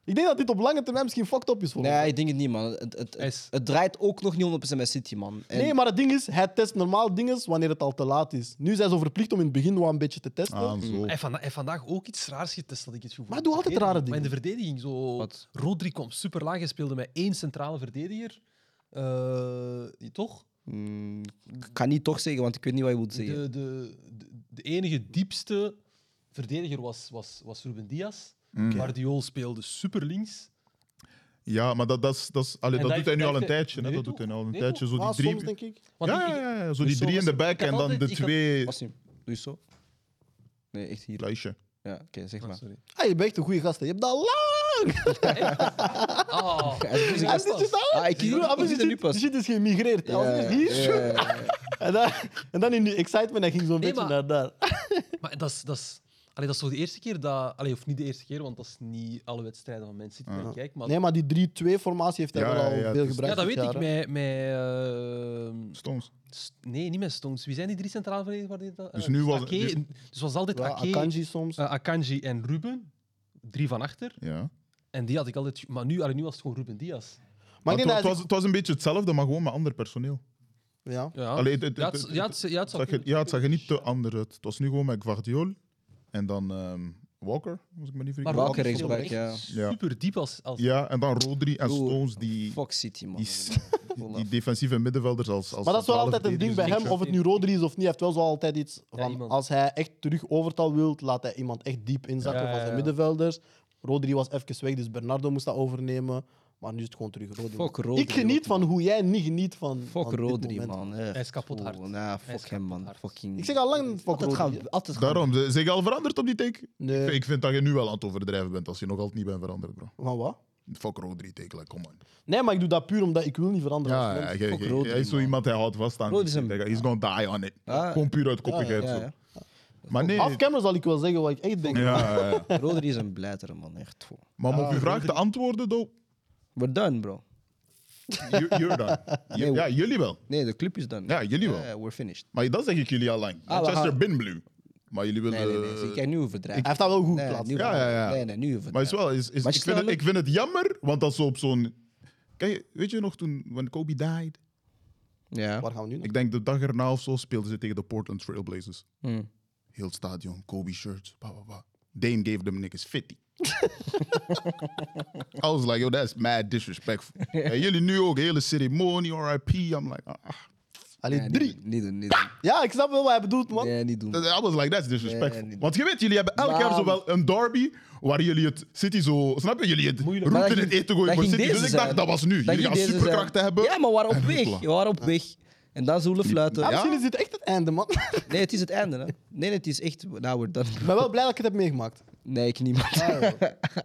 [SPEAKER 4] Ik denk dat dit op lange termijn misschien fucked up is voor ons.
[SPEAKER 1] Nee, ik denk het niet, man. Het, het, het,
[SPEAKER 5] Is-
[SPEAKER 1] het draait ook nog niet 100% met City, man. En-
[SPEAKER 4] Nee, maar het ding is, hij test normaal dingen wanneer het al te laat is. Nu zijn ze verplicht om in het begin wel een beetje te testen.
[SPEAKER 2] Ah, zo.
[SPEAKER 5] Hij heeft vanda- hij heeft vandaag ook iets raars getest, dat ik het gevoel
[SPEAKER 4] Maar hij doet altijd
[SPEAKER 5] Ik weet
[SPEAKER 4] rare
[SPEAKER 5] niet, Maar in de
[SPEAKER 4] dingen.
[SPEAKER 5] verdediging, zo...
[SPEAKER 1] Wat?
[SPEAKER 5] Rodri kwam super laag, hij speelde met één centrale verdediger. Eh, toch?
[SPEAKER 1] Mm, ik kan niet toch zeggen, want ik weet niet wat je wilt zeggen.
[SPEAKER 5] De, de, de, de enige diepste verdediger was, was, was Ruben Diaz.
[SPEAKER 4] Mm.
[SPEAKER 5] Guardiol speelde super links.
[SPEAKER 2] Ja, maar dat, dat, is- dat, is- allee,
[SPEAKER 5] En
[SPEAKER 2] dat
[SPEAKER 5] dat
[SPEAKER 2] doet hij nu
[SPEAKER 5] heeft-
[SPEAKER 2] al een
[SPEAKER 5] dat heeft-
[SPEAKER 2] tijdje. hè.
[SPEAKER 5] nee,
[SPEAKER 2] dat doet hij nu al een
[SPEAKER 5] toch?
[SPEAKER 2] tijdje. Zo die
[SPEAKER 4] Ah,
[SPEAKER 2] drie,
[SPEAKER 4] soms denk ik.
[SPEAKER 5] Want
[SPEAKER 2] ja,
[SPEAKER 5] ik-
[SPEAKER 2] ja,
[SPEAKER 5] ik-
[SPEAKER 2] ja, ja, zo
[SPEAKER 5] Dus
[SPEAKER 2] die
[SPEAKER 5] zo
[SPEAKER 2] drie in
[SPEAKER 5] was
[SPEAKER 2] de
[SPEAKER 5] het-
[SPEAKER 2] back
[SPEAKER 5] ik had
[SPEAKER 2] en dan de
[SPEAKER 5] altijd- ik had-
[SPEAKER 2] twee
[SPEAKER 1] Wassim, doe je zo? Nee, echt hier.
[SPEAKER 2] lijstje.
[SPEAKER 1] Ja, oké, zeg
[SPEAKER 5] Ah,
[SPEAKER 1] maar.
[SPEAKER 5] sorry.
[SPEAKER 4] Ah, je bent echt een goede gast. hè. Je hebt dat lang.
[SPEAKER 5] Ah,
[SPEAKER 1] Ja, is
[SPEAKER 5] is
[SPEAKER 1] bezig.
[SPEAKER 5] dat
[SPEAKER 4] En dit is
[SPEAKER 5] pas?
[SPEAKER 4] dat.
[SPEAKER 1] Ah, ik zie
[SPEAKER 4] Broer,
[SPEAKER 1] ik
[SPEAKER 4] Abis
[SPEAKER 1] zie
[SPEAKER 4] is
[SPEAKER 1] het nu
[SPEAKER 4] dit- die
[SPEAKER 1] pas.
[SPEAKER 4] shit is geïmigreerd. Hij was
[SPEAKER 1] Ja,
[SPEAKER 4] eerst hier.
[SPEAKER 1] ja, ja, ja.
[SPEAKER 4] En, dan, en dan in die excitement, hij ging
[SPEAKER 5] Nee,
[SPEAKER 4] zo'n beetje
[SPEAKER 5] maar-
[SPEAKER 4] naar daar.
[SPEAKER 5] Maar dat is, dat, is, allee, dat is toch de eerste keer dat... Allee, of niet de eerste keer, want dat is niet alle wedstrijden van mensen die ik kijk. Maar
[SPEAKER 4] Nee, maar die 3-2-formatie heeft hij
[SPEAKER 2] Ja,
[SPEAKER 4] wel al
[SPEAKER 2] ja, ja,
[SPEAKER 4] veel
[SPEAKER 2] het is-
[SPEAKER 4] gebruikt.
[SPEAKER 5] ja, dat
[SPEAKER 4] dit
[SPEAKER 5] weet ik.
[SPEAKER 4] jaar, hè.
[SPEAKER 5] Met, met, eh,
[SPEAKER 2] Stones.
[SPEAKER 5] St- Nee, niet met Stones. Wie zijn die drie centrale verdedigers? waar dit-
[SPEAKER 2] Dus
[SPEAKER 5] eh,
[SPEAKER 2] nu
[SPEAKER 5] dus
[SPEAKER 2] was-
[SPEAKER 5] Ake,
[SPEAKER 2] dus-
[SPEAKER 5] en- dus was altijd
[SPEAKER 4] Ja,
[SPEAKER 5] Ake,
[SPEAKER 4] Akanji soms.
[SPEAKER 5] eh, Akanji en Ruben. Drie van achter.
[SPEAKER 2] Ja.
[SPEAKER 5] En die had ik altijd... Maar nu, allee, nu was het gewoon Ruben Diaz.
[SPEAKER 4] Maar
[SPEAKER 2] Maar
[SPEAKER 4] ik
[SPEAKER 2] het,
[SPEAKER 4] denk
[SPEAKER 2] wa- het
[SPEAKER 4] dat hij-
[SPEAKER 2] was, het was een beetje hetzelfde, maar gewoon met ander personeel.
[SPEAKER 4] Ja.
[SPEAKER 5] Ja,
[SPEAKER 2] Allee, het- het-
[SPEAKER 5] ja, het,
[SPEAKER 2] het-
[SPEAKER 5] ja, het, ja, het
[SPEAKER 2] Het
[SPEAKER 5] zou
[SPEAKER 2] zag je,
[SPEAKER 5] kunnen.
[SPEAKER 2] ja, het zag er niet te ander uit. Het was nu gewoon met Guardiol en dan ehm, Walker, als ik me niet vergis.
[SPEAKER 5] Maar
[SPEAKER 1] Walker
[SPEAKER 5] Walker speelde
[SPEAKER 1] rechtsback, ja.
[SPEAKER 5] echt
[SPEAKER 2] Ja.
[SPEAKER 5] Super diep als... als
[SPEAKER 2] Ja, en dan Rodri en
[SPEAKER 1] Oeh,
[SPEAKER 2] Stones, die,
[SPEAKER 1] Fuck City, man.
[SPEAKER 2] die, s- die defensieve middenvelders als, als
[SPEAKER 4] Maar dat is wel
[SPEAKER 2] centrale
[SPEAKER 4] altijd een ding bij hem,
[SPEAKER 2] verdedigers.
[SPEAKER 4] of het nu Rodri is of niet. Hij heeft wel zo altijd iets
[SPEAKER 5] Ja,
[SPEAKER 4] van...
[SPEAKER 5] iemand.
[SPEAKER 4] als hij echt terug overtal wil, laat hij iemand echt diep inzakken
[SPEAKER 5] Ja, ja,
[SPEAKER 4] van zijn
[SPEAKER 5] ja.
[SPEAKER 4] middenvelders. Rodri was even weg, dus Bernardo moest dat overnemen. Maar nu is het gewoon terug Rodri.
[SPEAKER 1] Fuck Rodri
[SPEAKER 4] ik geniet
[SPEAKER 1] ook,
[SPEAKER 4] van hoe jij niet geniet van, van
[SPEAKER 1] Fuck
[SPEAKER 4] dit
[SPEAKER 1] Rodri,
[SPEAKER 4] moment.
[SPEAKER 1] man. Hij
[SPEAKER 5] is kapot hard.
[SPEAKER 1] Nah,
[SPEAKER 5] Hij is
[SPEAKER 1] fuck hem,
[SPEAKER 5] kapot
[SPEAKER 1] man.
[SPEAKER 5] hard.
[SPEAKER 1] Fucking...
[SPEAKER 4] Ik zeg al lang fuck
[SPEAKER 1] altijd
[SPEAKER 4] Rodri.
[SPEAKER 1] gaan,
[SPEAKER 4] hè.
[SPEAKER 1] altijd gaan.
[SPEAKER 2] Daarom, ze- zeg je al veranderd op die take?
[SPEAKER 4] Nee.
[SPEAKER 2] Ik, ik vind dat je nu wel aan het overdrijven bent, als je nog altijd niet bent veranderd, bro.
[SPEAKER 4] Van wat?
[SPEAKER 2] Fuck Rodri take, like, come on.
[SPEAKER 4] Nee, maar ik doe dat puur omdat ik wil niet veranderen als
[SPEAKER 2] Ja,
[SPEAKER 4] mens.
[SPEAKER 2] ja, ge-
[SPEAKER 1] Fuck
[SPEAKER 2] ge-
[SPEAKER 1] Rodri,
[SPEAKER 2] hij is zo
[SPEAKER 1] man.
[SPEAKER 2] iemand, hij houdt vast aan.
[SPEAKER 1] Rodri is
[SPEAKER 2] die
[SPEAKER 1] een-
[SPEAKER 2] shit, like, He's gonna die on it.
[SPEAKER 1] Ah.
[SPEAKER 2] Gewoon puur uit koppigheid.
[SPEAKER 1] Ja,
[SPEAKER 2] zo.
[SPEAKER 1] ja.
[SPEAKER 2] Maar nee,
[SPEAKER 4] Off camera zal ik wel zeggen wat ik echt denk.
[SPEAKER 2] ja, ja, ja.
[SPEAKER 1] Rodri is een blijtere, man. Echt. wow.
[SPEAKER 2] maar om op je vraag te antwoorden, though,
[SPEAKER 1] We're done, bro.
[SPEAKER 2] you- you're done.
[SPEAKER 1] Nee,
[SPEAKER 2] Ja, jullie wel.
[SPEAKER 1] Nee, de club is done.
[SPEAKER 2] Ja, jullie wel.
[SPEAKER 1] Ja, we're finished.
[SPEAKER 2] Maar dat zeg ik jullie al lang.
[SPEAKER 1] we
[SPEAKER 2] Manchester
[SPEAKER 1] gaan-
[SPEAKER 2] bin blue. Maar jullie willen...
[SPEAKER 1] Nee, nee, nee. Zie, Jij nu
[SPEAKER 4] Hij
[SPEAKER 1] overdrijven.
[SPEAKER 4] heeft dat wel goed
[SPEAKER 1] Nee,
[SPEAKER 4] geplaatst.
[SPEAKER 1] nu
[SPEAKER 2] Eh, Ja, ja, ja.
[SPEAKER 1] Nee, nee, nu
[SPEAKER 2] Maar is
[SPEAKER 1] overdrijven.
[SPEAKER 2] wel, is, is,
[SPEAKER 1] Maar
[SPEAKER 2] ik, vind het,
[SPEAKER 1] stel-
[SPEAKER 2] ik vind het jammer, want dat zo op zo'n... Kijk, weet je nog toen, when Kobe died?
[SPEAKER 1] Ja.
[SPEAKER 4] Waar gaan we nu naar?
[SPEAKER 2] Ik denk de dag erna of zo speelden ze tegen de Portland Trailblazers.
[SPEAKER 1] Hmm.
[SPEAKER 2] Heel het stadion, Kobe shirts, blah, blah, blah. Dame gave them niggas 50. I was like, yo, that's mad disrespectful. en jullie nu ook, hele ceremonie, RIP. I'm like, ah.
[SPEAKER 4] Allee,
[SPEAKER 1] Nee,
[SPEAKER 4] drie.
[SPEAKER 1] Niet doen, niet doen. Niet doen.
[SPEAKER 4] Ja, ik snap wel wat hij bedoelt, man.
[SPEAKER 1] Nee, niet doen.
[SPEAKER 2] I was like, that's disrespectful.
[SPEAKER 1] Nee, niet-
[SPEAKER 2] Want je weet, jullie hebben elk
[SPEAKER 1] Maar-
[SPEAKER 2] jaar zo wel een derby waar jullie het City zo... Snap je? Jullie het
[SPEAKER 5] Moeilijk.
[SPEAKER 2] roet
[SPEAKER 1] Maar dat
[SPEAKER 2] in het
[SPEAKER 1] ging-
[SPEAKER 2] eten
[SPEAKER 1] dat
[SPEAKER 2] gooien voor
[SPEAKER 1] ging
[SPEAKER 2] City. Dus
[SPEAKER 1] deze
[SPEAKER 2] ik dacht,
[SPEAKER 1] zijn.
[SPEAKER 2] dat was nu.
[SPEAKER 1] Dat
[SPEAKER 2] jullie
[SPEAKER 1] ging
[SPEAKER 2] gaan
[SPEAKER 1] deze
[SPEAKER 2] superkrachten
[SPEAKER 1] zijn.
[SPEAKER 2] hebben.
[SPEAKER 1] Ja, maar we waren op
[SPEAKER 2] En
[SPEAKER 1] weg.
[SPEAKER 2] hoepla.
[SPEAKER 1] We waren op weg. En dan zoelen fluiten.
[SPEAKER 4] Ah,
[SPEAKER 2] Ja?
[SPEAKER 4] Misschien is dit echt het einde, man. Ik
[SPEAKER 1] Nee, het is het einde. Hè. Nee, nee, het is echt... Nou, we're done.
[SPEAKER 4] ben wel blij dat ik het heb meegemaakt.
[SPEAKER 1] Nee, ik niet, man.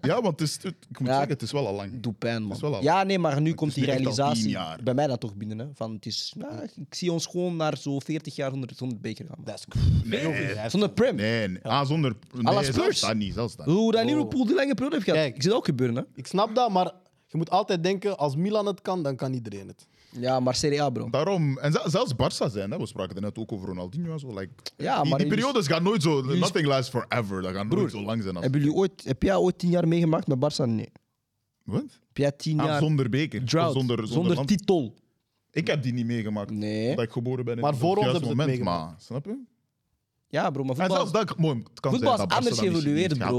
[SPEAKER 2] Ja, want het is, het- ik moet
[SPEAKER 1] Ja,
[SPEAKER 2] zeggen, het is wel al lang.
[SPEAKER 1] Doe pijn,
[SPEAKER 2] is wel
[SPEAKER 1] man.
[SPEAKER 2] al-
[SPEAKER 1] Ja, nee, maar nu
[SPEAKER 2] Het
[SPEAKER 1] komt
[SPEAKER 2] is
[SPEAKER 1] die
[SPEAKER 2] nu echt al
[SPEAKER 1] realisatie
[SPEAKER 2] 10 jaar.
[SPEAKER 1] bij mij dan toch binnen. Hè? Van, het is, nou, ik zie ons gewoon naar zo'n 40 jaar zonder, zonder beker gaan. man.
[SPEAKER 4] Dat is cool.
[SPEAKER 1] Zonder prem.
[SPEAKER 2] Nee, Oh. nee. Ah, zonder...
[SPEAKER 1] la
[SPEAKER 2] Nee,
[SPEAKER 1] Spurs.
[SPEAKER 2] zelfs dat niet, zelfs dat niet.
[SPEAKER 1] Hoe dat Liverpool die lange periode heeft gehad.
[SPEAKER 4] Kijk.
[SPEAKER 1] Ik zie dat ook gebeuren, hè.
[SPEAKER 4] Ik snap dat, maar je moet altijd denken, als Milan het kan, dan kan iedereen het.
[SPEAKER 1] Ja, maar Serie A, bro.
[SPEAKER 2] Daarom, en ze- zelfs Barça zijn, hè. we spraken net ook over Ronaldinho en zo. Like,
[SPEAKER 1] Ja,
[SPEAKER 2] die,
[SPEAKER 1] maar
[SPEAKER 2] die
[SPEAKER 1] jullie-
[SPEAKER 2] periodes gaan nooit zo, nothing lasts forever. Dat gaat nooit zo lang zijn. Als,
[SPEAKER 1] Hebben jullie ooit, heb jij ooit 10 jaar meegemaakt met Barça? Nee.
[SPEAKER 2] Wat?
[SPEAKER 1] Heb jij 10
[SPEAKER 2] Ah,
[SPEAKER 1] jaar
[SPEAKER 2] zonder beker. of
[SPEAKER 1] drought,
[SPEAKER 2] Zonder, zonder, land.
[SPEAKER 1] titel?
[SPEAKER 2] Ik heb die niet meegemaakt.
[SPEAKER 1] Nee.
[SPEAKER 2] Dat ik geboren ben in
[SPEAKER 4] Maar
[SPEAKER 2] op
[SPEAKER 4] voor ons
[SPEAKER 2] juiste
[SPEAKER 4] hebben ze het
[SPEAKER 2] moment,
[SPEAKER 4] meegemaakt.
[SPEAKER 2] Maar, snap je?
[SPEAKER 1] Ja, bro, maar
[SPEAKER 2] En
[SPEAKER 1] voetbal,
[SPEAKER 2] zelfs dat ik- mooi, het kan
[SPEAKER 1] voetbal is
[SPEAKER 2] zijn dat Barca
[SPEAKER 1] anders
[SPEAKER 2] dat misschien
[SPEAKER 1] geëvolueerd,
[SPEAKER 2] niet gaat.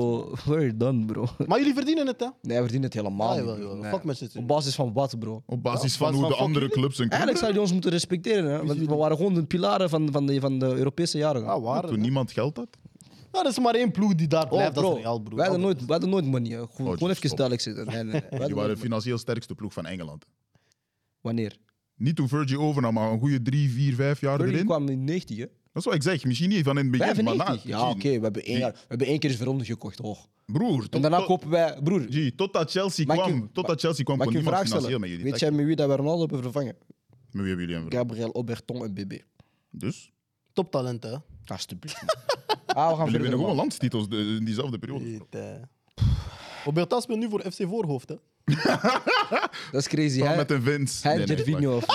[SPEAKER 1] bro. We're done, bro.
[SPEAKER 4] Maar jullie verdienen het, hè?
[SPEAKER 1] Nee, hij verdient het helemaal
[SPEAKER 4] Ah,
[SPEAKER 1] niet.
[SPEAKER 4] jawel,
[SPEAKER 1] bro.
[SPEAKER 4] jawel.
[SPEAKER 1] Nee.
[SPEAKER 4] Fuck Manchester
[SPEAKER 1] Op basis van wat, bro?
[SPEAKER 2] Op basis
[SPEAKER 4] Ja,
[SPEAKER 2] van
[SPEAKER 4] basis
[SPEAKER 2] hoe de
[SPEAKER 4] van
[SPEAKER 2] andere
[SPEAKER 4] fucking-
[SPEAKER 2] clubs hun club
[SPEAKER 1] Eigenlijk zou je ons moeten respecteren, hè? want we waren gewoon de pilaren van, van, de, van de Europese jaren.
[SPEAKER 4] Ah, waar?
[SPEAKER 2] Toen niemand geld had.
[SPEAKER 4] Nou, er is maar één ploeg die daar blijft, dat
[SPEAKER 1] Oh, bro,
[SPEAKER 4] is Real, broer.
[SPEAKER 1] wij hadden nooit, wij hadden nooit money. hè. Gewoon,
[SPEAKER 2] Oh,
[SPEAKER 1] gewoon even
[SPEAKER 2] stop.
[SPEAKER 1] duidelijk zitten. Nee, nee, nee. Wij hadden
[SPEAKER 2] Die waren
[SPEAKER 1] nooit
[SPEAKER 2] de financieel sterkste ploeg van Engeland.
[SPEAKER 1] money. Wanneer?
[SPEAKER 2] Niet toen Virgil overnam, maar een goede drie, vier, vijf jaar
[SPEAKER 1] Berlin
[SPEAKER 2] erin.
[SPEAKER 1] kwam in 90, hè?
[SPEAKER 2] Dat is wat ik zeg. Misschien niet van in het begin, maar na.
[SPEAKER 1] 95. Ja, oké, we, hebben één jaar- we hebben één keer Veronder gekocht, hoog.
[SPEAKER 2] Broer, tot,
[SPEAKER 1] En daarna
[SPEAKER 2] tot,
[SPEAKER 1] kopen wij, broer,
[SPEAKER 2] G, totdat Chelsea
[SPEAKER 1] Mag ik
[SPEAKER 2] kwam,
[SPEAKER 1] je-
[SPEAKER 2] totdat Chelsea kwam,
[SPEAKER 1] mag
[SPEAKER 2] kon
[SPEAKER 1] ik je een
[SPEAKER 2] niemand
[SPEAKER 1] vraag
[SPEAKER 2] financieel
[SPEAKER 1] stellen?
[SPEAKER 2] met jullie.
[SPEAKER 1] Weet
[SPEAKER 2] Tak-
[SPEAKER 1] jij met wie dat we Ronaldo hebben vervangen?
[SPEAKER 2] Met wie hebben jullie hem
[SPEAKER 1] Gabriel Oberton en BB.
[SPEAKER 2] Dus?
[SPEAKER 4] Toptalent, hè?
[SPEAKER 1] Alsjeblieft. ah, we gaan
[SPEAKER 2] Jullie winnen
[SPEAKER 1] verder.
[SPEAKER 2] gewoon
[SPEAKER 1] man.
[SPEAKER 2] landstitels de- in diezelfde periode.
[SPEAKER 4] Dit, eh. Oberta speelt nu voor FC Voorhoofd, hè?
[SPEAKER 1] Dat is crazy,
[SPEAKER 2] Samen
[SPEAKER 1] hè?
[SPEAKER 2] met een Vince.
[SPEAKER 1] Hij en Gervinho. of-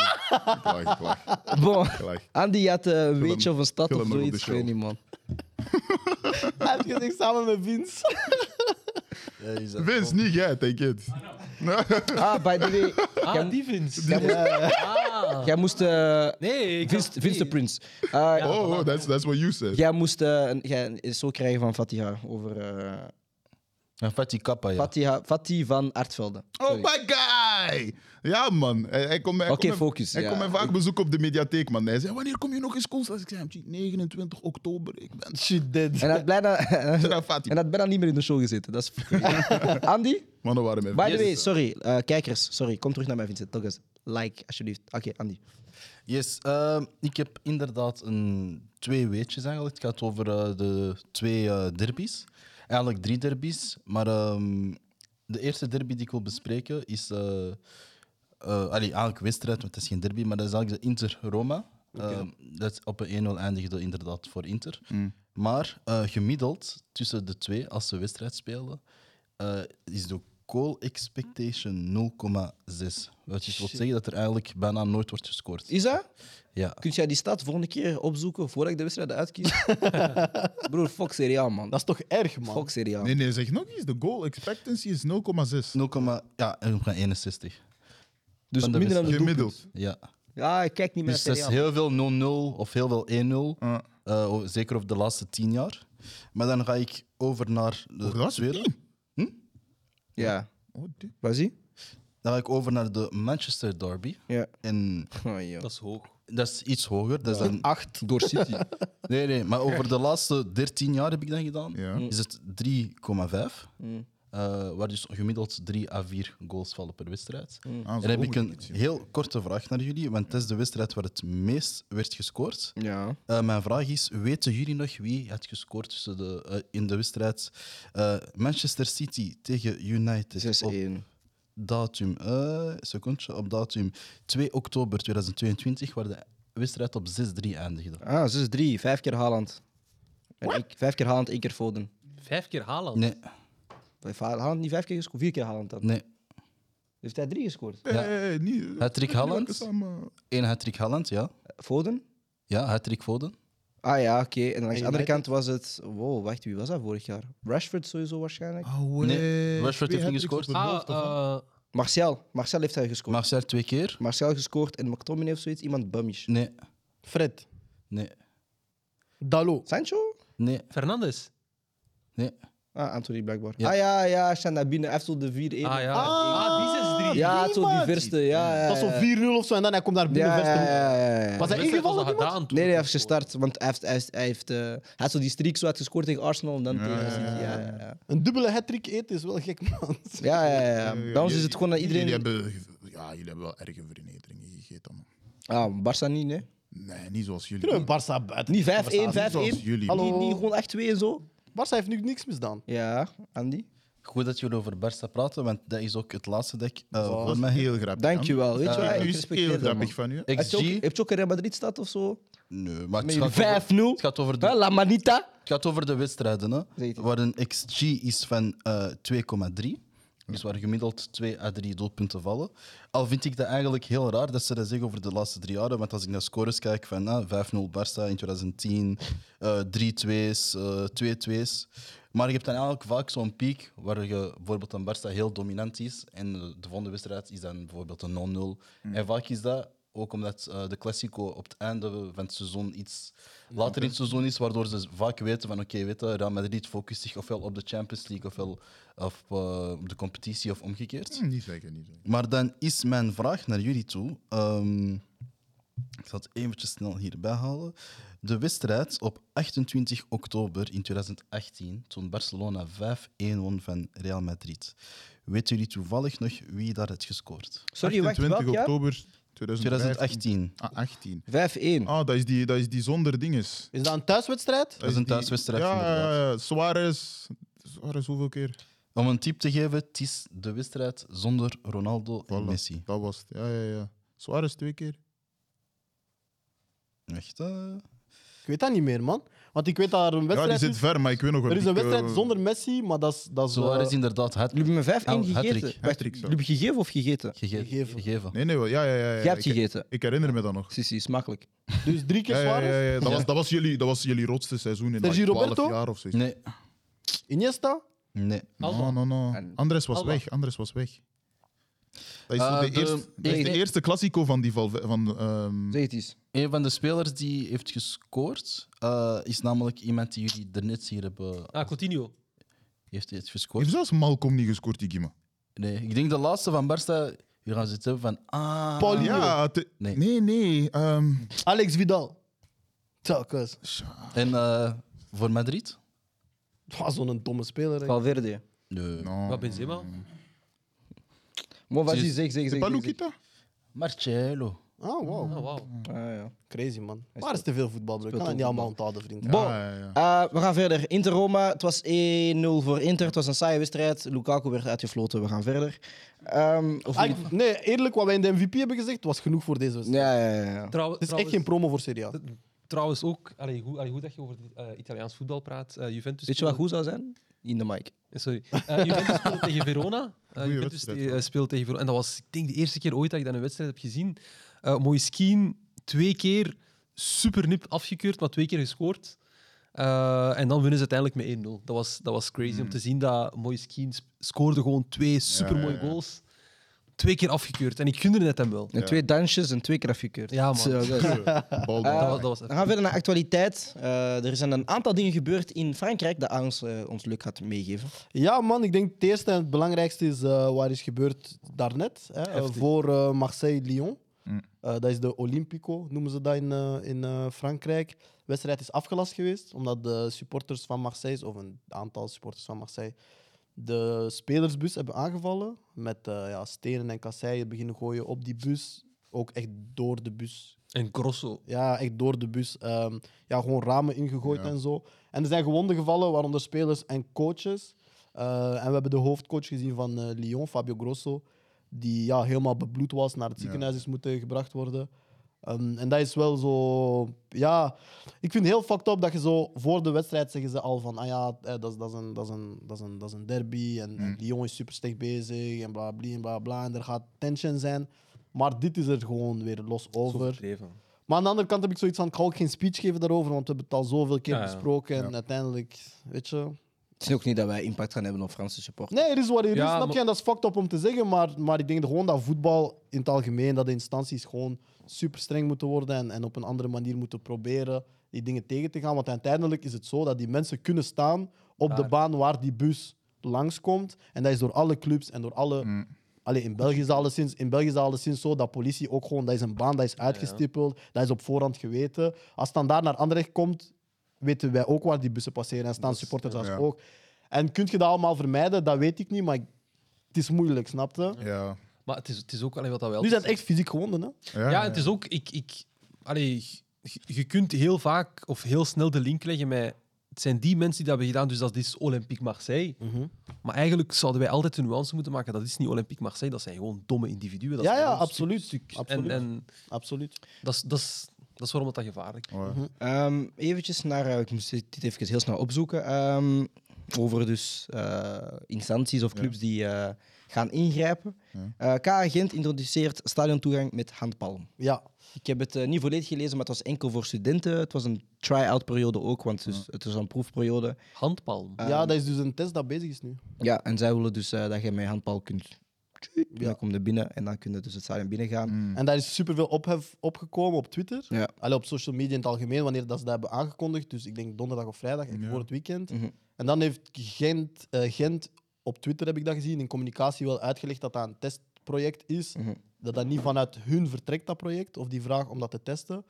[SPEAKER 2] Klaar, klaar.
[SPEAKER 1] Bon.
[SPEAKER 2] Klaar.
[SPEAKER 1] Andy had eh, een weetje
[SPEAKER 2] hem-
[SPEAKER 1] of een stad
[SPEAKER 2] vul
[SPEAKER 1] of
[SPEAKER 2] hem maar op
[SPEAKER 1] zoiets.
[SPEAKER 2] de
[SPEAKER 1] Ik weet
[SPEAKER 2] show.
[SPEAKER 1] niet, man.
[SPEAKER 4] Hij heeft gezegd samen met Vince.
[SPEAKER 6] Ja, je zegt
[SPEAKER 2] Vince, niet jij, take it. Oh,
[SPEAKER 1] Ah, by the way.
[SPEAKER 5] Ah,
[SPEAKER 1] jij,
[SPEAKER 5] die Vince.
[SPEAKER 1] jij moest...
[SPEAKER 5] Ah.
[SPEAKER 1] Jij moest eh,
[SPEAKER 5] Nee, ik
[SPEAKER 1] Vince,
[SPEAKER 5] dacht-
[SPEAKER 1] Vince de
[SPEAKER 5] nee.
[SPEAKER 1] Prince. Eh,
[SPEAKER 2] Oh, oh, that's, that's what you said.
[SPEAKER 1] Jij moest eh, een, jij een zo krijgen van Fatiha over eh
[SPEAKER 6] En Fatih Kappa, ja.
[SPEAKER 1] Fatiha, Fatih van Artvelde.
[SPEAKER 2] Oh
[SPEAKER 1] Sorry.
[SPEAKER 2] my guy! Ja, man. Hij, hij komt mij, hij
[SPEAKER 1] Oké,
[SPEAKER 2] komt mij-
[SPEAKER 1] focus,
[SPEAKER 2] Hij
[SPEAKER 1] ja.
[SPEAKER 2] komt mij vaak bezoek op de mediatheek, man. Hij zei, wanneer kom je nog eens Koolstad? Ik zei hem, "Gee, 29 oktober. Ik ben
[SPEAKER 4] Shit, dead.
[SPEAKER 1] En had bijna,
[SPEAKER 2] Sarah Fatih.
[SPEAKER 1] en had bijna niet meer in de show gezeten. Dat is Andy?
[SPEAKER 2] Mannen waren mij
[SPEAKER 1] By the way, sorry, eh, kijkers, sorry, kom terug naar mij, Vincent. Toch eens, like, alsjeblieft. Oké, Andy.
[SPEAKER 6] Yes, ehm, ik heb inderdaad een, twee weetjes eigenlijk. Het gaat over eh, de twee eh, derbies. Eigenlijk drie derbies. Maar ehm, de eerste derby die ik wil bespreken is... eh eh, allee, eigenlijk wedstrijd, want het is geen derby. Maar dat is eigenlijk de Inter-Roma. Ehm, dat op een 1-0 eindigde inderdaad voor Inter. Maar eh, gemiddeld tussen de twee, als ze wedstrijd spelen, eh, is de goal expectation 0,6. Wat dus wil zeggen dat er eigenlijk bijna nooit wordt gescoord.
[SPEAKER 1] Is dat?
[SPEAKER 6] Ja.
[SPEAKER 1] Kun jij die stad volgende keer opzoeken voordat ik de wedstrijd uitkies? Broer, fuck Serie A, man.
[SPEAKER 4] Dat is toch erg, man?
[SPEAKER 1] Fuck Serie A.
[SPEAKER 2] Nee, nee, zeg nog eens. De goal expectancy is 0,6.
[SPEAKER 6] 0, ja, 0,61.
[SPEAKER 1] Dus
[SPEAKER 6] van de
[SPEAKER 1] minder dan de doelpunt.
[SPEAKER 2] Gemiddeld.
[SPEAKER 6] Ja.
[SPEAKER 1] Ja, ik kijk niet meer
[SPEAKER 6] Dus
[SPEAKER 1] naar
[SPEAKER 6] dat is
[SPEAKER 1] Serie A.
[SPEAKER 6] heel veel 0-0 of heel veel 1-0. eh, o- zeker over de laatste tien jaar. Maar dan ga ik over naar de
[SPEAKER 2] Dat is
[SPEAKER 6] tweede.
[SPEAKER 2] tien.
[SPEAKER 1] Ja.
[SPEAKER 2] Oh, dit.
[SPEAKER 1] Was ie?
[SPEAKER 6] Dan ga ik over naar de Manchester Derby.
[SPEAKER 1] Ja.
[SPEAKER 6] En
[SPEAKER 1] Oh, joh.
[SPEAKER 5] Dat is hoog.
[SPEAKER 6] dat is iets hoger. Dat is dan
[SPEAKER 1] Acht door City.
[SPEAKER 6] Nee, nee, maar over de laatste 13 jaar heb ik dat gedaan.
[SPEAKER 2] Ja.
[SPEAKER 6] Is het 3,5. eh, waar dus gemiddeld 3 à 4 goals vallen per wedstrijd.
[SPEAKER 2] Ah, zo
[SPEAKER 6] en heb ik
[SPEAKER 2] moet je
[SPEAKER 6] een
[SPEAKER 2] het zien.
[SPEAKER 6] heel korte vraag naar jullie, want het is de wedstrijd waar het meest werd gescoord.
[SPEAKER 1] ja.
[SPEAKER 6] Eh, mijn vraag is: weten jullie nog wie had gescoord tussen de, eh, in de wedstrijd eh, Manchester City tegen United? Op
[SPEAKER 1] 6-1.
[SPEAKER 6] datum, eh, secondje, op datum 2 oktober 2022, waar de wedstrijd op 6-3 eindigde.
[SPEAKER 1] Ah, 6-3. Vijf keer Haaland. En ik, vijf keer Haaland, één keer Foden.
[SPEAKER 5] Vijf keer Haaland.
[SPEAKER 6] Nee,
[SPEAKER 1] Heeft Ha- Haaland niet vijf keer gescoord? Vier keer Haaland dan.
[SPEAKER 6] nee.
[SPEAKER 1] Heeft hij drie gescoord?
[SPEAKER 2] Nee, nee, nee, niet.
[SPEAKER 6] Hattrick
[SPEAKER 2] niet
[SPEAKER 6] Haaland?
[SPEAKER 2] lekker samen.
[SPEAKER 6] Eén hat-trick Haaland, ja.
[SPEAKER 1] Foden?
[SPEAKER 6] Ja, hat-trick Foden.
[SPEAKER 1] Ah ja, oké. En dan aan de andere
[SPEAKER 4] United?
[SPEAKER 1] kant was het... Wow, wacht, wie was dat vorig jaar? Rashford sowieso waarschijnlijk.
[SPEAKER 2] Ah.
[SPEAKER 6] Nee, Rashford
[SPEAKER 2] Twee
[SPEAKER 6] heeft niet
[SPEAKER 2] hat-tricks
[SPEAKER 6] gescoord.
[SPEAKER 2] op het
[SPEAKER 5] Ah,
[SPEAKER 2] hoofd, of wat?
[SPEAKER 5] eh,
[SPEAKER 1] Martial. Martial heeft hij gescoord.
[SPEAKER 6] Martial twee keer.
[SPEAKER 1] Martial gescoord en McTominay of zoiets. Iemand bummish.
[SPEAKER 6] Nee,
[SPEAKER 4] Fred.
[SPEAKER 6] nee,
[SPEAKER 4] Dalo.
[SPEAKER 1] Sancho?
[SPEAKER 6] nee,
[SPEAKER 5] Fernandes.
[SPEAKER 6] nee.
[SPEAKER 1] Ah, Anthony blijkbaar.
[SPEAKER 6] Ja.
[SPEAKER 1] Ah ja, ja, hij staat naar binnen. Hij heeft zo de 4-1.
[SPEAKER 5] Ah ja.
[SPEAKER 4] Ah,
[SPEAKER 5] Ah, die 6-3.
[SPEAKER 1] ja, zo die
[SPEAKER 4] niemand.
[SPEAKER 1] verste. Ja, ja, ja.
[SPEAKER 4] Dat is zo'n 4-0 of zo en dan hij komt daar binnen.
[SPEAKER 1] Eh. Ja, ja,
[SPEAKER 4] verste hoek.
[SPEAKER 1] ja, ja, ja.
[SPEAKER 4] Was hij
[SPEAKER 5] wedstrijd
[SPEAKER 4] ingevallen?
[SPEAKER 5] was al
[SPEAKER 4] niemand?
[SPEAKER 5] gedaan toen.
[SPEAKER 1] Nee, nee, hij heeft gestart. Want hij heeft, hij heeft, hij heeft, eh, hij had zo die streak zo uitgescoord tegen Arsenal en dan tegen City. Ja, ja, ja.
[SPEAKER 4] Een dubbele hat-trick eten is wel gek, man.
[SPEAKER 1] Ja, ja, ja. Bij ons is het gewoon dat iedereen...
[SPEAKER 2] Jullie hebben, ja, jullie hebben wel erge vernederingen gegeten, man.
[SPEAKER 1] Ah, Barça niet, nee.
[SPEAKER 2] Nee, niet zoals jullie.
[SPEAKER 4] Kunnen we Barça buiten?
[SPEAKER 1] Niet 5-1, 5-1.
[SPEAKER 2] zoals
[SPEAKER 1] Niet,
[SPEAKER 2] jullie.
[SPEAKER 4] Hallo.
[SPEAKER 1] niet gewoon 8-2 en zo.
[SPEAKER 4] Barça heeft nu niks misdaan.
[SPEAKER 1] Ja, Andy.
[SPEAKER 6] Goed dat jullie over Barça praten, want dat is ook het laatste dat ik eh,
[SPEAKER 2] Dat
[SPEAKER 6] voor
[SPEAKER 2] is
[SPEAKER 6] mij
[SPEAKER 2] heel grappig.
[SPEAKER 1] Dankjewel. Weet je
[SPEAKER 2] Ja,
[SPEAKER 1] wat?
[SPEAKER 2] nu
[SPEAKER 1] Ik
[SPEAKER 2] is het heel
[SPEAKER 1] respecteer dat, man.
[SPEAKER 2] grappig van u.
[SPEAKER 1] Heb je
[SPEAKER 6] XG?
[SPEAKER 1] ook- heb je ook een Real Madrid stad of zo?
[SPEAKER 6] Nee, maar het
[SPEAKER 1] Met
[SPEAKER 6] gaat,
[SPEAKER 1] jullie
[SPEAKER 6] over,
[SPEAKER 1] 5-0.
[SPEAKER 6] het gaat over de,
[SPEAKER 1] Hè, La Manita.
[SPEAKER 6] het gaat over de wedstrijden, hè,
[SPEAKER 1] Zeker.
[SPEAKER 6] waar een XG is van eh, 2,3. Dus waar gemiddeld 2 à 3 doelpunten vallen. Al vind ik dat eigenlijk heel raar dat ze dat zeggen over de laatste drie jaren. Want als ik naar scores kijk van ah, 5-0 Barça in 2010, eh 3-2's, eh, 2-2's. Maar je hebt dan eigenlijk vaak zo'n piek waar je bijvoorbeeld een Barça heel dominant is. En eh, de volgende wedstrijd is dan bijvoorbeeld een 0-0. En vaak is dat ook omdat eh, de Classico op het einde van het seizoen iets later in het seizoen is, waardoor ze vaak weten van oké, weet je, Real Madrid focust zich ofwel op de Champions League ofwel op eh, op de competitie of omgekeerd.
[SPEAKER 2] Hm, Niet zeker, niet zeker.
[SPEAKER 6] Maar dan is mijn vraag naar jullie toe. ehm, ik zal het eventjes snel hierbij halen. De wedstrijd op 28 oktober in 2018, toen Barcelona 5-1 won van Real Madrid. Weten jullie toevallig nog wie daar heeft gescoord?
[SPEAKER 1] Sorry, wacht,
[SPEAKER 2] 28
[SPEAKER 1] welk jaar?
[SPEAKER 2] oktober 2018.
[SPEAKER 6] 2018.
[SPEAKER 2] Ah, 18.
[SPEAKER 1] 5-1.
[SPEAKER 2] Ah, dat is die, dat is die zonder dinges.
[SPEAKER 4] Is dat een thuiswedstrijd?
[SPEAKER 6] Dat is een
[SPEAKER 2] Eh, die-
[SPEAKER 6] thuiswedstrijd,
[SPEAKER 2] Ja, ja,
[SPEAKER 6] inderdaad.
[SPEAKER 2] ja, ja. Suarez. Suarez, hoeveel keer?
[SPEAKER 6] Om een tip te geven, het is de wedstrijd zonder Ronaldo en
[SPEAKER 2] Voilà,
[SPEAKER 6] Messi.
[SPEAKER 2] Dat was het. Ja, ja, ja. Suarez twee keer.
[SPEAKER 6] Echt? eh?
[SPEAKER 4] Ik weet dat niet meer, man. Want ik weet dat er een
[SPEAKER 2] Ja, die
[SPEAKER 4] wedstrijd
[SPEAKER 2] zit
[SPEAKER 4] is.
[SPEAKER 2] ver, maar ik weet nog wel.
[SPEAKER 4] Er is een
[SPEAKER 2] ik, eh,
[SPEAKER 4] wedstrijd zonder Messi, maar dat is... Dat is eh,
[SPEAKER 6] Suarez inderdaad had
[SPEAKER 1] Jullie hebben me 5-1
[SPEAKER 6] Oh,
[SPEAKER 1] gegeten.
[SPEAKER 6] hat-trick.
[SPEAKER 1] Wacht,
[SPEAKER 2] Hat-trick,
[SPEAKER 1] jullie hebben gegeven of gegeten?
[SPEAKER 6] gege-
[SPEAKER 4] Gegeven.
[SPEAKER 6] gegeven.
[SPEAKER 2] Nee, nee, wel. ja, ja, ja. ja.
[SPEAKER 1] Jij hebt
[SPEAKER 2] Ik-
[SPEAKER 1] gegeten.
[SPEAKER 2] Ik herinner me dat nog.
[SPEAKER 1] Sissi, smakelijk.
[SPEAKER 4] Dus drie keer
[SPEAKER 2] Ja, ja,
[SPEAKER 4] Suarez,
[SPEAKER 2] ja, ja. Dat, was, dat, was jullie, dat was jullie rotste seizoen in
[SPEAKER 4] Sergio
[SPEAKER 2] like, 12
[SPEAKER 4] Roberto?
[SPEAKER 2] jaar of zoiets.
[SPEAKER 6] Nee,
[SPEAKER 4] Iniesta.
[SPEAKER 6] nee.
[SPEAKER 2] No,
[SPEAKER 5] Alba.
[SPEAKER 2] no, no.
[SPEAKER 1] En-
[SPEAKER 2] Andres was
[SPEAKER 5] Alba.
[SPEAKER 2] weg. Andres was weg. Dat is zo
[SPEAKER 6] Eh,
[SPEAKER 2] de,
[SPEAKER 6] de-
[SPEAKER 2] eerste, dat is de
[SPEAKER 6] nee.
[SPEAKER 2] eerste klassico van die Valve- van, ehm,
[SPEAKER 1] Zeg het eens.
[SPEAKER 6] Een van de spelers die heeft gescoord eh, is namelijk iemand die jullie er net hier hebben.
[SPEAKER 5] Ah, Coutinho.
[SPEAKER 6] Heeft hij het gescoord?
[SPEAKER 2] Heeft zelfs Malcolm niet gescoord, die Gima.
[SPEAKER 6] Nee, ik denk de laatste van Barça. Hier gaan ze het hebben van. Ah,
[SPEAKER 4] Paulinho.
[SPEAKER 2] Ja, te-
[SPEAKER 6] Nee.
[SPEAKER 2] nee, nee. ehm,
[SPEAKER 4] Alex Vidal. Telkens.
[SPEAKER 6] En eh, voor Madrid?
[SPEAKER 4] Ah, Zo'n domme speler. hè.
[SPEAKER 1] Valverde.
[SPEAKER 6] Nee.
[SPEAKER 2] no.
[SPEAKER 5] Wat Benzema?
[SPEAKER 1] Maar wat
[SPEAKER 6] Zie-
[SPEAKER 1] is zeg, zeg, zeg. zeg, zeg.
[SPEAKER 2] Palukita?
[SPEAKER 6] Oh. Marcelo.
[SPEAKER 4] Ah, wow.
[SPEAKER 5] Ah, wauw.
[SPEAKER 1] Ah, ja.
[SPEAKER 4] Crazy, man. Maar is te veel voetbal, bro. Ik kan
[SPEAKER 1] Speelt
[SPEAKER 4] dat niet
[SPEAKER 1] ook
[SPEAKER 4] allemaal onthouden, vriend.
[SPEAKER 1] Bo,
[SPEAKER 2] Ah, Ja, ja, ja.
[SPEAKER 1] eh, we gaan verder. Inter-Roma, het was 1-0 voor Inter. Het was een saaie wedstrijd. Lukaku werd uitgefloten. We gaan verder. Ehm, of
[SPEAKER 4] Ah,
[SPEAKER 1] niet?
[SPEAKER 4] ik- nee, eerlijk, wat wij in de MVP hebben gezegd, was genoeg voor deze wedstrijd.
[SPEAKER 1] ja, ja, ja, ja.
[SPEAKER 5] Trouw-
[SPEAKER 4] Het is echt geen promo voor Serie A.
[SPEAKER 5] trouwens- Trouwens ook, allee, goed, allee, goed dat je over eh, Italiaans voetbal praat. Eh, Juventus
[SPEAKER 1] Weet je wat
[SPEAKER 5] speelde-
[SPEAKER 1] goed zou zijn? In de mic.
[SPEAKER 5] Eh, Sorry. Eh, Juventus speelde tegen Verona. Eh, Juventus
[SPEAKER 2] wedstrijd,
[SPEAKER 5] die, eh,
[SPEAKER 2] man.
[SPEAKER 5] speelde tegen Verona. En dat was, ik denk, de eerste keer ooit dat ik dan een wedstrijd heb gezien. Eh Moïskien, twee keer super nip afgekeurd, maar twee keer gescoord. Eh, en dan winnen ze uiteindelijk met 1-0. Dat was, dat was crazy
[SPEAKER 1] Hmm.
[SPEAKER 5] om te zien dat Moïskien sp- scoorde gewoon twee supermooie
[SPEAKER 2] ja, ja.
[SPEAKER 5] goals. Twee keer afgekeurd. En ik gunde het hem wel.
[SPEAKER 1] En twee dansjes en twee keer afgekeurd.
[SPEAKER 5] Ja, man.
[SPEAKER 1] Zo, dat is-
[SPEAKER 2] Bal door.
[SPEAKER 5] Dat, was- dat was
[SPEAKER 1] We gaan verder naar actualiteit. Eh, er zijn een aantal dingen gebeurd in Frankrijk dat Arons eh, ons leuk gaat meegeven.
[SPEAKER 4] Ja, man, ik denk het eerste en het belangrijkste is eh wat is gebeurd daarnet. Hè, eh, voor eh, Marseille-Lyon. Eh, dat is de Olympico, noemen ze dat in, eh, in eh, Frankrijk. De wedstrijd is afgelast geweest, omdat de supporters van Marseille, of een aantal supporters van Marseille, de spelersbus hebben aangevallen. Met eh, ja, stenen en kasseien beginnen gooien op die bus. Ook echt door de bus
[SPEAKER 5] En Grosso.
[SPEAKER 4] Ja, echt door de bus. ehm, ja, gewoon ramen ingegooid en zo. En er zijn gewonden gevallen, waaronder spelers en coaches. Eh, en we hebben de hoofdcoach gezien van eh, Lyon, Fabio Grosso, die ja, helemaal bebloed was, naar het ziekenhuis is moeten gebracht worden. Ehm, en dat is wel zo. Ja, ik vind het heel fucked up dat je zo voor de wedstrijd zeggen ze al van: ah ja, eh, dat is- dat is een- dat is een- dat is een- dat is een derby. En, en Lyon is super slecht bezig en bla bla bla bla. En er gaat tension zijn. Maar dit is er gewoon weer los over. Maar aan de andere kant heb ik zoiets van, ik ga ook geen speech geven daarover, want we hebben het al zoveel keer
[SPEAKER 5] Ja, ja.
[SPEAKER 4] besproken en uiteindelijk, weet je...
[SPEAKER 1] Het is ook niet dat wij impact gaan hebben op Franse supporters.
[SPEAKER 4] Nee, er is wat er
[SPEAKER 5] Ja,
[SPEAKER 4] is, snap
[SPEAKER 5] maar-
[SPEAKER 4] je? En dat is fucked up om te zeggen, maar, maar ik denk gewoon dat voetbal in het algemeen, dat de instanties gewoon super streng moeten worden en, en op een andere manier moeten proberen die dingen tegen te gaan. Want uiteindelijk is het zo dat die mensen kunnen staan op de
[SPEAKER 5] Daar.
[SPEAKER 4] baan waar die bus langskomt. En dat is door alle clubs en door alle... Allee, in België is dat alleszins, in België is dat alleszins zo dat politie ook gewoon... Dat is een baan, dat is uitgestippeld, dat is op voorhand geweten. Als het dan daar naar Anderlecht komt, weten wij ook waar die bussen passeren. En staan supporters daar
[SPEAKER 2] ja.
[SPEAKER 4] ook. En kun je dat allemaal vermijden? Dat weet ik niet, maar ik- het is moeilijk, snap je?
[SPEAKER 2] Ja.
[SPEAKER 5] Maar het is, het is ook alleen wat dat wel.
[SPEAKER 4] Nu zijn het echt fysiek gewonden, hè?
[SPEAKER 5] Ja, het is ook. Ik, ik, allee, je- je kunt heel vaak of heel snel de link leggen met. Het zijn die mensen die dat hebben gedaan, dus dat is Olympique Marseille.
[SPEAKER 4] Mhm.
[SPEAKER 5] Maar eigenlijk zouden wij altijd een nuance moeten maken. Dat is niet Olympique Marseille, dat zijn gewoon domme individuen. Dat
[SPEAKER 4] Ja,
[SPEAKER 5] zijn
[SPEAKER 4] ja,
[SPEAKER 5] gewoon
[SPEAKER 4] absoluut.
[SPEAKER 5] stuk- stuk-
[SPEAKER 4] Absoluut.
[SPEAKER 5] En, en
[SPEAKER 4] Absoluut.
[SPEAKER 5] dat, is, dat, is, dat is waarom dat gevaarlijk is.
[SPEAKER 2] Ja.
[SPEAKER 1] Ehm eventjes naar, eh, ik moest dit dit even heel snel opzoeken, ehm, over dus eh, instanties of clubs die eh, gaan ingrijpen. Eh, K Gent introduceert stadiontoegang met handpalm.
[SPEAKER 4] Ja.
[SPEAKER 1] Ik heb het eh, niet volledig gelezen, maar het was enkel voor studenten. Het was een try-out periode ook, want dus, het is een proefperiode.
[SPEAKER 5] Handpalm.
[SPEAKER 2] Ehm.
[SPEAKER 4] ja, dat is dus een test dat bezig is nu.
[SPEAKER 1] Ja, en zij willen dus eh, dat je met je handpal kunt. Dan kom je binnen en dan kun je dus het stadion binnengaan.
[SPEAKER 2] Mm. Hmm.
[SPEAKER 4] En daar is superveel ophef opgekomen op Twitter.
[SPEAKER 1] Ja.
[SPEAKER 4] Allee, op social media in het algemeen, wanneer dat ze dat hebben aangekondigd. Dus ik denk donderdag of vrijdag, echt voor het weekend. En dan heeft Gent, eh, Gent, op Twitter heb ik dat gezien, in communicatie wel uitgelegd dat dat een testproject is. Dat dat niet vanuit hun vertrekt, dat project, of die vraag om dat te testen.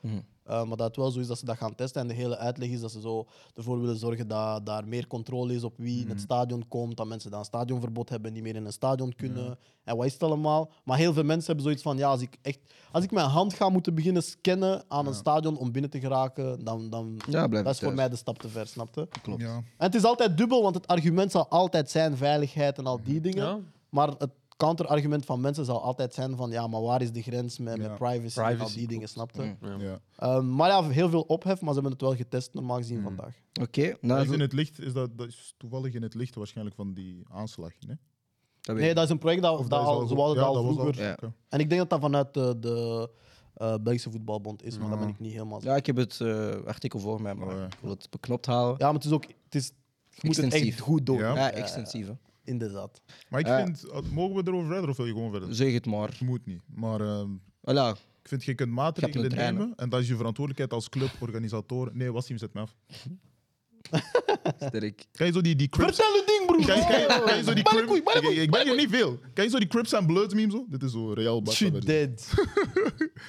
[SPEAKER 4] Eh, maar dat het wel zo is dat ze dat gaan testen. En de hele uitleg is dat ze zo ervoor willen zorgen dat daar meer controle is op wie in het stadion komt. Dat mensen dan een stadionverbod hebben, niet meer in een stadion kunnen. En wat is het allemaal? Maar heel veel mensen hebben zoiets van: ja, als ik, echt, als ik mijn hand ga moeten beginnen scannen aan een stadion om binnen te geraken, dan, dan
[SPEAKER 1] Ja, blijf
[SPEAKER 4] dat is voor
[SPEAKER 1] thuis.
[SPEAKER 4] mij de stap te ver, snapte? Klopt.
[SPEAKER 2] Ja.
[SPEAKER 4] En het is altijd dubbel, want het argument zal altijd zijn veiligheid en al die dingen.
[SPEAKER 5] Ja.
[SPEAKER 4] Maar het counterargument van mensen zal altijd zijn van ja, maar waar is de grens met, met privacy, en al
[SPEAKER 5] Privacy,
[SPEAKER 4] die dingen, snapte?
[SPEAKER 2] Ja.
[SPEAKER 4] Ehm, maar ja, heel veel ophef, maar ze hebben het wel getest, normaal gezien vandaag.
[SPEAKER 1] Oké, nou,
[SPEAKER 2] Dat is
[SPEAKER 1] goed.
[SPEAKER 2] in het licht, is dat, dat is toevallig in het licht waarschijnlijk van die aanslag. Nee,
[SPEAKER 1] Dat weet
[SPEAKER 4] Nee,
[SPEAKER 1] ik.
[SPEAKER 4] dat is een project dat,
[SPEAKER 2] Of
[SPEAKER 4] dat
[SPEAKER 2] is
[SPEAKER 4] al, ze
[SPEAKER 2] goed-
[SPEAKER 4] wouden
[SPEAKER 2] ja,
[SPEAKER 4] dat al
[SPEAKER 2] dat was
[SPEAKER 4] vroeger.
[SPEAKER 1] Ja.
[SPEAKER 2] oké.
[SPEAKER 4] En ik denk dat dat vanuit de, de eh, Belgische voetbalbond is, maar dat ben ik niet helemaal
[SPEAKER 1] ja, ik heb het eh, artikel voor mij, maar
[SPEAKER 2] Oh, ja.
[SPEAKER 1] ik wil het beknopt houden.
[SPEAKER 4] Ja, maar het is ook. Het is, je moet het echt
[SPEAKER 1] Extensief.
[SPEAKER 4] goed doen.
[SPEAKER 2] Ja.
[SPEAKER 1] Ja, extensief. hè.
[SPEAKER 4] Inderdaad.
[SPEAKER 2] Maar ik
[SPEAKER 1] Eh.
[SPEAKER 2] vind, eh, mogen we erover verder of wil je gewoon verder?
[SPEAKER 1] Zeg het maar.
[SPEAKER 2] Het moet niet. Maar ehm,
[SPEAKER 1] Voilà.
[SPEAKER 2] ik vind, je kunt
[SPEAKER 1] Je
[SPEAKER 2] maatregelen
[SPEAKER 1] hebt een trein,
[SPEAKER 2] nemen en dat is je verantwoordelijkheid als club, organisator. Nee, Wassim, zet me af.
[SPEAKER 1] Sterk.
[SPEAKER 2] Kan je zo die, die Crips...
[SPEAKER 4] Vertel het ding, broer!
[SPEAKER 2] Kan je, kan je- kan je zo die
[SPEAKER 4] Balkoei,
[SPEAKER 2] Crips... Ik, ik ben hier niet veel. Kan je zo die Crips en Bloods meme zo? Dit is zo Real Barca
[SPEAKER 4] She
[SPEAKER 2] versie.
[SPEAKER 4] dead.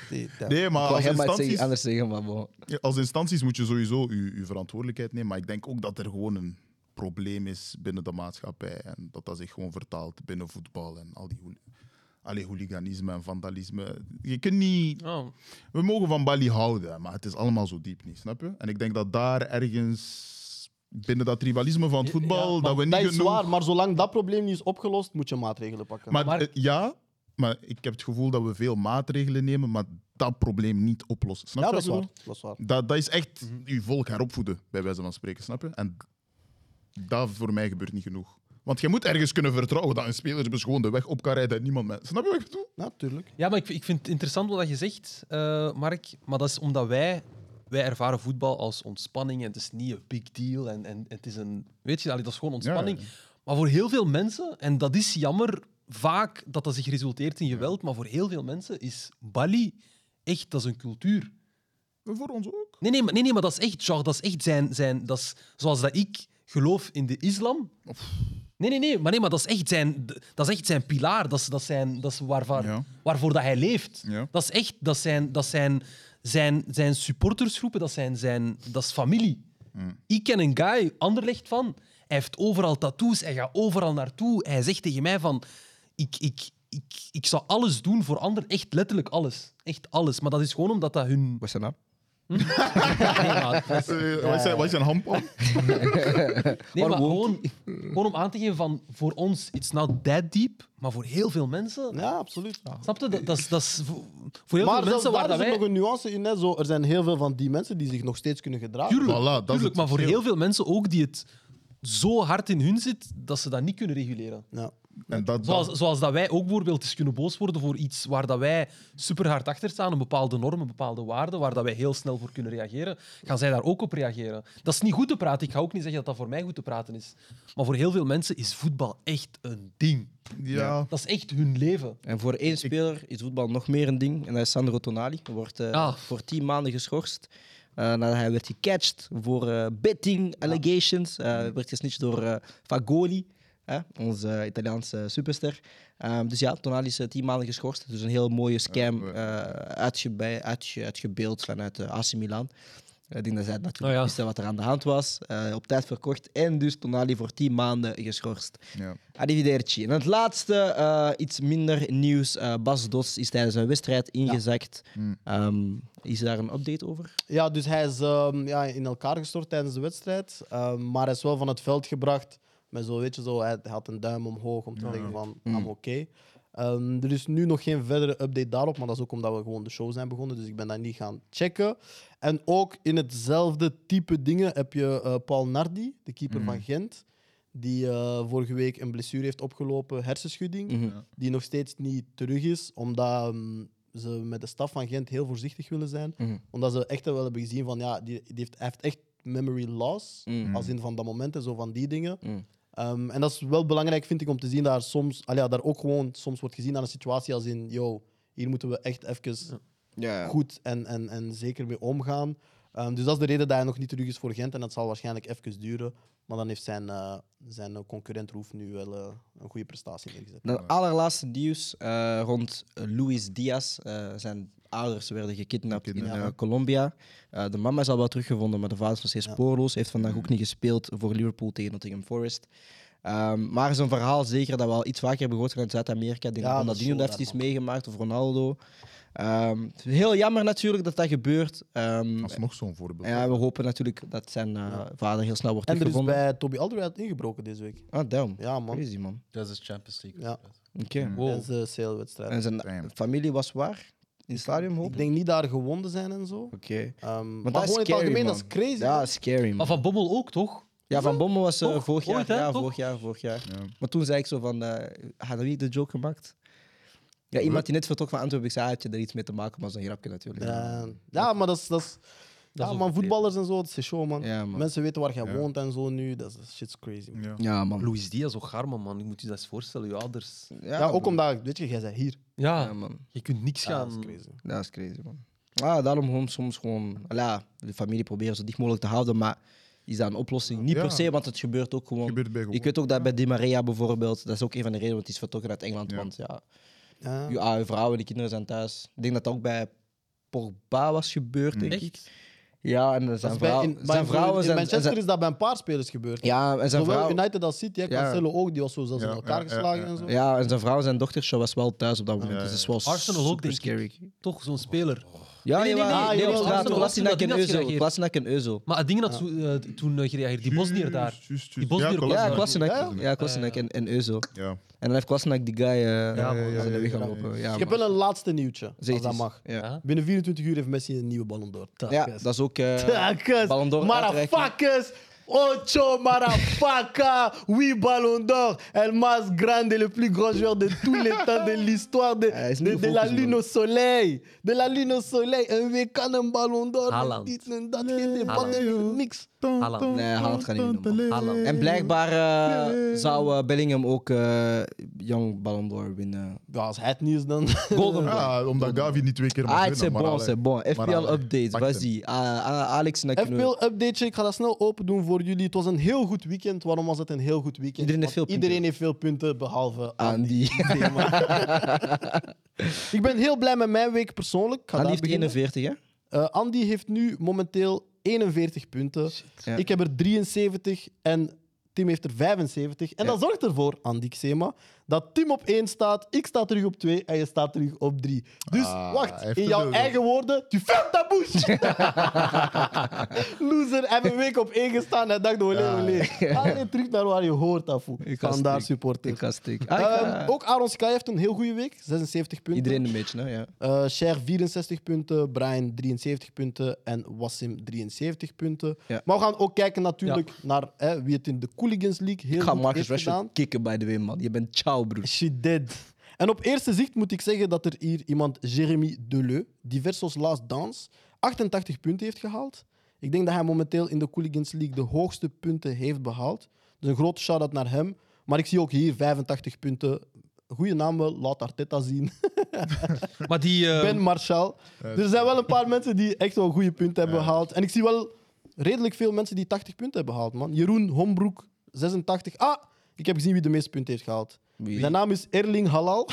[SPEAKER 4] Nee, ja.
[SPEAKER 2] Nee, maar
[SPEAKER 1] Ik
[SPEAKER 2] Ah,
[SPEAKER 1] hem maar iets
[SPEAKER 2] als
[SPEAKER 1] zeggen,
[SPEAKER 2] instanties,
[SPEAKER 1] anders zeggen, maar bon.
[SPEAKER 2] Ja, Als instanties moet je sowieso je, je verantwoordelijkheid nemen. Maar ik denk ook dat er gewoon een probleem is binnen de maatschappij. En dat dat zich gewoon vertaalt binnen voetbal en al die hooli- allee, hooliganisme en vandalisme. Je kunt niet...
[SPEAKER 5] Ja.
[SPEAKER 2] We mogen van Bali houden, maar het is allemaal zo diep niet, snap je? En ik denk dat daar ergens... Binnen dat rivalisme van het voetbal, dat we niet
[SPEAKER 4] Dat is
[SPEAKER 2] genoeg...
[SPEAKER 4] waar, maar zolang dat probleem niet is opgelost, moet je maatregelen pakken.
[SPEAKER 2] Maar,
[SPEAKER 5] Maar-
[SPEAKER 2] eh, ja, maar ik heb het gevoel dat we veel maatregelen nemen, maar dat probleem niet oplossen. Snap
[SPEAKER 4] ja,
[SPEAKER 2] je
[SPEAKER 4] dat
[SPEAKER 2] wat
[SPEAKER 4] is
[SPEAKER 2] ik bedoel?
[SPEAKER 4] waar. Dat is waar.
[SPEAKER 2] Dat, dat is echt uw volk heropvoeden, bij wijze van spreken, snap je? En dat voor mij gebeurt niet genoeg. Want je moet ergens kunnen vertrouwen dat een speler dus gewoon de weg op kan rijden en niemand met... Snap je wat ik bedoel?
[SPEAKER 4] Natuurlijk.
[SPEAKER 5] Ja, maar ik, ik vind het interessant wat je zegt, eh, Mark. Maar dat is omdat wij, wij ervaren voetbal als ontspanning. En het is niet een big deal. En, en het is een, weet je, allee, dat is gewoon ontspanning.
[SPEAKER 2] Ja.
[SPEAKER 5] Maar voor heel veel mensen, en dat is jammer vaak dat dat zich resulteert in geweld. Maar voor heel veel mensen is Bali echt dat is een cultuur.
[SPEAKER 2] Voor ons ook.
[SPEAKER 5] Nee, nee, maar, nee, nee, maar dat is echt, genre, dat is echt zijn, zijn dat is, zoals dat ik geloof in de islam. Nee, nee, nee, maar, nee, maar dat, is echt zijn, dat is echt zijn pilaar. Dat is, dat zijn, dat is waarvan,
[SPEAKER 2] Ja.
[SPEAKER 5] waarvoor dat hij leeft.
[SPEAKER 2] Ja.
[SPEAKER 5] Dat is echt, dat zijn, dat zijn, zijn, zijn supportersgroepen, dat, zijn, zijn, dat is familie.
[SPEAKER 2] Mm.
[SPEAKER 5] Ik ken een guy, Anderlecht van, hij heeft overal tattoos, hij gaat overal naartoe. Hij zegt tegen mij van, ik, ik, ik, ik zou alles doen voor anderen, echt letterlijk alles. Echt alles, maar dat is gewoon omdat dat hun...
[SPEAKER 1] Wat is nou? zijn naam?
[SPEAKER 5] Nee, maar-
[SPEAKER 2] Eh, wat is zijn- Wat is een handpalm?
[SPEAKER 5] Nee, maar
[SPEAKER 1] Waar
[SPEAKER 5] gewoon, gewoon om aan te geven van voor ons, it's not that deep, maar voor heel veel mensen.
[SPEAKER 4] Ja, absoluut.
[SPEAKER 5] Snap je? Dat, dat, is- dat is voor, voor heel
[SPEAKER 4] Maar
[SPEAKER 5] veel mensen
[SPEAKER 4] zelfs daar
[SPEAKER 5] waar
[SPEAKER 4] is
[SPEAKER 5] dat
[SPEAKER 4] er
[SPEAKER 5] wij.
[SPEAKER 4] nog een nuance in. Hè. Zo, er zijn heel veel van die mensen die zich nog steeds kunnen gedragen.
[SPEAKER 5] Tuurlijk,
[SPEAKER 2] Voilà, dat is
[SPEAKER 5] tuurlijk,
[SPEAKER 2] het
[SPEAKER 5] maar voor
[SPEAKER 2] verschil.
[SPEAKER 5] heel veel mensen ook die het zo hard in hun zit dat ze dat niet kunnen reguleren.
[SPEAKER 4] Ja.
[SPEAKER 2] En dat, dat,
[SPEAKER 5] Zoals, zoals dat wij ook bijvoorbeeld eens kunnen boos worden voor iets waar dat wij super hard achter staan, een bepaalde norm, een bepaalde waarde, waar dat wij heel snel voor kunnen reageren, gaan zij daar ook op reageren. Dat is niet goed te praten. Ik ga ook niet zeggen dat dat voor mij goed te praten is. Maar voor heel veel mensen is voetbal echt een ding.
[SPEAKER 2] ja.
[SPEAKER 5] Dat is echt hun leven.
[SPEAKER 1] En voor één speler is voetbal nog meer een ding. En dat is Sandro Tonali. Hij wordt eh,
[SPEAKER 5] Ah.
[SPEAKER 1] voor tien maanden geschorst. eh, nadat hij werd gecatcht voor eh, betting allegations. Eh, Hij werd gesnitcht door eh, Fagoli, hè, onze eh, Italiaanse superster. Ehm, dus ja, Tonali is eh, tien maanden geschorst. Dus een heel mooie scam eh uitgebe- uitge- uitgebeeld vanuit eh, AC Milan. Ik denk dat zij natuurlijk
[SPEAKER 5] Oh ja.
[SPEAKER 1] wisten wat er aan de hand was. eh, op tijd verkocht en dus Tonali voor 10 maanden geschorst.
[SPEAKER 2] Ja.
[SPEAKER 1] Arrivederci. En het laatste, eh, iets minder nieuws. Eh, Bas Dos is tijdens een wedstrijd ingezakt. Ehm, is daar een update over?
[SPEAKER 4] Ja, dus hij is ehm, ja, in elkaar gestort tijdens de wedstrijd. ehm, maar hij is wel van het veld gebracht. Met zo, weet je, zo, hij hij had een duim omhoog om te zeggen van, I'm oké. Ehm, er is nu nog geen verdere update daarop. Maar dat is ook omdat we gewoon de show zijn begonnen. Dus ik ben dat niet gaan checken. En ook in hetzelfde type dingen heb je eh, Paul Nardi, de keeper van Gent. Die eh, vorige week een blessure heeft opgelopen, hersenschudding. Die nog steeds niet terug is, omdat ehm, ze met de staf van Gent heel voorzichtig willen zijn. Omdat ze echt wel hebben gezien van ja, die, die heeft, hij heeft echt memory loss.
[SPEAKER 1] Mm.
[SPEAKER 4] Als in van dat moment en zo van die dingen. Ehm, en dat is wel belangrijk, vind ik, om te zien daar soms, allee, ja, daar ook gewoon soms wordt gezien aan een situatie als in, yo, hier moeten we echt even
[SPEAKER 1] Ja.
[SPEAKER 4] goed en, en, en zeker mee omgaan. Ehm, dus dat is de reden dat hij nog niet terug is voor Gent. En dat zal waarschijnlijk even duren. Maar dan heeft zijn, eh, zijn eh, concurrent Roef nu wel eh, een goede prestatie neergezet.
[SPEAKER 1] Dan allerlaatste nieuws eh, rond Luis Diaz. Eh, zijn ouders werden gekidnapt in
[SPEAKER 2] Gekidnapt,
[SPEAKER 1] eh,
[SPEAKER 2] ja.
[SPEAKER 1] Colombia. Eh, de mama is al wel teruggevonden, maar de vader is nog steeds spoorloos. Heeft vandaag ook niet gespeeld voor Liverpool tegen Nottingham Forest. Ehm, maar is een verhaal zeker dat we al iets vaker hebben gehoord vanuit Zuid-Amerika. Ik denk
[SPEAKER 4] Ja,
[SPEAKER 1] dat
[SPEAKER 4] dat
[SPEAKER 1] Ronaldinho
[SPEAKER 4] is
[SPEAKER 1] dat
[SPEAKER 4] zo
[SPEAKER 1] heeft iets meegemaakt of Ronaldo. Ehm, het is heel jammer natuurlijk dat dat gebeurt. Ehm,
[SPEAKER 2] Dat is nog zo'n voorbeeld.
[SPEAKER 1] ja, we hopen natuurlijk dat zijn eh, vader heel snel wordt
[SPEAKER 4] En er is
[SPEAKER 1] teruggevonden.
[SPEAKER 4] bij Toby Alderweireld ingebroken deze week.
[SPEAKER 1] Ah, damn.
[SPEAKER 4] Ja, man.
[SPEAKER 1] Crazy, man.
[SPEAKER 6] Dat is de Champions League.
[SPEAKER 4] Ja.
[SPEAKER 1] Oké.
[SPEAKER 5] Wow.
[SPEAKER 4] Tijdens de CL-wedstrijd.
[SPEAKER 1] En zijn
[SPEAKER 2] Damn.
[SPEAKER 1] familie was waar? In het stadion, hoop
[SPEAKER 4] Ik denk niet daar gewonden zijn en zo.
[SPEAKER 1] Oké.
[SPEAKER 4] Ehm,
[SPEAKER 1] Maar,
[SPEAKER 4] maar
[SPEAKER 1] dat is
[SPEAKER 4] gewoon
[SPEAKER 1] scary,
[SPEAKER 4] in het algemeen,
[SPEAKER 1] man.
[SPEAKER 4] dat is crazy.
[SPEAKER 1] Ja,
[SPEAKER 4] man.
[SPEAKER 1] dat is scary, man.
[SPEAKER 5] Maar Van Bommel ook, toch?
[SPEAKER 1] ja, Van Bommel was eh,
[SPEAKER 5] Toch?
[SPEAKER 1] vorig, jaar,
[SPEAKER 5] Ooit, hè?
[SPEAKER 1] ja,
[SPEAKER 5] Toch?
[SPEAKER 1] vorig jaar. Vorig jaar. Maar toen zei ik zo van... eh had wie de joke gemaakt? Ja, iemand die net vertrok van Antwerpen. Ik zei, ah, heb je er iets mee te maken? Maar zo'n grapje natuurlijk.
[SPEAKER 4] Ja, ja, maar dat is. Dat is
[SPEAKER 5] Dat is
[SPEAKER 4] ja, man,
[SPEAKER 5] overdreven.
[SPEAKER 4] voetballers en zo, dat is show, man.
[SPEAKER 1] Ja, man.
[SPEAKER 4] Mensen weten waar jij woont en zo nu. Dat is shit's crazy. Man. Ja,
[SPEAKER 1] Ja, man.
[SPEAKER 5] Luis Diaz, ook Garman, man. Je moet je dat eens voorstellen, je ouders.
[SPEAKER 4] ook omdat, weet je, jij bent hier.
[SPEAKER 5] Ja,
[SPEAKER 1] Ja, man.
[SPEAKER 5] je kunt niks
[SPEAKER 4] Ja, dat is
[SPEAKER 5] gaan.
[SPEAKER 4] crazy.
[SPEAKER 1] Dat is crazy, man. Ah, daarom gewoon soms gewoon... Ja, de familie proberen zo dicht mogelijk te houden, maar... Is dat een oplossing? Niet
[SPEAKER 2] Ja.
[SPEAKER 1] per se, want het gebeurt ook gewoon.
[SPEAKER 2] Gebeurt bij gewoon.
[SPEAKER 1] Ik weet ook dat bij Di Maria bijvoorbeeld, dat is ook een van de redenen, want die is vertrokken uit Engeland. Want ja,
[SPEAKER 4] Ja.
[SPEAKER 1] Je oude vrouw en de kinderen zijn thuis. Ik denk dat dat ook bij Pogba was gebeurd, denk
[SPEAKER 5] Hmm.
[SPEAKER 1] ik. Ja, en
[SPEAKER 4] Dat
[SPEAKER 1] zijn,
[SPEAKER 4] is bij-
[SPEAKER 1] vrouw,
[SPEAKER 4] in, bij-
[SPEAKER 1] zijn vrouwen
[SPEAKER 4] in
[SPEAKER 1] zijn...
[SPEAKER 4] Manchester
[SPEAKER 1] zijn-
[SPEAKER 4] is dat bij een paar spelers gebeurd.
[SPEAKER 1] ja, en zijn
[SPEAKER 4] Zowel
[SPEAKER 1] vrouw,
[SPEAKER 4] United als City, hè, Cancelo ook, die was zo zelfs
[SPEAKER 2] Ja,
[SPEAKER 4] in
[SPEAKER 2] ja,
[SPEAKER 4] elkaar
[SPEAKER 2] ja,
[SPEAKER 4] geslagen
[SPEAKER 2] ja,
[SPEAKER 4] en zo. Dus
[SPEAKER 1] ja, en zijn vrouw en zijn dochtertje was wel thuis op dat moment. Dus dat is wel
[SPEAKER 5] Arsenal ook,
[SPEAKER 1] super
[SPEAKER 5] denk
[SPEAKER 1] scary.
[SPEAKER 5] ik. Toch, zo'n speler.
[SPEAKER 1] Ja,
[SPEAKER 5] Nee, nee, nee,
[SPEAKER 1] jawel.
[SPEAKER 4] nee, nee,
[SPEAKER 1] op straat.
[SPEAKER 4] Arsenal-
[SPEAKER 1] Plasinac en
[SPEAKER 5] Arsenal had
[SPEAKER 1] Euzel.
[SPEAKER 5] gereageerd.
[SPEAKER 1] Plasinac en Euzel.
[SPEAKER 5] Maar het ding dat zo, eh, toen eh, gereageerd, die Bosnier daar.
[SPEAKER 2] Juist, juist,
[SPEAKER 5] Die
[SPEAKER 2] juist.
[SPEAKER 5] Bosnier ook.
[SPEAKER 1] Ja,
[SPEAKER 2] Ja,
[SPEAKER 1] Klassenak.
[SPEAKER 2] ja.
[SPEAKER 1] Ja, Klassenak en, en Euzel.
[SPEAKER 2] Ja.
[SPEAKER 1] En dan heeft Klassenak die guy eh
[SPEAKER 5] man,
[SPEAKER 1] aan
[SPEAKER 2] ja,
[SPEAKER 1] de
[SPEAKER 2] ja,
[SPEAKER 1] weg
[SPEAKER 2] ja,
[SPEAKER 1] gaan
[SPEAKER 2] ja.
[SPEAKER 1] lopen. Ja,
[SPEAKER 4] Ik heb
[SPEAKER 1] man.
[SPEAKER 4] wel een laatste nieuwtje,
[SPEAKER 1] Zeg
[SPEAKER 4] als
[SPEAKER 1] het
[SPEAKER 4] dat
[SPEAKER 1] eens.
[SPEAKER 4] mag.
[SPEAKER 1] Ja.
[SPEAKER 4] Binnen 24 uur heeft Messi een nieuwe Ballon d'Or. Tak,
[SPEAKER 1] Ja,
[SPEAKER 4] yes.
[SPEAKER 1] dat is ook... eh,
[SPEAKER 4] Takkes.
[SPEAKER 1] Ballon d'Or uitreiking.
[SPEAKER 4] Marafakkes. Ocho Marafaca, oui Ballon d'Or, el más grande, le plus grand joueur de tous les temps de l'histoire de,
[SPEAKER 1] hij is
[SPEAKER 4] de,
[SPEAKER 1] niet
[SPEAKER 4] de la
[SPEAKER 1] gefocust,
[SPEAKER 4] lune au soleil. De la lune au soleil, een week aan een Ballon d'Or.
[SPEAKER 5] Haaland.
[SPEAKER 4] dit en dat, geen debat,
[SPEAKER 5] Haaland.
[SPEAKER 4] en niks.
[SPEAKER 5] Haaland.
[SPEAKER 1] Nee, Haaland gaat niet meer doen, man.
[SPEAKER 5] Haaland.
[SPEAKER 4] Mm.
[SPEAKER 1] En blijkbaar eh, zou eh, Bellingham ook eh Young Ballon d'Or winnen.
[SPEAKER 4] Ja, als het niet is, dan...
[SPEAKER 1] Golden Ball.
[SPEAKER 2] Ja, omdat Gavi niet twee keer mag
[SPEAKER 1] Ah, het is
[SPEAKER 2] winnen, maar
[SPEAKER 1] bon,
[SPEAKER 2] allee.
[SPEAKER 1] c'est bon.
[SPEAKER 2] Maar
[SPEAKER 1] FPL
[SPEAKER 2] allee,
[SPEAKER 1] update,
[SPEAKER 2] pak hem.
[SPEAKER 1] vas-y. Ah, ah, Alex en
[SPEAKER 4] FPL updateje, ik ga dat snel open doen voor jullie. Het was een heel goed weekend. Waarom was het een heel goed weekend?
[SPEAKER 1] Iedereen heeft
[SPEAKER 4] Want
[SPEAKER 1] veel Ah,
[SPEAKER 4] Iedereen heeft veel punten, behalve
[SPEAKER 1] aan die.
[SPEAKER 4] Ik ben heel blij met mijn week persoonlijk. Ik ga
[SPEAKER 1] Aan
[SPEAKER 4] daar
[SPEAKER 1] die heeft
[SPEAKER 4] beginnen.
[SPEAKER 1] 41, hè?
[SPEAKER 4] Eh, Andy heeft nu momenteel 41 punten.
[SPEAKER 1] Ja.
[SPEAKER 4] Ik heb er 73 en Tim heeft er 75. En
[SPEAKER 1] Ja.
[SPEAKER 4] dat zorgt ervoor, Andy Xema, dat Tim op 1 staat, ik sta terug op 2 en je staat terug op 3. Dus
[SPEAKER 2] Ah, hij
[SPEAKER 4] wacht,
[SPEAKER 2] heeft
[SPEAKER 4] in
[SPEAKER 2] het
[SPEAKER 4] jouw
[SPEAKER 2] nodig.
[SPEAKER 4] eigen woorden, tu fermes ta bouche! Loser, heb een week op 1 gestaan en dacht, oh, olé, olé. Ga weer terug naar waar je hoort, Afu.
[SPEAKER 1] Ah. Ik ga
[SPEAKER 4] Vandaar
[SPEAKER 1] stuk.
[SPEAKER 4] supporter.
[SPEAKER 1] Ik ga stuk. Ah, ik
[SPEAKER 4] Ehm,
[SPEAKER 1] ga-
[SPEAKER 4] ook Aaron Sky heeft een heel goede week, 76 punten.
[SPEAKER 1] Iedereen een beetje, hè? Ja.
[SPEAKER 4] Eh, Cher 64 punten, Brian 73 punten en Wassim 73 punten.
[SPEAKER 1] Ja.
[SPEAKER 4] Maar we gaan ook kijken natuurlijk naar hè, wie het in de Cooligans League heel
[SPEAKER 1] Ik ga
[SPEAKER 4] goed
[SPEAKER 1] Marcus
[SPEAKER 4] heeft gedaan.
[SPEAKER 1] Rashford kicken, by the way, man. Je bent ciao, broer.
[SPEAKER 4] She did. En op eerste zicht moet ik zeggen dat er hier iemand, Jeremy Deleu, die versus Last Dance 88 punten heeft gehaald. Ik denk dat hij momenteel in de Cooligans League de hoogste punten heeft behaald. Dus een grote shout-out naar hem. Maar ik zie ook hier 85 punten. Goeie naam wel, laat Arteta zien.
[SPEAKER 5] Maar die. eh,
[SPEAKER 1] Ehm,
[SPEAKER 4] Ben Marshall. Dus Er zijn wel een paar mensen die echt wel goede punten hebben behaald. En ik zie wel redelijk veel mensen die 80 punten hebben behaald, man. Jeroen Hombroek, 86. Ah, ik heb gezien wie de meeste punten heeft gehaald.
[SPEAKER 1] Wie?
[SPEAKER 4] Zijn naam is Erling Halal.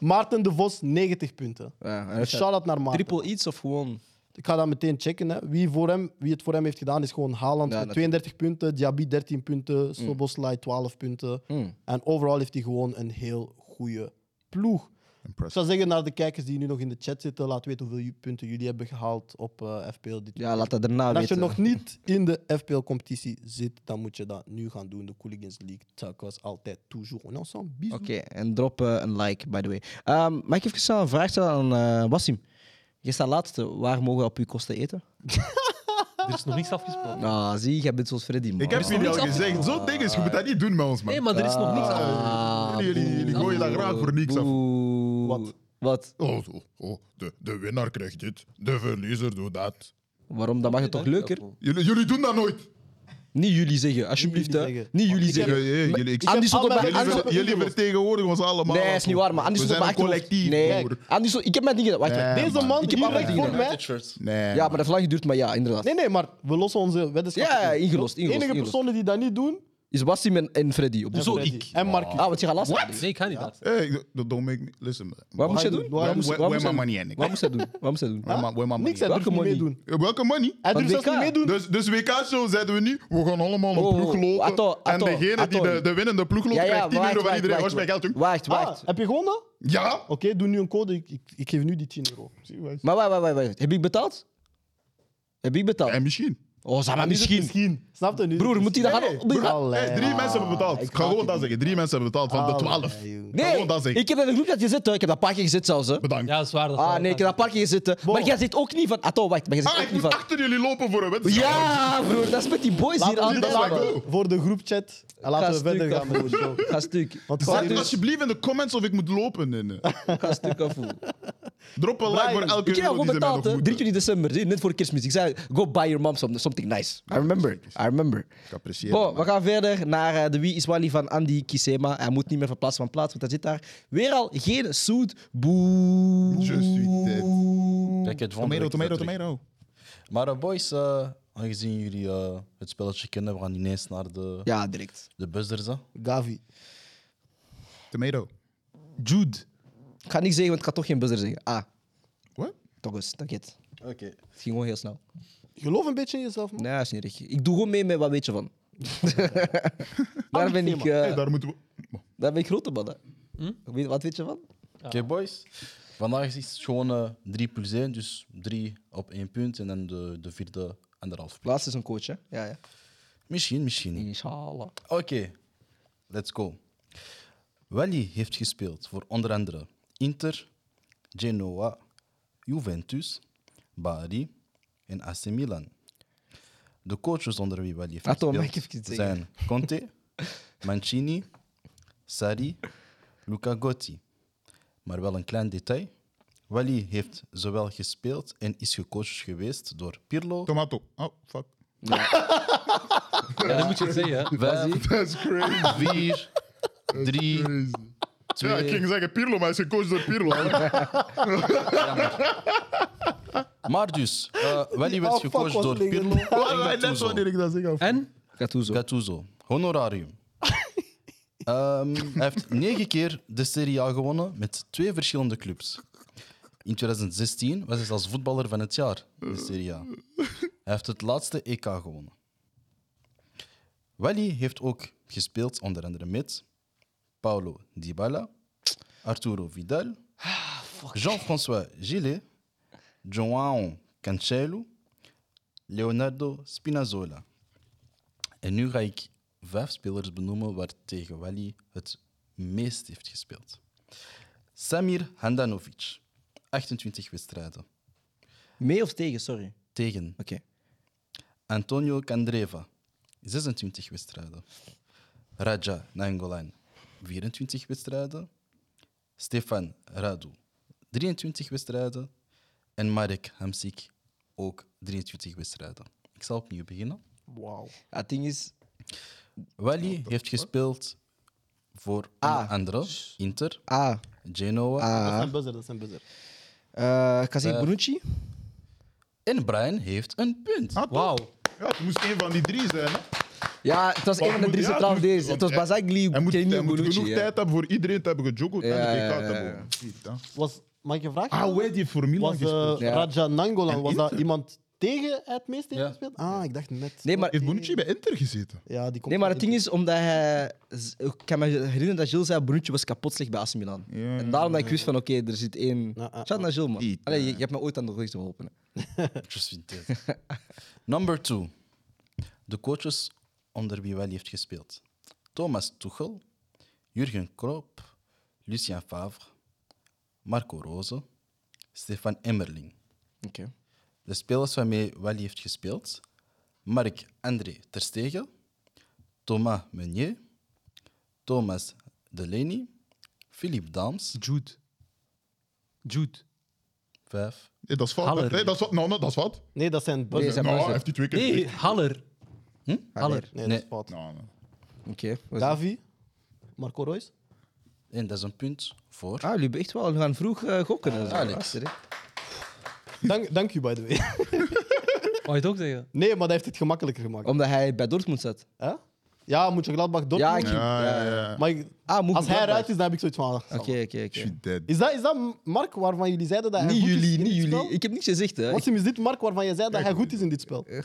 [SPEAKER 4] Maarten de Vos, 90 punten.
[SPEAKER 1] Ja, en hij
[SPEAKER 4] Een
[SPEAKER 1] heeft
[SPEAKER 4] shout-out naar Maarten.
[SPEAKER 1] Triple iets of gewoon?
[SPEAKER 4] Ik ga dat meteen checken. Hè. Wie, voor hem, wie het voor hem heeft gedaan is gewoon Haaland
[SPEAKER 1] Ja, Mm.
[SPEAKER 4] met 32 punten, Diaby 13 punten, Soboslai 12 punten. En overal heeft hij gewoon een heel goede ploeg. Ik
[SPEAKER 2] Impressive.
[SPEAKER 4] zou zeggen naar de kijkers die nu nog in de chat zitten, laat weten hoeveel ju- punten jullie hebben gehaald op eh, FPL dit
[SPEAKER 1] Ja, laat dat daarna
[SPEAKER 4] en als je
[SPEAKER 1] weten.
[SPEAKER 4] nog niet in de FPL-competitie zit, dan moet je dat nu gaan doen. De Cooligans League, tak was altijd toujours en ensemble. Bisous.
[SPEAKER 1] Oké, en drop eh, een like, by the way. Ehm, mag ik even snel een vraag stellen aan eh Wassim? Je staat laatste. Waar mogen we op uw kosten eten?
[SPEAKER 5] Er is nog niks afgesproken.
[SPEAKER 1] Ah, zie, jij bent zoals Freddy, man.
[SPEAKER 2] Ik heb jullie al gezegd, zo'n ding is, je moet dat niet doen met ons, man.
[SPEAKER 5] Nee, maar er is nog niks Ah, afgesproken.
[SPEAKER 1] Ah,
[SPEAKER 2] Jullie- jullie- jullie gooien daar graag voor niks af.
[SPEAKER 1] boe.
[SPEAKER 4] Wat?
[SPEAKER 1] Wat?
[SPEAKER 2] Oh, oh, oh, de, de winnaar krijgt dit, de verliezer doet dat.
[SPEAKER 1] Waarom? Dat mag het toch leuker?
[SPEAKER 2] Jullie, jullie doen dat nooit.
[SPEAKER 1] Niet jullie zeggen, alsjeblieft.
[SPEAKER 4] jullie
[SPEAKER 1] hè.
[SPEAKER 4] zeggen.
[SPEAKER 1] Niet jullie
[SPEAKER 2] Ik heb-
[SPEAKER 1] zeggen.
[SPEAKER 2] Ja, ja, jullie- ik-
[SPEAKER 1] Andy
[SPEAKER 4] heb
[SPEAKER 1] stond
[SPEAKER 4] al
[SPEAKER 1] op mijn
[SPEAKER 4] mijn-
[SPEAKER 2] Jullie,
[SPEAKER 1] Andy
[SPEAKER 2] ver-
[SPEAKER 1] stond-
[SPEAKER 2] jullie vertegenwoordigen ons allemaal.
[SPEAKER 1] Nee, is niet waar, maar Andy
[SPEAKER 2] We
[SPEAKER 1] stond op
[SPEAKER 2] zijn
[SPEAKER 1] mijn
[SPEAKER 2] een
[SPEAKER 1] achterhoofd.
[SPEAKER 2] collectief,
[SPEAKER 1] Nee,
[SPEAKER 2] broer.
[SPEAKER 1] Andy stond- ik heb mijn dingen. Wacht,
[SPEAKER 2] Nee,
[SPEAKER 1] wacht.
[SPEAKER 4] Deze man
[SPEAKER 1] Ik heb
[SPEAKER 4] direct
[SPEAKER 1] andere
[SPEAKER 4] voor
[SPEAKER 1] dingen.
[SPEAKER 4] mij.
[SPEAKER 6] United shirts.
[SPEAKER 2] Nee,
[SPEAKER 1] Ja, maar dat vlag duurt maar ja, inderdaad.
[SPEAKER 4] Nee, nee, maar we lossen onze weddenschap.
[SPEAKER 1] Ja, ja, ingelost,
[SPEAKER 4] De
[SPEAKER 1] ingelost,
[SPEAKER 4] enige
[SPEAKER 1] ingelost.
[SPEAKER 4] personen die dat niet doen,
[SPEAKER 1] Is Wassim en, en Freddy op de
[SPEAKER 5] Hoezo
[SPEAKER 1] zon?
[SPEAKER 4] Freddy.
[SPEAKER 5] ik?
[SPEAKER 4] En Marcus.
[SPEAKER 1] Ah, want je gaat lastig.
[SPEAKER 5] Nee, ik ga niet dat.
[SPEAKER 2] Hey, don't- don't make me... Listen.
[SPEAKER 1] Wat moet
[SPEAKER 4] Wat
[SPEAKER 1] je
[SPEAKER 4] doen?
[SPEAKER 1] doen?
[SPEAKER 4] Waar
[SPEAKER 1] Wat
[SPEAKER 2] moet-
[SPEAKER 1] moest-
[SPEAKER 2] waar
[SPEAKER 1] wat
[SPEAKER 2] moet
[SPEAKER 1] moest
[SPEAKER 2] mijn
[SPEAKER 1] hij-
[SPEAKER 2] money in?
[SPEAKER 1] Wat moest hij doen? Wat moest hij doen?
[SPEAKER 2] Where my, where my money?
[SPEAKER 4] niks, hij durft
[SPEAKER 1] Welke
[SPEAKER 4] niet
[SPEAKER 1] money?
[SPEAKER 4] meedoen.
[SPEAKER 2] Eh, Welke money?
[SPEAKER 4] Hij
[SPEAKER 1] Van
[SPEAKER 4] durft zelfs
[SPEAKER 1] WK.
[SPEAKER 4] niet meedoen.
[SPEAKER 2] Dus, dus WK-show zeiden we niet, we gaan allemaal een
[SPEAKER 1] Oh,
[SPEAKER 2] ploeg
[SPEAKER 1] oh,
[SPEAKER 2] loten.
[SPEAKER 1] atto, atto,
[SPEAKER 2] en degene die
[SPEAKER 1] atto.
[SPEAKER 2] de, de winnende ploeg loopt, krijgt 10 euro van iedereen. Waar is mijn geld,
[SPEAKER 1] wacht,
[SPEAKER 2] jong?
[SPEAKER 1] wacht,
[SPEAKER 4] Ah,
[SPEAKER 1] wacht.
[SPEAKER 4] heb je gewonnen? Oké,
[SPEAKER 2] Ja?
[SPEAKER 4] doe nu een code. Ik, ik, ik geef nu die 10 euro. Zie, wij-
[SPEAKER 1] Maar wacht, wacht, wacht, wacht. Heb ik betaald? Heb ik betaald?
[SPEAKER 2] En misschien.
[SPEAKER 1] Oh, zeg maar
[SPEAKER 4] Nu is het
[SPEAKER 1] misschien.
[SPEAKER 4] Snap je nu?
[SPEAKER 1] Broer, eh, moet hij dat gaan op-
[SPEAKER 4] broer.
[SPEAKER 1] gaan-
[SPEAKER 2] Hey, drie mensen hebben betaald.
[SPEAKER 1] ik
[SPEAKER 2] Ik ga gewoon dat zeggen. Drie mensen hebben betaald
[SPEAKER 4] Oh,
[SPEAKER 2] van de twaalf.
[SPEAKER 1] Ah, Nee,
[SPEAKER 2] Gewoon dat zeggen.
[SPEAKER 1] ik heb dat in de groep dat gezet, hoor. Ik heb dat een paar keer gezet zelfs, hè.
[SPEAKER 2] Bedankt.
[SPEAKER 5] Ja, dat is waar. Dat is
[SPEAKER 1] Ah,
[SPEAKER 5] waar.
[SPEAKER 1] nee, ik heb dat een paar keer gezet, hè. Maar jij zit ook niet van... Atto, wacht, maar jij zit
[SPEAKER 2] Ah,
[SPEAKER 1] ook
[SPEAKER 2] ik
[SPEAKER 1] niet
[SPEAKER 2] moet
[SPEAKER 1] van...
[SPEAKER 2] achter jullie lopen voor een wedstrijd.
[SPEAKER 1] Ja, broer, dat is met die boys hier
[SPEAKER 4] Laten
[SPEAKER 1] aan
[SPEAKER 4] we
[SPEAKER 1] het
[SPEAKER 2] dat is waar ik
[SPEAKER 1] bellen.
[SPEAKER 2] doe.
[SPEAKER 4] Voor de groepchat. En laten
[SPEAKER 1] Ga
[SPEAKER 4] we
[SPEAKER 1] stuk
[SPEAKER 4] verder gaan met de
[SPEAKER 1] afvoeren.
[SPEAKER 4] show.
[SPEAKER 1] Ga stuk.
[SPEAKER 4] Want
[SPEAKER 2] Zeg
[SPEAKER 4] sorry,
[SPEAKER 2] alsjeblieft in de comments of ik moet lopen. Nee, nee.
[SPEAKER 1] Ga stuk afvoeren.
[SPEAKER 2] Drop een like voor elke
[SPEAKER 1] Ik heb jou
[SPEAKER 2] euro die
[SPEAKER 1] gewoon
[SPEAKER 2] ze mij nog
[SPEAKER 1] betaald, hè. 3
[SPEAKER 2] moeten.
[SPEAKER 1] juni december, zie, net voor kerstmis. Ik zei, go buy your mom some- something nice. I remember, I remember.
[SPEAKER 2] Ik apprecieer
[SPEAKER 1] Bon,
[SPEAKER 2] het.
[SPEAKER 1] we gaan verder naar eh, de Wie is Wally van Andy Kisema. Hij moet niet meer verplaatsen van plaats, want hij zit daar weer al geen zoet. Boe.
[SPEAKER 2] Je suis dead.
[SPEAKER 6] Kijk, het volgende
[SPEAKER 2] Tomato,
[SPEAKER 6] week
[SPEAKER 2] tomato,
[SPEAKER 6] terug.
[SPEAKER 2] tomato.
[SPEAKER 6] Maar eh, boys, eh, aangezien jullie eh, het spelletje kennen, we gaan ineens naar de,
[SPEAKER 1] Ja, direct.
[SPEAKER 6] de buzzers. hè.
[SPEAKER 4] Gavi.
[SPEAKER 2] Tomato.
[SPEAKER 1] Jude. Ik ga niks zeggen, want ik ga toch geen buzzer zeggen. Ah,
[SPEAKER 2] What?
[SPEAKER 1] toch eens, dat gaat.
[SPEAKER 6] Oké.
[SPEAKER 1] Het ging gewoon heel snel.
[SPEAKER 4] Geloof een beetje in jezelf, man.
[SPEAKER 1] Nee, dat is niet erg. Ik doe gewoon mee met wat weet je van. daar, ben ik, eh,
[SPEAKER 2] Ah, Hey, daar moeten we...
[SPEAKER 1] daar ben ik grote man. hè. Weet- Wat weet je van?
[SPEAKER 6] Oké, boys. Vandaag is het gewoon eh, 3 plus 1, dus 3 op 1 punt en dan de, de vierde anderhalf punt.
[SPEAKER 1] Laatst is een coach, hè? Ja, ja.
[SPEAKER 6] Misschien, misschien niet.
[SPEAKER 1] Inshallah.
[SPEAKER 6] Oké, let's go. Wally heeft gespeeld voor onder andere Inter, Genoa, Juventus, Bari en AC Milan. De coaches onder wie Wally heeft
[SPEAKER 1] Laat hem
[SPEAKER 6] gespeeld
[SPEAKER 1] maar even zeggen.
[SPEAKER 6] zijn Conte, Mancini, Sarri, Luca Gotti. Maar wel een klein detail. Wally heeft zowel gespeeld en is gecoacht geweest door Pirlo,
[SPEAKER 2] Tomato. Oh, fuck.
[SPEAKER 5] Ja, dat moet je het zeggen. hè.
[SPEAKER 6] Vijf,
[SPEAKER 2] That's crazy.
[SPEAKER 6] vier, drie,
[SPEAKER 2] Ja, ik ging zeggen Pirlo, maar hij is gecoacht door Pirlo.
[SPEAKER 6] Maar dus, eh Wally werd
[SPEAKER 4] afvak
[SPEAKER 6] gecoacht
[SPEAKER 4] was
[SPEAKER 6] door Pirlo
[SPEAKER 4] legendarisch.
[SPEAKER 6] en
[SPEAKER 2] Net
[SPEAKER 6] Gattuso.
[SPEAKER 2] wanneer ik dat zeg. af.
[SPEAKER 5] En?
[SPEAKER 1] Gattuso.
[SPEAKER 6] Gattuso, honorarium. Ehm, hij heeft negen keer de Serie A gewonnen met twee verschillende clubs. In 2016 was hij als voetballer van het jaar in de Serie A. Hij heeft het laatste EK gewonnen. Wally heeft ook gespeeld onder andere met Paulo Dybala, Arturo Vidal, Jean-François Gillet, João Cancelo, Leonardo Spinazzola. En nu ga ik vijf spelers benoemen waar tegen Wally het meest heeft gespeeld. Samir Handanovic, 28 wedstrijden.
[SPEAKER 1] Mee of tegen, sorry.
[SPEAKER 6] Tegen
[SPEAKER 1] Oké.
[SPEAKER 6] Antonio Candreva, 26 wedstrijden. Raja Nangolan, 24 wedstrijden. Stefan Radu, 23 wedstrijden. En Marek Hamsik, ook 23 wedstrijden. Ik zal opnieuw beginnen.
[SPEAKER 4] Wauw.
[SPEAKER 1] Ja, het ding is,
[SPEAKER 6] Wally heeft gespeeld voor onder
[SPEAKER 1] Ah.
[SPEAKER 6] andere Inter,
[SPEAKER 1] ah,
[SPEAKER 6] Genoa.
[SPEAKER 2] Ah.
[SPEAKER 4] Dat zijn buzzer, dat zijn buzzer.
[SPEAKER 1] eh Kazim Bonucci.
[SPEAKER 6] En Brian heeft een punt.
[SPEAKER 2] Ah, toch?
[SPEAKER 5] Wauw.
[SPEAKER 2] Ja, het moest één van die drie zijn. Hè?
[SPEAKER 1] Ja, het was
[SPEAKER 2] Maar
[SPEAKER 1] een van de
[SPEAKER 2] moet-
[SPEAKER 1] drie
[SPEAKER 2] ja,
[SPEAKER 1] centraal
[SPEAKER 2] moet-
[SPEAKER 1] deze. Het was
[SPEAKER 2] want hij-
[SPEAKER 1] Bazagli,
[SPEAKER 2] Hij moet, hij
[SPEAKER 1] Kenny
[SPEAKER 2] moet
[SPEAKER 1] Bonucci. eh.
[SPEAKER 2] genoeg
[SPEAKER 1] ja.
[SPEAKER 2] tijd hebben voor iedereen te hebben gejokeld
[SPEAKER 1] Ja,
[SPEAKER 2] en de
[SPEAKER 1] ja,
[SPEAKER 2] EK te
[SPEAKER 1] ja,
[SPEAKER 2] hebben.
[SPEAKER 1] ja.
[SPEAKER 2] Shit, hè.
[SPEAKER 4] Was Mag ik een vraag
[SPEAKER 2] Ah,
[SPEAKER 4] stellen?
[SPEAKER 2] hoe heeft die voor Milan
[SPEAKER 4] Was eh,
[SPEAKER 2] gespeeld?
[SPEAKER 1] Ja.
[SPEAKER 4] Raja Nangolan,
[SPEAKER 2] En
[SPEAKER 4] was dat
[SPEAKER 2] Inter?
[SPEAKER 4] iemand tegen het meest tegen
[SPEAKER 6] Ja.
[SPEAKER 4] gespeeld? Ah, ik dacht net.
[SPEAKER 1] Nee, maar
[SPEAKER 2] Heeft Bonucci bij Inter gezeten?
[SPEAKER 4] Ja, die komt
[SPEAKER 1] Nee, maar
[SPEAKER 4] van
[SPEAKER 1] het ding is omdat hij. z- Ik kan me herinneren dat Gilles zei: Bruntje was kapot slecht bij AC Milan.
[SPEAKER 2] Ja,
[SPEAKER 1] En daarom dat ik wist van: oké, er zit één.
[SPEAKER 4] Ja, ja,
[SPEAKER 1] Shout naar Gilles, man.
[SPEAKER 2] Niet,
[SPEAKER 1] Allee, je, je hebt me ooit aan de rug geholpen. hè.
[SPEAKER 6] Just vind dit. Number two. De coaches onder wie Wally heeft gespeeld. Thomas Tuchel, Jurgen Klopp, Lucien Favre, Marco Rose, Stefan Emmerling.
[SPEAKER 1] Oké.
[SPEAKER 6] De spelers waarmee Wally heeft gespeeld. Mark André Terstegen, Thomas Meunier, Thomas Delaney, Philippe Dams,
[SPEAKER 5] Jude. Jude.
[SPEAKER 6] vijf.
[SPEAKER 2] Nee, dat is fout.
[SPEAKER 5] Haller.
[SPEAKER 2] Nee, dat is wat. Nou, nou, dat is wat.
[SPEAKER 4] die- Nee, dat zijn
[SPEAKER 1] Nee,
[SPEAKER 4] buzzers.
[SPEAKER 1] zijn
[SPEAKER 2] Nou,
[SPEAKER 1] buzzers.
[SPEAKER 2] heeft hij twee keer
[SPEAKER 5] Nee,
[SPEAKER 2] gezeten.
[SPEAKER 5] Haller.
[SPEAKER 6] Hm?
[SPEAKER 5] Haller.
[SPEAKER 4] Nee,
[SPEAKER 6] Nee.
[SPEAKER 4] dat is fout.
[SPEAKER 2] Nou, nou.
[SPEAKER 1] Oké. was-
[SPEAKER 4] Gavi, Marco Reus.
[SPEAKER 6] En dat is een punt voor.
[SPEAKER 1] Ah, jullie hebben echt wel jullie gaan vroeg eh, gokken. en zo.
[SPEAKER 6] Alex.
[SPEAKER 1] Luister, hè.
[SPEAKER 4] Dank, dank u, by the way.
[SPEAKER 5] Wou je het ook zeggen?
[SPEAKER 4] Nee, maar dat heeft het gemakkelijker gemaakt.
[SPEAKER 1] Omdat hij bij Dortmund zat.
[SPEAKER 4] Hè? Ja, moet je Gladbach door.
[SPEAKER 1] Ja, ik-
[SPEAKER 2] Ja, ja, ja.
[SPEAKER 4] Maar ik-
[SPEAKER 1] Ah, moet
[SPEAKER 4] als hij
[SPEAKER 1] Gladbach.
[SPEAKER 4] eruit is, dan heb ik zoiets van. ah,
[SPEAKER 1] Oké, oké, oké.
[SPEAKER 2] Shit, dead.
[SPEAKER 4] Is dat, is dat Mark waarvan jullie zeiden dat hij
[SPEAKER 1] Niet
[SPEAKER 4] goed is
[SPEAKER 1] jullie,
[SPEAKER 4] in
[SPEAKER 1] niet
[SPEAKER 4] dit
[SPEAKER 1] jullie.
[SPEAKER 4] spel?
[SPEAKER 1] Ik heb niks gezegd, hè.
[SPEAKER 4] Wassim, is dit Mark waarvan jij zei dat hij goed is in dit spel?
[SPEAKER 1] Eh,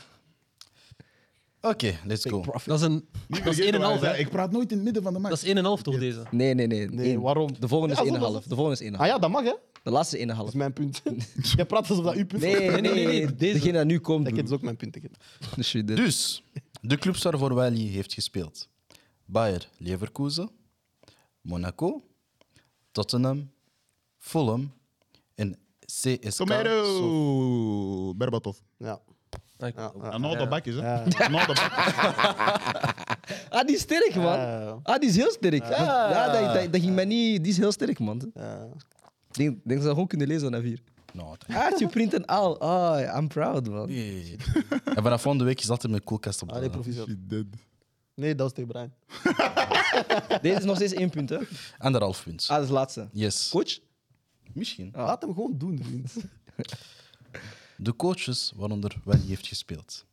[SPEAKER 6] Oké, let's go.
[SPEAKER 5] Dat is een. Dat is
[SPEAKER 2] Vergeet
[SPEAKER 5] 1,5.
[SPEAKER 2] wat hij
[SPEAKER 5] hè?
[SPEAKER 2] zei. Ik praat nooit in het midden van de
[SPEAKER 5] Dat
[SPEAKER 2] match.
[SPEAKER 5] is 1,5 toch deze?
[SPEAKER 1] Nee, nee, nee.
[SPEAKER 4] Nee,
[SPEAKER 1] Eén.
[SPEAKER 4] waarom?
[SPEAKER 1] De volgende
[SPEAKER 4] Ja,
[SPEAKER 1] is
[SPEAKER 4] alsof
[SPEAKER 1] 1,5.
[SPEAKER 4] dat-
[SPEAKER 1] De volgende is 1,5.
[SPEAKER 4] Ah ja, dat mag hè? Dat
[SPEAKER 1] De laatste is 1,5.
[SPEAKER 4] is mijn punt. jij praat alsof dat uw punt
[SPEAKER 1] Nee,
[SPEAKER 4] is.
[SPEAKER 1] nee, nee. nee,
[SPEAKER 5] deze.
[SPEAKER 1] Degene dat nu komt.
[SPEAKER 4] Dat
[SPEAKER 1] broer.
[SPEAKER 4] is ook mijn punt. ik ken.
[SPEAKER 1] Shit, dit.
[SPEAKER 6] Dus, de clubs waarvoor Wally heeft gespeeld. Bayer Leverkusen, Monaco, Tottenham, Fulham en CSK. Sof-
[SPEAKER 2] Tomato. Berbatov.
[SPEAKER 4] Ja.
[SPEAKER 5] Ah, ik-
[SPEAKER 2] En nou de bakjes, hè.
[SPEAKER 4] Ja.
[SPEAKER 2] Nou de bakjes.
[SPEAKER 1] Ah, die is sterk, man.
[SPEAKER 4] Eh.
[SPEAKER 1] Ah, die is heel sterk. Ja, dat, dat, dat ging mij niet... Die is heel sterk, man. Ik
[SPEAKER 4] Eh,
[SPEAKER 1] denk, denk dat ze dat gewoon kunnen lezen naar vier.
[SPEAKER 6] Nou, dat-
[SPEAKER 1] Ah, je print en al. Ah, I'm proud, man.
[SPEAKER 6] Nee. En vanaf volgende week is altijd mijn koelkast
[SPEAKER 1] Ah,
[SPEAKER 6] op de
[SPEAKER 4] Allee, proficiat.
[SPEAKER 2] Shit, dead.
[SPEAKER 4] Nee, dat was tegen Brian.
[SPEAKER 1] Deze is nog steeds één punt, hè.
[SPEAKER 6] Anderhalf punt.
[SPEAKER 1] Ah, dat is laatste.
[SPEAKER 6] Yes.
[SPEAKER 1] Coach?
[SPEAKER 6] Misschien.
[SPEAKER 1] Ah.
[SPEAKER 4] Laat hem gewoon doen, vriend.
[SPEAKER 6] De coaches waaronder Wally heeft gespeeld.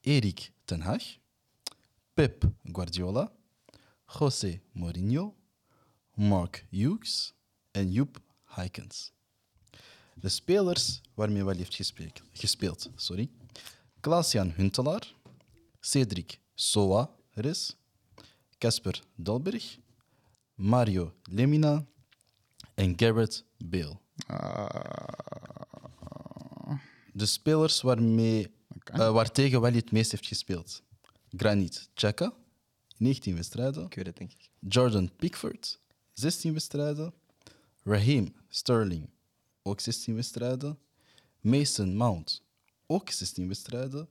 [SPEAKER 6] Erik ten Hag, Pep Guardiola, José Mourinho, Mark Hughes en Joep Heikens. De spelers waarmee Wally heeft gespeeld, gespeeld sorry. Klaas-Jan Huntelaar, Cedric Soares, Casper Dalberg, Mario Lemina en Garrett Bale. De spelers waarmee, eh, waartegen Wally het meest heeft gespeeld. Granit Xhaka, 19 wedstrijden.
[SPEAKER 1] Ik weet het, denk ik.
[SPEAKER 6] Jordan Pickford, 16 wedstrijden. Raheem Sterling, ook 16 wedstrijden. Mason Mount, ook 16 wedstrijden.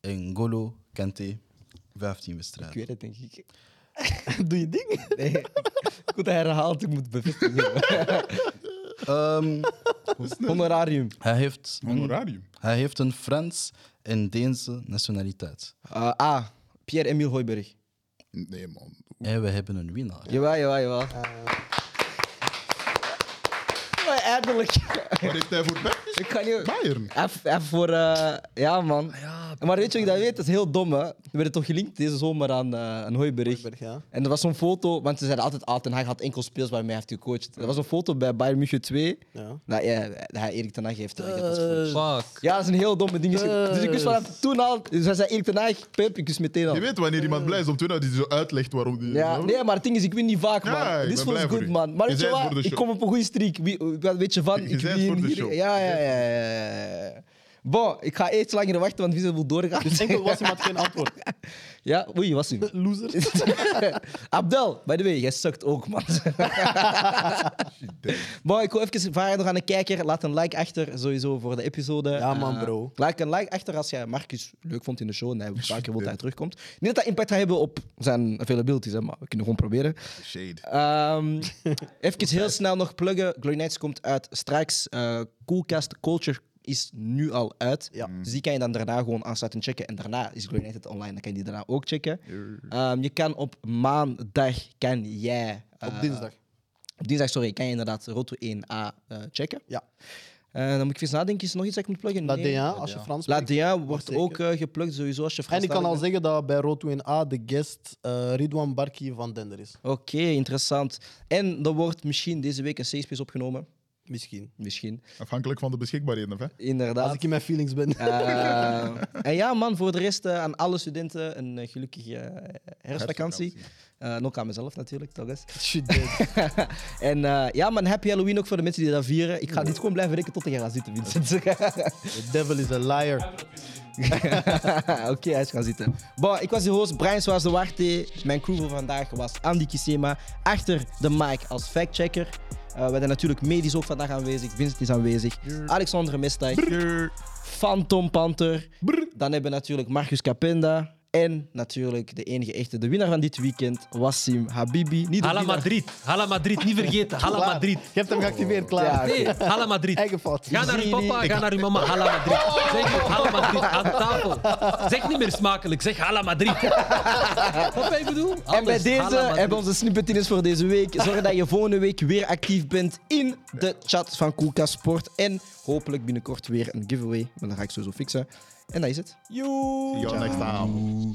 [SPEAKER 6] En Golo Kante, 15
[SPEAKER 1] Ik
[SPEAKER 6] wedstrijden.
[SPEAKER 1] weet het, denk ik.
[SPEAKER 4] Doe je ding.
[SPEAKER 1] Nee. Ik moet dat herhaald, ik moet bevestigen.
[SPEAKER 6] Ehm,
[SPEAKER 1] Honorarium.
[SPEAKER 6] hij, heeft een,
[SPEAKER 2] Honorarium.
[SPEAKER 6] hij heeft een Frans- en Deense nationaliteit.
[SPEAKER 1] Ah, ah, Pierre-Emile Hooiberg.
[SPEAKER 2] Nee, man.
[SPEAKER 6] En we hebben een winnaar.
[SPEAKER 1] Jawel, jawel, jawel. Maar eindelijk.
[SPEAKER 2] Wat heeft hij voor Bayern?
[SPEAKER 1] Ik ga nu...
[SPEAKER 2] Bayern.
[SPEAKER 1] Even, even voor... eh, ja, man. maar weet je wat ik dat weet? Dat is heel dom, hè. We werden toch gelinkt deze zomer aan eh, een hooiberg.
[SPEAKER 4] Hooiberg, ja.
[SPEAKER 1] En er was zo'n foto, want ze zeiden altijd ah, Ten Hag had enkel speels waarmee hij heeft gecoacht. Er was een foto bij Bayern München 2,
[SPEAKER 4] Ja.
[SPEAKER 1] dat, ja, dat hij Erik Ten Hag heeft eh, gehad als coach.
[SPEAKER 5] Fuck.
[SPEAKER 1] Ja, dat is een heel domme ding. Dus ik- Dus ik wist vanaf toen al... Dus hij zei Erik Ten Hag, Pep, ik wist meteen al.
[SPEAKER 2] Je weet wanneer iemand blij is om te winnen, dat hij zo uitlegt waarom die.
[SPEAKER 1] Ja, nee, maar het ding is, ik win niet vaak, man.
[SPEAKER 2] Ja,
[SPEAKER 1] Dit
[SPEAKER 2] ik ben
[SPEAKER 1] voelt
[SPEAKER 2] blij voor
[SPEAKER 1] goed,
[SPEAKER 2] u.
[SPEAKER 1] man. Maar
[SPEAKER 2] Je
[SPEAKER 1] weet je
[SPEAKER 2] zei het voor
[SPEAKER 1] wat?
[SPEAKER 2] de
[SPEAKER 1] Ik
[SPEAKER 2] show.
[SPEAKER 1] kom op een goede streak. Wie, wat weet je van?
[SPEAKER 2] Je
[SPEAKER 1] ik
[SPEAKER 2] zei het
[SPEAKER 1] win
[SPEAKER 2] voor de
[SPEAKER 1] hier-
[SPEAKER 2] show.
[SPEAKER 1] Ja, ja, ja, ja, ja, ja. Bon, ik ga iets langer wachten, want Vincent wil doorgaan.
[SPEAKER 4] Dus enkel was had geen antwoord.
[SPEAKER 1] Ja, oei, was hij.
[SPEAKER 4] Loser.
[SPEAKER 1] Abdel, by the way, jij sukt ook, man. bon, ik wil even vragen nog aan de kijker. Laat een like achter, sowieso, voor de episode.
[SPEAKER 4] Ja, man,
[SPEAKER 1] Eh,
[SPEAKER 4] bro.
[SPEAKER 1] laat een like achter als jij Marcus leuk vond in de show en hij vaker wil dat hij terugkomt. Niet dat dat impact gaat hebben op zijn availability, hè, maar we kunnen gewoon proberen.
[SPEAKER 2] Shade.
[SPEAKER 1] Ehm even heel snel nog pluggen. Glory Nights komt uit straks. Eh, Coolcast Culture is nu al uit.
[SPEAKER 4] Ja.
[SPEAKER 1] Dus die kan je dan daarna gewoon aansluiten checken. En daarna is Glory Nights het online. Dan kan je die daarna ook checken. Ehm, je kan op maandag, kan jij... eh,
[SPEAKER 4] Op dinsdag.
[SPEAKER 1] Op dinsdag, sorry, kan je inderdaad Roto 1A eh, checken.
[SPEAKER 4] Ja.
[SPEAKER 1] Eh, dan moet ik even nadenken. Is er nog iets dat ik moet pluggen?
[SPEAKER 4] La
[SPEAKER 1] Nee.
[SPEAKER 4] D1, als je Frans
[SPEAKER 1] La
[SPEAKER 4] spreekt.
[SPEAKER 1] D1 wordt
[SPEAKER 4] Zeker.
[SPEAKER 1] ook eh, geplukt, sowieso. Als je
[SPEAKER 4] En ik kan al
[SPEAKER 1] Franstalig
[SPEAKER 4] zeggen dat bij Roto en A de guest eh, Ridwan Barki van Dender is.
[SPEAKER 1] bent. Oké, interessant. En er wordt misschien deze week een C-space opgenomen.
[SPEAKER 4] Misschien.
[SPEAKER 1] Misschien.
[SPEAKER 2] Afhankelijk van de beschikbaarheden. Hè?
[SPEAKER 1] Inderdaad.
[SPEAKER 4] Als ik in mijn feelings ben.
[SPEAKER 1] Eh, en ja, man, voor de rest eh, aan alle studenten een eh, gelukkige eh, herfstvakantie. Eh, en ook aan mezelf natuurlijk, toch eens.
[SPEAKER 4] Shit, dude.
[SPEAKER 1] En eh, ja, man, happy Halloween ook voor de mensen die dat vieren. Ik ga niet gewoon blijven rekken tot ik er ga zitten, Vincent.
[SPEAKER 4] The devil is a liar.
[SPEAKER 1] Oké, hij is gaan zitten. Bon, ik was de host, Brian Swaas de Warte. Mijn crew voor vandaag was Andy Kisema. Achter de mic als factchecker. Eh we zijn natuurlijk medisch ook vandaag aanwezig. Vincent is aanwezig. Alexander Mestijk. Phantom Panther. Dan hebben we natuurlijk Marcus Capenda. En natuurlijk de enige echte, de winnaar van dit weekend, Wassim Habibi. Niet de
[SPEAKER 5] Hala
[SPEAKER 1] winnaar-
[SPEAKER 5] Madrid. Hala Madrid, niet vergeten. Hala
[SPEAKER 4] Klaar.
[SPEAKER 5] Madrid.
[SPEAKER 4] Je hebt hem geactiveerd, klaar.
[SPEAKER 1] Ja,
[SPEAKER 5] Nee, Hala Madrid.
[SPEAKER 4] Eigen fout.
[SPEAKER 5] Ga naar uw papa, ga naar uw mama. Hala Madrid. Zeg nu Hala Madrid aan tafel. Zeg niet meer smakelijk, zeg Hala Madrid. Wat ben je bedoel?
[SPEAKER 1] En bij
[SPEAKER 5] Alles,
[SPEAKER 1] deze
[SPEAKER 5] Hala Madrid.
[SPEAKER 1] hebben we onze snippet in is voor deze week. Zorg dat je volgende week weer actief bent in de chat van Koelka Sport. En hopelijk binnenkort weer een giveaway. Maar dat ga ik sowieso fixen. En dat is het.
[SPEAKER 2] See you next time.